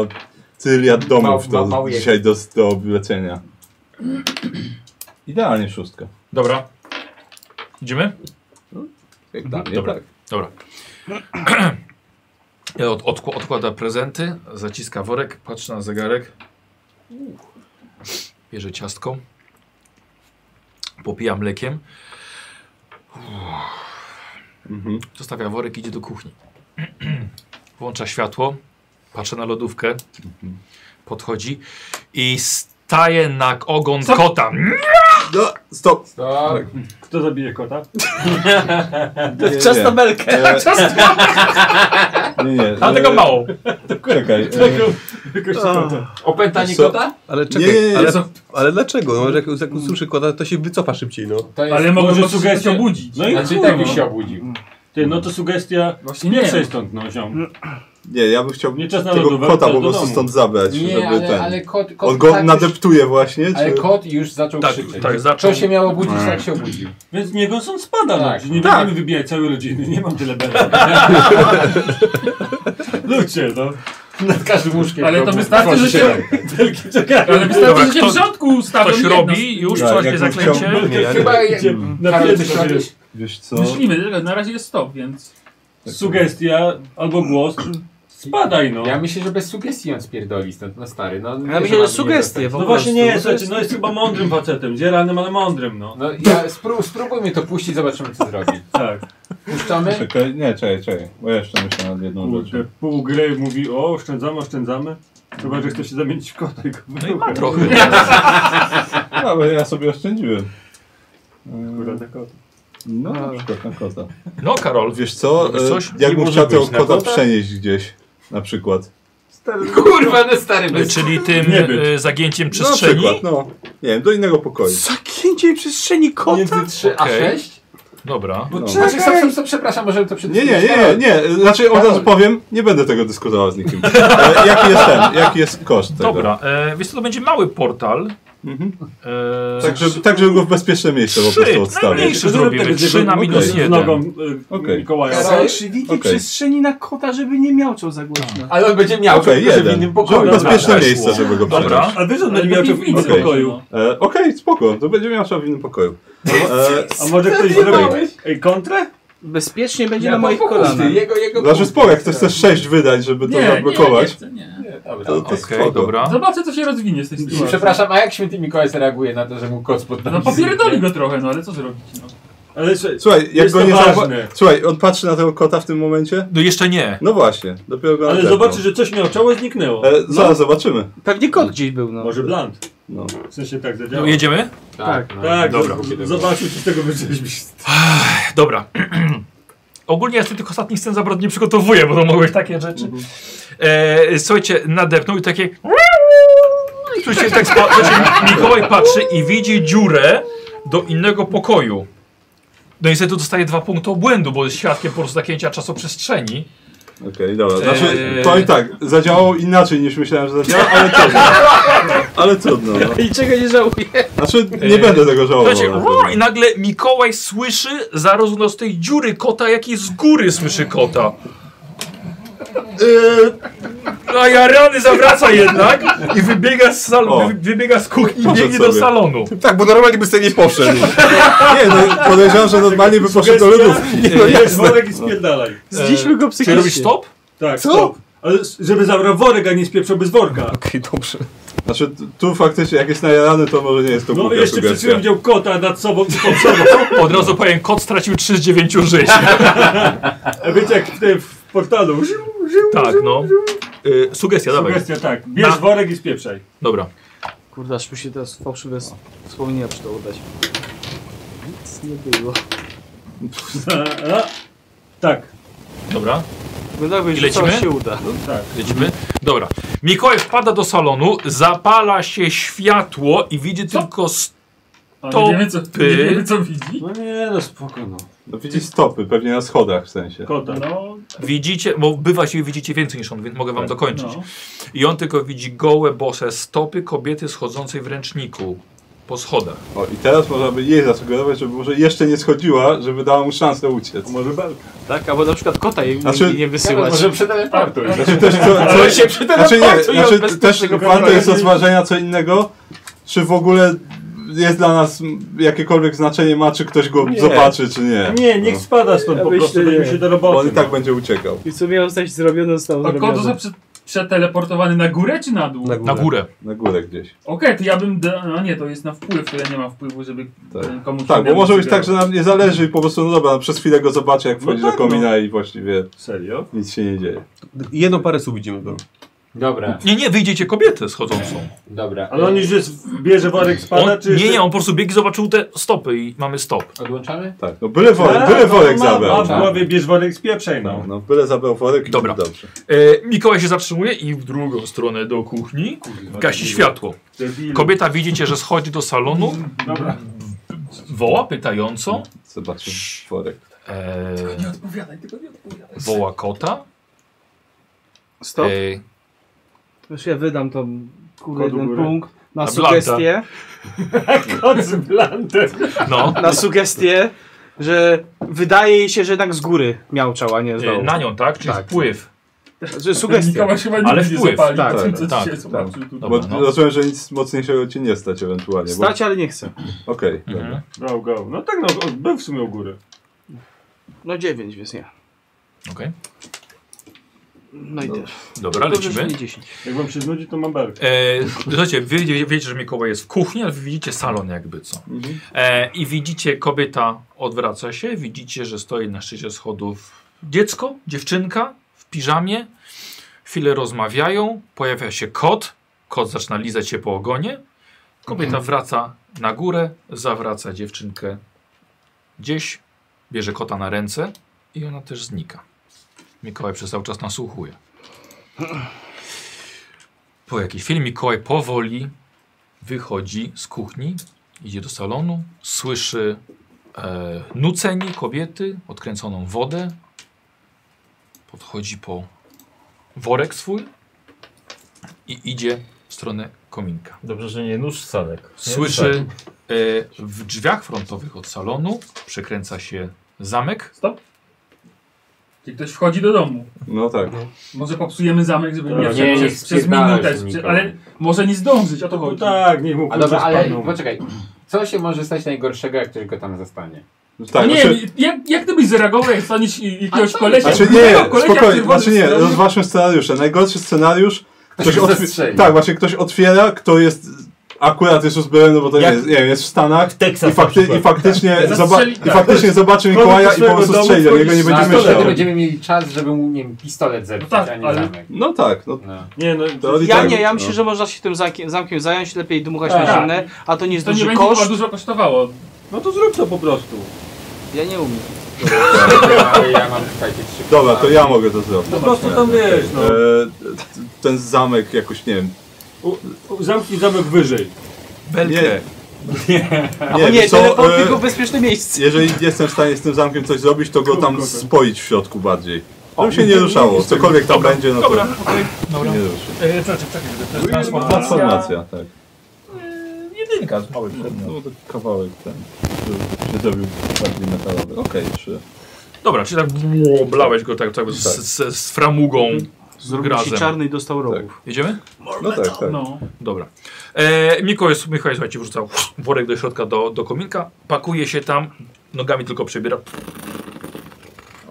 C: tyliad domów
G: Ma- ma-
C: do,
G: mały jak-
C: dzisiaj do, do oblecenia. Idealnie szóstka.
A: Dobra. Idziemy?
C: Jak dla mnie,
A: Dobra.
C: tak.
A: Dobra. Od, odku- odkłada prezenty, zaciska worek, patrzy na zegarek. Bierze ciastko. Popija mlekiem.
C: Mhm.
A: Zostawia worek, idzie do kuchni. Włącza światło, patrzy na lodówkę,
C: Mhm.
A: podchodzi i staje na ogon kota.
C: No, stop.
G: To
B: Kto zabije kota?
C: Nie,
D: Czas
C: nie.
D: na belkę.
C: E, Nie, nie.
A: Ale tego
C: e,
A: mało.
C: Czekaj. e,
G: opętanie
C: Co?
G: kota?
I: Ale
C: Nie, nie,
I: czekaj,
C: nie,
I: ale,
T: co?
I: ale dlaczego? No, jak, jak usłyszy kota, to się wycofa szybciej, no.
G: To jest...
T: Ale mogę
B: Może
T: się
B: sugestia-
T: sugestia obudzić.
B: No i
G: Znaczy
B: kurwa.
G: tak byś się obudził.
B: Ty, no to sugestia.
T: Właśnie
B: nie
T: nie.
B: przejdź stąd, no ziom.
C: Nie, ja bym chciał
B: Nie czas na
C: tego
B: lodówkę,
C: kota
B: czas
C: po
B: do
C: prostu
B: domu.
C: stąd zabrać, żeby
G: Nie, ale,
C: ten.
G: ale kot... kot
C: On go
G: tak już,
C: nadeptuje właśnie,
G: Ale
C: czy...
G: kot już zaczął
A: Tak,
G: krzyczeć.
A: tak, zaczął.
G: Co się miało budzić, jak się obudził.
B: Więc niego są spada,
G: Tak.
B: no. Nie będziemy wybijać całej rodziny, nie mam tyle belek. Ludzie, no.
G: Nad każdym łóżkiem.
T: Ale
G: go
T: to
G: bu-
T: wystarczy, że się,
B: Belki czekają.
T: ale wystarczy,
A: Dobra,
T: że się
A: kto-
T: w rządku ustawią
A: Ktoś
T: jedno.
A: robi już
C: Tak,
A: coś
C: jak
A: nie
C: bym chciał-
A: zaklęcie.
I: Nie, ja nie.
G: Chyba... jak-
B: Na
G: Karol,
B: pierwszy
G: coś robisz?
B: sobie
C: Wiesz co?
T: Myślimy, na razie jest stop, więc...
B: sugestia albo głos. Spadaj, no.
G: Ja myślę, że bez sugestii on spierdoli stąd, no stary. No, nie,
D: Ja myślę, że
G: mam
D: sugestie po
B: No
D: prostu.
B: właśnie nie, słuchajcie, no jest chyba mądrym facetem. Zielanym, ale mądrym, no.
G: No ja spró spróbuj mnie to puścić, zobaczymy co zrobi.
B: Tak.
G: Puszczamy?
C: Czekaj, nie, czekaj, czekaj. Bo ja jeszcze myślę nad jedną
B: Kurde,
C: rzeczą.
B: pół gry mówi, o, oszczędzamy, oszczędzamy. Chyba, że chce się zamienić w kota i go
T: No
B: wyrucha.
A: Trochę.
C: Ale ja sobie oszczędziłem.
B: Kurde, na kota.
C: No, na przykład na kota.
A: No Karol,
C: Wiesz co?
A: Robisz
C: e,
A: coś?
C: Jak
H: Nie
C: bym
H: może
C: chciał tego
H: być na
C: kota
H: kota?
C: przenieść gdzieś, na przykład.
G: stary. Kurwa, no stary bez.
A: Czyli tym y, zagięciem przestrzeni?
C: Na przykład, no. Nie wiem, do innego pokoju.
D: Zakięcie przestrzeni kota?
G: Trzy, a
A: Okej.
G: sześć?
A: Dobra.
G: Bo
C: No.
G: czekaj. Znaczy, stop, stop, stop, przepraszam, możemy to
C: Nie,
G: przedstawić.
C: nie, nie, nie, nie. Znaczy od razu powiem, nie będę tego dyskutował z nikim. E, jaki jest ten, jaki jest koszt tego?
A: Dobra, e, więc to będzie mały portal.
C: Mhm.
A: E,
C: Tak, żeby, tak, żeby go w bezpieczne miejsce po
A: Trzy,
C: prostu odstawić.
A: najmniejszy zrobimy. Trzy na minus
B: Z
A: jeden.
B: nogą y,
C: Okej.
B: Mikołaja.
D: Zakrzywienie
C: Okej.
D: przestrzeni na kota, żeby nie miał co zagłośno.
G: Ale on będzie miał,
C: Okej,
G: okay, tylko że w
C: jeden.
G: innym pokoju. tak.
C: Żeby bezpieczne
A: Dobra.
C: miejsce, żeby go przenieść.
A: Dobra.
B: A wiesz, że on będzie miał to w innym
C: Okej.
B: pokoju.
C: E, Okej, spoko, to będzie miał w innym pokoju. E,
B: A może ktoś zrobi Ej, kontrę?
D: Bezpiecznie będzie
G: Ja
D: na
G: mam
D: moich
G: pokój, ty,
D: kolanach.
G: Jego,
A: No,
G: jego
C: znaczy
G: pokój.
C: spoko, jak chcesz też 6 wydać, żeby to
F: Nie, nie, nie,
C: zablokować,
F: chcę, nie.
G: Nie, dobra.
C: to, to
A: Okej,
C: spoko.
A: dobra.
F: Zobaczę, co się rozwinie z
B: No
F: tej sytuacji.
G: Przepraszam, a jak święty Mikołaj zareaguje na to, że mu koc pod
F: No
G: nogi
F: popierdoli go trochę, no ale co zrobić? No.
B: Ale słuchaj,
C: Słuchaj, jak
B: Jest
C: go
B: to
C: nie zauwa...
B: ważne.
C: Słuchaj, on patrzy na tego kota w tym momencie?
A: No jeszcze nie.
C: No właśnie, dopiero go
B: ale No.
C: nadepnął.
B: zobaczy, że coś miał czoło zniknęło.
C: E, zaraz zobaczymy.
D: Pewnie kot gdzieś był, no.
B: Może bland.
C: No.
B: W sensie tak
A: No,
B: zadziała.
A: jedziemy?
G: Tak, no.
B: Tak,
A: Dobra.
B: z- zobaczył, czy z tego wyrzeźbisz.
A: Dobra. Ogólnie ja sobie tych ostatnich scen za bardzo nie przygotowuję, bo to mogły być takie rzeczy.
C: Mhm.
A: E, słuchajcie, nadepnął i takie... Słuchajcie, tak spa- słuchajcie, Mikołaj patrzy i widzi dziurę do innego pokoju. No i niestety dostaje dwa punkty obłędu, bo jest świadkiem po prostu zakięcia czasoprzestrzeni.
C: Okej, dobra. Znaczy,
A: Eee.
C: to i tak, zadziałało inaczej niż myślałem, że zadziała, ale trudno. Ale trudno. no.
D: I czego nie żałuję.
C: Znaczy, nie
A: Eee,
C: będę tego żałował. no.
A: Słuchajcie,
C: na
A: "Rrr!" i
C: pewno.
A: nagle Mikołaj słyszy zarówno z tej dziury kota, jak i z góry słyszy kota. Eee, a ja rany zawraca jednak i wybiega z, sal-
C: O.
A: wy- wybiega z kuchni i
C: Poszedł
A: biegnie do
C: sobie.
A: salonu.
M: Tak, bo normalnie by z tej nie poszedł.
C: Nie, no, podejrzewam, że normalnie by poszedł do lodówki.
B: Nie, no jasne. worek i spierdalaj.
D: Zdziśmy go
A: E, Czy robisz
D: psychicznie.
A: stop?
B: Tak, stop. Ale s- żeby zabrał worek, a nie spieprzał bez worka.
C: No,
M: Okej, dobrze.
C: Znaczy, t- tu faktycznie, jak jest najarany, to może nie jest to
B: No
C: głupia
B: jeszcze przed chwilą
C: sugestia.
B: widział kota nad sobą i pod sobą.
A: Od razu powiem, kot stracił 3 z 9 żyć.
B: A wiecie jak w, tym- w portalu. Ziu, ziu,
A: Tak,
B: ziu.
A: no. Y, sugestia, dawaj.
B: Sugestia tak. Bierz
A: Na-
B: worek i spieprzaj.
A: Dobra.
D: Kurde, aż mi się teraz fałszywe s- wspomnienia przy to udać. Nic nie było.
B: A, a. Tak.
A: Dobra,
D: No tak,
A: I
D: będzie,
A: lecimy?
D: co się uda.
A: lecimy. Dobra. Mikołaj wpada do salonu, zapala się światło i widzi tylko
F: A
A: To
F: nie wiemy, co,
A: ty-
F: nie wiemy, co widzi.
B: No nie, no spoko no.
C: No, widzi stopy, pewnie na schodach w sensie.
B: Kota.
F: No,
A: Widzicie, bo bywa się widzicie więcej niż on, więc mogę wam dokończyć.
F: no.
A: I on tylko widzi gołe, bose stopy kobiety schodzącej w ręczniku po schodach.
C: O, i teraz można by jej zasugerować, żeby może jeszcze nie schodziła, żeby dała mu szansę uciec.
B: Może belka.
D: Tak, albo na przykład kota jej
C: Znaczy-
D: nie, nie wysyłać.
G: Może przeteleportuj.
C: Znaczy też co, co
G: Ale się przy
C: znaczy nie,
G: teleportuj, on
C: znaczy
G: bez
C: też
G: tego
C: warto
G: kontroli.
C: jest rozważenia co innego, czy w ogóle jest dla nas m, jakiekolwiek znaczenie ma, czy ktoś go
B: Nie.
C: zobaczy, czy nie. No.
B: Nie, niech spada stąd po
D: No, Ja
B: prostu,
D: myślę,
B: dajmy
D: nie.
B: się do
C: Bo on
B: roboty.
C: i tak będzie uciekał.
D: I co miało zostać zrobione, zostało
F: A kot został
D: zrobione.
F: prze, przeteleportowany na górę czy na dół?
I: Na
F: Okej,
A: Na
I: górę.
A: górę.
C: Na górę gdzieś.
F: to ja bym... Da, no nie, to jest na wpływ, to ja nie mam wpływu, żeby
C: Tak.
F: e, komuś...
C: Tak, bo
F: innemu
C: może być tak,
F: sugerować.
C: że nam nie zależy i po prostu, no dobra, przez chwilę go zobaczy, jak wchodzi
B: tak,
C: do komina i właściwie
B: Serio?
C: nic się nie dzieje.
I: Jedną parę słów no. widzimy go.
G: Dobra,
A: Nie, nie, wyjdziecie kobietę schodzącą.
G: dobra.
B: Ale on już jest, bierze worek,
A: On,
B: spada, czy...
A: nie,
B: jeszcze-
A: nie, on po prostu biegł i zobaczył te stopy i mamy stop.
G: Odłączamy?
C: Tak, no byle worek,
B: Tak,
C: byle
B: no,
C: worek
B: ma- Ma
C: zabrał.
B: w
C: No,
B: głowie, bierz worek, spieprzaj no.
C: no, byle zabrał worek i
A: Dobra.
C: dobrze.
A: E, Mikołaj się zatrzymuje i w drugą stronę do kuchni gasi światło.
B: Debil.
A: Kobieta widzicie, że schodzi do salonu,
B: Dobra.
A: woła pytająco,
C: Zobaczy worek.
A: e,
F: Nie odpowiadaj, tylko nie odpowiadaj.
A: woła kota.
D: Stop.
A: E,
D: Wiesz, ja wydam tą kurde
B: Kodu
D: jeden
B: górę.
D: punkt na
A: Na
D: sugestie,
B: Kot z blantem.
A: no,
D: na sugestie, że wydaje jej się, że jednak z góry miałczał, a nie z
A: e,
D: dołu.
A: na nią, tak? Czyli
D: Tak.
A: wpływ.
D: Że sugestie.
F: Nikogo chyba
A: Ale
F: nigdy nie
A: wpływ.
F: zapali.
D: Tak,
F: tym, co
A: tak,
F: dzisiaj zobaczył tutaj.
A: Dobra,
C: Bo
A: no.
C: rozumiem, że nic mocniejszego ci nie stać ewentualnie. bo-
D: Stać, ale nie chcę.
C: Okej,
A: Mhm.
C: dobra.
B: Go, go. No tak, no, on był w sumie u góry.
D: No dziewięć, więc nie.
A: Okej.
D: No i też.
A: Dobra,
D: Dobrze, że
A: lecimy.
D: nie 10.
B: Jak wam się znudzi, to mam belkę.
A: E, słuchajcie, wy wie- wiecie, że Mikołaj jest w kuchni, ale wy widzicie salon jakby co.
C: Mhm.
A: E, I widzicie, kobieta odwraca się, widzicie, że stoi na szczycie schodów dziecko, dziewczynka w piżamie. Chwilę rozmawiają, pojawia się kot, kot zaczyna lizać się po ogonie. Kobieta wraca na górę, zawraca dziewczynkę gdzieś, bierze kota na ręce i ona też znika. Mikołaj przez cały czas nasłuchuje. Po jakiejś chwili Mikołaj powoli wychodzi z kuchni, idzie do salonu, słyszy e, nucenie kobiety, odkręconą wodę. Podchodzi po worek swój i idzie w stronę kominka.
L: Dobrze, że nie nóż sadek.
A: Słyszy e, w drzwiach frontowych od salonu przekręca się zamek.
F: Stop. Czy ktoś wchodzi do domu?
C: No tak.
F: Może popsujemy zamek, żeby nie
G: nie,
F: wszedł
G: No, nie
F: przez, przez
G: spierdalaj
F: minutę,
G: się
F: prze-
G: nikomu.
F: ale może nie zdążyć, o to
H: No
F: chodzi.
B: Tak, niech mu
G: A dobra, ale poczekaj. Co się może stać najgorszego, jak ktoś go tam zastanie?
C: Tak,
F: No nie,
C: znaczy-
F: jak, jak ty byś zareagował, jak staniesz i- jakiegoś kolesia?
C: Znaczy
F: drugiego kolesia,
C: nie, spokojnie,
F: który wody
C: znaczy nie,
F: wstał?
C: rozważmy scenariusze. Najgorszy scenariusz, ktoś
G: się
C: otwi-
G: zestrzeli.
C: tak, właśnie ktoś otwiera, kto jest akurat jest uzbrojony, bo to nie
H: Jak-
C: jest, nie wiem, jest w Stanach
H: Texas
C: i, fakty-
H: na przykład.
C: i faktycznie,
F: Tak.
C: zoba-
F: Zastrzeli-
C: i faktycznie zobaczy Mikołaja i po
H: swojego
C: prostu
H: domu,
C: strzeli, do niego nie
H: wchodzisz
C: będzie
G: A to Znaczy, wtedy
C: myślał.
G: będziemy mieli czas, żeby mu, nie wiem, pistolet zepsuć,
F: No tak,
G: a nie
F: ale-
G: zamek.
C: No tak, no
G: No.
B: Nie, no,
C: teorii
D: Ja
C: tak,
D: nie, ja
C: no.
D: myślę, że można się tym zamkiem, zamkiem zająć, lepiej dmuchać na
F: Tak.
D: zimne, a to nie jest
F: To nie
D: duży
F: będzie chyba
D: koszt.
F: dużo kosztowało.
B: no to zrób to po prostu.
D: Ja nie umiem.
G: Ale ja mam, słuchajcie, trzy
C: Dobra, to ja mogę to zrobić.
B: Po prostu tam wiesz, no.
C: E, t- ten zamek jakoś, nie wiem.
B: U, u, zamknij zamek wyżej.
C: Nie,
D: Nie,
C: wiesz
D: nie
C: co,
D: teleport
C: e,
D: tylko w bezpieczne miejsce.
C: Jeżeli nie jestem w stanie z tym zamkiem coś zrobić, to go tam spoić w środku bardziej. Żeby się nie ruszało. Cokolwiek tam będzie, no to
A: Dobra,
C: się
A: okej, dobra.
C: nie ruszy.
A: E, czekaj, czekaj, to jest transformacja.
C: Transformacja, tak.
A: E, Jedynka z małych przedmiotów.
C: No to kawałek ten, żeby się zrobił bardziej metalowy. Okej, trzy.
A: Dobra, czyli tak bło- blałeś go tak, tak z, z, z framugą, z
D: Zrobił się
A: grazem.
D: czarny i dostał rogów.
A: Jedziemy?
C: No tak, tak.
F: No.
A: Dobra. E, Mikołaj, Mikołaj, słuchajcie, wrzucał worek do środka do, do kominka, pakuje się tam, nogami tylko przebiera.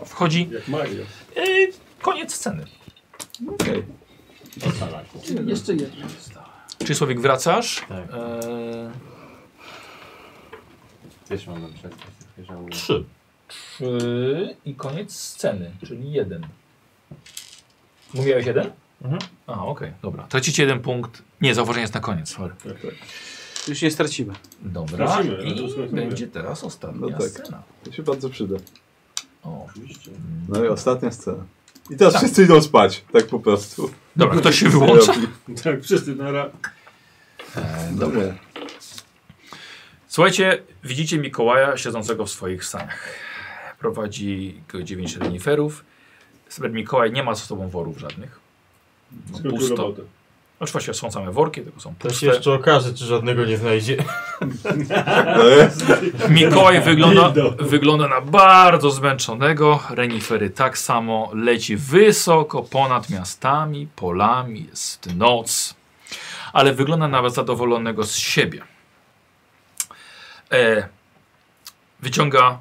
A: Wchodzi.
B: Jak magia.
A: E, koniec sceny.
C: Okej.
F: Jeszcze jedno.
A: Czyli Słowik wracasz.
L: Tak.
A: E,
G: Też mam na przykład, żałuję.
L: Trzy.
A: trzy i koniec sceny, czyli jeden. Mówiłeś jeden?
L: Mhm.
A: Aha, okej, dobra. Tracicie jeden punkt. Nie, zauważenie jest na koniec, sorry.
D: Już nie stracimy.
A: Dobra.
B: Tracimy, ale to
A: I
B: słuchaj,
A: będzie teraz ostatnia
C: No tak.
A: scena.
C: To się bardzo przyda.
A: O.
C: No i ostatnia scena. I teraz wszyscy idą spać, tak po prostu.
A: Dobra, ktoś się wyłącza.
B: Tak, wszyscy na ra...
C: Dobra.
A: Słuchajcie, widzicie Mikołaja siedzącego w swoich saniach. Prowadzi go dziewięć reniferów. Super Mikołaj nie ma ze sobą worów żadnych.
B: skończył
A: Pusto.
B: robotę.
A: Oczywiście są same worki, tylko są
H: To się
A: puste.
H: jeszcze okaże, czy żadnego nie znajdzie.
C: To jest.
A: Mikołaj wygląda,
B: Dildo.
A: wygląda na bardzo zmęczonego. Renifery tak samo leci wysoko ponad miastami, polami, jest noc. Ale wygląda nawet zadowolonego z siebie. E, wyciąga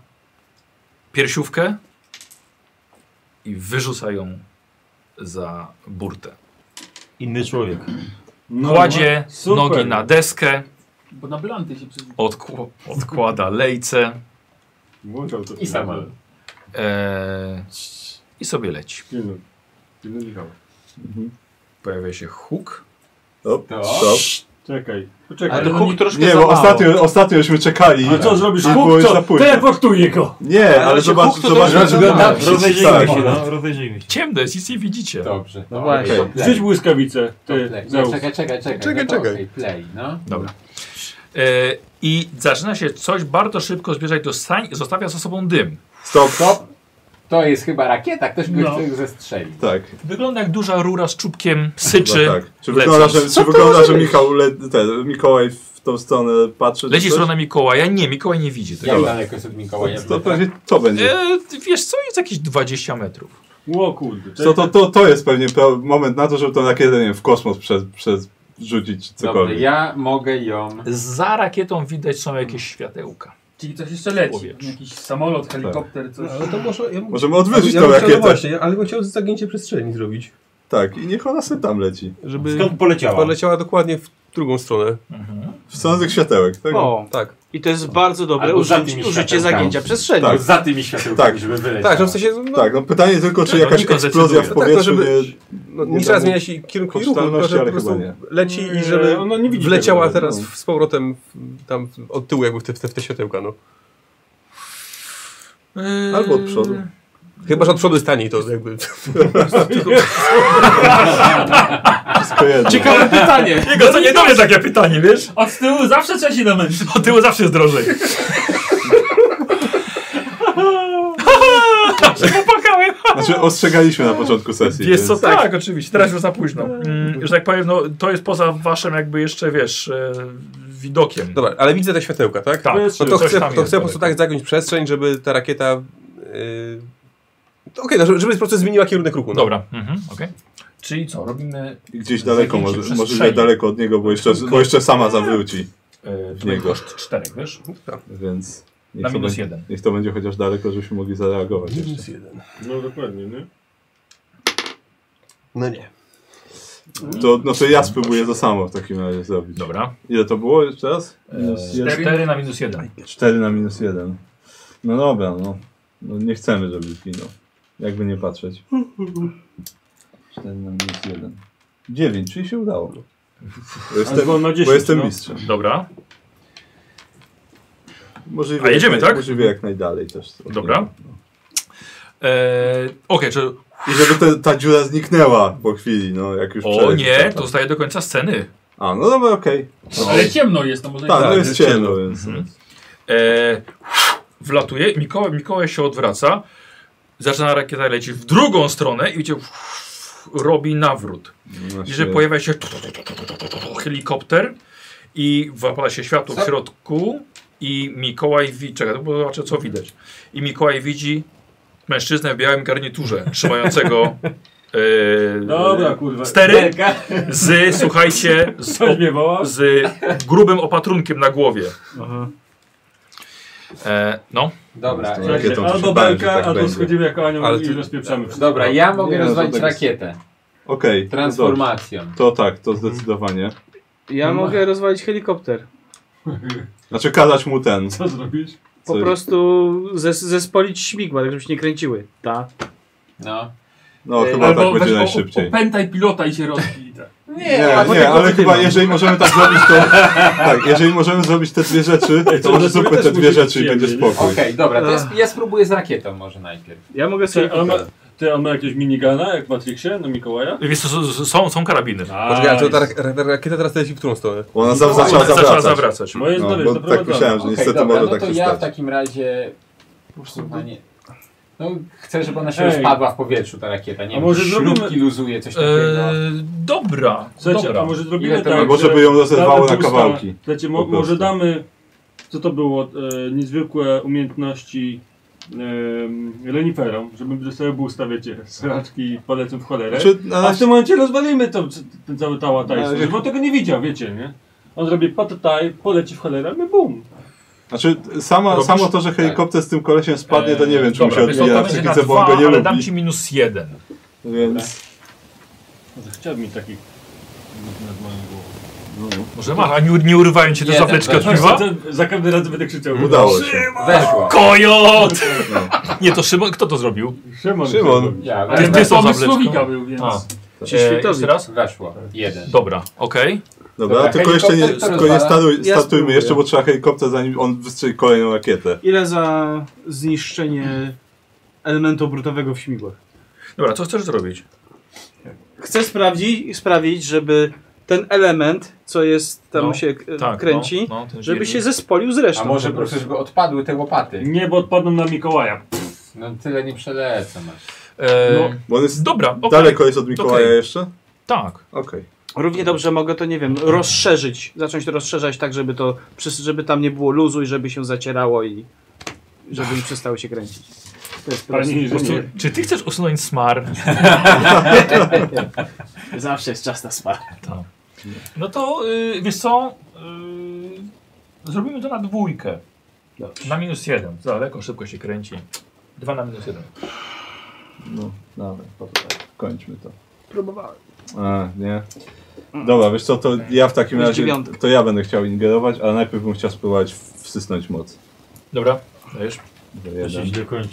A: piersiówkę i wyrzuca ją za burtę.
H: Inny człowiek.
A: Kładzie
B: super.
A: nogi na deskę,
F: Bo na blanty się przyzwyczaiłem.
A: odkł- odkłada lejce.
B: Włączał to.
G: I sama.
A: Eee, I sobie leci.
B: Pilnuj. Pilnuj Michała.
A: Pojawia się huk.
C: Stop,
G: To?
C: stop.
B: Czekaj,
D: Ale
B: poczekaj.
D: to huk troszkę
C: Nie,
D: za
C: bo
D: mało.
C: ostatnio, ostatnio żeśmy czekali.
B: Ale co zrobisz?
C: A, było
B: Huk,
C: już za
B: co?
C: późno.
B: Teleportuję go!
C: Nie, ale
D: Ale się
C: zobacz,
D: huk to
C: zobacz,
D: też wygląda.
C: tak,
H: Rozejrzyjmy
C: tak.
H: się, no, rozejrzyjmy się.
A: Ciemno jest, nic nie widzicie.
G: Dobrze.
I: No właśnie.
G: okej, play,
B: Rzuć błyskawicę,
G: to
B: ty,
G: play. Nie,
B: Zeus.
G: Tak, Czekaj, czekaj, czekaj.
I: Czekaj,
G: no to
I: czekaj.
G: okej, Play, no.
A: Dobra. Eee, I zaczyna się coś bardzo szybko zbierzać do sań i zostawia za sobą dym.
C: Stop,
G: Stop. To jest chyba rakieta, ktoś go
F: No.
G: chce zestrzelić.
C: Tak.
A: Wygląda jak duża rura z czubkiem syczy.
C: No tak. Czy
A: lecąc.
C: wygląda, że, czy wygląda, że Michał le, ten, Mikołaj w tą stronę patrzy? czy
A: Leci w
C: coś?
A: stronę Mikołaja. Nie, Mikołaj nie widzi tego.
G: Jak daleko jest od Mikołaja?
C: To pewnie to będzie.
A: Eee, wiesz co, jest jakieś 20 metrów.
B: Ło kurde.
C: To, to, to, to jest pewnie pra- moment na to, żeby tą rakietę nie wiem, w kosmos przez, przez rzucić czy
G: Dobrze,
C: cokolwiek.
G: ja mogę ją...
A: Za rakietą widać są jakieś światełka.
F: Czyli coś jeszcze leci.
A: Powietrz.
F: Jakiś samolot, helikopter, coś.
I: Ale to może... Ja,
C: Możemy odwrócić
I: ja
C: tą
I: bym chciał, no
C: rakietę.
I: właśnie, ale bym chciał zagięcie przestrzenni zrobić.
C: Tak, i niech ona sobie tam leci.
I: Żeby
H: Skąd poleciała?
I: poleciała dokładnie w drugą stronę.
C: W stronę tych światełek. Tak?
D: O,
I: Tak.
D: i to jest bardzo dobre
G: Albo
D: użyć,
G: zamknij
D: użycie
G: światełka.
D: zagięcia przestrzeni.
C: Tak.
G: Za tymi światełkami,
C: Tak.
G: żeby wylecieć.
I: Tak, że w sensie... No,
C: Tak, no pytanie tylko, czy
A: No,
C: jakaś
A: Niko
C: eksplozja w
A: zdecyduje.
C: powietrzu
I: Tak, no, żeby-
C: nie...
I: no,
C: Nie
I: nie trzeba
C: dam
I: zmieniać jej kierunku i ruchu, tylko
C: kosztowności,
I: że po
C: ale
I: prostu
C: chyba
I: leci i żeby
B: Nie, ona nie widzi
I: wleciała
B: tego,
I: teraz
C: no.
I: w- z powrotem w- tam w- od tyłu jakby w te, w te, w te światełka, no.
A: Eee,
C: Albo od przodu.
I: Chyba, że od przodu jest taniej to jakby...
C: Wszystko jedno.
D: Ciekawe pytanie.
A: Jego co nie dowie takie pytanie, wiesz?
F: Od tyłu zawsze trzeba się domyślić.
A: Od tyłu zawsze jest drożej. Popakałem.
C: Znaczy ostrzegaliśmy na początku sesji.
A: Jest co,
C: więc-
A: tak, oczywiście. Teraz już za późno. Mm, że tak powiem, no, to jest poza waszym jakby jeszcze, wiesz, e, widokiem.
I: Dobra, ale widzę te światełka, tak?
A: Tak.
I: No to
A: Coś
I: chcę,
A: tam
I: to
A: jest
I: chcę po prostu tak zagiąć przestrzeń, żeby ta rakieta... Yy... to Okej, no, żeby żeby po prostu zmieniła kierunek ruchu. No.
A: Dobra, mhm, okej. Czyli co, robimy...
C: Gdzieś daleko, może,
A: Przestrzeni.
C: może że daleko od niego, bo jeszcze, bo jeszcze sama zawróci.
A: E, to
C: Nie
A: będzie
C: go.
A: koszt czterech, wiesz?
C: Więc niech
A: Na
C: to
A: minus
C: będzie-
A: jeden.
C: Niech to będzie chociaż daleko, żebyśmy mogli zareagować jeszcze.
I: jeden.
E: No dokładnie, nie?
I: No nie.
C: To, no to ja spróbuję to samo w takim razie zrobić.
A: Dobra.
C: Ile to było jeszcze raz? Minus
A: E,
C: jeden.
A: cztery na minus jeden.
C: 4 na minus 1. No dobra, no. no nie chcemy, żeby zginął. Jakby nie patrzeć. 4 na minus 1. 9, czyli się udało. Bo jestem,
E: dzwon na
C: bo
E: 10,
C: jestem
E: no.
C: mistrzem.
A: Dobra,
C: Możliwie,
A: A jedziemy,
C: jak naj-
A: tak?
C: Możliwe jak najdalej też.
A: dobra. E, okej, czy...
C: I żeby te, ta dziura zniknęła po chwili, no jak już
A: O
C: przeleci,
A: nie,
C: tak.
A: to zostaje do końca sceny.
C: A, no dobra, okej.
F: Ale ciemno jest, to może
C: Tak, no
F: tak.
C: jest ciemno, więc...
A: Mhm. E, wlatuje, Mikołaj, Mikołaj się odwraca, zaczyna rakieta lecieć w drugą stronę i widzicie, robi nawrót.
C: No
A: I że
C: się-
A: pojawia się helikopter i zapala się światło w
G: Co?
A: środku i Mikołaj widzi, czekaj, bo zobaczę co widać. I Mikołaj widzi mężczyznę w białym garniturze, trzymającego e,
E: Dobra, kurwa.
A: stery z, słuchajcie, z,
E: Coś mnie woła?
A: z grubym opatrunkiem na głowie. E, no.
G: Dobra,
C: To
G: e,
C: rakietą to się
E: Albo
C: bałem, że
E: belka,
C: tak
E: albo
C: będzie.
E: schodzimy jako anioł
I: Ale
E: i
I: ty-
E: rozpieprzamy wszystko.
G: dobra, ja mogę
C: Nie, no to
G: rozwalić
C: tak jest.
G: rakietę.
C: Okej, no dobrze.
G: Transformacją.
C: To tak, to zdecydowanie.
D: Ja mogę rozwalić helikopter.
C: Znaczy kazać mu ten.
E: Co zrobić?
D: Po
C: Coś-
D: prostu zes zespolić śmigła, tak żeby się nie kręciły. Ta.
G: No.
C: No
D: Ej,
C: chyba tak będzie
F: weź o-
C: najszybciej.
F: Opętaj pilota i się rozbij. Tak.
C: Nie,
D: a
C: nie,
D: potem
C: ale
D: pozytywną.
C: chyba jeżeli możemy tak zrobić, to. Tak, jeżeli możemy zrobić te dwie rzeczy, to
E: to
C: może
E: też
C: zróbmy te
E: musi
C: dwie
E: być
C: rzeczy i
E: przyjemnie,
C: będzie
E: nie?
C: spokój.
G: Okej, dobra, to jest, ja spróbuję z rakietą może najpierw.
D: Ja mogę sobie.
E: Ty, on ma, ty, on ma jakieś minigana, jak w Matrixie, na Mikołaja?
A: Wiesz, co, s- s- są, są karabiny.
C: Tak.
I: Poczekaj, ale to ta rak- ra- rakieta teraz leci w którą stronę?
C: Ona za,
A: Ona
C: zaczęła
A: zaczęła
C: zawracać.
A: zawracać.
E: Moje
C: No,
E: zdrowie,
C: bo
E: to
C: tak myślałem, że
G: Okej,
C: niestety
G: dobra,
C: może
G: no
C: tak
G: to
C: się
G: ja w
C: stać.
G: takim razie... Kurwa, nie. No, chcę, żeby ona się
E: Ej.
G: rozpadła w powietrzu, ta rakieta. Nie
E: A
G: wiem,
E: może
G: może śrubki
E: zrobimy-
G: luzuje, coś
A: E,
G: takiego.
A: dobra,
E: Słuchajcie,
A: dobra.
E: a może zrobimy
G: Ile to
E: tak,
C: Albo
E: że
C: żeby ją
E: damy
C: rozerwało na
E: boosta.
C: kawałki.
E: Słuchajcie,
C: Po
E: mo,
C: prostu.
E: może damy... Co to było? E, niezwykłe umiejętności e, reniferom, żeby dostały boosta, wiecie, sraczki i polecą w cholerę.
C: Znaczy, No, na
E: A w
C: razie,
E: tym momencie rozwalimy to, ten cały tała Tyson,
C: Ale-
E: żeby on tego nie widział, wiecie, nie? On zrobi patataj, poleci w cholerę, my bum.
C: znaczy sama,
A: Robisz? Tak. Eee,
C: samo to, że helikopter z tym kolesiem spadnie, to nie wiem, czy mu się
A: Dobra, wiesz co,
C: odbija
A: to
C: na
A: będzie na
C: psychice, bo
A: dwa,
C: on go nie
A: ale dam ci
C: lubi.
A: minus jeden.
C: Więc
E: Może chciałbym mieć taki nad moją głową.
A: Może masz, a nie, nie urywają cię te
G: Jeden,
A: zapleczki od
G: dobra.
A: piwa?
E: Za- Za każdym razem będę krzyczał.
C: udało się.
G: Weszło.
A: Kojot! Nie, to Szymon, kto to zrobił?
E: Szymon.
C: Szymon.
G: Ja,
A: Ale
G: weszło.
A: ty są
F: Pomysł
A: zapleczką?
F: słowika był, więc...
A: A,
D: Czy
A: e,
D: świtowi?
A: jeszcze raz?
G: Weszło. Jeden.
A: Dobra, okej.
C: Dobra,
G: Dobra,
C: tylko jeszcze nie,
G: helikopter to
C: tylko nie
G: rozwala.
C: staruj,
D: Ja
C: startujmy
D: spróbuję.
C: jeszcze, bo trzeba helikopter zanim on wystrzeli kolejną rakietę.
D: Ile za zniszczenie elementu obrotowego w śmigłach?
A: Dobra, co chcesz zrobić?
D: Chcę sprawdzić, sprawić, żeby ten element, co jest tam
A: No,
D: się e,
A: Tak,
D: kręci,
A: no, no, ten
D: żeby
A: zielony.
D: się zespolił z resztą.
G: A może
D: po
G: po prostu, żeby odpadły te
B: Mm.
G: łopaty.
E: Nie, bo odpadną na Mikołaja.
G: No tyle nie przelecę. masz.
A: E,
E: No.
C: Bo on jest
A: Dobra, okej.
C: daleko jest od Mikołaja
A: Okej.
C: jeszcze?
A: Tak.
C: Okej.
D: Równie dobrze mogę to, nie wiem, rozszerzyć. Zacząć to rozszerzać tak, żeby to, przys- żeby tam nie było luzu i żeby się zacierało i żeby mi przestało się kręcić. To jest proste.
E: Panie inżynier.
A: Czy- Czy ty chcesz usunąć smar?
D: Zawsze jest czas na spa.
A: Tak. No to y, wiesz co? Y, zrobimy to na dwójkę. Na minus jeden. Za daleko, szybko się kręci. Dwa na minus jeden.
C: No, dobra, dobra, kończmy to. Próbowałem. A, nie. Dobra, wiesz co, to ja w takim
D: Już
C: razie,
D: dziewiąty.
C: to ja będę chciał ingerować, ale najpierw bym chciał spróbować w- wsysnąć moc.
A: Dobra, dajesz.
C: To
H: To się
C: Jeden,
H: źle kończy.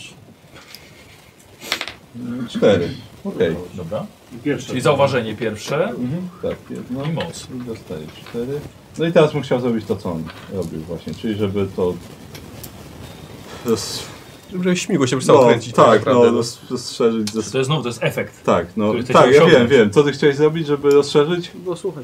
C: cztery. Okej,
H: Mhm.
A: Dobra.
E: Pierwszy.
A: Czyli zauważenie pierwsze
C: tak, jedno.
A: i moc.
C: I dostaję cztery. No i teraz bym chciał zrobić to, co on robił właśnie, czyli żeby to roz...
I: Że śmigło się przestało
C: no,
I: kręcić.
C: Tak,
I: naprawdę,
C: no, roz, rozszerzyć. Zes...
A: To jest znowu, to jest efekt.
C: Tak, no,
A: który chcecie
C: tak ja wiem,
A: osiągnąć.
C: wiem. Co ty chciałeś zrobić, żeby rozszerzyć?
D: No słuchaj.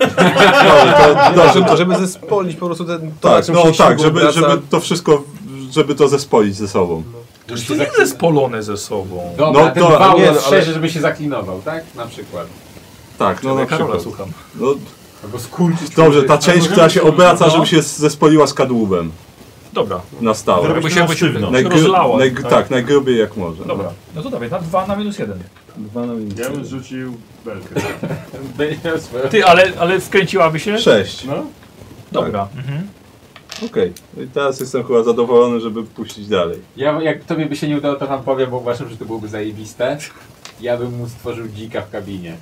C: No, to,
I: No,
C: dobrze,
I: żeby,
C: to,
I: żeby zespolić po prostu ten... To, na
C: tak,
I: czym
C: no
I: się
C: tak,
I: śmigło
C: żeby,
I: wraca.
C: żeby to wszystko, żeby to zespolić ze sobą.
A: Już to nie jest polone ze sobą.
G: Dobra,
C: No
G: ten
C: to-
G: wał
C: nie, no,
G: rozszerzy,
C: ale-
G: żeby się zaklinował, tak? Na przykład.
C: Tak, no
A: Ja
C: na
A: Karola
C: przykład.
A: słucham.
C: No,
G: Albo skurczyć.
C: dobrze, ta
G: człowieka.
C: część, która się obraca,
A: no.
C: żeby się zespoliła z kadłubem
A: Dobra.
C: na stałe.
A: Żeby się, jakby się
L: sztywno.
A: się rozlała.
C: najgr- tak. najgrubiej jak może.
A: Dobra. No to dawaj, na 2 na minus 1.
C: Dwa na minus.
E: Ja bym rzucił belkę.
G: Będzie miał swoją-
A: Ty, ale, ale wkręciłaby się?
C: Sześć. Tak.
E: No?
A: Dobra. Mhm.
C: Okej. No i teraz jestem chyba zadowolony, żeby puścić dalej.
G: Ja, jak tobie by się nie udało, to wam powiem, bo uważam, że to byłoby zajebiste. Ja bym mu stworzył dzika w kabinie.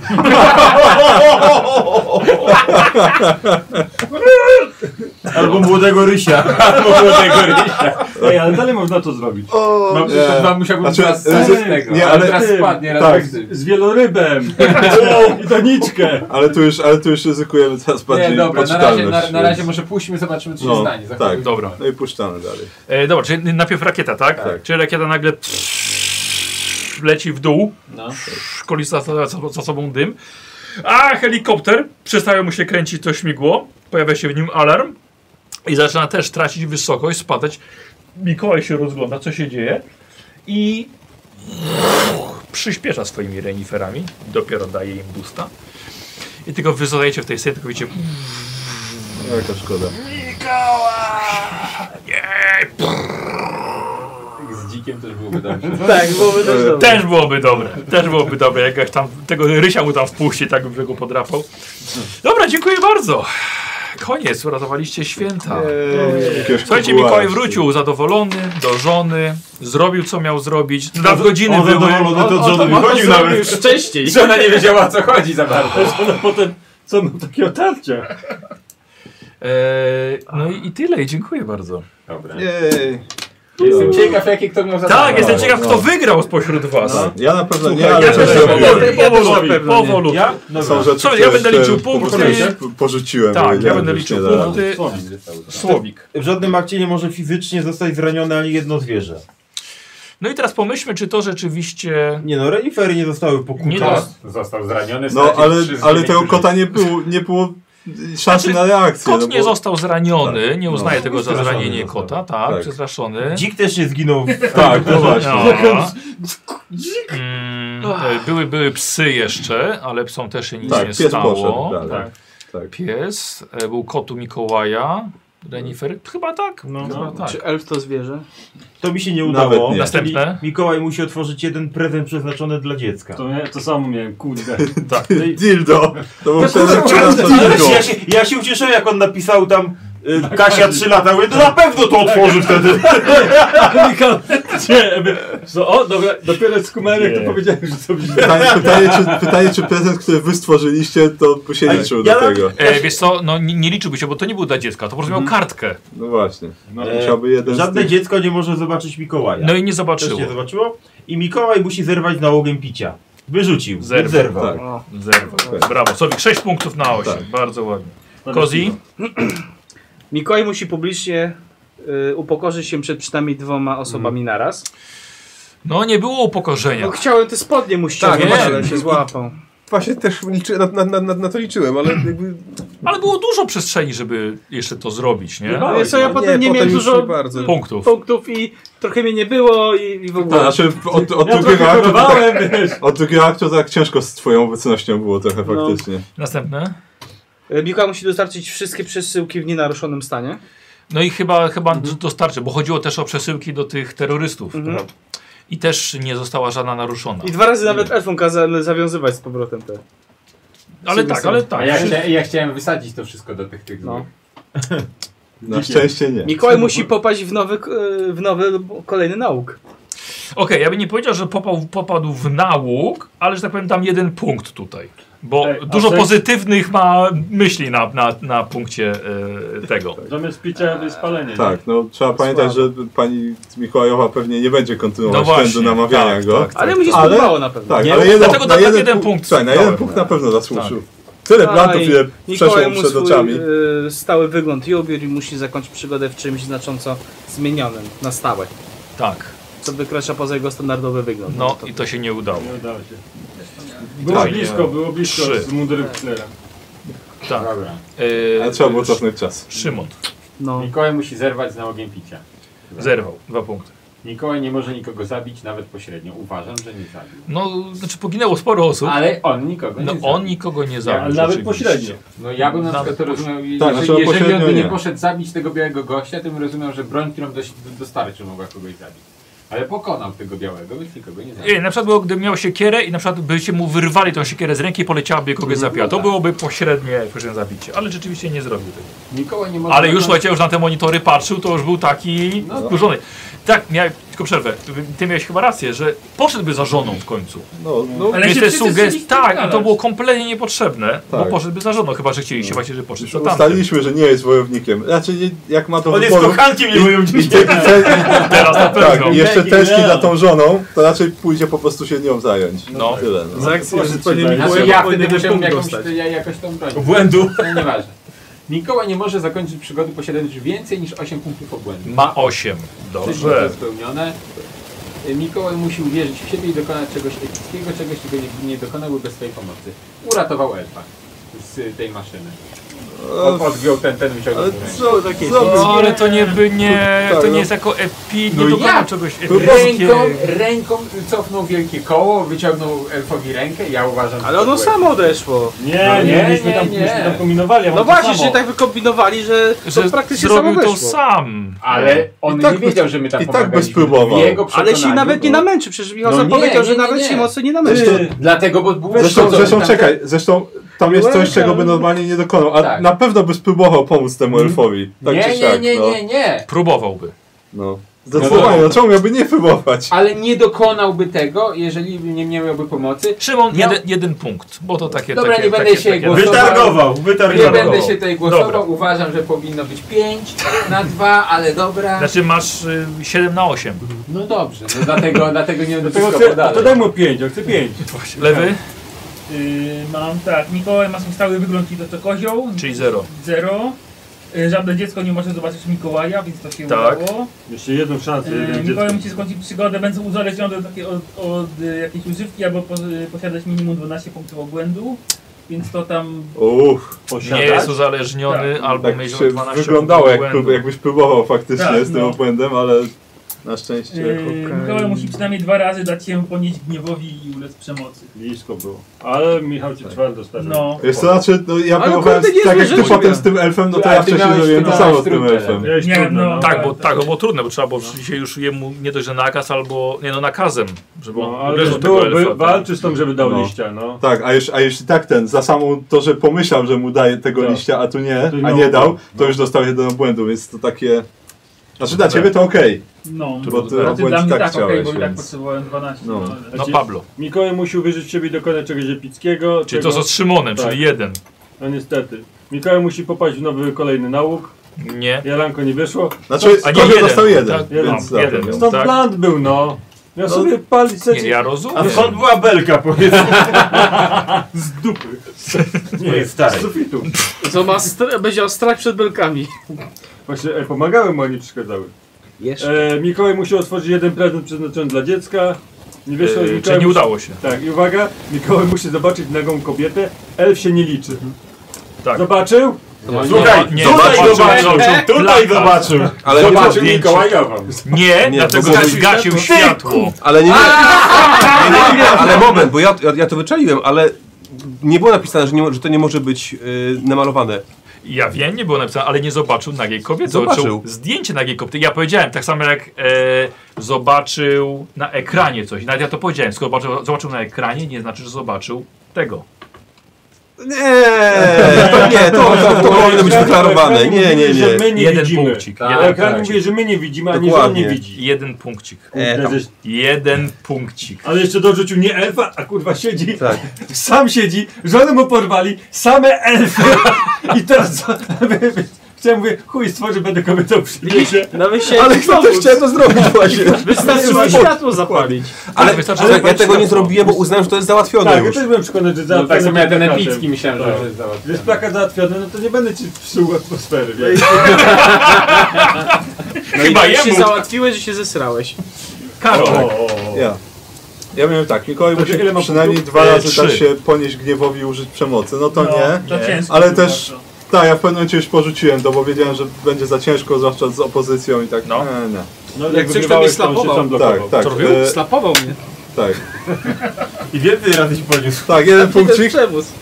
L: Albo młodego rysia. Albo młodego rysia.
E: Ej, ale dalej można to zrobić.
C: O,
G: Przecież wam musiałbym
C: Znaczy,
G: teraz
C: e,
G: z tego.
C: nie,
G: Nie,
C: ale
G: ale teraz
E: ty-
G: spadnie
C: tak.
G: razem z tym.
E: Z wielorybem! I doniczkę!
C: Ale tu już, ale tu już ryzykujemy teraz bardziej
G: Nie, dobra, na razie,
C: poczytalność,
G: na, na
C: więc-
G: razie może pójdźmy, zobaczymy, czy się
C: No,
G: stanie. Za
C: tak.
G: chwilę.
A: Dobra.
C: No i puszczamy dalej.
A: E, dobra, czyli najpierw rakieta, tak?
C: Tak.
A: Czyli rakieta nagle leci w dół,
G: No.
A: szkoli za, za, za sobą dym. A helikopter, przestaje mu się kręcić to śmigło, pojawia się w nim alarm i zaczyna też tracić wysokość, spadać. Mikołaj się rozgląda, co się dzieje i przyspiesza swoimi reniferami, dopiero daje im busta. I tylko wy zostajecie w tej scenie, tylko widzicie
C: No, Jaka szkoda.
G: Z dzikiem też byłoby dobrze.
D: Tak, byłoby też dobre.
A: Też byłoby dobre, też byłoby dobre, jakaś tam, tego rysia mu tam wpuści, tak by go podrapał. Dobra, dziękuję bardzo. Koniec, uratowaliście święta.
C: Jakiegoś
A: Słuchajcie,
C: kubuła
A: Mikołaj
C: jeszcze.
A: wrócił zadowolony do żony, zrobił co miał zrobić, na godziny
L: On
A: były.
L: zadowolony to Johnny wychodził
G: Już
L: nawet.
G: wcześniej. Żona nie wiedziała, o co chodzi za bardzo.
E: Ona potem, co mam takie otarcia?
A: Eee, no i, i tyle, i dziękuję bardzo.
G: Dobra.
C: Jej.
G: Jestem ciekaw, jakie kto miał zadanie.
A: Tak, jestem ciekaw, kto wygrał spośród was.
C: Ja na pewno nie,
A: Ja
C: ale
A: też
C: coś zrobiłem.
A: powoli, powoli, powoli.
L: Ja? Dobra.
C: Są rzeczy,
A: Co, ja
C: które
A: będę
C: się
A: liczył
C: po prostu
A: punkty.
C: już Porzuciłem. bo
A: Tak, ja
C: wiedziałem,
A: będę
C: że już
A: liczył
C: nie da.
A: punkty. Słowik.
L: W żadnym akcie nie może fizycznie zostać zranione ani jedno zwierzę.
A: No i teraz pomyślmy, czy to rzeczywiście...
L: Nie no, renifery nie zostały
A: Nie
L: pokute.
A: dos-
G: Został zraniony.
C: No,
G: stracił
C: ale,
G: trzy z
C: ale
G: dziewięciu
C: tego
G: życia.
C: kota nie było, nie było szansy
A: Znaczy,
C: na reakcję.
A: Kot
C: no
A: nie
C: bo-
A: został zraniony, nie uznaję
L: No.
A: tego za
L: Przestraszony
A: zranienie
L: został.
A: kota, tak,
C: Tak.
A: przestraszony.
L: Dzik też nie zginął. W...
C: Tak, no właśnie.
A: No. Mm, e, były, były psy jeszcze, ale psom też się nic
C: Tak,
A: nie
C: pies
A: stało.
C: poszedł dalej.
A: Tak.
C: Tak.
A: Pies, e, był kotu Mikołaja, Renifer, chyba tak.
L: No,
A: chyba tak.
D: Czy elf to zwierzę?
L: To mi się nie
C: Nawet
L: udało.
C: nie.
A: Następne?
L: Mikołaj musi otworzyć jeden prezent przeznaczony dla dziecka.
E: To, ja, to samo miałem, kurde.
C: Dildo. To
A: No
C: był
L: Ale się,
C: dildo.
L: ja, się, ja się ucieszyłem, jak on napisał tam y, Kasia 3 lata. Mówię, to na pewno to otworzy wtedy.
E: Gdzie? Co? O, dobra, dopiero skumałem, jak to powiedziałem, że to widzę.
C: Pytanie, pytanie, czy, pytanie, czy prezent, który wy stworzyliście, to by się
L: Ale
C: liczył
L: ja
C: do
L: na-
C: tego.
A: E, wiesz co, no, nie, nie liczyłby się, bo to nie był dla dziecka, to po prostu miał kartkę.
C: No właśnie.
L: E,
C: Musiałby jeden z
L: Żadne
C: tych...
L: dziecko nie może zobaczyć Mikołaja.
A: No i nie
L: Też
A: zobaczyło.
L: nie zobaczyło. I Mikołaj musi zerwać nałogiem picia. Wyrzucił.
A: Zerwał.
L: Zerwał. Zerwał.
C: Tak.
D: O,
A: Zerwał. Brawo, Słowik, 6 punktów na 8, bardzo ładnie. Kozi?
D: Mikołaj musi publicznie y, upokorzyć się przed przynajmniej dwoma osobami naraz.
A: No nie było upokorzenia.
D: No, chciałem te spodnie mu
I: Tak,
D: ściągnąć,
A: właśnie.
D: ale się złapał.
I: Właśnie też liczy, na, na, na, na to liczyłem, ale jakby...
A: Ale było dużo przestrzeni, żeby jeszcze to zrobić, nie?
D: No, wiesz co, ja potem nie,
I: potem
D: miałem
I: już
D: dużo
I: nie bardzo.
A: Punktów.
D: punktów i trochę mnie nie było i, i w
C: To
D: ogóle.
C: znaczy od, od,
E: Ja
C: drugiego
E: trochę
C: aktu, to tak,
E: próbowałem, wiesz.
C: od drugiego aktu tak ciężko z twoją obecnością było trochę
D: No.
C: faktycznie.
A: Następne?
D: Y, Mikołaj musi dostarczyć wszystkie przesyłki w nienaruszonym stanie.
A: No i chyba, chyba dostarczy, bo chodziło też o przesyłki do tych terrorystów.
D: Mhm.
A: I też nie została żadna naruszona.
D: I dwa razy nawet elfom kazałem zawiązywać z powrotem te.
A: Ale tak, ale
G: A
A: tak.
G: ja, chcia, ja chciałem wysadzić to wszystko do tych tych
D: No.
G: złych.
C: Na szczęście nie.
D: Mikołaj musi popaść w nowy, k- y, w nowy lub kolejny nauk.
A: Okej, ja bym nie powiedział, że popał, popadł w nałóg, ale że tak powiem, tam jeden punkt tutaj. Bo
E: Ej, a
A: dużo
E: coś-
A: pozytywnych ma myśli na, na, na punkcie e, tego.
E: Zamiast picia jest palenie.
C: Tak, no trzeba pamiętać, że pani Mikołajowa pewnie nie będzie kontynuować
A: No
C: trendu
A: właśnie,
C: namawiania
A: tak,
C: go.
A: tak,
C: Tak,
D: Ale mu się
C: Ale-
D: spodobało na pewno.
C: tak
A: Nie,
C: ale jeden,
A: dlatego
C: na
A: tak
C: jeden
A: jeden
C: punkt,
A: punkt Tak.
C: słuchaj, na jeden
A: dałem,
C: punkt
A: tak.
C: na pewno zasłużył. Tyle
D: A,
C: plantów,
D: i
C: ile przeszło
D: Mikołaj
C: mu
D: mu
C: przed
D: swój e,
C: oczami.
A: e,
D: y, stały wygląd i ubiór i musi zakończyć przygodę w czymś znacząco zmienionym na stałe.
A: Tak.
D: Co wykracza poza jego standardowy wygląd.
A: No i to się nie udało.
B: Nie udało się. Było
A: Tak,
B: blisko, było blisko
A: Trzy.
B: z mundurem Hitlera.
A: Tak.
C: Ale trzeba było cofnąć czas.
A: Szymon
D: No.
G: Mikołaj musi zerwać z nałogiem picia.
A: zerwał dwa punkty.
G: Mikołaj nie może nikogo zabić, nawet pośrednio. Uważam, że nie zabił.
A: No, znaczy poginęło sporo osób.
G: Ale on nikogo nie
A: No
G: zabił.
A: on nikogo nie zabił.
B: ale nawet
A: rzeczywiście.
B: pośrednio.
G: No ja bym na
A: Nawet
G: przykład to rozumiał, jeżeli,
C: Tak, znaczy
G: jeżeli on
C: pośrednio
G: by nie
C: nie.
G: poszedł zabić tego białego gościa, to bym rozumiał, że broń, którą doś- dostarczył, mogła kogoś zabić. Ale pokonał tego białego, więc nikogo nie zabił.
A: Nie, na przykład było, gdy miał siekierę i na przykład by się mu wyrwali tą siekierę z ręki i poleciałaby kogoś zabiła. To byłoby pośrednie, pośrednie zabicie, ale rzeczywiście nie zrobił tego.
G: Nikogo nie może
A: Ale już
G: zabić.
A: słuchajcie, już na te monitory patrzył, to już był taki
G: No.
A: wkurzony. Tak, miałem tylko przerwę. Ty miałeś chyba rację, że poszedłby za żoną w końcu.
C: No, no,
U: Ale
A: Więc
U: się
A: te
U: wszyscy
A: sugestie,
U: chcieli
A: tak, i
U: wpierdalać.
A: to było kompletnie niepotrzebne, bo
C: Tak. No.
A: poszedłby za żoną, chyba że chcieli się właśnie, że poszedł
C: już
A: za tamtym.
C: ustaliliśmy, że nie jest wojownikiem. Raczej nie, jak ma to
H: On jest
C: wyboru-
H: kochankiem, nie mówią
C: I, i, te, te,
A: Teraz na
C: tak,
A: pewno.
C: i jeszcze
B: Nie,
C: tęskni
B: nie.
C: za tą żoną, to raczej pójdzie po prostu się nią zająć.
A: No.
C: No. Tyle. No.
D: Za
L: Tak,
D: akcję, że panie
G: Ja,
D: Mikołaj
G: Znaczy, ja
D: powinien
G: wtedy
D: ten
G: musiałem
D: punkt
G: jakąś,
D: dostać.
G: ja jakoś tą broń.
H: Błędu.
G: No nieważne. Mikołaj nie może zakończyć przygody posiadając więcej niż 8 punktów obłędu.
A: Ma 8. Dobrze.
G: Wszystko spełnione. Y, Mikołaj musi uwierzyć w siebie i dokonać czegoś epickiego, czegoś, czego nie, nie dokonałby bez swojej pomocy. Uratował elfa z y, tej maszyny. Od, odgiął ten, ten wyciągnął.
C: Ale
G: rękę.
C: co, co
A: No, ale to nie by nie,
C: Tak,
A: to nie
C: no.
A: jest jako epi, nie
G: No
A: dokonał
G: jak?
A: czegoś
G: Ręką,
A: epickiego.
G: ręką cofnął wielkie koło, wyciągnął elfowi rękę, ja uważam, że
D: Ale ono
G: to było-
D: samo odeszło.
B: Nie,
G: nie,
B: nie, myśmy tam,
G: nie,
B: myśmy tam
G: nie.
B: kombinowali.
D: No właśnie, że tak wykombinowali, że to
A: Że
D: praktycznie samo
A: zrobił to
D: wyszło.
A: sam.
G: Ale on
C: I tak
G: nie
C: bez-
G: wiedział, że my tam
C: i tak
G: pomagaliśmy.
C: bez próbował.
G: W Jego
D: Ale się
G: przekonaniu
D: nawet nie
G: było-
D: namęczy, przecież Michał
G: No
D: sam
G: nie,
D: powiedział,
G: nie,
D: że
G: nie,
D: nawet
G: nie.
D: się mocno nie namęczy.
G: Dlatego, bo był
C: Zresztą,
G: wkurzony.
C: zresztą czekaj, zresztą tam jest coś, czego by normalnie nie dokonał, a
G: Tak.
C: na pewno by spróbował pomóc temu
A: Mhm.
C: elfowi. Tak
G: nie,
C: czy
G: nie,
C: siak,
G: nie,
C: no.
G: nie, nie.
A: Próbowałby.
C: No. Zdecydowanie, no czemu miałby nie próbować?
G: Ale nie dokonałby tego, jeżeli nie miałby pomocy.
A: Szymon,
G: Miał-
A: jeden, jeden punkt, bo to takie...
G: Dobra,
A: takie,
G: nie
A: takie,
G: będę się
A: takie,
G: głosował.
H: Wytargował,
G: Nie
H: wytargował.
G: będę się tutaj głosował.
A: Dobra.
G: Uważam, że powinno być 5 na 2, ale dobra.
A: Znaczy masz y, 7 na 8.
G: No dobrze, no dlatego, dlatego nie będę
B: Tego
G: wszystko
B: chcę, to daj
G: podalał.
B: mu pięć, ja chcę pięć.
A: Lewy,
U: Yy, mam tak, Mikołaj ma swój stały wygląd i to co kozioł,
A: czyli 0.
U: zero. Yy, żadne dziecko nie może zobaczyć Mikołaja, więc to się
A: Tak.
U: udało.
B: Jeszcze jedną szansę,
U: Yy,
B: jeden
U: Mikołaj
B: dziecko.
U: musi skończyć przygodę, będąc uzależniony od, takiej- od, od y, jakiejś używki albo po, y, posiadać minimum 12 punktów obłędu. Więc to tam
C: Uff,
A: Nie
B: Posiadać?
A: jest uzależniony albo
C: tak
A: mieć
C: się
A: 12
C: wyglądało, jak
A: punktów
C: prób,
A: błędu.
C: jakbyś próbował faktycznie
U: Tak,
C: z tym
U: no.
C: obłędem, ale na szczęście...
U: yy, Mikołaj musi przynajmniej dwa razy dać się ponieść gniewowi i ulec przemocy.
B: Blisko było. Ale Michał cię twardo stawił.
U: No.
C: Wiesz co, znaczy, no ja
D: Ale
C: próbowałem,
D: kurde, niezłe
C: tak jak ty
D: rzeczy
C: potem
D: miał.
C: z tym elfem, no to
G: Ale
C: ja
G: ty
C: wcześniej
G: miałeś-
C: robiłem to
G: miałeś
C: samo z tym
G: trójkę.
C: elfem.
B: Miałeś
U: Nie,
B: trudno,
U: no.
B: no.
A: Tak, bo tak, bo trudne, bo trzeba było dzisiaj już jemu nie dość, że nakaz albo, nie no nakazem, żeby on
B: No, ale
A: uderzył
B: też
A: tego
B: byłoby,
A: elfa, tak.
B: walczy z tą, żeby dał
C: No.
B: liścia, no.
C: Tak, a już, a jeśli tak ten, za samą to, że pomyślał, że mu daje tego
B: Tak.
C: liścia, a tu nie,
B: To
C: a
B: miał
C: nie dał,
B: błąd,
C: to już dostał jeden błędu, więc to takie... Znaczy dla ciebie to okej,
U: No,
A: Tu-
C: bo ty
A: Znaczy,
U: Znaczy, dla
C: obłęd
U: mnie tak,
C: tak,
U: okej,
C: chciałeś,
U: bo i tak
C: więc...
U: potrzebowałem 12.
C: No.
U: No. ale-
A: No Pablo,
B: Znaczy, Mikołaj musi uwierzyć w siebie i dokonać czegoś epickiego.
A: czyli to
B: czego-
A: co z Szymonem,
B: Tak.
A: czyli jeden.
B: No niestety. Mikołaj musi popaść w nowy, kolejny nauk.
A: Nie.
B: Jalanko nie wyszło.
C: Znaczy,
A: A nie
C: to, że
A: jeden,
C: dostał jeden,
A: tak?
C: więc...
A: No, jeden.
C: zapomniał.
B: Stąd
A: tak.
B: bland był, no. Ja sobie palić
A: Nie, ja rozumiem.
H: A skąd była belka, powiedz?
B: z dupy.
V: Nie jest stary.
B: Z sufitu.
D: Co ma str- będzie miał strach przed belkami.
B: Właśnie e, pomagały mu, a nie przeszkadzały.
D: Jeszcze.
B: E, Mikołaj musi otworzyć jeden prezent przeznaczony dla dziecka. Nie wyszło i
A: Yy,
B: Mikołaj
A: czyli nie
B: musi...
A: udało się.
B: Tak, i uwaga, Mikołaj musi zobaczyć nagą kobietę. Elf się nie liczy.
A: Tak.
B: Zobaczył?
H: Słuchaj,
A: nie,
H: tutaj
A: zobaczył,
H: zobaczył,
A: zobaczył, plakat.
H: tutaj zobaczył.
I: Ale nie
H: Zobaczył
I: zobaczył
H: Mikołajową.
A: Nie,
I: Nie,
A: dlatego
I: bo
A: że
I: zgasił
A: zgasił światło.
I: Ale nie, nie, nie, nie, nie ale moment, bo ja, ja, ja to wyczaiłem, ale nie było napisane, że, nie, mo- że to nie może być y, namalowane.
A: Ja wiem, nie było napisane, ale nie zobaczył nagiej kobiety.
I: Zobaczył.
A: zdjęcie nagiej kobiety. Ja powiedziałem, tak samo jak e, zobaczył na ekranie coś. Nawet ja to powiedziałem. Skoro zobaczył, zobaczył na ekranie, nie znaczy, że zobaczył tego.
I: Nie, to nie, to, to, to powinno być deklarowane. Nie, nie,
B: Że
I: nie.
B: my nie
A: Jeden
B: widzimy.
A: punkcik.
G: Tak.
B: Ale
A: Jeden,
B: ekran mówi, że my nie widzimy, a nie że on
I: Dokładnie.
B: nie widzi.
A: jeden punkcik.
I: E, tam.
B: Prezes-
A: Jeden punkcik.
B: Ale jeszcze dorzucił nie elfa, a kurwa siedzi.
I: Tak.
B: Sam siedzi, żonę mu porwali, same elfy. I teraz co? Chciałem mówię, chuj stworzy, będę kobietą przyniesie.
D: Nawet się
I: Ale kto też chciałem to zrobić właśnie.
D: wystarczyło światło zapalić.
I: Ale,
A: wystarczy
I: ale
A: zabrać
I: ja tego nie
A: światło.
I: zrobiłem, bo uznałem, że to jest załatwione
B: Tak, ja
I: już.
B: też byłem przekonany, że
G: No,
B: załatwiony
G: tak samo ja ten
B: plakatem.
G: epicki myślałem,
B: Tak.
G: że to jest
B: Jest
G: załatwione.
B: plakat załatwiony, no to nie będę ci psuł atmosfery, wiesz?
A: Chyba
D: jak się
A: jemu.
D: załatwiłeś, że się zesrałeś.
A: Karol.
C: Tak. Ja. Ja miałem tak, Mikołaj musi przynajmniej dwa
A: E,
C: razy dać
A: trzy.
C: się ponieść gniewowi i użyć przemocy. No to
F: No,
C: nie.
F: to ciężko
C: Ale
F: było
C: też. Tak, ja w pewnym momencie już porzuciłem to, bo wiedziałem, że będzie za ciężko, zwłaszcza z opozycją i tak. No, nie.
B: No,
D: Jak coś to mnie slapował.
C: Tak, tak.
A: Co robił?
C: e,
D: Slapował mnie.
C: Tak.
L: I więcej razy się poniósł.
C: Tak, jeden
D: Ten
C: punkcik.
D: przewóz.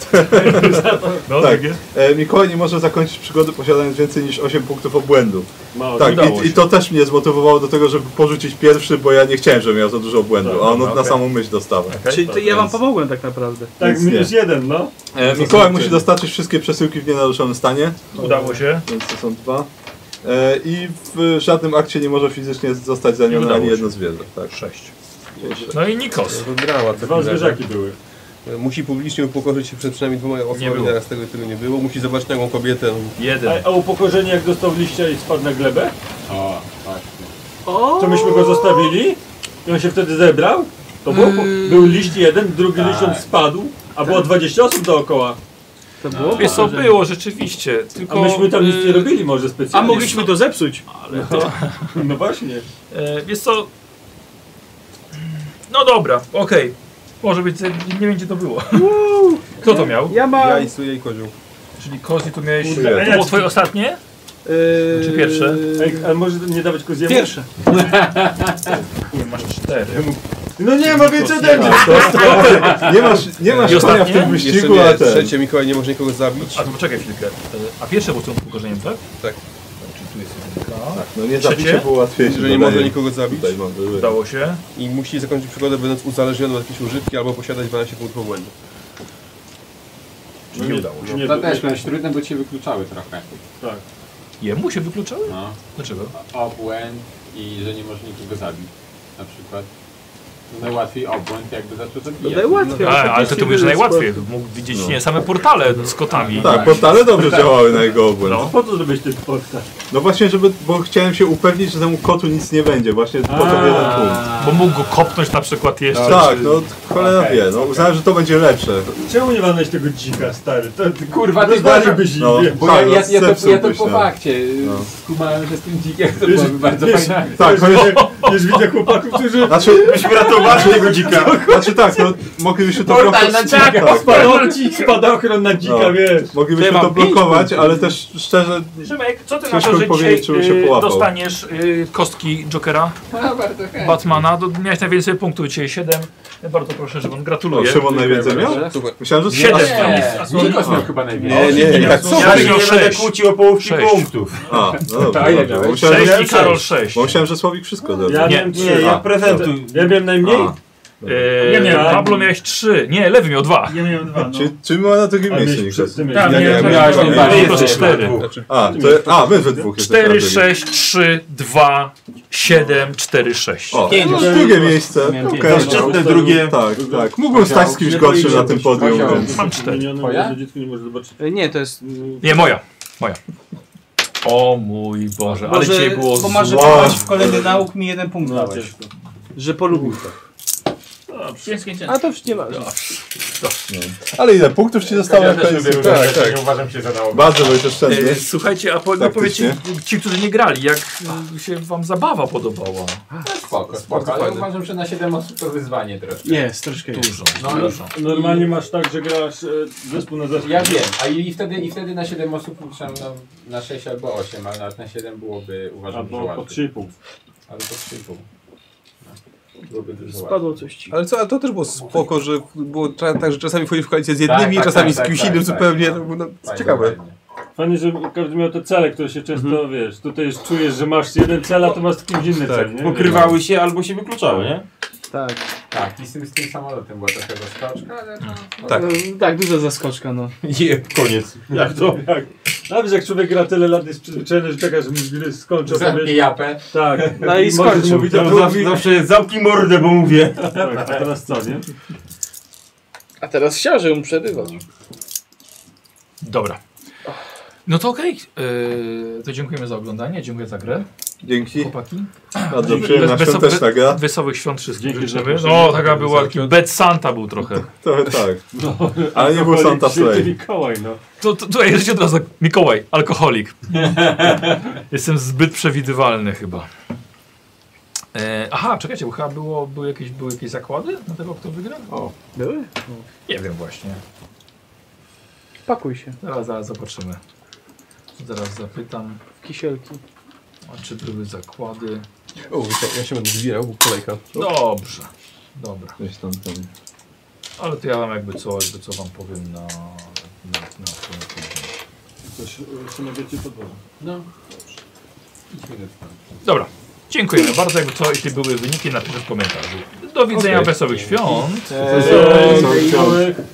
A: No,
C: Tak.
A: drugie.
C: E, Mikołaj nie może zakończyć przygody posiadając więcej niż 8 punktów obłędu.
B: Mało
C: Tak,
A: udało
C: i, i
A: się.
C: to też mnie zmotywowało do tego, żeby porzucić pierwszy, bo ja nie chciałem, żeby miał za dużo
A: No,
C: błędu, a on na samą myśl dostał.
A: Tak.
D: Czyli to ja wam pomogłem tak naprawdę.
B: Tak,
C: Nic nie.
B: minus jeden, no.
C: E, Mikołaj musi dostarczyć wszystkie przesyłki w nienaruszonym stanie,
A: Udało się.
C: więc to są dwa. E, I w żadnym akcie nie może fizycznie zostać
A: Nie
C: zanione
A: udało
C: ani
A: się.
C: jedno zwierzę. Tak.
A: Sześć. No i Nikos.
I: Wygrała
B: Dwa zwierzaki były.
I: E, Musi publicznie upokorzyć się przed przynajmniej dwoma osobami,
A: było.
I: teraz tego tylu nie było. Musi zobaczyć nagą kobietę.
A: Jeden.
B: A, a upokorzenie jak dostał liścia i spadł na glebę?
G: O, właśnie.
B: To myśmy go zostawili i on się wtedy zebrał. To był,
D: Mm.
B: był liść jeden, drugi liść on spadł, a było 20 osób dookoła.
D: To było?
A: Wiesz co, było rzeczywiście,
B: A
A: tylko...
B: myśmy tam nic nie
A: y,
B: robili może
D: A
B: specjalnie.
D: mogliśmy to zepsuć.
A: Ale to...
B: No właśnie.
A: E, wiesz co... No dobra, okej. Może być, nie wiem gdzie to było. Kto to miał?
D: Ja mam...
I: Ja i suje i kozioł.
A: Czyli Kozi tu miałeś...
B: Kurde.
A: To było twoje ostatnie?
D: Yy,
A: Czy pierwsze?
B: Ej, a No może nie dawać koziemu?
D: Pierwsze.
A: Nie, masz cztery.
B: No nie ma więcej ode mnie!
C: Nie masz, nie masz
A: I
C: konia w
A: ostatnie?
C: tym
I: Jeszcze
C: wyścigu, a
I: nie,
C: ten.
I: trzecie Mikołaj nie może nikogo zabić.
A: A to poczekaj chwilkę. E, A pierwsze było z tym ukorzeniem, tak?
I: Tak.
A: Czyli tu jest jedynka.
C: No nie
A: Trzecie?
C: zabicie było łatwiejsze.
I: Że nie
C: dodaję.
I: może nikogo zabić
C: Tutaj mam były.
A: Udało się.
I: i musi zakończyć przygodę będąc uzależniony od jakiejś używki albo posiadać 12 punktów błędu.
A: Czyli nie udało się.
B: Nie,
G: To też miałeś trudne, bo cię wykluczały trochę.
B: tak.
A: Jemu się wykluczały?
G: No.
A: Dlaczego?
G: Obłęd i że nie może nikogo zabić. Na przykład. No Najłatwiej obłęd jakby zaczął
D: No
G: zabijać.
D: najłatwiej.
A: A, ale to
D: oczywiście
A: ty mówisz, że
D: wyszło.
A: najłatwiej. Mógł widzieć nie, same portale z kotami.
C: Tak, portale dobrze działały na jego obłęd.
A: No.
B: Po co zrobić ten podcast?
C: No właśnie, żeby, bo chciałem się upewnić, że temu kotu nic nie będzie, właśnie po to jeden punkt.
A: Bo mógł go kopnąć na przykład jeszcze.
C: Tak,
A: czy-
C: no cholera
G: Okej,
C: wie, no uznałem, że to będzie lepsze.
B: Czemu nie walnąć tego dzika, stary? To, ty,
G: Kurwa, ty
B: Rozdalibyś im,
C: No.
B: wie.
G: Bo ja, Tak, ja, ja, to, ja to
C: Zepsułbyś,
G: po
C: no.
G: fakcie
C: No.
G: skumałem, że z tym dzikiem to byłaby bardzo
B: wiesz,
G: fajna
C: Tak,
B: Już,
C: chociaż,
B: widzę- już widzę chłopaków, którzy...
C: znaczy,
L: Myśmy ratowali tego dzika.
C: znaczy tak, no moglibyśmy to blokować. Tak,
B: Spadochron na dzika,
C: No.
B: wiesz.
C: moglibyśmy to blokować, ale też szczerze,
A: Szymek, co ty na
C: Ciężko
A: to,
C: mi
A: że
C: powiedzieć,
A: dzisiaj
C: czemu się
A: y,
C: połapał.
A: dostaniesz y, kostki Jokera
G: No, bardzo chętnie.
A: Batmana? Do, miałeś najwięcej punktów, dzisiaj 7. Bardzo proszę, żeby on
C: no
A: gratuluję.
C: Szymon najwięcej miał?
G: Tak.
I: Super.
C: Myślałem, że
A: Siedem.
C: A,
G: Nie, Nikos miał chyba
I: Nie,
G: najwięcej.
I: nie, nie. Tak,
L: Ja
A: Ja
L: się
A: miał
L: nie będę
A: sześć.
L: kłócił o połówki
A: Sześć.
L: punktów.
C: A, no dobra,
G: Tak,
C: dobra.
G: tak.
C: Bo myślałem, że,
A: 6 i Karol 6.
C: bo myślałem, że Słowik wszystko zrobił.
B: Ja
A: Nie,
B: miałem
L: Nie,
B: trzy.
L: ja
C: A,
L: prezentu.
B: Ja miałem najmniej.
C: A.
A: Eee,
B: É,
F: Ja miałem-
A: Pablo miałeś 3. Nie, Lewy miał 2.
F: Ja miałem dwa, no.
C: Czy, czy my mamy na drugim
B: A
C: miejscu,
B: mieliśmy
C: Nikos?
B: przed tym
F: Tak,
B: ja,
F: nie,
I: nie,
F: tak,
I: miałeś
F: tak,
I: on
F: tak.
A: Wy
L: jest
A: jesteś
L: jeszcze
A: cztery.
L: dwóch.
I: Znaczy-
C: A, to, a, wy we dwóch jesteście
A: 4,
C: na drugim.
A: 6, 3, 2, 7, 4, 6.
C: O,
D: Pięć.
C: no, drugie miejsce.
D: Miałem
C: Okej.
D: pięć.
L: Szczytne drugie.
C: Tak, tak. Mógłbym stać z kimś gorszym na tym podium,
G: Musiał.
C: więc...
A: Mam 4.
B: Zmieniony,
G: Twoja?
B: bo dziecko nie może zobaczyć.
D: E, Nie, to jest...
A: Nie, moja. Moja. O mój Boże, ale
D: Boże,
A: dzisiaj było
D: bo
A: zło. No,
D: masz wypaść w kolejny nauk mi jeden punkt dałeś. Że polubił.
A: tak.
F: Ciężkie, ciężkie.
D: A to już nie ma.
C: Ale ile punktów ci zostało na
G: Ja też lubię
C: końcu?
G: różne
C: Tak,
G: rzeczy,
C: tak.
G: nie uważam się za nałogowe.
C: Bardzo byłeś oszczędny.
A: E, słuchajcie, a po, no powiedzcie, ci, którzy nie grali, jak y, się wam zabawa podobała?
G: Spoko, spoko, ale uważam, że na 7 osób to wyzwanie trochę.
D: Jest, troszkę jest.
A: Dużo,
G: No,
A: dużo.
B: Normalnie masz tak, że grasz e, zespół na zespół.
G: Ja wiem, a i wtedy, i wtedy na 7 osób liczyłem na, na 6 albo 8, ale nawet na 7 byłoby uważam, że
B: Albo No, po
G: łatwiej.
B: 3,5.
G: Ale po 3,5. No. Byłoby dużo łatwiej.
D: Spadło coś ci.
I: Ale co, ale to też było spoko, że było cza- tak, że czasami wchodzisz w koalicję z jednymi,
G: tak,
I: czasami
G: tak,
I: z
G: tak,
I: kimś
G: tak,
I: innym
G: tak.
I: zupełnie. To było no,
G: Fajnie,
I: ciekawe.
G: fajnie.
B: Fajnie, że każdy miał te cele, które się często,
C: Mhm.
B: wiesz, tutaj już czujesz, że masz jeden cel, a to masz kimś inny
C: Tak,
B: cel, nie?
L: Pokrywały się albo się wykluczały, nie?
D: Tak.
G: Tak, i z tym, z tym samolotem była taka rozkoczka, ale no,
I: Tak.
D: No, tak, duża zaskoczka, no.
L: Jeb, koniec.
B: Jak to? Jak? A wiesz, jak człowiek gra tyle lat, jest przyzwyczajony, że czeka, że mu gry skończy.
G: Zamknij
B: powiesz,
G: japę.
B: Tak.
D: No i
B: możesz
D: skończył.
B: mówić,
L: Tam
B: a
L: zawsze,
B: drugi-
L: zawsze jest zamknij mordę, bo mówię.
B: Tak, a teraz co, nie?
D: A teraz siarze mu przerywać.
A: Dobra. No to okej. y, to dziękujemy za oglądanie, dziękuję za grę.
C: Dzięki.
A: Chłopaki.
C: Bardzo przyjemna świąteczna gra.
A: Wesołych świąt wszystkich życzymy. No, taka była, taki Bed Santa był trochę.
C: Trochę tak. Ale nie był Santa Slay.
E: Mikołaj, no.
A: To, to, to jedziecie od razu, tak, Mikołaj, alkoholik. Jestem zbyt przewidywalny chyba. E, aha, czekajcie, bo chyba było, były, jakieś, były jakieś zakłady na tego, kto wygra?
C: O,
D: Były?
A: Nie wiem właśnie.
D: Pakuj się.
A: Zaraz, zaraz zobaczymy. Zaraz zapytam,
D: Kisielki.
A: a czy były zakłady.
I: O, ja się będę zbierał, bo kolejka.
A: Dobrze, dobra.
I: Weź tam, tam.
A: Ale to ja wam jakby co, jakby co wam powiem na... na, na, na
E: Coś ustanawiacie podwórze.
D: No.
A: Dobra, dziękujemy bardzo. Jakby co, jeśli były wyniki, napiszę w komentarzu. Do widzenia, wesołych świąt.
E: Eee,